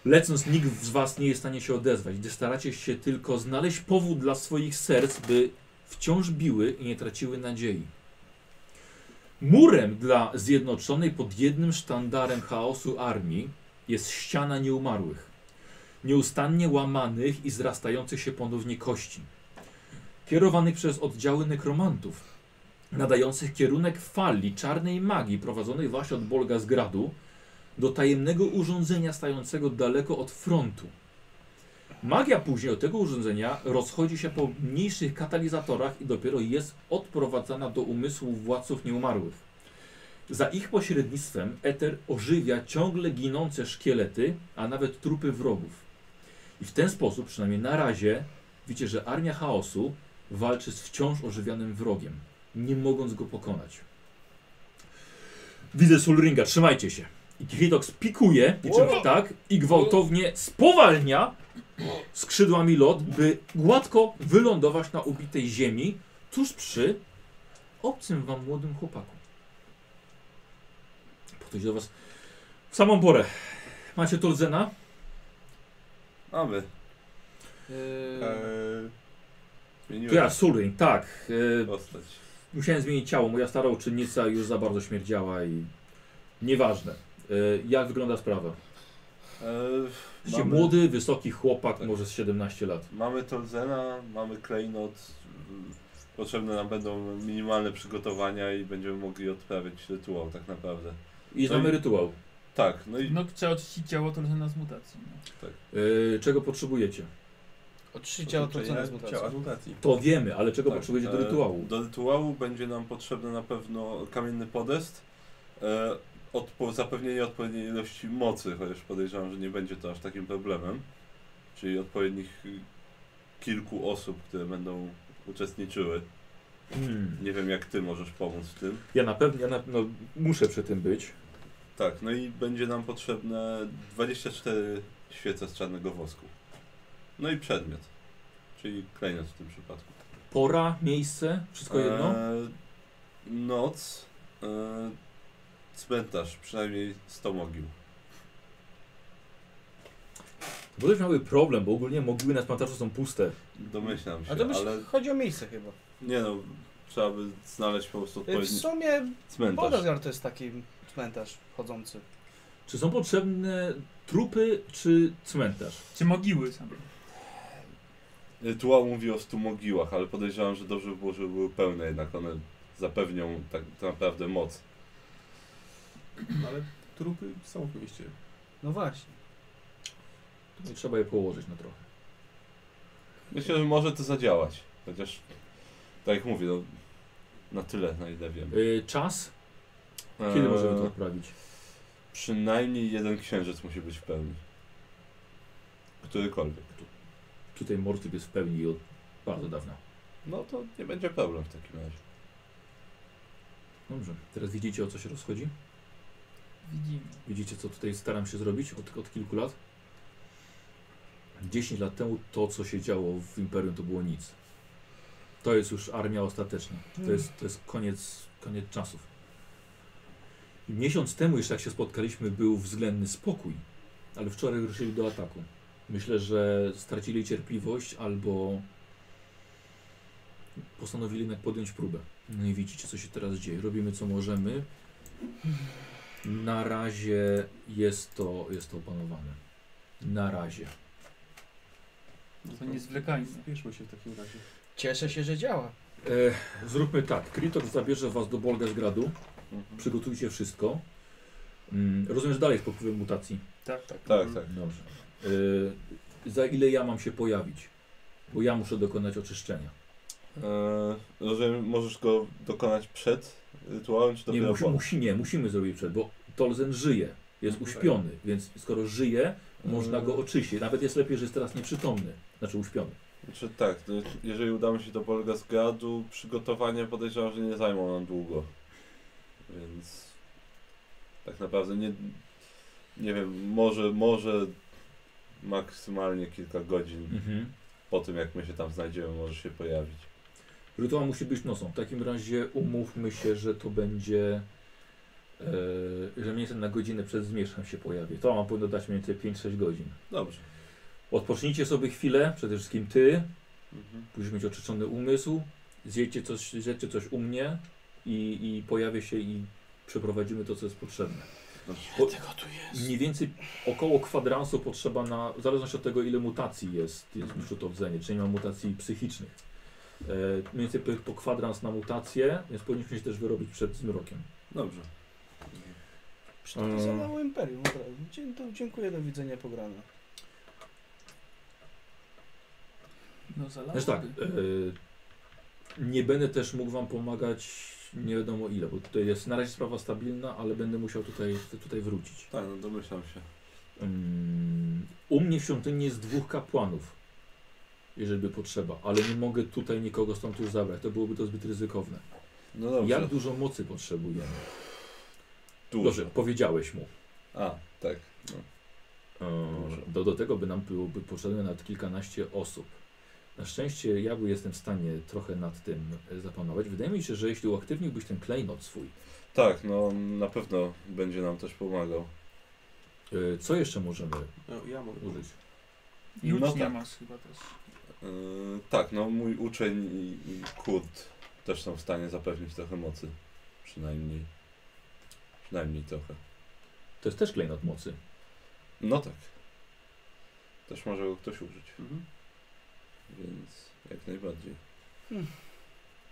[SPEAKER 1] Lecąc, nikt z Was nie jest w stanie się odezwać, gdy staracie się tylko znaleźć powód dla swoich serc, by wciąż biły i nie traciły nadziei. Murem dla zjednoczonej pod jednym sztandarem chaosu armii jest ściana nieumarłych, nieustannie łamanych i zrastających się ponownie kości, kierowanych przez oddziały nekromantów, nadających kierunek fali czarnej magii prowadzonej właśnie od Bolga z Gradu, do tajemnego urządzenia stającego daleko od frontu. Magia później od tego urządzenia rozchodzi się po mniejszych katalizatorach i dopiero jest odprowadzana do umysłu władców nieumarłych. Za ich pośrednictwem Eter ożywia ciągle ginące szkielety, a nawet trupy wrogów. I w ten sposób, przynajmniej na razie, widzicie, że armia chaosu walczy z wciąż ożywianym wrogiem, nie mogąc go pokonać. Widzę Sulringa, trzymajcie się. I Hitox pikuje, niczym
[SPEAKER 7] Ło!
[SPEAKER 1] tak, i gwałtownie spowalnia skrzydłami lot, by gładko wylądować na ubitej ziemi, tuż przy obcym wam młodym chłopaku. Podchodzi do was w samą porę. Macie Tolzena?
[SPEAKER 4] Mamy.
[SPEAKER 6] E,
[SPEAKER 7] Eee,
[SPEAKER 4] Eee,
[SPEAKER 1] To
[SPEAKER 4] zmieniłem
[SPEAKER 1] ja, Sulring, tak. Yy,
[SPEAKER 4] postać.
[SPEAKER 1] Musiałem zmienić ciało. Moja stara uczynnica już za bardzo śmierdziała i nieważne. Y, Jak wygląda sprawa?
[SPEAKER 4] Eee,
[SPEAKER 1] Jesteście młody, wysoki chłopak, może z 17 lat.
[SPEAKER 4] Mamy Tolzena, mamy klejnot. mm, Potrzebne nam będą minimalne przygotowania i będziemy mogli odprawić rytuał tak naprawdę.
[SPEAKER 1] I
[SPEAKER 4] No
[SPEAKER 1] znamy
[SPEAKER 4] i-
[SPEAKER 1] rytuał.
[SPEAKER 4] Tak, no i
[SPEAKER 7] no trzeba oczyścić ciało Tolkiena z mutacji. No.
[SPEAKER 1] Y, Czego potrzebujecie?
[SPEAKER 6] O trzy ciała to
[SPEAKER 4] Otoczenia
[SPEAKER 6] cena z mutacji.
[SPEAKER 4] ciała.
[SPEAKER 1] To wiemy, ale czego
[SPEAKER 4] Tak,
[SPEAKER 1] potrzebujecie do
[SPEAKER 4] e,
[SPEAKER 1] rytuału?
[SPEAKER 4] Do rytuału będzie nam potrzebny na pewno kamienny podest. E, odpo, zapewnienie odpowiedniej ilości mocy, chociaż podejrzewam, że nie będzie to aż takim problemem. Czyli odpowiednich y, kilku osób, które będą uczestniczyły.
[SPEAKER 1] Hmm.
[SPEAKER 4] Nie wiem, jak ty możesz pomóc w tym.
[SPEAKER 1] Ja na pewno, ja na, no, muszę przy tym być.
[SPEAKER 4] Tak, no i będzie nam potrzebne 24 świece z czarnego wosku. No i przedmiot. Czyli klejnot w tym przypadku.
[SPEAKER 1] Pora, miejsce, wszystko jedno?
[SPEAKER 4] Eee, noc. Eee, cmentarz, przynajmniej 100 mogił.
[SPEAKER 1] Bo też miały problem, bo ogólnie mogiły na cmentarzu są puste.
[SPEAKER 4] Domyślam się,
[SPEAKER 6] A to byś
[SPEAKER 4] ale
[SPEAKER 6] chodzi o miejsce chyba.
[SPEAKER 4] nie no, trzeba by znaleźć po prostu
[SPEAKER 6] W
[SPEAKER 4] odpowiedni
[SPEAKER 6] sumie
[SPEAKER 4] cmentarz.
[SPEAKER 6] Bodazgar to jest taki cmentarz chodzący.
[SPEAKER 1] Czy są potrzebne trupy czy cmentarz?
[SPEAKER 7] Czy mogiły same?
[SPEAKER 4] Rytuał mówi o 100 mogiłach, ale podejrzewam, że dobrze by było, żeby były pełne, jednak one zapewnią tak naprawdę moc.
[SPEAKER 8] Ale trupy są w mieście.
[SPEAKER 6] No właśnie.
[SPEAKER 1] I trzeba je położyć na trochę.
[SPEAKER 4] Myślę, że może to zadziałać. Chociaż, tak jak mówię, no, na tyle, na ile wiem.
[SPEAKER 1] Y, czas? Kiedy
[SPEAKER 4] Eee,
[SPEAKER 1] możemy to odprawić?
[SPEAKER 4] Przynajmniej jeden księżyc musi być w pełni. Którykolwiek.
[SPEAKER 1] Tutaj Mortyk jest w pełni od bardzo dawna.
[SPEAKER 4] No to nie będzie problem w takim razie.
[SPEAKER 1] Dobrze, teraz widzicie o co się rozchodzi?
[SPEAKER 7] Widzimy.
[SPEAKER 1] Widzicie co tutaj staram się zrobić od, od kilku lat? 10 lat temu to co się działo w Imperium to było nic. To jest już armia ostateczna. To jest, to jest koniec, koniec czasów. I miesiąc temu jeszcze jak się spotkaliśmy był względny spokój, ale wczoraj ruszyli do ataku. Myślę, że stracili cierpliwość albo postanowili jednak podjąć próbę. No i widzicie, co się teraz dzieje. Robimy, co możemy. Na razie jest to, jest to opanowane. Na razie.
[SPEAKER 7] To nie zwlekajmy.
[SPEAKER 8] Spieszmy się w takim razie.
[SPEAKER 6] Cieszę się, że działa.
[SPEAKER 1] E, zróbmy tak. Kritok zabierze was do Bolgasgradu.
[SPEAKER 4] Mhm.
[SPEAKER 1] Przygotujcie wszystko. Mm, rozumiem, że dalej jest pod wpływem mutacji.
[SPEAKER 7] Tak, tak.
[SPEAKER 4] Tak, tak.
[SPEAKER 1] Dobrze. E, za ile ja mam się pojawić? Bo ja muszę dokonać oczyszczenia.
[SPEAKER 4] Eee, rozumiem, możesz go dokonać przed rytuałem, czy
[SPEAKER 1] Nie,
[SPEAKER 4] dopiero
[SPEAKER 1] musi,
[SPEAKER 4] po?
[SPEAKER 1] musi, nie, musimy zrobić przed, bo Tolzen żyje. Jest
[SPEAKER 4] Mhm.
[SPEAKER 1] uśpiony, więc skoro żyje, można
[SPEAKER 4] Mm.
[SPEAKER 1] go oczyścić. Nawet jest lepiej, że jest teraz nieprzytomny. Znaczy uśpiony.
[SPEAKER 4] Czy tak, to jeżeli udamy się do Polga z gradu, przygotowania podejrzewam, że nie zajmą nam długo. Więc tak naprawdę nie, nie wiem, może, może maksymalnie kilka godzin
[SPEAKER 1] Mhm.
[SPEAKER 4] po tym jak my się tam znajdziemy może się pojawić.
[SPEAKER 1] Rytuał musi być nocą. W takim razie umówmy się, że to będzie. E, że mniej więcej na godzinę przed zmierzchem się pojawi. To ma powinno dać mniej więcej 5-6 godzin.
[SPEAKER 4] Dobrze.
[SPEAKER 1] Odpocznijcie sobie chwilę, przede wszystkim ty,
[SPEAKER 4] Mhm.
[SPEAKER 1] musisz mieć oczyszczony umysł, zjedźcie coś, zjedźcie coś u mnie i, i pojawię się i przeprowadzimy to, co jest potrzebne. Bo Mniej więcej około kwadransu potrzeba na, w zależności od tego, ile mutacji jest, jest wśród oddzenie, czy nie ma mutacji psychicznych. E, mniej więcej po, po kwadrans na mutację, więc powinniśmy się też wyrobić przed zmrokiem.
[SPEAKER 4] Dobrze. Mm.
[SPEAKER 6] Przynajmniej za mało imperium. od razu. Dzie- to Dziękuję, do widzenia, pograno.
[SPEAKER 7] No zalałoby. No,
[SPEAKER 1] tak, Znaczy tak, e, nie będę też mógł wam pomagać nie wiadomo ile, bo tutaj jest na razie sprawa stabilna, ale będę musiał tutaj, tutaj wrócić.
[SPEAKER 4] Tak, no domyślam się.
[SPEAKER 1] Mm, U mnie w świątyni jest dwóch kapłanów, jeżeli by potrzeba, ale nie mogę tutaj nikogo stąd już zabrać. To byłoby to zbyt ryzykowne.
[SPEAKER 4] No dobrze.
[SPEAKER 1] Jak dużo mocy potrzebujemy?
[SPEAKER 4] Dużo.
[SPEAKER 1] Dobrze, powiedziałeś mu.
[SPEAKER 4] A, tak. No.
[SPEAKER 1] E, Do, do tego by nam byłoby potrzebne nawet kilkanaście osób. Na szczęście ja by jestem w stanie trochę nad tym e, zapanować. Wydaje mi się, że jeśli uaktywniłbyś ten klejnot swój,
[SPEAKER 4] Tak, no na pewno będzie nam też pomagał.
[SPEAKER 1] e, co jeszcze możemy
[SPEAKER 8] No, ja mogę.
[SPEAKER 1] użyć?
[SPEAKER 2] I ucznia
[SPEAKER 4] No tak.
[SPEAKER 2] masz chyba też.
[SPEAKER 4] Yy, tak, no mój uczeń i, i Kurt też są w stanie zapewnić trochę mocy. Przynajmniej. Przynajmniej trochę.
[SPEAKER 1] To jest też klejnot mocy.
[SPEAKER 4] No tak. Też może go ktoś użyć,
[SPEAKER 8] Mhm.
[SPEAKER 4] więc jak najbardziej.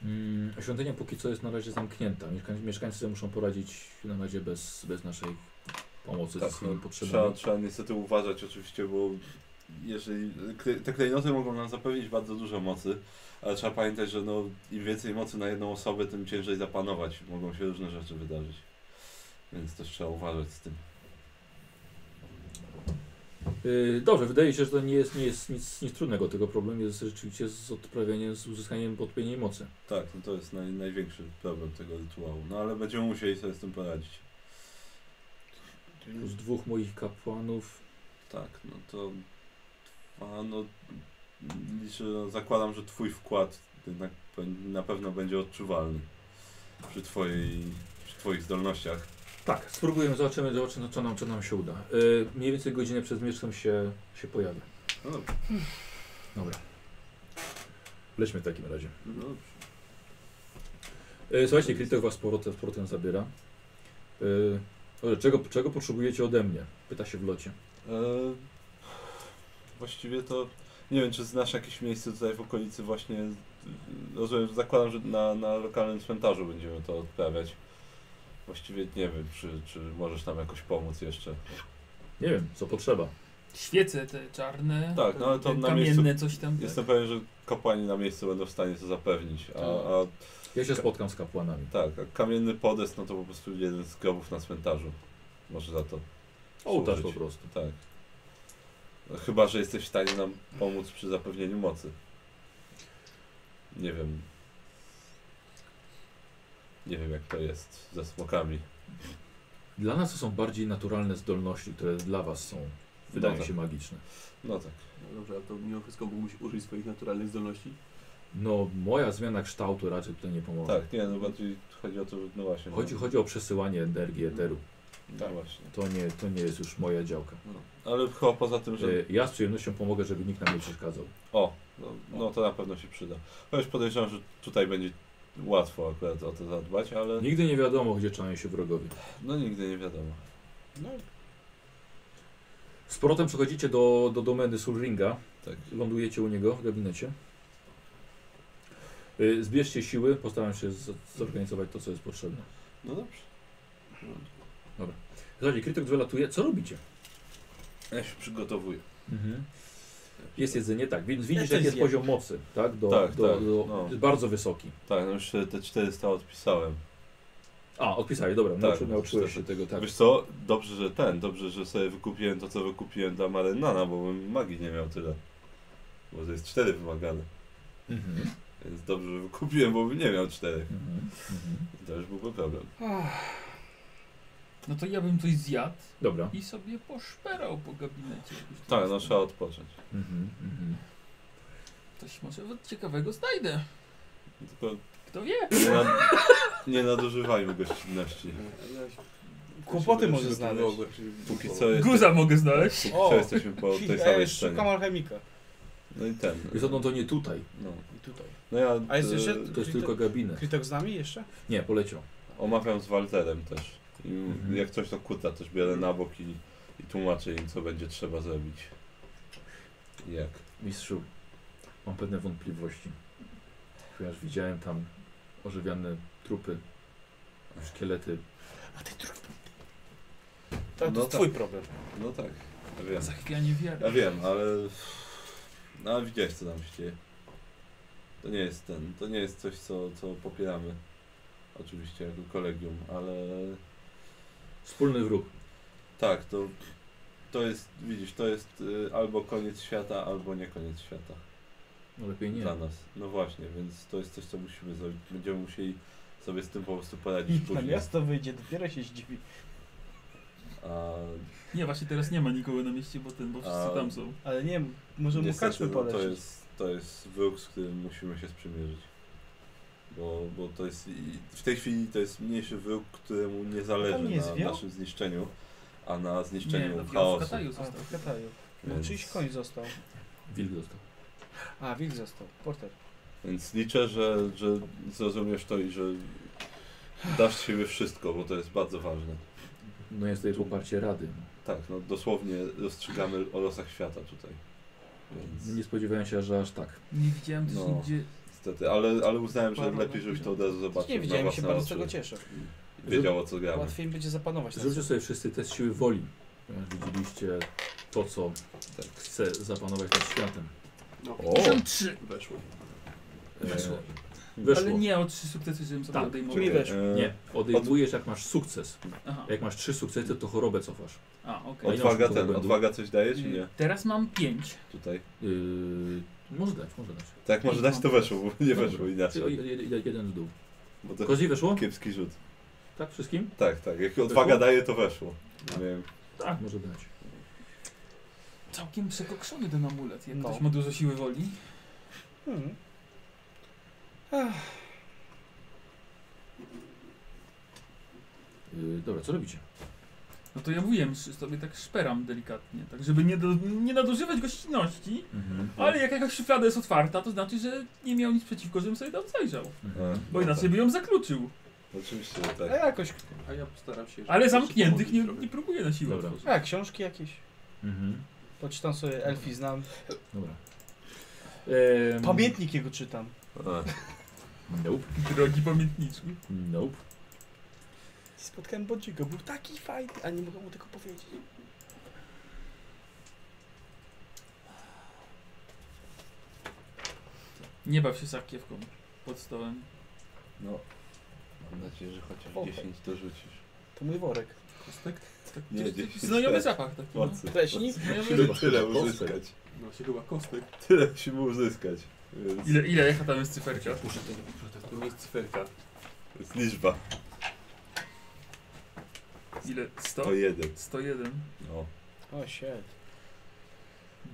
[SPEAKER 1] Mm, świątynia póki co jest na razie zamknięta. Mieszkańcy, mieszkańcy sobie muszą poradzić na razie bez, bez naszej pomocy
[SPEAKER 4] Tak,
[SPEAKER 1] ze swoimi
[SPEAKER 4] no, Trzeba,
[SPEAKER 1] potrzebami.
[SPEAKER 4] trzeba niestety uważać oczywiście, bo jeżeli kle- te klejnoty mogą nam zapewnić bardzo dużo mocy, ale trzeba pamiętać, że no, im więcej mocy na jedną osobę, tym ciężej zapanować. Mogą się różne rzeczy wydarzyć. Więc też trzeba uważać z tym.
[SPEAKER 1] Yy, dobrze, wydaje się, że to nie jest, nie jest nic, nic trudnego. Tego problem jest rzeczywiście z odprawieniem, z uzyskaniem odpowiedniej mocy.
[SPEAKER 4] Tak, no to jest naj, największy problem tego rytuału. No ale będziemy musieli sobie z tym poradzić. Mhm.
[SPEAKER 1] Plus dwóch moich kapłanów.
[SPEAKER 4] Tak, no to. A no, liczę, no, zakładam, że Twój wkład jednak pe- na pewno będzie odczuwalny przy, twojej, przy Twoich zdolnościach.
[SPEAKER 1] Tak, spróbujemy, zobaczymy, zobaczymy co, nam, co nam się uda. Yy, mniej więcej godzinę przed zmierzchem się, się pojawi.
[SPEAKER 4] No dobrze.
[SPEAKER 1] Dobra. Lećmy w takim razie.
[SPEAKER 4] No dobrze.
[SPEAKER 1] E, Słuchajcie, Krytek was z powrotem, z powrotem zabiera. E, dobrze, czego, czego potrzebujecie ode mnie? Pyta się w locie.
[SPEAKER 4] E, właściwie to nie wiem, czy znasz jakieś miejsce tutaj w okolicy właśnie. y, Rozumiem, zakładam, że na, na lokalnym cmentarzu będziemy to odprawiać. Właściwie nie wiem, czy, czy możesz nam jakoś pomóc jeszcze.
[SPEAKER 1] Nie wiem, co potrzeba.
[SPEAKER 2] Świece te czarne,
[SPEAKER 4] Tak, no ale to
[SPEAKER 2] te
[SPEAKER 4] na
[SPEAKER 2] kamienne
[SPEAKER 4] miejscu-
[SPEAKER 2] coś tam. tak.
[SPEAKER 4] Jestem pewien, że kapłani na miejscu będą w stanie to zapewnić.
[SPEAKER 1] Tak.
[SPEAKER 4] A, a
[SPEAKER 1] Ja się spotkam z kapłanami.
[SPEAKER 4] tak, a kamienny podest, no to po prostu jeden z grobów na cmentarzu. Może za to.
[SPEAKER 1] Ołtarz po
[SPEAKER 4] służyć.
[SPEAKER 1] prostu.
[SPEAKER 4] Tak. No, Chyba, że jesteś w stanie nam pomóc przy zapewnieniu mocy. Nie wiem. Nie wiem, jak to jest ze smokami.
[SPEAKER 1] Dla nas to są bardziej naturalne zdolności, które dla was są, wydają
[SPEAKER 4] tak.
[SPEAKER 1] się magiczne.
[SPEAKER 4] No tak.
[SPEAKER 8] No dobrze, a to mimo wszystko mógłbyś użyć swoich naturalnych zdolności?
[SPEAKER 1] No, moja zmiana kształtu raczej tutaj nie pomoże.
[SPEAKER 4] Tak, nie, no bardziej chodzi o to, że- no właśnie.
[SPEAKER 1] Chodzi,
[SPEAKER 4] no,
[SPEAKER 1] chodzi o przesyłanie energii eteru.
[SPEAKER 4] no właśnie.
[SPEAKER 1] To nie, to nie jest już moja działka.
[SPEAKER 4] No. Ale chyba poza tym, że
[SPEAKER 1] E, Ja z przyjemnością pomogę, żeby nikt nam nie przeszkadzał.
[SPEAKER 4] O, no, no to na pewno się przyda. Chociaż podejrzewam, że tutaj będzie łatwo akurat o to zadbać, ale
[SPEAKER 1] Nigdy nie wiadomo, gdzie czają się wrogowie.
[SPEAKER 4] no nigdy nie wiadomo.
[SPEAKER 6] No,
[SPEAKER 1] Z powrotem przechodzicie do, do domeny Sulringa.
[SPEAKER 4] Tak.
[SPEAKER 1] Lądujecie u niego w gabinecie. Y, Zbierzcie siły, postaram się z- zorganizować to, co jest potrzebne.
[SPEAKER 8] No dobrze. No,
[SPEAKER 1] Zaraz, krytyk wylatuje. Co robicie?
[SPEAKER 4] Ja się przygotowuję. Mhm.
[SPEAKER 1] Jest jedzenie, tak. Więc
[SPEAKER 6] Ja
[SPEAKER 1] widzisz,
[SPEAKER 6] też
[SPEAKER 1] jaki jest
[SPEAKER 6] zjem.
[SPEAKER 1] poziom mocy, tak? Do,
[SPEAKER 4] Tak,
[SPEAKER 1] do,
[SPEAKER 4] tak,
[SPEAKER 1] do,
[SPEAKER 4] no.
[SPEAKER 1] jest Bardzo wysoki.
[SPEAKER 4] Tak, no już te 400 odpisałem.
[SPEAKER 1] A, odpisałeś, dobra, nauczy,
[SPEAKER 4] no,
[SPEAKER 1] nauczyłeś się
[SPEAKER 4] cztery.
[SPEAKER 1] tego, tak.
[SPEAKER 4] Wiesz co, dobrze, że ten, dobrze, że sobie wykupiłem to, co wykupiłem dla Marynana, bo bym magii nie miał tyle. Bo to jest 4 wymagane.
[SPEAKER 1] Mhm.
[SPEAKER 4] Więc dobrze, że wykupiłem, bo bym nie miał 4.
[SPEAKER 1] Mhm. Mhm.
[SPEAKER 4] I to już byłby problem.
[SPEAKER 2] No to ja bym coś zjadł
[SPEAKER 1] Dobra.
[SPEAKER 2] i sobie poszperał po gabinecie. jakoś
[SPEAKER 4] Tak,
[SPEAKER 2] tam
[SPEAKER 4] no
[SPEAKER 2] sobie.
[SPEAKER 4] trzeba odpocząć.
[SPEAKER 1] Mhm. Mhm.
[SPEAKER 2] Coś może ciekawego znajdę.
[SPEAKER 4] Tylko
[SPEAKER 2] Kto wie?
[SPEAKER 4] nie, nad... nie nadużywajmy gościnności.
[SPEAKER 6] Kłopoty może znaleźć.
[SPEAKER 4] Póki co jest.
[SPEAKER 2] Guza mogę znaleźć.
[SPEAKER 4] Póki
[SPEAKER 6] O,
[SPEAKER 4] co jesteśmy po tej
[SPEAKER 6] Ja
[SPEAKER 4] samej
[SPEAKER 6] już szukam
[SPEAKER 4] scenie.
[SPEAKER 6] alchemika.
[SPEAKER 4] No i ten.
[SPEAKER 1] Wiesz, co, no to nie tutaj,
[SPEAKER 4] No,
[SPEAKER 6] I tutaj.
[SPEAKER 4] no ja
[SPEAKER 6] A jest
[SPEAKER 4] e,
[SPEAKER 6] jeszcze-
[SPEAKER 1] to jest tylko
[SPEAKER 4] Tak.
[SPEAKER 1] gabinet.
[SPEAKER 6] Krytok z nami jeszcze?
[SPEAKER 1] Nie, poleciał.
[SPEAKER 4] omawiam z Walterem też. I
[SPEAKER 1] Mhm.
[SPEAKER 4] Jak coś to kurta też biorę na bok i, i tłumaczę im co będzie trzeba zrobić. I Jak?
[SPEAKER 1] Mistrzu, mam pewne wątpliwości, ponieważ widziałem tam ożywiane trupy, szkielety.
[SPEAKER 6] To, to
[SPEAKER 4] No
[SPEAKER 6] jest
[SPEAKER 4] tak.
[SPEAKER 6] twój problem.
[SPEAKER 4] No tak, ja wiem.
[SPEAKER 2] Zachwianie wiary.
[SPEAKER 4] Ja wiem, ale. No ale widziałeś co nam się dzieje. To nie jest ten, to nie jest coś co, co popieramy. oczywiście jako kolegium, ale
[SPEAKER 1] Wspólny wróg.
[SPEAKER 4] tak, to, to jest, widzisz, to jest y, albo koniec świata, albo nie koniec świata.
[SPEAKER 1] No lepiej nie.
[SPEAKER 4] dla nas. No właśnie, więc to jest coś, co musimy zrobić. Będziemy musieli sobie z tym po prostu
[SPEAKER 6] [LAUGHS]
[SPEAKER 4] poradzić
[SPEAKER 6] Na
[SPEAKER 4] później.
[SPEAKER 6] miasto wyjdzie, dopiero się zdziwi.
[SPEAKER 4] A
[SPEAKER 2] Nie, właśnie teraz nie ma nikogo na mieście, bo ten, bo wszyscy
[SPEAKER 4] A-
[SPEAKER 2] tam są.
[SPEAKER 6] Ale nie wiem, może mu
[SPEAKER 4] niestety,
[SPEAKER 6] kaczmy
[SPEAKER 4] no,
[SPEAKER 6] polecić.
[SPEAKER 4] to jest, to jest wróg, z którym musimy się sprzymierzyć. Bo, bo to jest, i- w tej chwili to jest mniejszy wróg, któremu nie zależy
[SPEAKER 6] nie
[SPEAKER 4] na
[SPEAKER 6] zwiał?
[SPEAKER 4] naszym zniszczeniu, a na
[SPEAKER 2] Nie,
[SPEAKER 4] zniszczeniu
[SPEAKER 2] no, w
[SPEAKER 4] chaosu.
[SPEAKER 2] Kataju
[SPEAKER 6] A,
[SPEAKER 2] został.
[SPEAKER 6] w Kataju. No
[SPEAKER 4] Więc-
[SPEAKER 6] czyjś koń został.
[SPEAKER 1] Wilk dostał.
[SPEAKER 6] A, wilk został. Porter.
[SPEAKER 4] Więc liczę, że, że zrozumiesz to i że dasz z siebie wszystko, bo to jest bardzo ważne.
[SPEAKER 1] No jest tutaj poparcie rady.
[SPEAKER 4] Tak, no dosłownie rozstrzygamy o losach świata tutaj. Więc...
[SPEAKER 1] Nie spodziewałem się, że aż tak.
[SPEAKER 2] Nie widziałem też
[SPEAKER 4] No.
[SPEAKER 2] nigdzie.
[SPEAKER 4] Niestety, ale, ale uznałem, że
[SPEAKER 2] Parę
[SPEAKER 4] lepiej, żebyś to od razu
[SPEAKER 6] Też
[SPEAKER 4] zobaczył.
[SPEAKER 6] nie widziałem
[SPEAKER 4] na
[SPEAKER 6] się,
[SPEAKER 4] własne
[SPEAKER 6] bardzo z
[SPEAKER 4] oczy
[SPEAKER 6] tego cieszę.
[SPEAKER 4] i Wiedział o co gramy.
[SPEAKER 6] Łatwiej mi będzie zapanować. nad
[SPEAKER 1] Zróbcie
[SPEAKER 6] sobą.
[SPEAKER 1] sobie wszyscy test siły woli. Ponieważ widzieliście to, co
[SPEAKER 4] Tak.
[SPEAKER 1] chce zapanować nad światem.
[SPEAKER 4] O! e,
[SPEAKER 2] 53!
[SPEAKER 12] Weszło.
[SPEAKER 1] Weszło.
[SPEAKER 2] Ale
[SPEAKER 1] Weszło.
[SPEAKER 2] nie o trzy sukcesy, żebym sobie
[SPEAKER 1] Tak.
[SPEAKER 2] odejmował.
[SPEAKER 6] Mi weszło.
[SPEAKER 4] E,
[SPEAKER 1] Nie, odejmujesz jak masz sukces.
[SPEAKER 2] Aha.
[SPEAKER 1] Jak masz trzy sukcesy, to chorobę cofasz.
[SPEAKER 2] A, okej.
[SPEAKER 4] Odwaga
[SPEAKER 1] to
[SPEAKER 4] ten,
[SPEAKER 1] będzie.
[SPEAKER 4] odwaga coś daje czy nie?
[SPEAKER 2] Teraz mam 5.
[SPEAKER 4] Tutaj.
[SPEAKER 1] Yy, może dać, może dać.
[SPEAKER 4] Tak, może dać to weszło, bo nie
[SPEAKER 1] Dobra.
[SPEAKER 4] weszło
[SPEAKER 1] O,
[SPEAKER 4] inaczej.
[SPEAKER 1] jed- jed- Jeden w dół.
[SPEAKER 4] Bo to
[SPEAKER 1] Kozi weszło?
[SPEAKER 4] kiepski rzut.
[SPEAKER 1] Tak, wszystkim?
[SPEAKER 4] Tak, tak, jak odwaga daje to weszło. Nie wiem.
[SPEAKER 1] Tak, może dać.
[SPEAKER 2] Całkiem przekokszony ten amulet. Jak
[SPEAKER 6] No.
[SPEAKER 2] ktoś ma dużo siły woli.
[SPEAKER 6] Hmm.
[SPEAKER 1] Yy, dobra, co robicie?
[SPEAKER 2] No to ja mówiłem, że sobie tak szperam delikatnie. Tak, żeby nie, do, nie nadużywać gościnności.
[SPEAKER 1] Mhm.
[SPEAKER 4] No.
[SPEAKER 2] Ale jak jakaś szuflada jest otwarta, to znaczy, że nie miał nic przeciwko, żebym sobie tam zajrzał.
[SPEAKER 4] E,
[SPEAKER 2] Bo inaczej by ją zakluczył.
[SPEAKER 4] Oczywiście,
[SPEAKER 6] A
[SPEAKER 4] tak.
[SPEAKER 6] jakoś...
[SPEAKER 8] A ja postaram się.
[SPEAKER 2] Ale
[SPEAKER 8] żeby
[SPEAKER 2] zamkniętych
[SPEAKER 8] się
[SPEAKER 2] nie,
[SPEAKER 8] pomodlić
[SPEAKER 2] nie próbuję na siłę.
[SPEAKER 1] Dobra.
[SPEAKER 2] otworzyć.
[SPEAKER 6] A, książki jakieś.
[SPEAKER 1] Mhm.
[SPEAKER 6] Poczytam sobie, Elfi znam.
[SPEAKER 1] Dobra.
[SPEAKER 4] Mm.
[SPEAKER 1] Ehm,
[SPEAKER 6] Pamiętnik jego czytam.
[SPEAKER 4] E,
[SPEAKER 1] Nope,
[SPEAKER 2] Drogi pamiętniczku.
[SPEAKER 1] nope.
[SPEAKER 6] Spotkałem Bodziego, był taki fajny, a nie mogę mu tego powiedzieć.
[SPEAKER 2] Nie baw się sakiewką pod stołem.
[SPEAKER 4] No. Mam nadzieję, że chociaż
[SPEAKER 6] Okej.
[SPEAKER 4] 10 dorzucisz.
[SPEAKER 6] To mój worek.
[SPEAKER 4] Nie,
[SPEAKER 2] To jest
[SPEAKER 4] 10
[SPEAKER 2] Znajomy
[SPEAKER 4] tak.
[SPEAKER 2] zapach taki. No.
[SPEAKER 4] Mocy.
[SPEAKER 6] Pleśni?
[SPEAKER 2] Znajomy-
[SPEAKER 4] Tyle, tyle
[SPEAKER 1] Kostek.
[SPEAKER 4] uzyskać.
[SPEAKER 8] zrobić. No się chyba kostek.
[SPEAKER 4] Tyle musimy uzyskać. Więc
[SPEAKER 2] Ile, ile, jaka tam jest cyferka?
[SPEAKER 8] To jest cyferka.
[SPEAKER 4] to jest liczba.
[SPEAKER 2] Ile? 100?
[SPEAKER 6] No.
[SPEAKER 4] To jeden.
[SPEAKER 2] 101.
[SPEAKER 4] No.
[SPEAKER 6] O shit.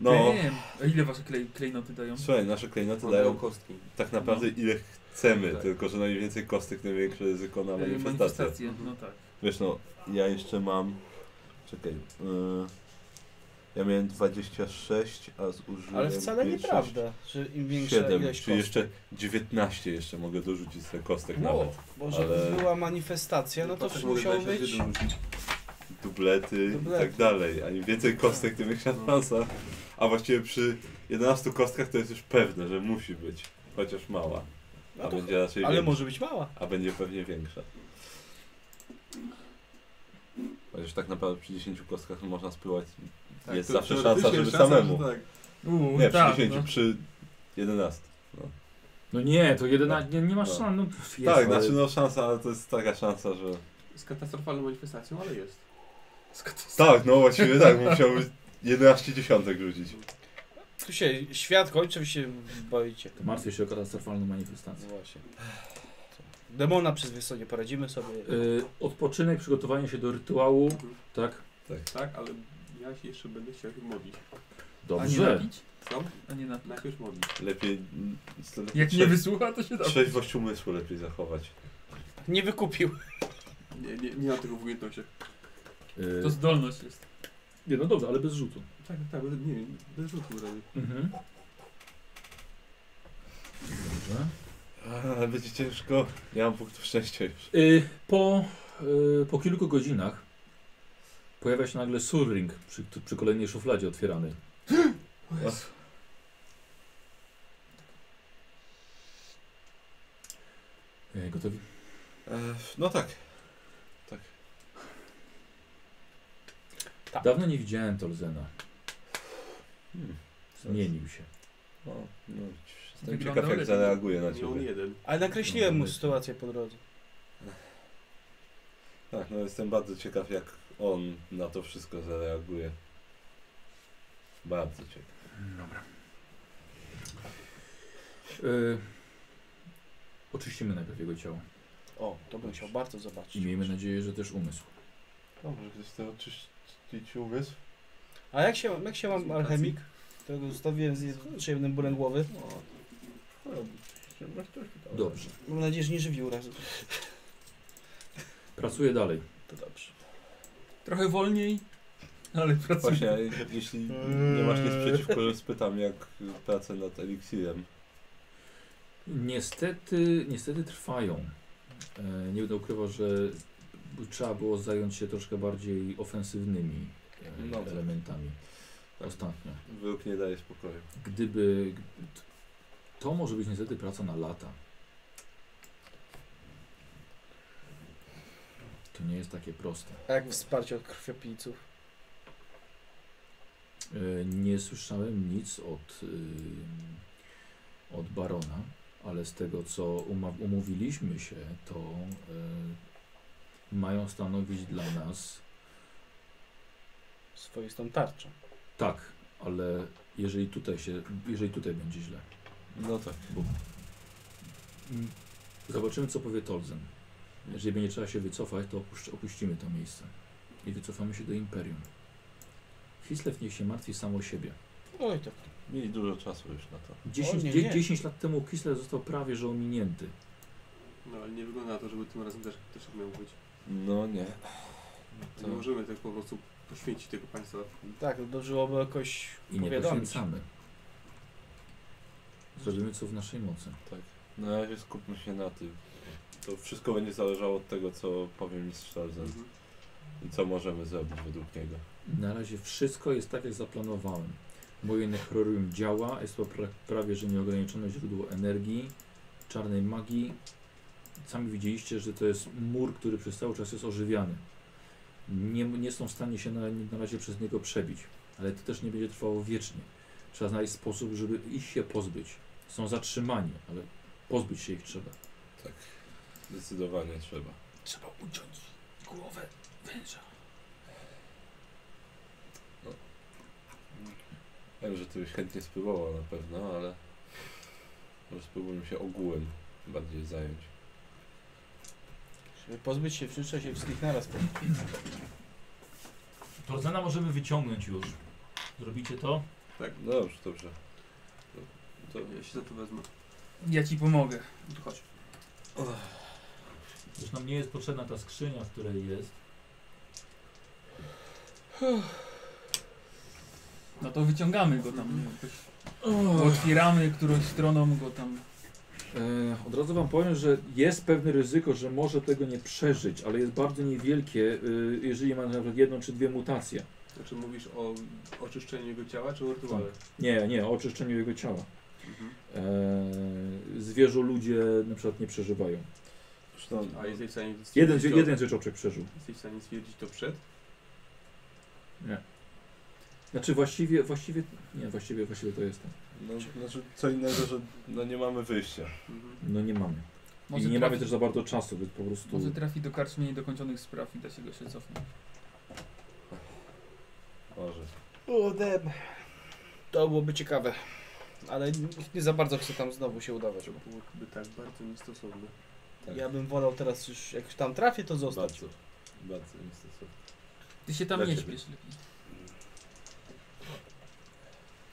[SPEAKER 4] No.
[SPEAKER 2] Damn. A ile wasze klej, klejnoty dają?
[SPEAKER 4] Słuchaj, nasze klejnoty
[SPEAKER 8] Dają
[SPEAKER 4] dają
[SPEAKER 8] kostki.
[SPEAKER 4] tak naprawdę
[SPEAKER 6] no.
[SPEAKER 4] ile chcemy,
[SPEAKER 8] Tak.
[SPEAKER 4] tylko że najwięcej kostek, największe ryzyko na
[SPEAKER 2] E,
[SPEAKER 4] manifestację.
[SPEAKER 2] No tak.
[SPEAKER 4] Wiesz no, ja jeszcze mam... Czekaj. Yy, ja miałem 26, a zużyłem...
[SPEAKER 6] Ale wcale
[SPEAKER 4] 5,
[SPEAKER 6] nieprawda, że im większa
[SPEAKER 4] 7,
[SPEAKER 6] ilość
[SPEAKER 4] czyli
[SPEAKER 6] kostek.
[SPEAKER 4] jeszcze 19 jeszcze mogę dorzucić sobie kostek
[SPEAKER 6] No,
[SPEAKER 4] nawet.
[SPEAKER 6] bo żeby
[SPEAKER 4] ale-
[SPEAKER 6] była manifestacja, no to
[SPEAKER 8] Patrz, mogę
[SPEAKER 6] musiał
[SPEAKER 8] 21
[SPEAKER 6] być...
[SPEAKER 8] rzucić.
[SPEAKER 4] Dublety i
[SPEAKER 6] Dublety.
[SPEAKER 4] tak dalej. A im więcej kostek, tym większa szansa. A właściwie przy 11 kostkach to jest już pewne, że musi być. Chociaż mała. A
[SPEAKER 6] No to,
[SPEAKER 4] będzie raczej
[SPEAKER 6] ale
[SPEAKER 4] większa.
[SPEAKER 6] może być mała.
[SPEAKER 4] A będzie pewnie większa. Chociaż tak naprawdę przy 10 kostkach można spływać.
[SPEAKER 8] Tak,
[SPEAKER 4] jest
[SPEAKER 8] to
[SPEAKER 4] zawsze
[SPEAKER 8] teoretycznie
[SPEAKER 4] szansa, żeby
[SPEAKER 8] jest
[SPEAKER 4] samemu.
[SPEAKER 8] że tak.
[SPEAKER 2] Uuu,
[SPEAKER 4] Nie, przy
[SPEAKER 2] tak,
[SPEAKER 4] 10,
[SPEAKER 2] no.
[SPEAKER 4] przy 11.
[SPEAKER 1] No nie, to 11, nie, nie masz
[SPEAKER 4] No.
[SPEAKER 1] szans. No, pff, jest, ale-
[SPEAKER 4] tak, znaczy no szansa, ale to jest taka szansa, że...
[SPEAKER 8] Z katastrofalną manifestacją, ale jest.
[SPEAKER 4] Tak, no właściwie tak, bo musiałby 11 dziesiątek rzucić.
[SPEAKER 6] Tu się świat kończy, wy się boicie. No
[SPEAKER 1] To martwię się o katastrofalną manifestację.
[SPEAKER 6] Właśnie. Demona przez wysonie poradzimy sobie.
[SPEAKER 1] Yy, odpoczynek, przygotowanie się do rytuału. Tak,
[SPEAKER 8] Tak, ale ja się jeszcze będę chciał modlić.
[SPEAKER 2] A nie
[SPEAKER 1] dobrze.
[SPEAKER 2] napić?
[SPEAKER 8] Co?
[SPEAKER 2] A nie napić.
[SPEAKER 8] Najpierw modlić.
[SPEAKER 4] Lepiej... mm, lepiej
[SPEAKER 2] Jak nie
[SPEAKER 4] trze-
[SPEAKER 2] wysłucha, to się da.
[SPEAKER 4] Trzeźwość umysłu lepiej zachować.
[SPEAKER 6] Nie wykupił.
[SPEAKER 8] Nie, nie, nie mam tego w umiejętnościach.
[SPEAKER 1] Yy,
[SPEAKER 2] To zdolność jest.
[SPEAKER 1] nie, no dobrze, ale bez rzutu.
[SPEAKER 8] Tak, tak, bez- nie wiem, bez rzutu robię.
[SPEAKER 1] Mhm. Dobrze.
[SPEAKER 4] Ale będzie ciężko. Ja mam punktów szczęścia już.
[SPEAKER 1] Y, po, y, po kilku godzinach pojawia się nagle surring przy, przy kolejnej szufladzie otwierany. Y, Gotowi?
[SPEAKER 4] E, no tak.
[SPEAKER 1] Dawno nie widziałem Tolzena.
[SPEAKER 4] Hmm.
[SPEAKER 1] Zmienił się.
[SPEAKER 4] No, no, jestem
[SPEAKER 2] Wyglądał
[SPEAKER 4] ciekaw jak
[SPEAKER 2] lepiej.
[SPEAKER 4] zareaguje na
[SPEAKER 8] Miał
[SPEAKER 4] ciebie.
[SPEAKER 8] jeden.
[SPEAKER 6] Ale nakreśliłem mu
[SPEAKER 4] Dobra.
[SPEAKER 6] sytuację po drodze.
[SPEAKER 4] Tak, no jestem bardzo ciekaw, jak on na to wszystko zareaguje. Bardzo ciekaw.
[SPEAKER 1] Dobra. Yy, oczyścimy najpierw jego ciało.
[SPEAKER 6] O, to bym chciał bardzo zobaczyć.
[SPEAKER 1] I miejmy nadzieję, że też umysł.
[SPEAKER 4] Dobrze, ktoś chce oczyścić umysł?
[SPEAKER 6] A jak się, jak się mam alchemik, którego zostawiłem z nieprzyjemnym bólem głowy?
[SPEAKER 1] Dobrze.
[SPEAKER 6] Mam nadzieję, że nie żywił urazu.
[SPEAKER 1] Pracuję dalej.
[SPEAKER 6] To dobrze.
[SPEAKER 7] Trochę wolniej, ale pracuję.
[SPEAKER 4] Właśnie, jeśli nie masz nic przeciwko, spytam, jak prace nad eliksirem.
[SPEAKER 1] Niestety, niestety trwają. E, nie będę ukrywał, że trzeba było zająć się troszkę bardziej ofensywnymi e,
[SPEAKER 4] No tak.
[SPEAKER 1] elementami
[SPEAKER 4] Tak.
[SPEAKER 1] ostatnio.
[SPEAKER 4] Wyrok nie daje spokoju.
[SPEAKER 1] Gdyby... To może być niestety praca na lata. To nie jest takie proste.
[SPEAKER 6] A jak wsparcie od krwiopijców?
[SPEAKER 1] E, Nie słyszałem nic od, y, od barona, ale z tego co uma- umówiliśmy się, to y, mają stanowić dla nas
[SPEAKER 6] Swoistą tarczą.
[SPEAKER 1] tak, ale jeżeli tutaj się, jeżeli tutaj będzie źle,
[SPEAKER 4] No tak.
[SPEAKER 1] Mm, zobaczymy co powie Tolzen. Jeżeli będzie trzeba się wycofać, to opuszcz- opuścimy to miejsce i wycofamy się do Imperium. Hislev niech się martwi sam o siebie.
[SPEAKER 6] Oj, tak.
[SPEAKER 4] Mieli dużo czasu już na to.
[SPEAKER 1] 10,
[SPEAKER 6] O, nie,
[SPEAKER 1] dzie-
[SPEAKER 6] nie.
[SPEAKER 1] 10 lat temu Kislev został prawie że ominięty.
[SPEAKER 8] No ale nie wygląda na to, żeby tym razem też, też tak miał być.
[SPEAKER 4] No nie.
[SPEAKER 8] Nie możemy tak po prostu poświęcić tego państwa.
[SPEAKER 6] Tak, no dobrze byłoby jakoś
[SPEAKER 1] I nie
[SPEAKER 6] powiadomić.
[SPEAKER 1] poświęcamy. Zrobimy co w naszej mocy.
[SPEAKER 4] Tak. Na razie skupmy się na tym. To wszystko będzie zależało od tego, co powie mistrz Tarzan
[SPEAKER 8] Mhm.
[SPEAKER 4] i co możemy zrobić według niego.
[SPEAKER 1] Na razie wszystko jest tak, jak zaplanowałem. Moje nechrorium działa, jest to pra prawie że nieograniczone źródło energii, czarnej magii. Sami widzieliście, że to jest mur, który przez cały czas jest ożywiany. Nie, nie są w stanie się na, na razie przez niego przebić, ale to też nie będzie trwało wiecznie. Trzeba znaleźć sposób, żeby ich się pozbyć. Są zatrzymani, ale pozbyć się ich trzeba.
[SPEAKER 4] Zdecydowanie trzeba.
[SPEAKER 7] Trzeba uciąć głowę węża.
[SPEAKER 4] Wiem, że ty byś chętnie spróbował na pewno, ale może spróbujmy się ogółem bardziej zająć.
[SPEAKER 6] Żeby pozbyć się wszystko się wszystkich naraz.
[SPEAKER 1] Torzena możemy wyciągnąć już. Zrobicie to?
[SPEAKER 4] Tak. No dobrze, dobrze. To, to
[SPEAKER 8] Ja się za to wezmę.
[SPEAKER 7] Ja ci pomogę.
[SPEAKER 8] No To chodź.
[SPEAKER 1] Zresztą mnie jest potrzebna ta skrzynia, w której jest.
[SPEAKER 7] No to wyciągamy go tam. nie wiem, jakoś Otwieramy którąś stroną go tam.
[SPEAKER 1] E, od razu Wam powiem, że jest pewne ryzyko, że może tego nie przeżyć, ale jest bardzo niewielkie, y, jeżeli ma na przykład jedną czy dwie mutacje.
[SPEAKER 8] Znaczy mówisz o oczyszczeniu jego ciała czy o rytuale?
[SPEAKER 1] Nie, nie, o oczyszczeniu jego ciała.
[SPEAKER 8] Mhm.
[SPEAKER 1] E, zwierzu ludzie na przykład nie przeżywają.
[SPEAKER 4] zresztą,
[SPEAKER 8] A jesteś w stanie stwierdzić
[SPEAKER 1] Jeden, z-
[SPEAKER 8] to,
[SPEAKER 1] jeden zwierzoczek przeżył.
[SPEAKER 8] Jesteś w stanie stwierdzić to przed?
[SPEAKER 1] Znaczy właściwie, właściwie, nie, właściwie, właściwie to jest. ten.
[SPEAKER 4] no, znaczy co innego, że no nie mamy wyjścia.
[SPEAKER 8] Mhm.
[SPEAKER 1] No nie mamy. I
[SPEAKER 7] Może
[SPEAKER 1] nie mamy
[SPEAKER 7] trafi,
[SPEAKER 1] też za bardzo czasu, więc po
[SPEAKER 7] może
[SPEAKER 1] prostu...
[SPEAKER 7] trafi do karczmy niedokończonych spraw i da się go się cofnąć.
[SPEAKER 4] Może.
[SPEAKER 6] O, dem. To byłoby ciekawe. Ale nie- nie za bardzo chcę tam znowu się udawać.
[SPEAKER 8] To byłoby tak bardzo niestosowne.
[SPEAKER 4] Tak.
[SPEAKER 6] Ja bym wolał teraz już, jak już tam trafię, to zostać.
[SPEAKER 4] Bardzo. Bardzo niestety.
[SPEAKER 7] Ty się tam
[SPEAKER 4] Dla
[SPEAKER 7] nie
[SPEAKER 4] ciebie.
[SPEAKER 7] śpiesz lepiej.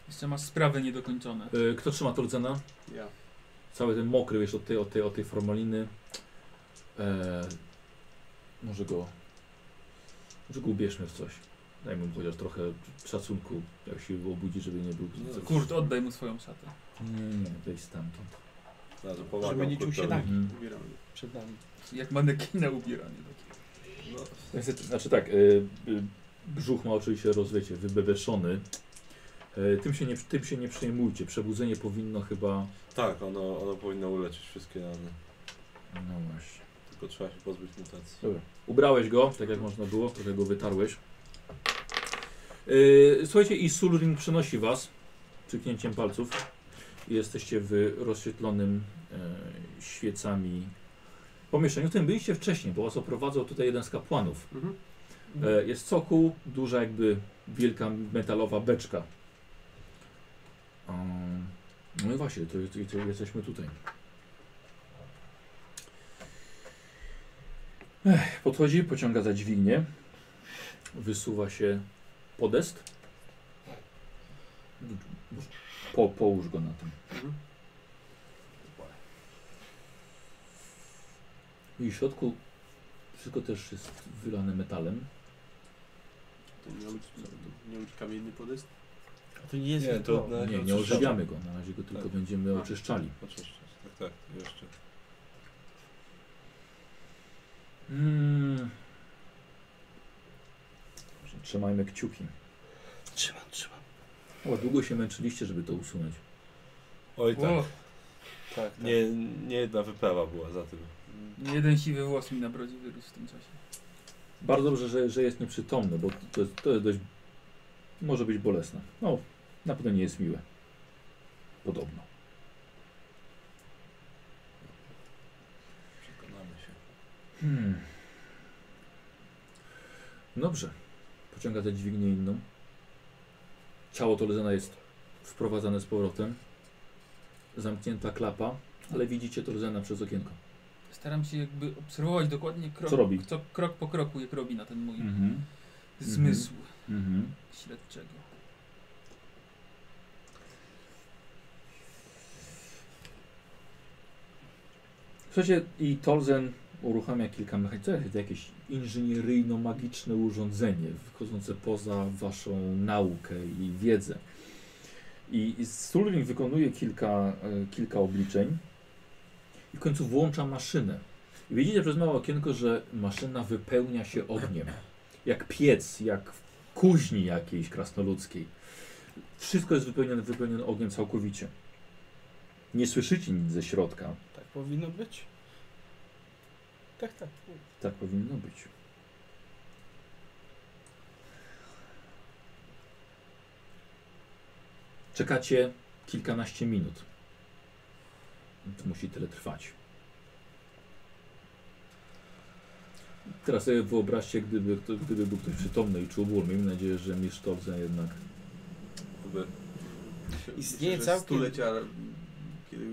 [SPEAKER 7] Jeszcze masz sprawy niedokończone.
[SPEAKER 1] E, kto trzyma Tordzena?
[SPEAKER 8] Ja.
[SPEAKER 1] cały ten mokry, wiesz, od tej, od tej, od tej formaliny. E, może go... Może go ubierzmy w coś. Dajmy mu chociaż trochę szacunku, jak się obudzi, żeby nie był...
[SPEAKER 4] No,
[SPEAKER 1] coś-
[SPEAKER 7] Kurt, oddaj mu swoją szatę.
[SPEAKER 1] Nie, nie, nie, wejdź stamtąd.
[SPEAKER 4] No to pomagam
[SPEAKER 6] Żeby nie czuł się
[SPEAKER 4] kurtowi.
[SPEAKER 6] nagi.
[SPEAKER 1] Mhm.
[SPEAKER 8] Ubieram je.
[SPEAKER 6] Przed nami.
[SPEAKER 7] Jak manekina ubieranie takie.
[SPEAKER 4] No,
[SPEAKER 1] Niestety, Znaczy tak, e, e, brzuch ma oczywiście rozwiecie, wybebeszony. E, tym, się nie, tym się nie przejmujcie, przebudzenie powinno chyba...
[SPEAKER 4] tak, ono, ono powinno uleczyć wszystkie rany.
[SPEAKER 1] No właśnie.
[SPEAKER 4] Tylko trzeba się pozbyć mutacji.
[SPEAKER 1] Dobra. Ubrałeś go, tak jak można było, trochę go wytarłeś. Yy, słuchajcie, i Sulrin przenosi was przyknięciem palców. Jesteście w rozświetlonym e, świecami pomieszczeniu, w którym byliście wcześniej, bo was oprowadzał tutaj jeden z kapłanów.
[SPEAKER 8] Mhm.
[SPEAKER 1] E, jest cokół, duża jakby wielka metalowa beczka. Um, no i właśnie, to, to, to jesteśmy tutaj. Ech, podchodzi, pociąga za dźwignię. Wysuwa się podest. Po, połóż go na tym.
[SPEAKER 8] Mhm.
[SPEAKER 1] I w środku wszystko też jest wylane metalem.
[SPEAKER 8] To nie ma być, co, to nie ma być kamienny podest?
[SPEAKER 6] To nie jest
[SPEAKER 4] Nie, No, to
[SPEAKER 6] rytuał.
[SPEAKER 4] na
[SPEAKER 1] Nie, nie
[SPEAKER 4] oczyszczamy.
[SPEAKER 1] ożywiamy go, na razie go tylko
[SPEAKER 4] Tak.
[SPEAKER 1] będziemy oczyszczali.
[SPEAKER 4] Oczyszczać, tak, tak, jeszcze.
[SPEAKER 1] Mm. Trzymajmy kciuki.
[SPEAKER 6] Trzymam, trzymam.
[SPEAKER 1] O, długo się męczyliście, żeby to usunąć.
[SPEAKER 4] Oj tak,
[SPEAKER 7] O,
[SPEAKER 6] Tak, tak.
[SPEAKER 4] Nie, nie jedna wyprawa była za tym.
[SPEAKER 7] nie jeden siwy włos mi na brodzie wyrósł w tym czasie.
[SPEAKER 1] Bardzo dobrze, że, że jest nieprzytomny, bo to jest, to jest dość. może być bolesne. No, na pewno nie jest miłe. Podobno.
[SPEAKER 3] Przekonamy się.
[SPEAKER 1] Hmm. Dobrze. Pociąga tę dźwignię inną. Ciało Tolezana jest wprowadzane z powrotem. Zamknięta klapa, ale widzicie Tolezana przez okienko.
[SPEAKER 7] Staram się jakby obserwować dokładnie krok,
[SPEAKER 1] Co robi?
[SPEAKER 7] Co, krok po kroku, jak robi na ten mój
[SPEAKER 1] Mhm.
[SPEAKER 7] zmysł
[SPEAKER 1] Mhm.
[SPEAKER 7] śledczego.
[SPEAKER 1] Słuchajcie, i Tolzen uruchamia kilka mechanizmów, jakieś inżynieryjno-magiczne urządzenie wychodzące poza waszą naukę i wiedzę. I, i Sulwin wykonuje kilka, e, kilka obliczeń i w końcu włącza maszynę. I widzicie przez małe okienko, że maszyna wypełnia się ogniem. Jak piec, jak w kuźni jakiejś krasnoludzkiej. Wszystko jest wypełnione, wypełnione ogniem całkowicie. Nie słyszycie nic ze środka,
[SPEAKER 6] Tak powinno być. Tak, tak.
[SPEAKER 1] Tak powinno być. Czekacie kilkanaście minut. To musi tyle trwać. Teraz sobie wyobraźcie, gdyby, kto- gdyby był ktoś przytomny i czuł ból. Miejmy nadzieję, że Misztowca jednak...
[SPEAKER 4] Jakby
[SPEAKER 6] Istnieje
[SPEAKER 8] Myślę, że
[SPEAKER 6] całkiem-
[SPEAKER 8] stulecia, kiedy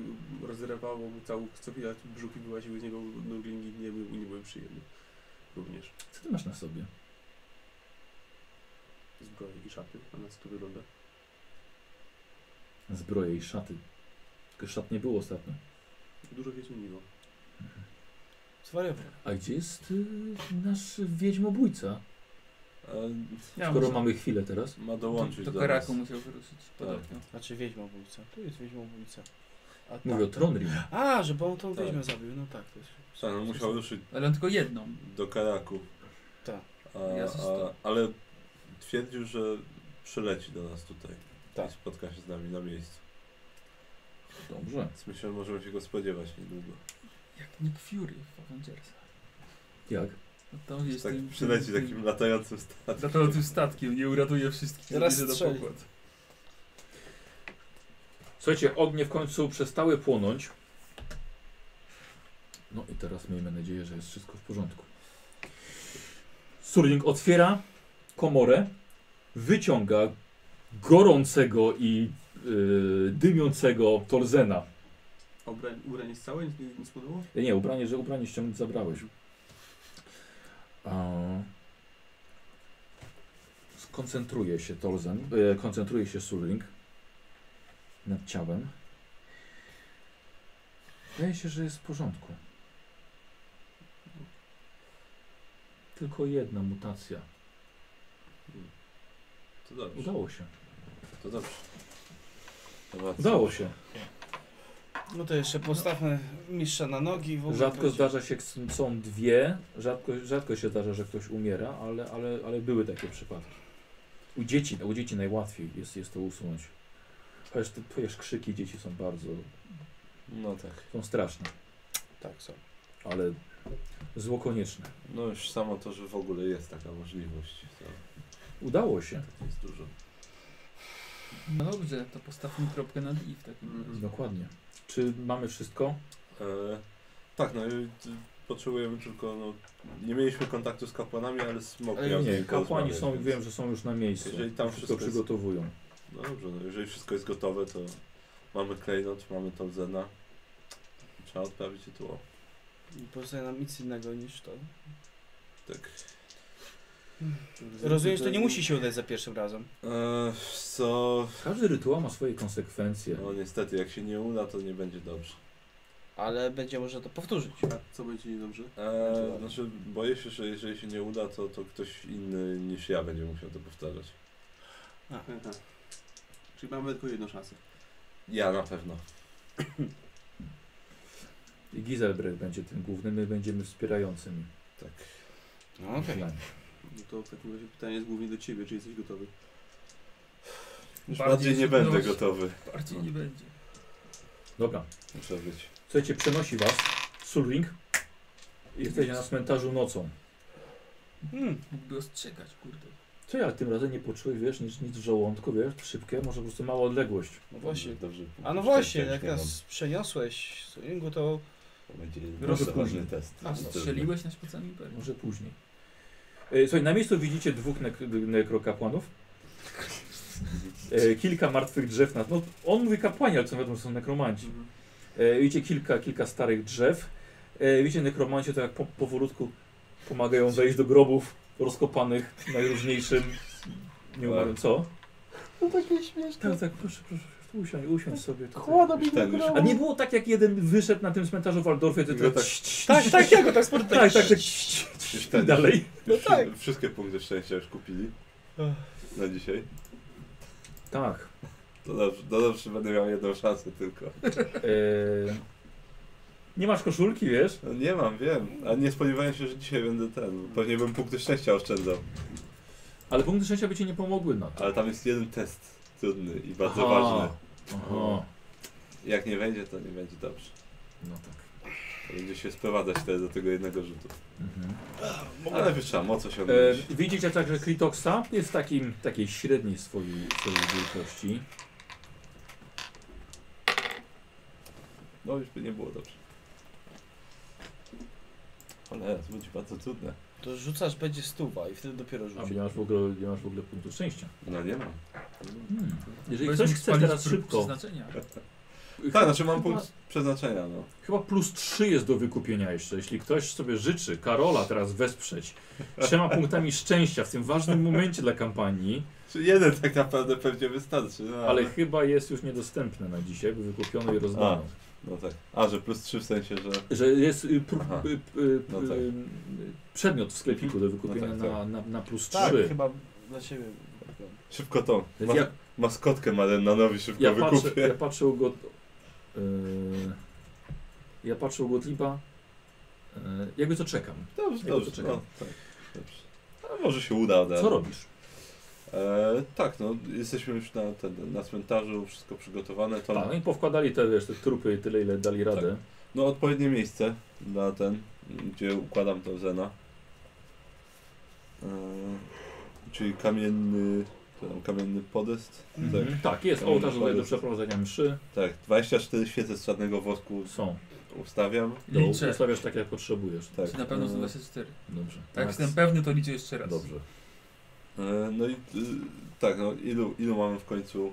[SPEAKER 8] rozrywało mu całą co chwila brzuch i wyłaziły z niego nurglingi, nie był, nie były przyjemne. Również
[SPEAKER 1] Co ty masz na sobie?
[SPEAKER 8] zbroje i szaty, a nas tu wygląda.
[SPEAKER 1] Zbroje i szaty. Tylko szat nie było ostatnio.
[SPEAKER 8] Dużo się zmieniło.
[SPEAKER 6] Zwariował.
[SPEAKER 1] A gdzie jest y, nasz wiedźmobójca?
[SPEAKER 4] A,
[SPEAKER 7] Ja
[SPEAKER 1] Skoro
[SPEAKER 7] muszę-
[SPEAKER 1] mamy chwilę teraz.
[SPEAKER 4] ma
[SPEAKER 7] do,
[SPEAKER 4] dołączyć
[SPEAKER 7] do
[SPEAKER 4] do
[SPEAKER 7] Karaku
[SPEAKER 4] nas.
[SPEAKER 7] musiał wyruszyć. Podobno.
[SPEAKER 6] Znaczy wiedźmobójca. Tu jest wiedźmobójca. A
[SPEAKER 1] Mówię o
[SPEAKER 6] tak.
[SPEAKER 1] Tronrim.
[SPEAKER 6] A, że bo on tą
[SPEAKER 4] Tak.
[SPEAKER 6] wiedźmę zabił. No tak, to jest.
[SPEAKER 4] Tak, no musiał ruszyć
[SPEAKER 7] Ale on tylko jedną.
[SPEAKER 4] do Karaku.
[SPEAKER 6] Tak.
[SPEAKER 4] A,
[SPEAKER 7] Ja
[SPEAKER 4] a,
[SPEAKER 7] zostałem.
[SPEAKER 4] ale twierdził, że przyleci do nas tutaj.
[SPEAKER 6] Tak.
[SPEAKER 4] I spotka się z nami na miejscu.
[SPEAKER 1] Dobrze.
[SPEAKER 4] Więc myślę, że możemy się go spodziewać niedługo.
[SPEAKER 7] Jak Nick Fury w Avengersa.
[SPEAKER 1] Jak?
[SPEAKER 7] No tam jest
[SPEAKER 4] tak
[SPEAKER 7] tym,
[SPEAKER 4] przyleci
[SPEAKER 7] tym,
[SPEAKER 4] takim latającym statkiem.
[SPEAKER 7] Za to tym statkiem nie uratuje wszystkich. nie
[SPEAKER 6] Raz
[SPEAKER 7] bierze na
[SPEAKER 6] strzeli.
[SPEAKER 7] pokład.
[SPEAKER 1] Słuchajcie, ognie w końcu przestały płonąć. No i teraz miejmy nadzieję, że jest wszystko w porządku. Surling otwiera komorę, wyciąga gorącego i yy, dymiącego Torzena.
[SPEAKER 8] A ubrań, ubranie jest całe? Nic nie, nie spłonęło?
[SPEAKER 1] E, Nie, ubranie, że ubranie ściągnąć zabrałeś. A... Skoncentruje się Torzen, e, koncentruje się Sulling nad ciałem. Wydaje się, że jest w porządku. Tylko jedna mutacja.
[SPEAKER 4] To dobrze.
[SPEAKER 1] Udało się.
[SPEAKER 4] To dobrze. Dobra, co?
[SPEAKER 1] Udało się.
[SPEAKER 6] No to jeszcze postawmy mistrza na nogi. W ogóle
[SPEAKER 1] Rzadko
[SPEAKER 6] będzie-
[SPEAKER 1] zdarza się, są dwie, rzadko, rzadko się zdarza, że ktoś umiera, ale, ale, ale były takie przypadki. U dzieci, u dzieci najłatwiej jest, jest to usunąć. Chociaż ty czujesz krzyki dzieci są bardzo,
[SPEAKER 4] No tak.
[SPEAKER 1] są straszne,
[SPEAKER 6] Tak, są.
[SPEAKER 1] ale zło konieczne.
[SPEAKER 4] No już samo to, że w ogóle jest taka możliwość. To
[SPEAKER 1] Udało się,
[SPEAKER 4] jest dużo.
[SPEAKER 7] No dobrze, to postawmy kropkę nad i
[SPEAKER 8] Mm.
[SPEAKER 7] w takim razie.
[SPEAKER 1] dokładnie. Czy mamy wszystko?
[SPEAKER 4] E, tak, no i t- potrzebujemy tylko, no, nie mieliśmy kontaktu z kapłanami, ale z mokrem.
[SPEAKER 1] Ale nie, kapłani są, wiem, że są już na miejscu.
[SPEAKER 4] Jeżeli tam
[SPEAKER 1] wszystko
[SPEAKER 4] wszystko jest-
[SPEAKER 1] przygotowują.
[SPEAKER 4] No dobrze, no, jeżeli wszystko jest gotowe, to mamy klejnot, mamy tą Zena. Trzeba odprawić i tło.
[SPEAKER 6] Pozostaje nam nic innego niż to.
[SPEAKER 4] Tak.
[SPEAKER 6] Rozumiem, że to nie musi się udać za pierwszym razem.
[SPEAKER 4] Eee, co?
[SPEAKER 1] Każdy rytuał ma swoje konsekwencje.
[SPEAKER 4] No niestety, jak się nie uda, to nie będzie dobrze.
[SPEAKER 6] Ale będzie można to powtórzyć.
[SPEAKER 8] A co będzie niedobrze?
[SPEAKER 4] Eee, znaczy, boję się, że jeżeli się nie uda, to, to ktoś inny niż ja będzie musiał to powtarzać.
[SPEAKER 8] Aha. E, tak. Czyli mamy tylko jedną szansę.
[SPEAKER 4] Ja na pewno.
[SPEAKER 1] I Gizelbrecht będzie tym głównym, my będziemy wspierającymi.
[SPEAKER 4] Tak.
[SPEAKER 6] No okej.
[SPEAKER 1] Plan.
[SPEAKER 8] No to w takim razie pytanie jest głównie do ciebie, czy jesteś gotowy?
[SPEAKER 4] Już
[SPEAKER 7] Bardziej
[SPEAKER 4] bardziej nie
[SPEAKER 7] żywność.
[SPEAKER 4] będę gotowy.
[SPEAKER 7] Bardziej nie będzie.
[SPEAKER 1] Dobra,
[SPEAKER 4] Muszę być.
[SPEAKER 1] słuchajcie, przenosi was Sulring. Jesteście na cmentarzu nocą.
[SPEAKER 6] Hmm.
[SPEAKER 7] Mógłby ostrzegać, kurde.
[SPEAKER 1] Co ja tym razem nie poczułeś, wiesz, nic, nic w żołądku, wiesz, szybkie, może po prostu mała odległość.
[SPEAKER 6] No właśnie.
[SPEAKER 4] Dobrze,
[SPEAKER 6] A no właśnie,
[SPEAKER 4] Szczęścia
[SPEAKER 6] jak
[SPEAKER 4] już nie
[SPEAKER 6] nas przeniosłeś z Ringu, to
[SPEAKER 4] mam. To będzie
[SPEAKER 1] Proszę
[SPEAKER 4] bardzo ważny
[SPEAKER 1] później.
[SPEAKER 4] test. [LAUGHS]
[SPEAKER 6] A,
[SPEAKER 7] Strzeliłeś na szpacami imperium.
[SPEAKER 1] Może później. E, Słuchaj, na miejscu widzicie dwóch nek nekrokapłanów. E, Kilka martwych drzew. Na, no, on mówi kapłani, ale co wiadomo, są nekromanci. E, Widzicie kilka, kilka starych drzew. E, Widzicie nekromanci, to jak po, powolutku pomagają wejść do grobów rozkopanych najróżniejszym. Nie umarłem, co?
[SPEAKER 10] To takie śmieszne.
[SPEAKER 1] Tak, tak, proszę, proszę, usiądź, usiądź sobie. tutaj.
[SPEAKER 10] Chłoda mi
[SPEAKER 4] Już ten, już-
[SPEAKER 10] nagrało.
[SPEAKER 1] A nie było tak, jak jeden wyszedł na tym cmentarzu w Waldorfie, to
[SPEAKER 4] No
[SPEAKER 1] tak...
[SPEAKER 4] tak.
[SPEAKER 6] Tak, tak, ja go tak sportuję.
[SPEAKER 1] Tak, tak, tak.
[SPEAKER 4] Już
[SPEAKER 1] I
[SPEAKER 4] ten,
[SPEAKER 1] dalej.
[SPEAKER 4] już
[SPEAKER 6] No tak.
[SPEAKER 4] [LAUGHS] Wszystkie punkty szczęścia już kupili na dzisiaj.
[SPEAKER 1] Tak.
[SPEAKER 4] To dobrze, to dobrze będę miał jedną szansę tylko.
[SPEAKER 1] E, nie masz koszulki, wiesz?
[SPEAKER 4] No nie mam, wiem. A nie spodziewałem się, że dzisiaj będę ten. bo Pewnie bym punkty szczęścia oszczędzał.
[SPEAKER 1] Ale punkty szczęścia by ci nie pomogły na to.
[SPEAKER 4] Ale tam jest jeden test trudny i bardzo
[SPEAKER 1] Aha.
[SPEAKER 4] ważny.
[SPEAKER 1] Aha.
[SPEAKER 4] Jak nie będzie, to nie będzie dobrze.
[SPEAKER 1] No tak.
[SPEAKER 4] To Będzie się sprowadzać teraz do tego jednego rzutu.
[SPEAKER 1] Mhm.
[SPEAKER 4] Ale najpierw trzeba moc
[SPEAKER 1] E,
[SPEAKER 4] osiągnąć.
[SPEAKER 1] widzicie także Kritoxa jest w takim, takiej średniej swojej, swojej wielkości.
[SPEAKER 4] No już by nie było dobrze. Ale to będzie bardzo trudne.
[SPEAKER 6] To rzucasz będzie stuwa i wtedy dopiero
[SPEAKER 1] A
[SPEAKER 6] rzucisz.
[SPEAKER 1] nie masz w ogóle, nie masz w ogóle punktu szczęścia.
[SPEAKER 4] No nie mam.
[SPEAKER 1] Hmm. Jeżeli
[SPEAKER 7] Będziesz
[SPEAKER 1] ktoś
[SPEAKER 7] mógł
[SPEAKER 1] chce
[SPEAKER 7] spalić
[SPEAKER 1] teraz
[SPEAKER 7] próg
[SPEAKER 1] szybko,
[SPEAKER 7] przeznaczenia.
[SPEAKER 4] Tak, znaczy mam punkt przeznaczenia, no.
[SPEAKER 1] chyba plus 3 jest do wykupienia jeszcze. Jeśli ktoś sobie życzy Karola teraz wesprzeć trzema punktami szczęścia w tym ważnym momencie dla kampanii,
[SPEAKER 4] Czy jeden tak naprawdę pewnie wystarczy, no,
[SPEAKER 1] ale chyba jest już niedostępny na dzisiaj, bo wykupiony i rozdano.
[SPEAKER 4] No tak. A, że plus trzy w sensie, że...
[SPEAKER 1] Że jest y, pr,
[SPEAKER 4] Aha.
[SPEAKER 1] y, y,
[SPEAKER 4] No tak.
[SPEAKER 1] y, przedmiot w sklepiku do wykupienia
[SPEAKER 4] No tak,
[SPEAKER 1] Na, na, na plus 3.
[SPEAKER 6] Tak, chyba dla ciebie.
[SPEAKER 4] Szybko to. Ma,
[SPEAKER 1] Więc ja,
[SPEAKER 4] Maskotkę Marennanowi szybko
[SPEAKER 1] ja, patrzę,
[SPEAKER 4] wykupię.
[SPEAKER 1] ja patrzę u go. Yy, ja patrzę u Gottlieba. Yy, jakby to czekam.
[SPEAKER 4] [LAUGHS] Dobrze,
[SPEAKER 1] Ja
[SPEAKER 4] dobrze,
[SPEAKER 1] poczekam.
[SPEAKER 4] no, tak, dobrze. A może się uda od razu.
[SPEAKER 1] Co robisz?
[SPEAKER 4] E, tak, no, jesteśmy już na, ten, na cmentarzu, wszystko przygotowane. To,
[SPEAKER 1] Tak, no i powkładali te, wiesz, te trupy tyle, ile dali radę.
[SPEAKER 4] No, odpowiednie miejsce na ten, gdzie układam tę Zena. E, czyli kamienny, to tam, kamienny podest.
[SPEAKER 1] Mhm.
[SPEAKER 4] Tak,
[SPEAKER 1] Tak, jest
[SPEAKER 4] Tam
[SPEAKER 1] ołtarz tutaj do
[SPEAKER 4] jest.
[SPEAKER 1] przeprowadzenia mszy.
[SPEAKER 4] tak, 24 świece z czarnego wosku
[SPEAKER 1] Są.
[SPEAKER 4] ustawiam.
[SPEAKER 1] To
[SPEAKER 7] Liczę.
[SPEAKER 1] ustawiasz tak, jak potrzebujesz.
[SPEAKER 4] Tak,
[SPEAKER 7] Czy na pewno są
[SPEAKER 4] e,
[SPEAKER 7] 24.
[SPEAKER 1] Dobrze.
[SPEAKER 7] Tak, jak jestem pewny, to liczę jeszcze raz.
[SPEAKER 1] Dobrze.
[SPEAKER 4] E, No i y, tak, no ilu, ilu mamy w końcu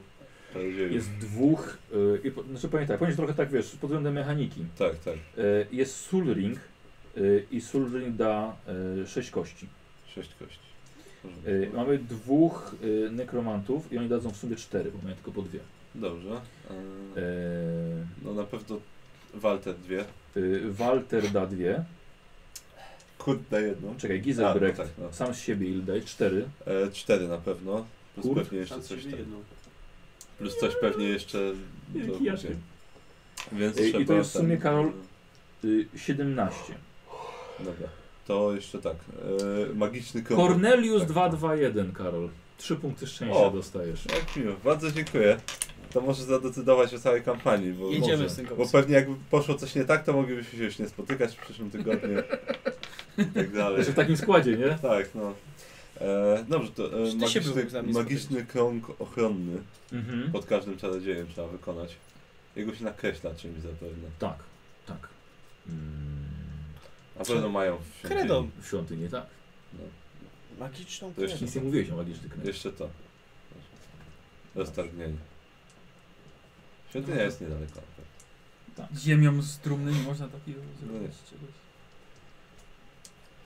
[SPEAKER 4] czarodziejów?
[SPEAKER 1] Jest dwóch. Yy, i po- znaczy pamiętaj, powiedz trochę tak, wiesz, pod względem mechaniki.
[SPEAKER 4] Tak, tak,
[SPEAKER 1] E, jest Sulring y, i Sulring da 6 kości.
[SPEAKER 4] sześć kości.
[SPEAKER 1] E, mamy dwóch y, nekromantów i oni dadzą w sumie 4, bo mają tylko po dwie.
[SPEAKER 4] Dobrze. E,
[SPEAKER 1] E,
[SPEAKER 4] No na pewno Walter dwie.
[SPEAKER 1] y, Walter da dwie.
[SPEAKER 4] Kurt na jedną.
[SPEAKER 1] Czekaj,
[SPEAKER 4] A, no
[SPEAKER 1] Gizelbrecht
[SPEAKER 4] tak, no.
[SPEAKER 1] sam z siebie ile daje? 4.
[SPEAKER 4] E, cztery na pewno. Plus
[SPEAKER 1] Kurt?
[SPEAKER 4] pewnie jeszcze
[SPEAKER 8] Szans
[SPEAKER 4] coś
[SPEAKER 8] siebie
[SPEAKER 4] tam.
[SPEAKER 8] jedną.
[SPEAKER 4] Plus coś pewnie jeszcze.
[SPEAKER 1] Jaki
[SPEAKER 4] do-
[SPEAKER 1] Jacek.
[SPEAKER 4] Więc
[SPEAKER 1] Y, I- i to
[SPEAKER 4] trzeba
[SPEAKER 1] jest w sumie,
[SPEAKER 4] ten-
[SPEAKER 1] Karol- Y, 17.
[SPEAKER 4] Dobra. To jeszcze tak. E, magiczny kąt.
[SPEAKER 1] Cornelius
[SPEAKER 4] Tak.
[SPEAKER 1] 221, Karol. 3 punkty szczęścia
[SPEAKER 4] O.
[SPEAKER 1] dostajesz.
[SPEAKER 4] Jak miło, bardzo dziękuję. To może zadecydować o całej kampanii, bo,
[SPEAKER 6] Jedziemy
[SPEAKER 1] może.
[SPEAKER 6] z tym
[SPEAKER 4] bo
[SPEAKER 6] koksem.
[SPEAKER 4] pewnie jakby poszło coś nie tak, to moglibyśmy się już nie spotykać w przyszłym tygodniu i tak dalej.
[SPEAKER 1] Jeszcze w takim składzie, nie?
[SPEAKER 4] Tak, no. E, dobrze, to
[SPEAKER 6] Czy ty
[SPEAKER 4] e,
[SPEAKER 6] się
[SPEAKER 4] magiczny,
[SPEAKER 6] byłbyś za mnie
[SPEAKER 4] magiczny krąg ochronny
[SPEAKER 1] Mhm.
[SPEAKER 4] pod każdym czarodziejem trzeba wykonać. Jego się nakreśla czymś zapewne.
[SPEAKER 1] Tak, tak. Mm.
[SPEAKER 4] A Na pewno mają w świątyni.
[SPEAKER 6] Kredą.
[SPEAKER 1] W świątyni, tak.
[SPEAKER 4] No.
[SPEAKER 6] Magiczną
[SPEAKER 4] To jeszcze
[SPEAKER 6] kredą.
[SPEAKER 1] Nic nie mówiłeś o magicznej knedli.
[SPEAKER 4] Jeszcze to. Dostarnienie. Świątynia jest niedaleko.
[SPEAKER 2] Ziemią z trumny nie można takiego
[SPEAKER 4] nie.
[SPEAKER 2] zrobić czegoś.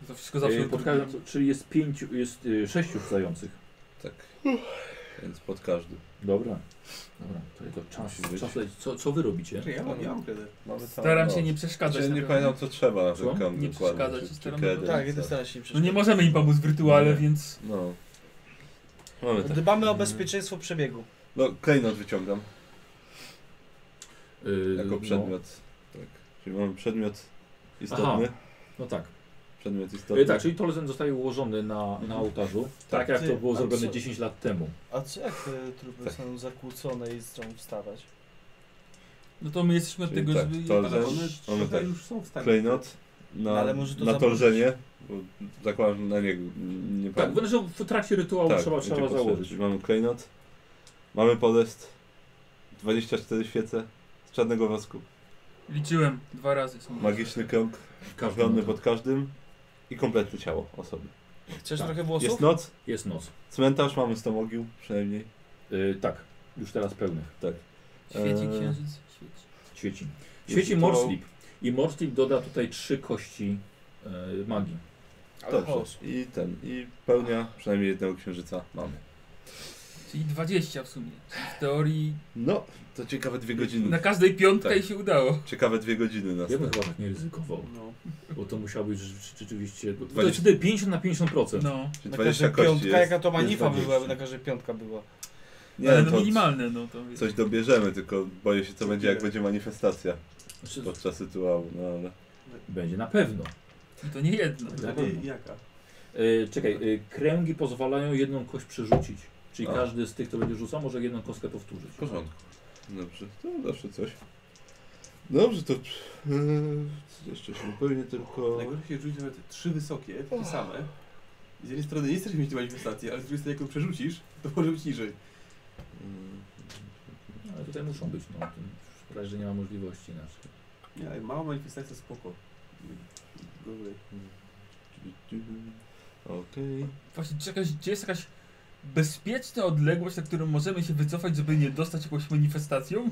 [SPEAKER 2] To wszystko zawsze
[SPEAKER 1] Ej,
[SPEAKER 2] utrudnia.
[SPEAKER 1] podkradam, co- czyli jest pięciu, jest y, sześciu wstających.
[SPEAKER 4] Tak. Więc pod każdy.
[SPEAKER 1] Dobra. Dobra, to jego czas,
[SPEAKER 4] Musi być.
[SPEAKER 1] czas lecieć. co, co wy robicie?
[SPEAKER 4] Znaczy,
[SPEAKER 8] Czy ja mam, No, ja mam kredę.
[SPEAKER 4] Mamy
[SPEAKER 2] Staram
[SPEAKER 4] no.
[SPEAKER 2] się nie przeszkadzać.
[SPEAKER 4] Znaczy,
[SPEAKER 2] na
[SPEAKER 4] nie
[SPEAKER 2] pewno.
[SPEAKER 4] pamiętam co trzeba na
[SPEAKER 1] Co?
[SPEAKER 4] ten kam dokładnie,
[SPEAKER 2] Nie przeszkadzać
[SPEAKER 4] czy-
[SPEAKER 2] i
[SPEAKER 4] czy
[SPEAKER 2] staram-
[SPEAKER 4] kredę,
[SPEAKER 6] Tak,
[SPEAKER 4] czy
[SPEAKER 6] jeden
[SPEAKER 4] co.
[SPEAKER 6] stara
[SPEAKER 2] No
[SPEAKER 6] się nie
[SPEAKER 2] nie
[SPEAKER 6] przeszkadza.
[SPEAKER 2] możemy im pomóc w rytuale,
[SPEAKER 4] Nie.
[SPEAKER 2] więc
[SPEAKER 4] No. Mamy tak.
[SPEAKER 6] Dbamy o bezpieczeństwo przebiegu.
[SPEAKER 4] No, klejnot wyciągam
[SPEAKER 1] Y,
[SPEAKER 4] jako przedmiot. Tak. Czyli mamy przedmiot istotny.
[SPEAKER 1] No, no tak.
[SPEAKER 4] Przedmiot istotny.
[SPEAKER 1] Y, tak, czyli Tolzen zostaje ułożony na, na ołtarzu, tak jak
[SPEAKER 6] Ty,
[SPEAKER 1] to było
[SPEAKER 6] a
[SPEAKER 1] zrobione
[SPEAKER 6] co-
[SPEAKER 1] 10 lat temu.
[SPEAKER 6] A co jak te trupy
[SPEAKER 4] Tak.
[SPEAKER 6] są zakłócone i chcą wstawać?
[SPEAKER 2] no to my jesteśmy od
[SPEAKER 4] Czyli
[SPEAKER 2] tego,
[SPEAKER 4] tak,
[SPEAKER 2] żeby... je-
[SPEAKER 4] Tolzen,
[SPEAKER 8] One
[SPEAKER 4] mamy
[SPEAKER 8] tutaj
[SPEAKER 4] tak.
[SPEAKER 8] już są w stanie.
[SPEAKER 4] Klejnot na,
[SPEAKER 6] No, ale może
[SPEAKER 4] na
[SPEAKER 6] to zabrać.
[SPEAKER 4] tolżenie. Bo zakładam że na niego. Nie Tak,
[SPEAKER 1] Tak, bo że w trakcie rytuału trzeba,
[SPEAKER 4] będzie
[SPEAKER 1] trzeba
[SPEAKER 4] potrzebne.
[SPEAKER 1] założyć.
[SPEAKER 4] Czyli mamy klejnot, mamy podest, 24 świece z czarnego wosku,
[SPEAKER 2] Liczyłem dwa razy. Są
[SPEAKER 4] magiczny krąg,
[SPEAKER 1] Każdy
[SPEAKER 4] ochronny
[SPEAKER 1] ma-
[SPEAKER 4] pod każdym i kompletne ciało osoby.
[SPEAKER 6] Chcesz
[SPEAKER 1] Tak.
[SPEAKER 6] trochę włosów?
[SPEAKER 4] Jest noc,
[SPEAKER 1] Jest noc.
[SPEAKER 4] cmentarz mamy 100 mogił przynajmniej.
[SPEAKER 1] Y, tak, już teraz pełnych.
[SPEAKER 2] Świeci
[SPEAKER 4] Eee.
[SPEAKER 2] księżyc, świeci.
[SPEAKER 1] Świeci.
[SPEAKER 4] Jest
[SPEAKER 1] Świeci
[SPEAKER 4] rytuał.
[SPEAKER 1] Morslip. I Morslip doda tutaj trzy kości y, magii.
[SPEAKER 4] Dobrze. I ten, i pełnia przynajmniej jednego księżyca mamy.
[SPEAKER 2] Czyli 20 w sumie. Czyli w teorii
[SPEAKER 4] No, to ciekawe dwie godziny.
[SPEAKER 2] na każdej piątka
[SPEAKER 4] Tak.
[SPEAKER 2] i się udało.
[SPEAKER 4] Ciekawe dwie godziny nas.
[SPEAKER 1] Ja bym chyba tak nie ryzykował,
[SPEAKER 8] No.
[SPEAKER 1] bo to musiało być rzeczy- rzeczywiście... bo- To jest
[SPEAKER 4] 20.
[SPEAKER 1] 50 na 50%.
[SPEAKER 2] No,
[SPEAKER 4] Czyli
[SPEAKER 6] Na
[SPEAKER 4] 20
[SPEAKER 6] każdej
[SPEAKER 4] kości
[SPEAKER 6] piątka,
[SPEAKER 4] jest.
[SPEAKER 6] jaka to manifa
[SPEAKER 4] jest
[SPEAKER 6] była,
[SPEAKER 4] 20.
[SPEAKER 6] na każdej piątka była.
[SPEAKER 4] Nie,
[SPEAKER 2] ale
[SPEAKER 4] to
[SPEAKER 2] no minimalne, no to wiesz.
[SPEAKER 4] Coś dobierzemy, tylko boję się co będzie jak będzie manifestacja
[SPEAKER 1] Znaczy,
[SPEAKER 4] podczas rytuału, no ale...
[SPEAKER 1] będzie na pewno.
[SPEAKER 2] I to nie jedno.
[SPEAKER 1] Na
[SPEAKER 8] Ale
[SPEAKER 1] pewno.
[SPEAKER 8] jaka?
[SPEAKER 1] E, czekaj, e, kręgi pozwalają jedną kość przerzucić. Czyli
[SPEAKER 4] A.
[SPEAKER 1] każdy z tych, kto będzie rzucał, może jedną kostkę powtórzyć.
[SPEAKER 4] W porządku. Dobrze, to zawsze coś. Dobrze, to eee, jeszcze się upewnię tylko...
[SPEAKER 2] Tak.
[SPEAKER 8] Najgorsze się rzucić nawet trzy wysokie, takie same. I z jednej strony nie chcesz mieć manifestacji, ale z drugiej strony jak ją przerzucisz, to może być niżej.
[SPEAKER 4] Mm,
[SPEAKER 1] Ale tutaj muszą być, no. to Szkoda, że nie ma możliwości inaczej.
[SPEAKER 8] Nie, ale mała manifestacja spoko. Gorzej.
[SPEAKER 4] Okej.
[SPEAKER 2] Właśnie, czy jakaś, gdzie jest jakaś bezpieczna odległość, na którą możemy się wycofać, żeby nie dostać jakąś manifestacją?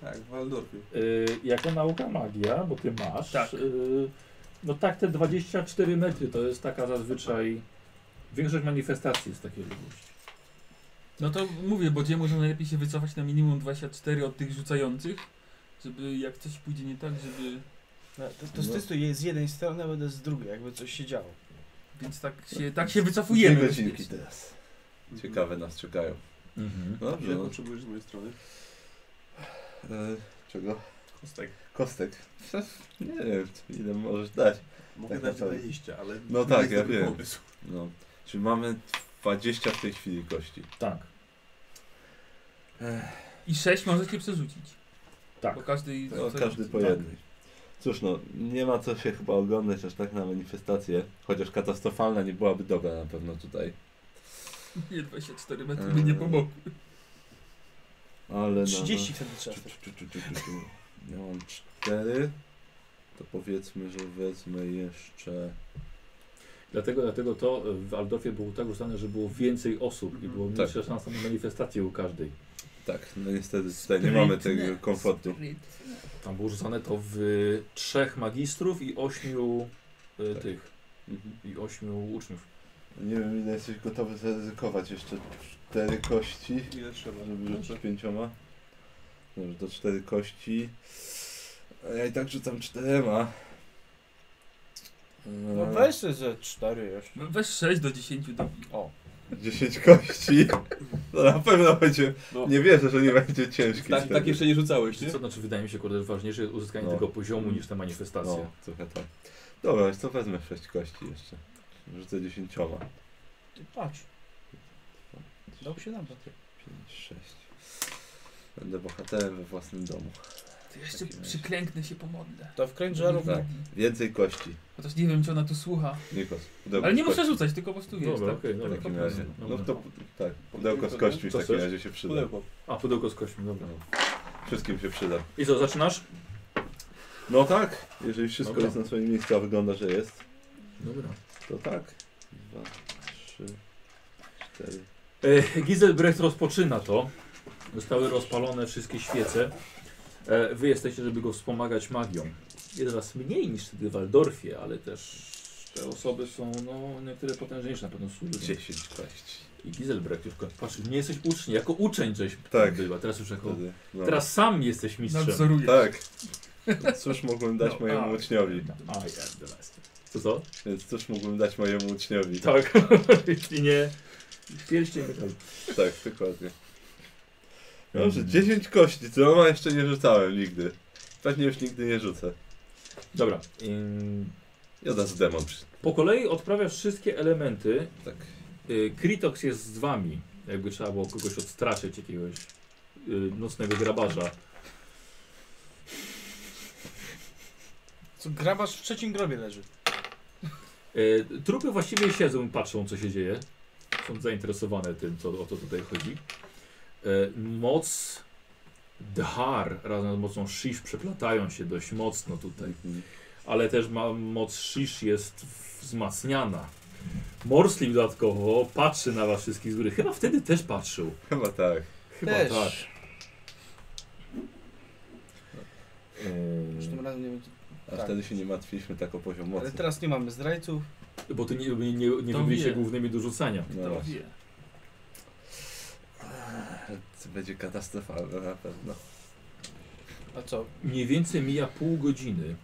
[SPEAKER 8] Tak, w Waldorfie.
[SPEAKER 1] Y, jako nauka magia, bo ty masz.
[SPEAKER 2] Tak.
[SPEAKER 1] y, no tak, te 24 metry to jest taka zazwyczaj. Większość manifestacji jest takiej odległości.
[SPEAKER 2] No to mówię, bo gdzie można najlepiej się wycofać na minimum 24 od tych rzucających, żeby jak coś pójdzie nie tak, żeby...
[SPEAKER 6] No, to to testuj je z jednej strony, a będę z drugiej, jakby coś się
[SPEAKER 4] No,
[SPEAKER 6] działo.
[SPEAKER 2] Więc tak się, tak się wycofujemy.
[SPEAKER 4] Dwie godzinki
[SPEAKER 2] bezpiecznie.
[SPEAKER 4] teraz. Ciekawe nas czekają.
[SPEAKER 1] Mhm.
[SPEAKER 4] No
[SPEAKER 8] Dobrze.
[SPEAKER 4] Dobrze,
[SPEAKER 8] Ile
[SPEAKER 4] no.
[SPEAKER 8] potrzebujesz z mojej strony?
[SPEAKER 4] Eee, czego?
[SPEAKER 8] Kostek.
[SPEAKER 4] Kostek. [LAUGHS] Nie wiem, ile możesz dać.
[SPEAKER 8] Mogę
[SPEAKER 4] Tak
[SPEAKER 8] dać
[SPEAKER 4] naprawdę.
[SPEAKER 8] 20, ale...
[SPEAKER 4] No
[SPEAKER 8] to
[SPEAKER 4] tak,
[SPEAKER 8] jest
[SPEAKER 4] ja
[SPEAKER 8] dobry
[SPEAKER 4] wiem.
[SPEAKER 8] pomysł.
[SPEAKER 4] No. Czyli mamy 20 w tej chwili kości.
[SPEAKER 1] Tak.
[SPEAKER 2] I 6 możecie przerzucić.
[SPEAKER 1] Tak.
[SPEAKER 2] Bo każdy...
[SPEAKER 4] No,
[SPEAKER 2] co-
[SPEAKER 4] każdy po
[SPEAKER 2] tak.
[SPEAKER 4] jednej. Cóż no, nie ma co się chyba oglądać aż tak na manifestację, chociaż katastrofalna nie byłaby dobra na pewno tutaj,
[SPEAKER 2] [LAUGHS] Nie, 24 metry by nie
[SPEAKER 4] Eee,
[SPEAKER 2] pomogło.
[SPEAKER 4] ale... no,
[SPEAKER 6] 30 wtedy
[SPEAKER 4] No.
[SPEAKER 6] trzeba.
[SPEAKER 4] Czu, czu, czu, czu, czu, czu. Ja mam 4, to powiedzmy, że wezmę jeszcze...
[SPEAKER 1] Dlatego, dlatego to y, w Aldorfie było tak ustane, że było więcej osób i
[SPEAKER 2] Mhm.
[SPEAKER 1] było
[SPEAKER 4] Tak.
[SPEAKER 1] mniejsza szansa na manifestację u każdej.
[SPEAKER 4] Tak, no niestety tutaj nie mamy tego
[SPEAKER 2] Sprytne,
[SPEAKER 4] komfortu.
[SPEAKER 2] sprytne.
[SPEAKER 1] Tam było rzucane to w y, trzech magistrów i ośmiu y,
[SPEAKER 4] Tak.
[SPEAKER 1] tych,
[SPEAKER 4] Mhm.
[SPEAKER 1] i ośmiu uczniów.
[SPEAKER 4] Nie wiem ile jesteś gotowy zaryzykować, jeszcze 4 kości.
[SPEAKER 8] Ile trzeba?
[SPEAKER 4] Żeby rzucić
[SPEAKER 8] Dobrze.
[SPEAKER 4] pięcioma. Dobrze, to cztery kości. A Ja i tak rzucam czterema. Eee,
[SPEAKER 6] No weź sobie ze 4 jeszcze.
[SPEAKER 2] No, Weź 6 do 10 dobi.
[SPEAKER 6] O.
[SPEAKER 4] 10 kości. To na pewno będzie.
[SPEAKER 8] No.
[SPEAKER 4] Nie wierzę, że nie będzie ciężki.
[SPEAKER 8] Tak,
[SPEAKER 4] wtedy.
[SPEAKER 8] tak jeszcze nie rzucałeś,
[SPEAKER 1] Wiecie
[SPEAKER 8] nie?
[SPEAKER 1] co, znaczy wydaje mi się, kurde, że ważniejsze jest uzyskanie
[SPEAKER 4] No.
[SPEAKER 1] tego poziomu niż ta
[SPEAKER 4] No,
[SPEAKER 1] manifestacja.
[SPEAKER 4] trochę tak. Dobra, wiesz co wezmę 6 kości jeszcze. Rzucę dziesięcioma.
[SPEAKER 6] Ty patrz. Dał się nam.
[SPEAKER 4] 5, 6. Będę bohaterem we własnym domu.
[SPEAKER 2] To ja jeszcze
[SPEAKER 4] Taki weź.
[SPEAKER 2] przyklęknę się pomodlę.
[SPEAKER 6] To wkręć żarów.
[SPEAKER 4] Tak. Więcej kości.
[SPEAKER 2] Chociaż nie wiem, czy ona tu słucha.
[SPEAKER 4] Nikos.
[SPEAKER 2] Ale nie muszę rzucać, tylko po prostu wiesz,
[SPEAKER 1] Dobra,
[SPEAKER 2] tak?
[SPEAKER 1] okej,
[SPEAKER 4] W
[SPEAKER 1] dobra.
[SPEAKER 4] takim razie. No
[SPEAKER 1] Dobra.
[SPEAKER 4] to tak, pudełko z kośćmi w
[SPEAKER 1] Co
[SPEAKER 4] takim
[SPEAKER 1] chcesz?
[SPEAKER 4] razie się przyda.
[SPEAKER 8] Pudełko.
[SPEAKER 1] A, pudełko z kośćmi, dobra.
[SPEAKER 4] No. Wszystkim się przyda.
[SPEAKER 1] I co, zaczynasz?
[SPEAKER 4] No tak, jeżeli wszystko
[SPEAKER 1] Dobra.
[SPEAKER 4] jest na swoim miejscu, a wygląda, że jest,
[SPEAKER 1] Dobra.
[SPEAKER 4] to tak. Dwa, trzy, cztery.
[SPEAKER 1] E, Giselbrecht rozpoczyna to. Zostały rozpalone wszystkie świece. E, Wy jesteście, żeby go wspomagać magią. Jest was mniej niż wtedy w Waldorfie, ale też te osoby są no, niektóre potężniejsze na pewno służą.
[SPEAKER 4] Dziesięć kości.
[SPEAKER 1] I Giselbrecht już patrzy, nie jesteś uczniem, jako uczeń żeś
[SPEAKER 4] Tak.
[SPEAKER 1] była, teraz już jako...
[SPEAKER 4] Wtedy, no.
[SPEAKER 1] Teraz sam jesteś mistrzem.
[SPEAKER 7] Nadzorujesz.
[SPEAKER 4] Tak. Cóż mogłem dać
[SPEAKER 1] No,
[SPEAKER 4] mojemu
[SPEAKER 1] tak.
[SPEAKER 4] uczniowi?
[SPEAKER 1] A, ja, teraz. Co co?
[SPEAKER 4] Więc cóż mogłem dać mojemu
[SPEAKER 1] [LAUGHS]
[SPEAKER 4] uczniowi?
[SPEAKER 1] Tak. I nie... Pierścień.
[SPEAKER 4] Tak, dokładnie. Dobrze,
[SPEAKER 1] Mm.
[SPEAKER 4] 10 kości, co ma jeszcze nie rzucałem nigdy. Pewnie już nigdy nie rzucę.
[SPEAKER 1] Dobra. Ym,
[SPEAKER 4] Ja teraz demon. przy-
[SPEAKER 1] Po kolei odprawiasz wszystkie elementy
[SPEAKER 4] Tak.
[SPEAKER 1] Y, Kritox jest z wami. Jakby trzeba było kogoś odstraszyć, jakiegoś y, nocnego grabarza.
[SPEAKER 6] Co, grabarz w trzecim grobie leży.
[SPEAKER 1] Y, Trupy właściwie siedzą i patrzą, co się dzieje. Są zainteresowane tym, co, o co tutaj chodzi. Y, Moc Dhar razem z mocą Shish przeplatają się dość mocno
[SPEAKER 4] tak.
[SPEAKER 1] tutaj. Ale też ma, moc Shish jest wzmacniana. Morsliw dodatkowo patrzy na was wszystkich z góry. Chyba wtedy też patrzył.
[SPEAKER 4] Chyba tak.
[SPEAKER 1] Chyba
[SPEAKER 6] Też.
[SPEAKER 1] tak. Eee,
[SPEAKER 6] Już tym razem nie będzie...
[SPEAKER 4] A
[SPEAKER 6] Tak.
[SPEAKER 4] wtedy się nie martwiliśmy tak o poziom mocy.
[SPEAKER 6] Ale teraz nie mamy zdrajców.
[SPEAKER 1] Bo ty nie, nie, nie, nie
[SPEAKER 7] To
[SPEAKER 1] wybiłeś się
[SPEAKER 7] wie.
[SPEAKER 1] głównymi do rzucania.
[SPEAKER 4] No
[SPEAKER 7] To
[SPEAKER 4] właśnie.
[SPEAKER 7] wie.
[SPEAKER 4] To będzie katastrofalne na pewno.
[SPEAKER 6] A co?
[SPEAKER 1] Mniej więcej mija pół godziny,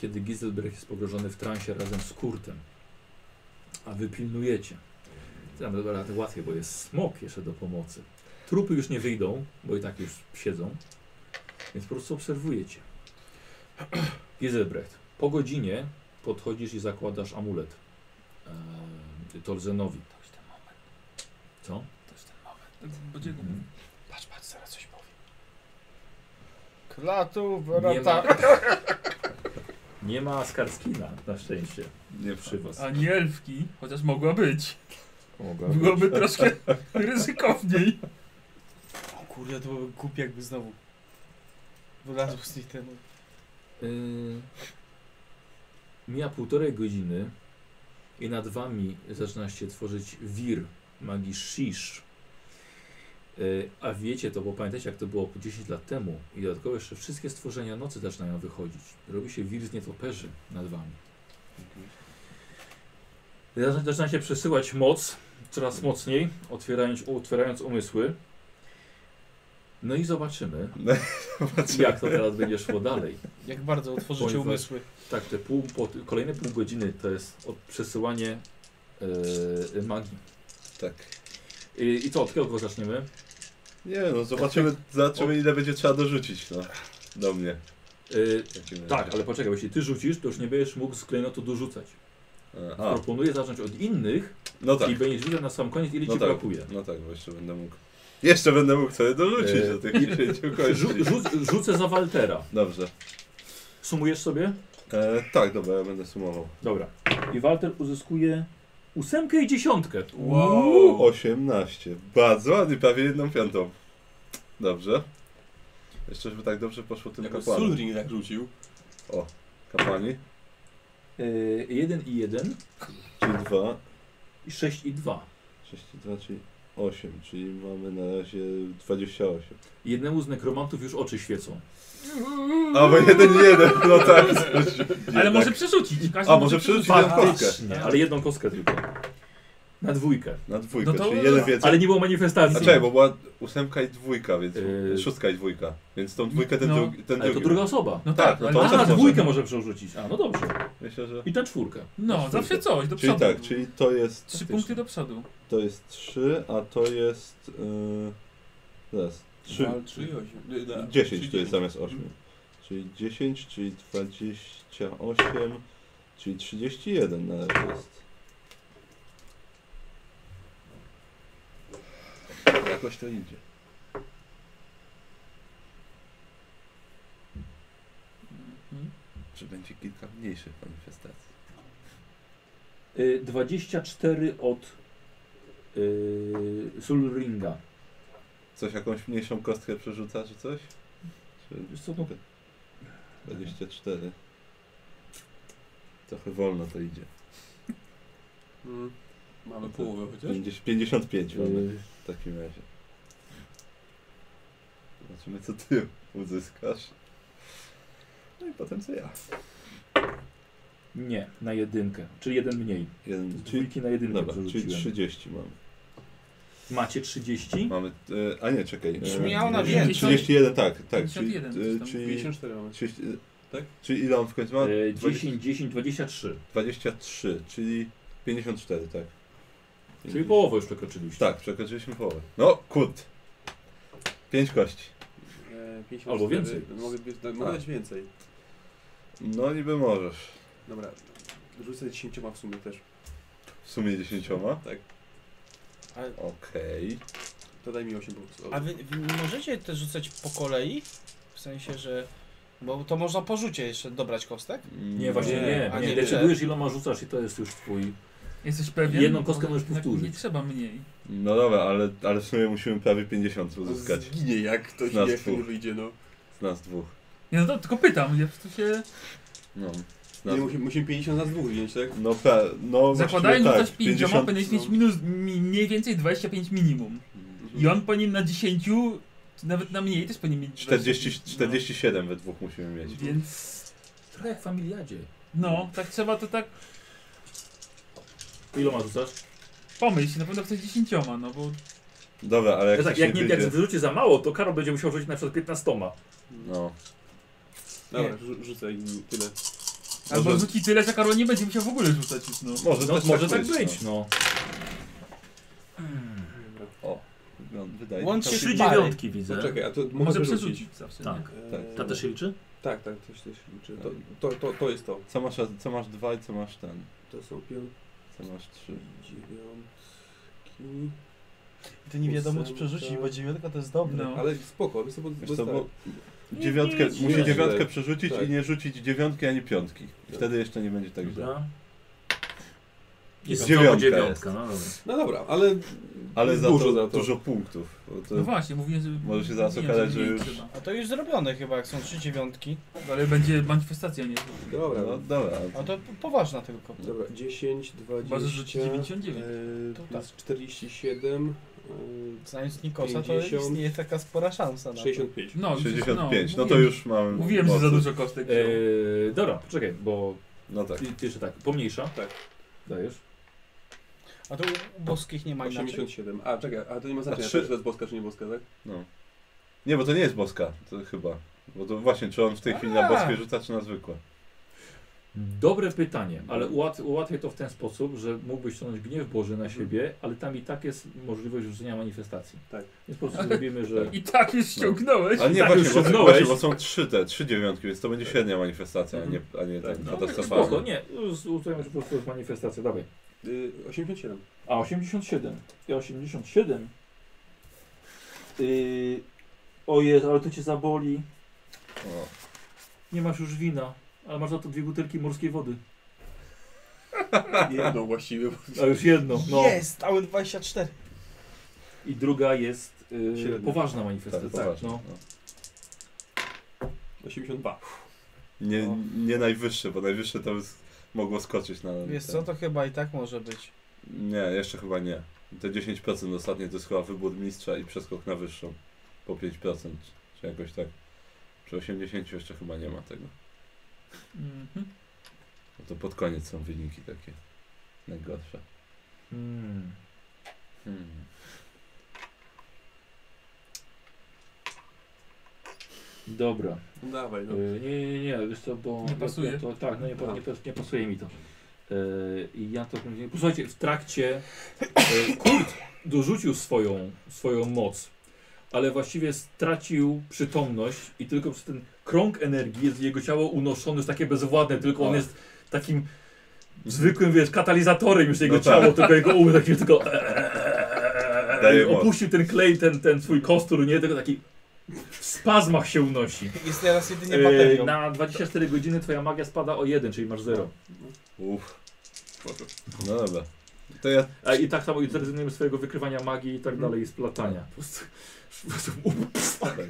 [SPEAKER 1] kiedy Giselbrecht jest pogrążony w transie razem z Kurtem. A wy pilnujecie. Tam dobra, to łatwiej, bo jest smok jeszcze do pomocy. Trupy już nie wyjdą, bo i tak już siedzą. Więc po prostu obserwujecie. [CLEARS THROAT] Giselbrecht, po godzinie podchodzisz i zakładasz amulet eee, Torzenowi.
[SPEAKER 7] To już ten moment,
[SPEAKER 1] Co? Mhm.
[SPEAKER 7] to już ten moment. Tak, Będzie go
[SPEAKER 6] Patrz, patrz, zaraz coś powiem. Klatów, tak.
[SPEAKER 1] Nie ma,
[SPEAKER 6] rata.
[SPEAKER 1] nie ma Skarskina na szczęście
[SPEAKER 4] Nie
[SPEAKER 1] przy was.
[SPEAKER 7] A nie elfki, chociaż mogła być.
[SPEAKER 1] Mogła
[SPEAKER 7] Byłoby troszkę
[SPEAKER 4] [LAUGHS]
[SPEAKER 7] ryzykowniej.
[SPEAKER 6] O kurde, to byłby głupi jakby znowu. Wylazł z nich ten...
[SPEAKER 1] Yy, mija półtorej godziny i nad wami zaczyna się tworzyć wir magii Shish. Yy, a wiecie to, bo pamiętacie jak to było po 10 lat temu i dodatkowo jeszcze wszystkie stworzenia nocy zaczynają wychodzić. Robi się wir z nietoperzy nad wami. Zaczyna- Zaczyna się przesyłać moc coraz mocniej, otwierając, otwierając umysły. No i zobaczymy, jak to teraz będzie szło dalej.
[SPEAKER 6] Jak bardzo otworzycie
[SPEAKER 1] Ponieważ-
[SPEAKER 6] umysły.
[SPEAKER 1] Tak, te pół, po, kolejne pół godziny to jest od przesyłanie yy, magii.
[SPEAKER 4] Tak.
[SPEAKER 1] I, I co, od kogo zaczniemy?
[SPEAKER 4] Nie no, zobaczymy,
[SPEAKER 1] Tak.
[SPEAKER 4] zobaczymy ile będzie trzeba dorzucić, no. Do mnie.
[SPEAKER 1] Yy,
[SPEAKER 4] w takim razie.
[SPEAKER 1] tak, ale poczekaj, bo jeśli ty rzucisz, to już nie będziesz mógł z klejnotu dorzucać.
[SPEAKER 4] A,
[SPEAKER 1] Proponuję zacząć od innych
[SPEAKER 4] no tak.
[SPEAKER 1] i będziesz widział na sam koniec, ile
[SPEAKER 4] No
[SPEAKER 1] ci
[SPEAKER 4] tak.
[SPEAKER 1] brakuje.
[SPEAKER 4] No tak, bo jeszcze będę mógł. Jeszcze będę mógł sobie dorzucić
[SPEAKER 1] Eee,
[SPEAKER 4] do tych 10
[SPEAKER 1] [LAUGHS] Rzu,
[SPEAKER 4] kości.
[SPEAKER 1] rzu, rzucę za Waltera.
[SPEAKER 4] Dobrze.
[SPEAKER 1] Sumujesz sobie?
[SPEAKER 4] E, tak, dobra, ja będę sumował.
[SPEAKER 1] Dobra. I Walter uzyskuje ósemkę i dziesiątkę.
[SPEAKER 4] Wow. 18. Bardzo ładnie, prawie jedną piątą. Dobrze. Jeszcze żeby tak dobrze poszło tym
[SPEAKER 3] Jakby
[SPEAKER 4] kapłanom.
[SPEAKER 3] Sulring tak rzucił.
[SPEAKER 4] Kapłani?
[SPEAKER 1] Yy, jeden i jeden
[SPEAKER 4] Czyli 2,
[SPEAKER 1] i sześć i dwa.
[SPEAKER 4] 6 i 2, czyli 8. Czyli mamy na razie 28.
[SPEAKER 1] Jednemu z nekromantów już oczy świecą.
[SPEAKER 4] A, bo jeden jeden, no tak.
[SPEAKER 7] Ale może przerzucić. Każdy
[SPEAKER 4] A, może przerzucić no. jedną kostkę.
[SPEAKER 1] Nie, ale jedną kostkę tylko. Na dwójkę.
[SPEAKER 4] Na dwójkę,
[SPEAKER 7] No to-
[SPEAKER 4] czyli jeden więcej.
[SPEAKER 1] Ale nie było
[SPEAKER 4] A
[SPEAKER 1] manifestacji.
[SPEAKER 4] czekaj, bo była ósemka i dwójka, więc
[SPEAKER 1] Yy.
[SPEAKER 4] szóstka i dwójka. Więc tą dwójkę ten,
[SPEAKER 7] No,
[SPEAKER 4] drugi, ten
[SPEAKER 1] Ale to
[SPEAKER 4] drugi.
[SPEAKER 1] druga osoba.
[SPEAKER 7] No
[SPEAKER 4] Tak,
[SPEAKER 7] tak,
[SPEAKER 4] no
[SPEAKER 7] ale-
[SPEAKER 4] to
[SPEAKER 1] A,
[SPEAKER 4] też
[SPEAKER 1] na
[SPEAKER 4] może.
[SPEAKER 1] dwójkę może przerzucić. A, no dobrze.
[SPEAKER 4] Myślę, że...
[SPEAKER 1] I tę czwórkę.
[SPEAKER 7] No, zawsze coś, do
[SPEAKER 4] Czyli
[SPEAKER 7] przodu.
[SPEAKER 4] tak, czyli to jest...
[SPEAKER 7] Trzy punkty do przodu.
[SPEAKER 4] To jest 3, a to jest... Yy, zaraz. 3,
[SPEAKER 3] Dwa, trzy i osiem. Nie, da.
[SPEAKER 4] 10
[SPEAKER 3] Trzy,
[SPEAKER 4] to jest zamiast
[SPEAKER 3] Mhm.
[SPEAKER 4] 8. Czyli 10, czyli 28, czyli 31 na razie jest. Jakoś to idzie.
[SPEAKER 7] Mhm.
[SPEAKER 4] Czy będzie kilka mniejszych manifestacji?
[SPEAKER 1] Y, 24 od y, Sulringa.
[SPEAKER 4] Coś, jakąś mniejszą kostkę przerzuca, czy coś? Czy...
[SPEAKER 1] Wiesz co, no,
[SPEAKER 4] 24. Trochę wolno to idzie.
[SPEAKER 3] Mm. Mamy
[SPEAKER 4] No to
[SPEAKER 3] połowę chociaż?
[SPEAKER 4] 50,
[SPEAKER 1] y,
[SPEAKER 4] 55 mamy w takim razie. Zobaczymy co ty uzyskasz. No i potem co ja.
[SPEAKER 1] Nie, na jedynkę. Czyli jeden mniej.
[SPEAKER 4] Jeden,
[SPEAKER 1] Z dwójki na jedynkę
[SPEAKER 4] Dobra, czyli
[SPEAKER 1] przerzuciłem.
[SPEAKER 4] 30 mamy.
[SPEAKER 1] Macie 30?
[SPEAKER 4] Mamy, e, a nie, czekaj. e,
[SPEAKER 6] Brzmiało na
[SPEAKER 4] 50, 31, tak, tak. Czyli,
[SPEAKER 2] 51
[SPEAKER 4] e,
[SPEAKER 2] coś tam.
[SPEAKER 4] czyli,
[SPEAKER 3] 54 mamy.
[SPEAKER 4] trzydzieści- e,
[SPEAKER 3] Tak?
[SPEAKER 4] czyli ile on w końcu ma?
[SPEAKER 1] E,
[SPEAKER 4] 20
[SPEAKER 1] 10, 10, 23.
[SPEAKER 4] 23, czyli 54, tak.
[SPEAKER 1] Czyli połowę już przekroczyliście.
[SPEAKER 4] Tak, przekroczyliśmy połowę. No, kut. 5 kości.
[SPEAKER 3] E, 54.
[SPEAKER 1] Albo więcej.
[SPEAKER 3] Mogę, bi- mogę
[SPEAKER 4] A.
[SPEAKER 3] dać więcej.
[SPEAKER 4] No niby możesz.
[SPEAKER 3] Dobra, rzucę 10 w sumie też.
[SPEAKER 4] W sumie 10.
[SPEAKER 3] Tak,
[SPEAKER 4] Okej.
[SPEAKER 3] to daj mi 8 punktów.
[SPEAKER 6] A wy, wy nie możecie też rzucać po kolei? W sensie, że... Bo to można po rzucie jeszcze dobrać kostek?
[SPEAKER 1] Nie, właśnie
[SPEAKER 4] No,
[SPEAKER 1] nie.
[SPEAKER 6] a
[SPEAKER 1] nie.
[SPEAKER 6] nie
[SPEAKER 1] Decydujesz iloma rzucasz i to jest już twój.
[SPEAKER 2] Jesteś pewien?
[SPEAKER 1] Jedną kostkę możesz
[SPEAKER 2] Jednak
[SPEAKER 1] powtórzyć.
[SPEAKER 2] Nie trzeba mniej.
[SPEAKER 4] No dobra, ale, ale w sumie musimy prawie 50 uzyskać.
[SPEAKER 3] Zginie jak ktoś,
[SPEAKER 4] Nas
[SPEAKER 3] jak to nie
[SPEAKER 4] dwóch.
[SPEAKER 3] wyjdzie, no.
[SPEAKER 4] Z nas dwóch.
[SPEAKER 2] Nie no to tylko pytam, ja po prostu się...
[SPEAKER 4] No. Z
[SPEAKER 3] Nie,
[SPEAKER 4] nas...
[SPEAKER 3] musimy, musimy 50 za dwóch wziąć, tak?
[SPEAKER 4] No, pra... no
[SPEAKER 2] Zakładając, że
[SPEAKER 4] właściwie
[SPEAKER 2] coś
[SPEAKER 4] tak, 50...
[SPEAKER 2] 5, powinieneś mieć
[SPEAKER 3] no.
[SPEAKER 2] minus, mi, mniej więcej 25 minimum. I on powinien na 10, czy nawet na mniej też powinien mieć
[SPEAKER 4] 40,
[SPEAKER 2] 20,
[SPEAKER 4] 47 we dwóch musimy
[SPEAKER 2] No,
[SPEAKER 4] mieć.
[SPEAKER 2] więc...
[SPEAKER 1] Trochę jak w familiadzie.
[SPEAKER 2] No, tak trzeba to tak
[SPEAKER 1] Iloma rzucasz?
[SPEAKER 2] pomyśl, na pewno chcesz 10, no bo...
[SPEAKER 4] Dobra, ale jak,
[SPEAKER 1] Ja tak,
[SPEAKER 4] coś
[SPEAKER 1] jak,
[SPEAKER 4] nie
[SPEAKER 1] nie, jak
[SPEAKER 4] wyjdzie...
[SPEAKER 1] wyrzuci za mało, to Karol będzie musiał rzucić na przykład 15.
[SPEAKER 4] No.
[SPEAKER 3] Dobra, rzu- rzucę i tyle.
[SPEAKER 2] Albo
[SPEAKER 4] Może-
[SPEAKER 2] rzuci tyle, że Karol nie będzie musiał w ogóle rzucać już, no.
[SPEAKER 4] Może,
[SPEAKER 1] No,
[SPEAKER 4] też
[SPEAKER 1] może tak
[SPEAKER 4] no.
[SPEAKER 1] być, no.
[SPEAKER 4] Wygląd- Wydaje
[SPEAKER 6] Łącznie
[SPEAKER 4] się.
[SPEAKER 1] Trzy
[SPEAKER 6] Pary.
[SPEAKER 1] dziewiątki
[SPEAKER 3] No
[SPEAKER 1] widzę.
[SPEAKER 3] czekaj, a to mogę
[SPEAKER 2] Może
[SPEAKER 3] wyrzucić?
[SPEAKER 2] przerzucić zawsze,
[SPEAKER 1] Tak.
[SPEAKER 2] nie?
[SPEAKER 3] E,
[SPEAKER 1] Ta też się liczy?
[SPEAKER 3] Tak, tak, to się też liczy. To, to, to, to jest to.
[SPEAKER 4] Co masz, co masz dwa i co masz ten?
[SPEAKER 3] To są piątki,
[SPEAKER 4] Co masz trzy?
[SPEAKER 3] dziewiątki...
[SPEAKER 6] Ty nie wiadomo, czy
[SPEAKER 3] Ósemka.
[SPEAKER 6] przerzucić, bo dziewiątka to jest dobre.
[SPEAKER 2] No.
[SPEAKER 3] Ale spoko, my sobie
[SPEAKER 4] Wiesz co,
[SPEAKER 3] dostałem.
[SPEAKER 4] bo dziewiątkę,
[SPEAKER 1] Nie, nie,
[SPEAKER 4] musi
[SPEAKER 3] nie.
[SPEAKER 4] dziewiątkę
[SPEAKER 3] Tak.
[SPEAKER 4] przerzucić
[SPEAKER 3] Tak.
[SPEAKER 4] i nie rzucić dziewiątki ani piątki. I wtedy jeszcze nie będzie tak źle.
[SPEAKER 1] Dobra. Jest
[SPEAKER 4] Dziewiątka
[SPEAKER 1] dziewiątka. dziewiątka. No, dobra.
[SPEAKER 3] No dobra, ale...
[SPEAKER 4] Ale za
[SPEAKER 3] dużo
[SPEAKER 4] to,
[SPEAKER 3] za to.
[SPEAKER 4] dużo punktów. bo To,
[SPEAKER 2] No właśnie, mówiłem, że...
[SPEAKER 4] Może się zaraz
[SPEAKER 2] nie,
[SPEAKER 4] okazać,
[SPEAKER 2] mniej
[SPEAKER 4] że już-
[SPEAKER 2] trzeba. No,
[SPEAKER 6] A to już zrobione chyba, jak są trzy dziewiątki.
[SPEAKER 2] Ale będzie manifestacja, nie?
[SPEAKER 3] Dobra,
[SPEAKER 4] no dobra.
[SPEAKER 6] A to poważna tylko.
[SPEAKER 3] Dobra, 10, 20.
[SPEAKER 2] Chyba, że rzuci 99.
[SPEAKER 3] e,
[SPEAKER 6] To
[SPEAKER 3] plus 47,
[SPEAKER 8] e,
[SPEAKER 6] Znając Nikosa, to
[SPEAKER 3] 50.
[SPEAKER 6] istnieje taka spora szansa
[SPEAKER 3] e,
[SPEAKER 6] na to.
[SPEAKER 3] 65.
[SPEAKER 2] No, już-
[SPEAKER 4] 65, no to
[SPEAKER 2] mówiłem,
[SPEAKER 4] już mamy.
[SPEAKER 2] Mówiłem, że za
[SPEAKER 4] mocy.
[SPEAKER 2] dużo kostek wziął.
[SPEAKER 1] Eee, dobra, poczekaj, bo
[SPEAKER 4] No tak.
[SPEAKER 1] ty, ty jeszcze tak, pomniejsza.
[SPEAKER 3] Tak.
[SPEAKER 1] Dajesz.
[SPEAKER 6] A to u- u boskich nie ma inaczej.
[SPEAKER 3] 87. A czekaj, a to nie ma znaczenia,
[SPEAKER 4] trzy-
[SPEAKER 3] czy to jest boska, czy nie boska, tak?
[SPEAKER 4] No. Nie, bo to nie jest boska, to chyba. Bo to właśnie, czy on w tej chwili na
[SPEAKER 6] A.
[SPEAKER 4] boskie rzuca, czy na zwykłe?
[SPEAKER 1] Dobre pytanie, ale ułat, ułatwię to w ten sposób, że mógłbyś ściągnąć gniew Boży na siebie, ale tam i tak jest możliwość rzucenia manifestacji.
[SPEAKER 3] Tak.
[SPEAKER 1] Więc po prostu zrobimy,
[SPEAKER 2] [LAUGHS]
[SPEAKER 1] że...
[SPEAKER 2] I tak już ściągnąłeś.
[SPEAKER 4] A nie,
[SPEAKER 1] tak
[SPEAKER 4] właśnie,
[SPEAKER 1] już
[SPEAKER 4] bo,
[SPEAKER 1] szepnąłeś.
[SPEAKER 4] właśnie, bo są trzy te, trzy dziewiątki, więc to będzie średnia manifestacja, a nie, a nie
[SPEAKER 3] Tak.
[SPEAKER 4] ten
[SPEAKER 1] No,
[SPEAKER 4] katastrofalny.
[SPEAKER 1] spoko, nie, z- uznajmy, że po prostu jest manifestacja, dawaj.
[SPEAKER 3] Y, 87.
[SPEAKER 1] A 87. Ja 87. Yy, o Jezu, ale to cię zaboli.
[SPEAKER 4] O.
[SPEAKER 1] Nie masz już wina, ale masz za to dwie butelki morskiej wody.
[SPEAKER 3] Jedną właściwie. bo-
[SPEAKER 1] A już jedno. No.
[SPEAKER 6] Jest! Ały24!
[SPEAKER 1] I druga jest yy,
[SPEAKER 3] Średnia.
[SPEAKER 1] poważna
[SPEAKER 4] Tak,
[SPEAKER 1] manifestacja.
[SPEAKER 4] poważnie,
[SPEAKER 1] no.
[SPEAKER 4] no.
[SPEAKER 3] 82.
[SPEAKER 4] Nie,
[SPEAKER 6] No.
[SPEAKER 4] nie najwyższe, bo najwyższe to by s- mogło skoczyć na.
[SPEAKER 6] Wiesz
[SPEAKER 4] ten-
[SPEAKER 6] co, to chyba i tak może być.
[SPEAKER 4] Nie, jeszcze chyba nie. Te 10% ostatnie to jest chyba wybór mistrza i przeskok na wyższą. Po 5%, czy- czy jakoś tak. Przy 80 jeszcze chyba nie ma tego.
[SPEAKER 2] Mhm.
[SPEAKER 4] No to pod koniec są wyniki takie najgorsze.
[SPEAKER 1] Hmm.
[SPEAKER 4] Hmm.
[SPEAKER 1] Dobra.
[SPEAKER 3] No dawaj, no.
[SPEAKER 4] Y-
[SPEAKER 1] Yy, nie, nie, nie, wiesz co, bo...
[SPEAKER 2] Nie pasuje?
[SPEAKER 1] Ja to, tak, no nie, pa- nie, pas- nie pasuje mi to. Yy, I ja to... Posłuchajcie, w trakcie yy, Kurt dorzucił swoją, swoją moc, ale właściwie stracił przytomność i tylko przez ten krąg energii jest jego ciało unoszone, jest takie bezwładne, tylko on
[SPEAKER 4] O.
[SPEAKER 1] jest takim zwykłym, wiesz, katalizatorem już jego
[SPEAKER 4] No tak.
[SPEAKER 1] ciało, tylko jego umysł taki tylko... e,
[SPEAKER 4] Daje moc.
[SPEAKER 1] opuścił ten klej, ten, ten swój kostur, nie? Tylko taki w spazmach się unosi.
[SPEAKER 6] Jest teraz jedynie
[SPEAKER 1] Eee,
[SPEAKER 6] baterią.
[SPEAKER 1] na 24 godziny twoja magia spada o 1, czyli masz 0.
[SPEAKER 4] Uff. No dobra. To ja.
[SPEAKER 1] E, I tak samo i zrezygnujemy z swojego wykrywania magii i tak dalej i splatania. Po prostu, po prostu,
[SPEAKER 4] Okej.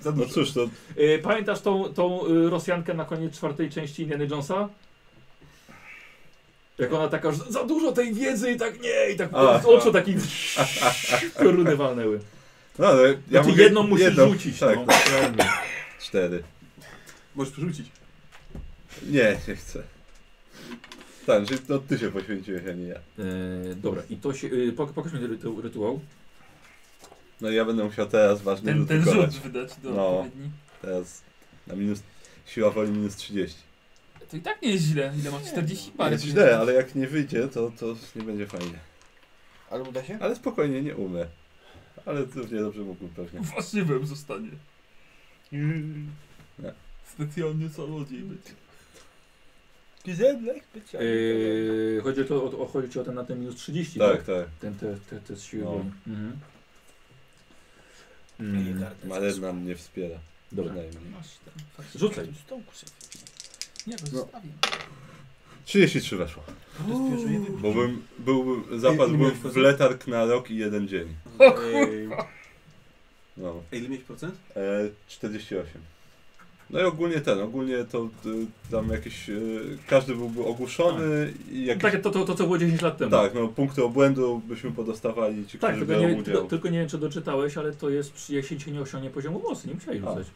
[SPEAKER 1] Za
[SPEAKER 4] No
[SPEAKER 1] dużo.
[SPEAKER 4] cóż, to
[SPEAKER 1] Y, Pamiętasz tą, tą y, Rosjankę na koniec czwartej części Indiana Jonesa? Jak ona taka, że za dużo tej wiedzy i tak nie, i tak
[SPEAKER 4] A.
[SPEAKER 1] z oczu takich [LAUGHS] pioruny walnęły.
[SPEAKER 4] No, ale ja
[SPEAKER 1] Znaczy,
[SPEAKER 4] mogę-
[SPEAKER 1] jedną musisz rzucić,
[SPEAKER 4] Tak,
[SPEAKER 1] no.
[SPEAKER 4] tak, realnie. Cztery.
[SPEAKER 8] Możesz przerzucić.
[SPEAKER 4] Nie, nie chcę. Tak, że to ty się poświęciłeś, a nie ja.
[SPEAKER 1] E, dobra, i to się, y, pok- pokaż mi ten rytu- rytuał.
[SPEAKER 4] No i ja będę musiał teraz ważny
[SPEAKER 7] Ten,
[SPEAKER 4] rzut
[SPEAKER 7] ten
[SPEAKER 4] wykonać.
[SPEAKER 7] rzut wydać do
[SPEAKER 4] No.
[SPEAKER 7] odpowiedni.
[SPEAKER 4] Teraz na minus... Siła woli minus 30.
[SPEAKER 7] To i tak nie jest źle. Ile masz? 40
[SPEAKER 2] No,
[SPEAKER 7] parę.
[SPEAKER 4] Jest
[SPEAKER 7] powiedzmy.
[SPEAKER 4] źle, ale jak nie wyjdzie, to, to nie będzie fajnie.
[SPEAKER 6] Ale uda się?
[SPEAKER 4] Ale spokojnie, nie umę. Ale równie dobrze mógłbym pewnie.
[SPEAKER 7] [LAUGHS] Wasywem zostanie.
[SPEAKER 6] Yy.
[SPEAKER 7] Specjalnie samodziej będzie.
[SPEAKER 6] Zemlek, Yy,
[SPEAKER 1] E, chodzi, o to, o, o, chodzi ci o ten na ten minus 30, tak?
[SPEAKER 4] Tak, tak.
[SPEAKER 1] Ten, te, te, te z siły
[SPEAKER 4] No. tak,
[SPEAKER 1] woli. Mhm. Mm,
[SPEAKER 4] Malerna mnie wspiera.
[SPEAKER 1] Dobra.
[SPEAKER 4] Przynajmniej.
[SPEAKER 7] Masz tam. faktycznie.
[SPEAKER 6] tak.
[SPEAKER 1] Rzucaj.
[SPEAKER 7] Nie, go
[SPEAKER 4] No.
[SPEAKER 7] zostawię.
[SPEAKER 4] 33 weszło. Bo bym, byłbym, zapadł
[SPEAKER 8] Ile
[SPEAKER 4] bym
[SPEAKER 8] miałeś
[SPEAKER 4] w
[SPEAKER 8] procent?
[SPEAKER 4] letarg na rok i jeden dzień.
[SPEAKER 8] O kurwa.
[SPEAKER 4] No.
[SPEAKER 8] Ej, ile miałeś procent?
[SPEAKER 4] E, 48. No i ogólnie ten, ogólnie to y, tam jakiś, y, każdy byłby ogłuszony i jakieś,
[SPEAKER 1] Tak, to, to, to co było 10 lat temu.
[SPEAKER 4] tak, no punkty obłędu byśmy podostawali ci,
[SPEAKER 1] Tak,
[SPEAKER 4] którzy
[SPEAKER 1] tylko nie,
[SPEAKER 4] biorą
[SPEAKER 1] tylko,
[SPEAKER 4] udział.
[SPEAKER 1] tylko nie wiem, czy doczytałeś, ale to jest, przy, jak się ci nie osiągnie poziomu mocy, nie musiałeś
[SPEAKER 4] A.
[SPEAKER 1] rzucać.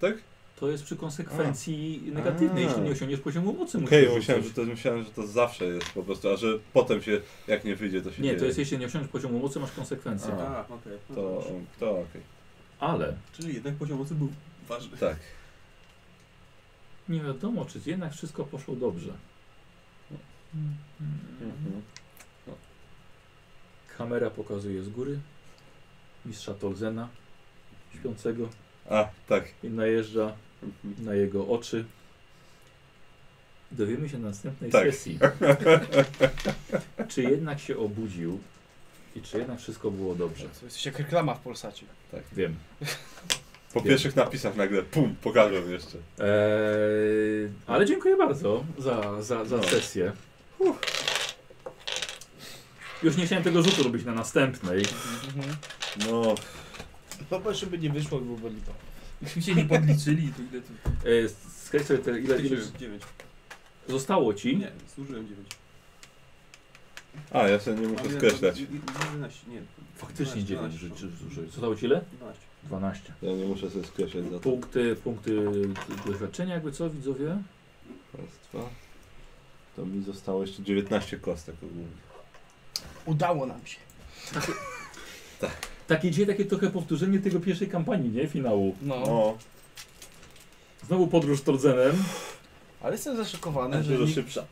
[SPEAKER 4] Tak?
[SPEAKER 1] To jest przy konsekwencji negatywnej,
[SPEAKER 4] A.
[SPEAKER 1] jeśli nie osiągniesz poziomu mocy. musisz
[SPEAKER 4] Okej, myślałem, że tak
[SPEAKER 1] rzucać.
[SPEAKER 4] to, myślałem, że to zawsze jest po prostu, a że potem się, jak nie wyjdzie, to się
[SPEAKER 1] Nie,
[SPEAKER 4] dzieje.
[SPEAKER 1] to jest jeśli nie osiągniesz poziomu mocy, masz konsekwencje.
[SPEAKER 4] A.
[SPEAKER 8] A, okej. No
[SPEAKER 4] To,
[SPEAKER 8] dobrze.
[SPEAKER 4] to okej,
[SPEAKER 1] Ale
[SPEAKER 8] Czyli jednak poziom mocy był ważny.
[SPEAKER 4] tak.
[SPEAKER 1] nie wiadomo, czy jednak wszystko poszło dobrze.
[SPEAKER 4] Mhm.
[SPEAKER 1] Mhm. Kamera pokazuje z góry mistrza Tolzena śpiącego
[SPEAKER 4] A, tak.
[SPEAKER 1] i najeżdża na jego oczy. Dowiemy się na następnej
[SPEAKER 4] Tak.
[SPEAKER 1] sesji, czy jednak się obudził i czy jednak wszystko było dobrze.
[SPEAKER 6] To jest jak reklama w Polsacie.
[SPEAKER 1] Wiem.
[SPEAKER 4] Po pierwszych napisach nagle, pum, pokażę jeszcze.
[SPEAKER 1] Eee, ale dziękuję bardzo za, za, za
[SPEAKER 4] No.
[SPEAKER 1] sesję. Uff. Już nie chciałem tego rzutu robić na następnej.
[SPEAKER 6] Mhm.
[SPEAKER 4] No,
[SPEAKER 6] No bo żeby nie wyszło, byłoby lipa.
[SPEAKER 7] Myśmy się nie podliczyli, to ile to...
[SPEAKER 1] Eee, Skręć sobie te, ile, ile
[SPEAKER 8] 9.
[SPEAKER 1] zostało ci.
[SPEAKER 8] Nie, zużyłem 9.
[SPEAKER 4] a ja sobie nie muszę skreślać.
[SPEAKER 8] 11, nie.
[SPEAKER 1] Faktycznie 9
[SPEAKER 8] 12,
[SPEAKER 1] rzeczy zużyłeś. Zostało ci ile?
[SPEAKER 8] 12.
[SPEAKER 1] 12.
[SPEAKER 4] Ja nie muszę sobie skreślać za to.
[SPEAKER 1] Punkty, punkty doświadczenia jakby co widzowie?
[SPEAKER 4] Raz, dwa. To mi zostało jeszcze 19 kostek ogólnie.
[SPEAKER 6] Udało nam się.
[SPEAKER 1] Takie dzieje, takie trochę powtórzenie tego pierwszej kampanii, nie? Finału.
[SPEAKER 6] No.
[SPEAKER 4] No,
[SPEAKER 1] Znowu podróż Tordzenem.
[SPEAKER 6] Ale jestem
[SPEAKER 4] ale
[SPEAKER 6] zaszokowany, że
[SPEAKER 4] dużo
[SPEAKER 6] nikt
[SPEAKER 4] szybsza.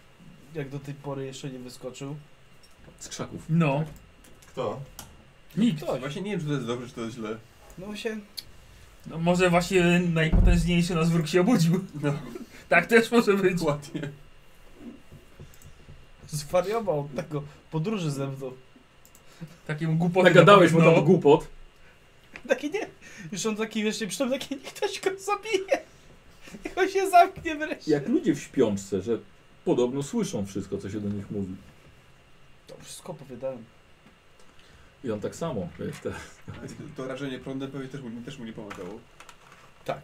[SPEAKER 6] jak do tej pory jeszcze nie wyskoczył.
[SPEAKER 1] Z krzaków.
[SPEAKER 7] No.
[SPEAKER 3] Kto?
[SPEAKER 7] Nikt.
[SPEAKER 8] Właśnie nie wiem, czy to jest dobrze, czy to jest źle.
[SPEAKER 6] No się...
[SPEAKER 7] No może właśnie najpotężniejszy nasz wróg się obudził.
[SPEAKER 8] No.
[SPEAKER 7] [LAUGHS] Tak też może być.
[SPEAKER 8] Ładnie.
[SPEAKER 6] Zwariował od tego podróży ze mną.
[SPEAKER 7] Takim głupotem.
[SPEAKER 1] Nagadałeś mu
[SPEAKER 7] no.
[SPEAKER 1] Tak tam głupot.
[SPEAKER 6] Taki nie. Już on taki wiesz, nie przyszedł, taki [LAUGHS] niech ktoś go zabije. Niech on się zamknie wreszcie.
[SPEAKER 1] Jak ludzie w śpiączce, że podobno słyszą wszystko, co się do nich mówi.
[SPEAKER 6] To wszystko opowiadałem.
[SPEAKER 1] I on tak samo. Jest te-
[SPEAKER 8] To rażenie prądem pewnie też mu, też mu nie pomagało.
[SPEAKER 6] Tak.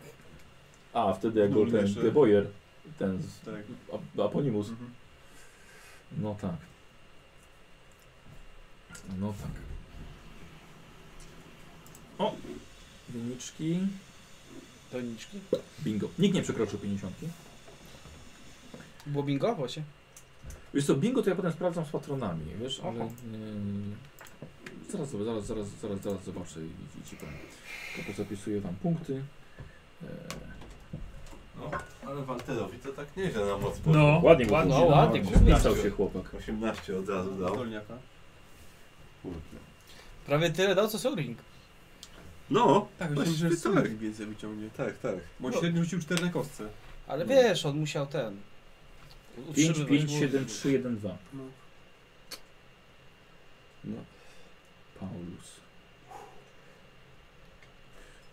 [SPEAKER 1] A, wtedy jak
[SPEAKER 8] No,
[SPEAKER 1] był ten
[SPEAKER 8] jeszcze-
[SPEAKER 1] The Boyer, ten z
[SPEAKER 8] Tak.
[SPEAKER 1] ap- Aponimus.
[SPEAKER 8] Mhm.
[SPEAKER 1] No tak. No tak. O! Wyniczki.
[SPEAKER 6] Doniczki.
[SPEAKER 1] Bingo. Nikt nie przekroczył 50.
[SPEAKER 6] Było bingo właśnie.
[SPEAKER 1] Wiesz co, bingo to ja potem sprawdzam z patronami, wiesz, ale...
[SPEAKER 6] Aha.
[SPEAKER 1] Yy, zaraz, zob- zaraz, zaraz, zaraz, zaraz zobaczę i, i ci powiem. Tylko zapisuję wam punkty. E,
[SPEAKER 4] Ale Walterowi to tak nieźle na moc poszło.
[SPEAKER 7] No.
[SPEAKER 1] ładnie mu
[SPEAKER 6] ładnie,
[SPEAKER 1] pójdzie,
[SPEAKER 6] ładnie, kurde.
[SPEAKER 1] Wpisał się chłopak.
[SPEAKER 4] 18 od razu dał.
[SPEAKER 8] Dolniaka.
[SPEAKER 4] Kurde.
[SPEAKER 6] Prawie tyle dał co Soul
[SPEAKER 4] No,
[SPEAKER 8] Tak,
[SPEAKER 4] myślałem, że
[SPEAKER 8] myślę, że
[SPEAKER 4] Właściwie
[SPEAKER 8] sobie
[SPEAKER 4] tak.
[SPEAKER 8] więcej wyciągnie.
[SPEAKER 4] tak, tak.
[SPEAKER 8] Bo on
[SPEAKER 6] No.
[SPEAKER 8] średnio rzucił 4 na kostce.
[SPEAKER 6] Ale
[SPEAKER 4] No.
[SPEAKER 6] wiesz, on musiał ten.
[SPEAKER 1] 5,
[SPEAKER 6] utrzymywać
[SPEAKER 1] 5,
[SPEAKER 6] głowę.
[SPEAKER 1] 7, 3, 1, 2.
[SPEAKER 8] No.
[SPEAKER 4] No.
[SPEAKER 1] Paulus.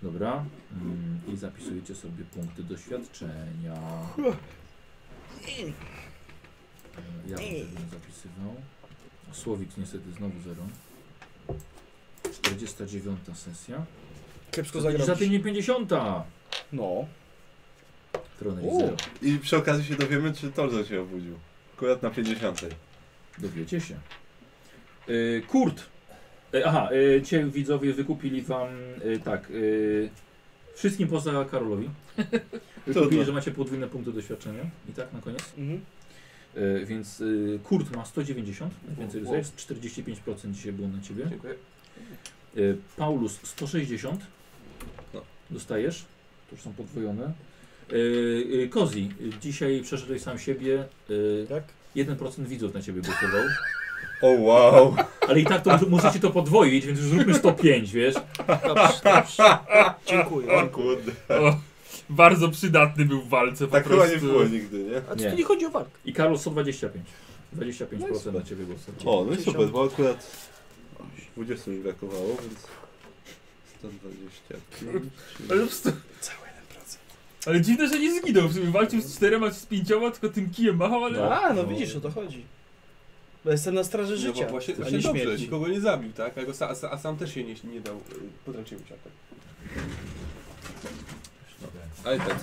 [SPEAKER 1] Dobra. Mm, I zapisujecie sobie punkty doświadczenia. Ja bym zapisywał. Słowik niestety znowu 0. 49 sesja.
[SPEAKER 6] Kiepsko
[SPEAKER 1] Za tydzień nie 50.
[SPEAKER 4] No.
[SPEAKER 1] Trony
[SPEAKER 4] U.
[SPEAKER 1] zero.
[SPEAKER 4] No I przy okazji się dowiemy, czy Torzo się obudził. Akurat na 50.
[SPEAKER 1] Dowiecie się. Y, Kurt. Y, aha, y, cię widzowie wykupili wam y, tak. Y, wszystkim poza Karolowi. Wykupili,
[SPEAKER 4] Trudno.
[SPEAKER 1] że macie podwójne punkty doświadczenia. I tak na koniec.
[SPEAKER 6] Mhm.
[SPEAKER 1] Y, więc y, Kurt ma 190, najwięcej wow. jest 45% dzisiaj było na ciebie.
[SPEAKER 8] Dziękuję.
[SPEAKER 1] Y, Paulus 160.
[SPEAKER 4] No.
[SPEAKER 1] Dostajesz. To już są podwojone. Y, y, Kozi, y, dzisiaj przeszedłeś sam siebie. Y,
[SPEAKER 6] Tak?
[SPEAKER 1] 1% widzów na ciebie głosował.
[SPEAKER 4] O [LAUGHS] wow.
[SPEAKER 1] Ale i tak to mu- musicie to podwoić, więc już zróbmy 105, wiesz?
[SPEAKER 6] Dobrze, dobrze. Dziękuję.
[SPEAKER 4] O kurde.
[SPEAKER 7] Bardzo przydatny był w walce po
[SPEAKER 4] Tak
[SPEAKER 7] prostu.
[SPEAKER 4] chyba nie było nigdy, nie?
[SPEAKER 6] A
[SPEAKER 1] Nie.
[SPEAKER 6] czy tu nie chodzi o walkę?
[SPEAKER 1] I Karol 125. 25% na ciebie głosował.
[SPEAKER 4] O, no i super, bo akurat 20 mi brakowało, więc 125.
[SPEAKER 7] Ale, w stu... ale dziwne, że nie zginął. W sumie walczył z czterema czy z pięcioma, tylko tym kijem machał, ale...
[SPEAKER 1] No.
[SPEAKER 6] A, no widzisz, o to chodzi. Bo jestem na straży
[SPEAKER 8] No
[SPEAKER 6] życia,
[SPEAKER 8] bo właśnie,
[SPEAKER 6] a
[SPEAKER 8] właśnie
[SPEAKER 6] nie
[SPEAKER 8] dobrze,
[SPEAKER 6] śmierci.
[SPEAKER 8] nikogo nie zabił, tak? A, go sa, a, sa- a sam też się nie, nie dał y, podręcznikiem ciapek.
[SPEAKER 4] A i tak.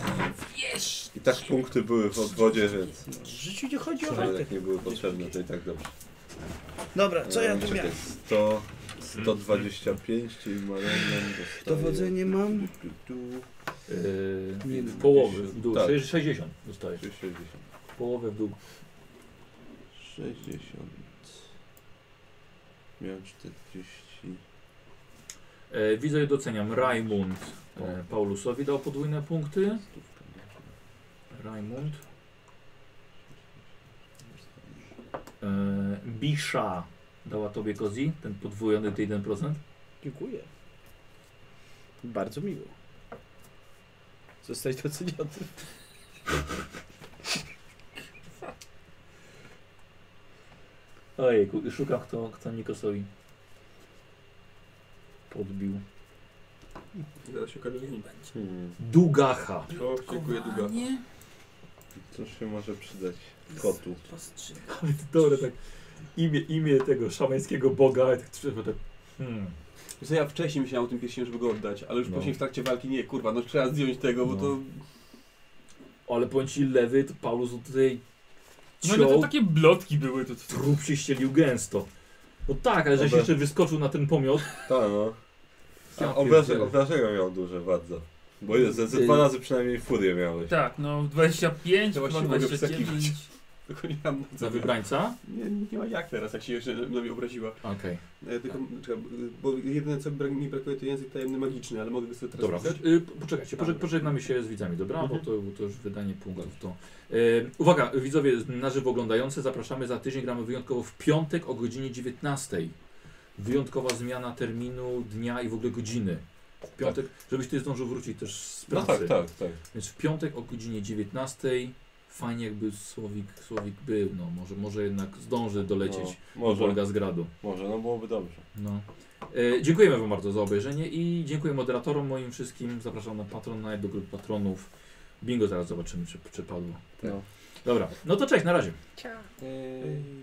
[SPEAKER 4] I tak punkty były w odwodzie, więc
[SPEAKER 6] W życiu nie chodzi o
[SPEAKER 4] no,
[SPEAKER 6] walkę.
[SPEAKER 4] jak nie były potrzebne, to i tak dobrze.
[SPEAKER 6] Dobra, co ja
[SPEAKER 4] Eee,
[SPEAKER 6] tu
[SPEAKER 4] czekaj,
[SPEAKER 6] miałem?
[SPEAKER 4] 100, 125, czyli Marianem dostaje...
[SPEAKER 6] Dowodzenie mam.
[SPEAKER 4] Tu, tu,
[SPEAKER 1] Yy,
[SPEAKER 6] Nie
[SPEAKER 1] w
[SPEAKER 6] wiem,
[SPEAKER 1] połowę w dół.
[SPEAKER 4] tak.
[SPEAKER 1] 60 dostajesz.
[SPEAKER 4] tu, 60.
[SPEAKER 1] W połowę w dół.
[SPEAKER 4] 60. Miałem 40.
[SPEAKER 1] E, widzę i doceniam. Raimund e, Paulusowi dał podwójne punkty.
[SPEAKER 4] Stówka.
[SPEAKER 1] Raimund. E, Bisha dała tobie Kozi, ten podwójny ty 1%.
[SPEAKER 6] Dziękuję. Bardzo miło. Zostać doceniony.
[SPEAKER 1] Ojejku, i szukam kto, kto Nikosowi podbił.
[SPEAKER 8] Zaraz się okaże, że nie.
[SPEAKER 4] Hmm.
[SPEAKER 1] Dugacha.
[SPEAKER 8] O, dziękuję długo.
[SPEAKER 4] Co się może przydać kotu?
[SPEAKER 1] [LAUGHS] Ale to dobre tak imię, imię tego szamańskiego boga, ale tak trzeba tak... Hmm.
[SPEAKER 8] Wiesz co, ja wcześniej myślałem o tym pierścieniu, żeby go oddać, ale już
[SPEAKER 1] No.
[SPEAKER 8] później w trakcie walki nie, kurwa, no trzeba zdjąć tego, bo
[SPEAKER 1] No.
[SPEAKER 8] to...
[SPEAKER 1] Ale powiem ci lewy, to Paulus tutaj
[SPEAKER 7] No ale to
[SPEAKER 1] ciął,
[SPEAKER 7] takie blotki były to.
[SPEAKER 1] trup się ścielił gęsto. No tak, ale żeś
[SPEAKER 4] Dobra.
[SPEAKER 1] jeszcze wyskoczył na ten pomiot.
[SPEAKER 4] Tak no.
[SPEAKER 1] Ja
[SPEAKER 4] A Obraże,
[SPEAKER 1] pierdzielę.
[SPEAKER 4] obrażenia miał duże bardzo. Bo ile? Ze, ze dwa
[SPEAKER 1] Y-
[SPEAKER 4] razy przynajmniej furię miałeś.
[SPEAKER 7] Tak, no 25, chyba
[SPEAKER 8] To właśnie mogę
[SPEAKER 7] 29.
[SPEAKER 8] wskakiwać. Tylko nie mam na
[SPEAKER 1] Za
[SPEAKER 8] co.
[SPEAKER 1] wybrańca?
[SPEAKER 8] Nie, nie ma jak teraz, jak się jeszcze na mnie obraziła.
[SPEAKER 1] Okej.
[SPEAKER 8] E, tylko, czekaj, bo jedyne co brak, mi brakuje to język tajemny magiczny, ale mogę go sobie teraz
[SPEAKER 1] Dobra,
[SPEAKER 8] wpisać?
[SPEAKER 1] y,
[SPEAKER 4] Tak.
[SPEAKER 1] poczekajcie, poże- pożegnamy się z widzami, dobra?
[SPEAKER 4] Mhm.
[SPEAKER 1] Bo to, bo to już wydanie punktów to. Y, uwaga, widzowie na żywo oglądający, zapraszamy za tydzień, gramy wyjątkowo w piątek o godzinie 19. Wyjątkowa zmiana terminu, dnia i w ogóle godziny. W piątek, żebyś ty zdążył wrócić też z
[SPEAKER 4] Tak. No
[SPEAKER 1] pracy.
[SPEAKER 4] tak, tak, tak.
[SPEAKER 1] Więc w piątek o godzinie 19. Fajnie jakby Słowik, Słowik był, no może, może jednak zdąży
[SPEAKER 4] No,
[SPEAKER 1] dolecieć no, do
[SPEAKER 4] może,
[SPEAKER 1] Wolgazgradu.
[SPEAKER 4] może, no byłoby dobrze.
[SPEAKER 1] No. E, dziękujemy Wam bardzo za obejrzenie i dziękuję moderatorom moim wszystkim. Zapraszam na Patronite, do grup patronów. Bingo zaraz zobaczymy, czy, czy padło.
[SPEAKER 4] No.
[SPEAKER 1] Dobra, no to cześć, na razie.
[SPEAKER 10] Ciao.
[SPEAKER 6] Eee,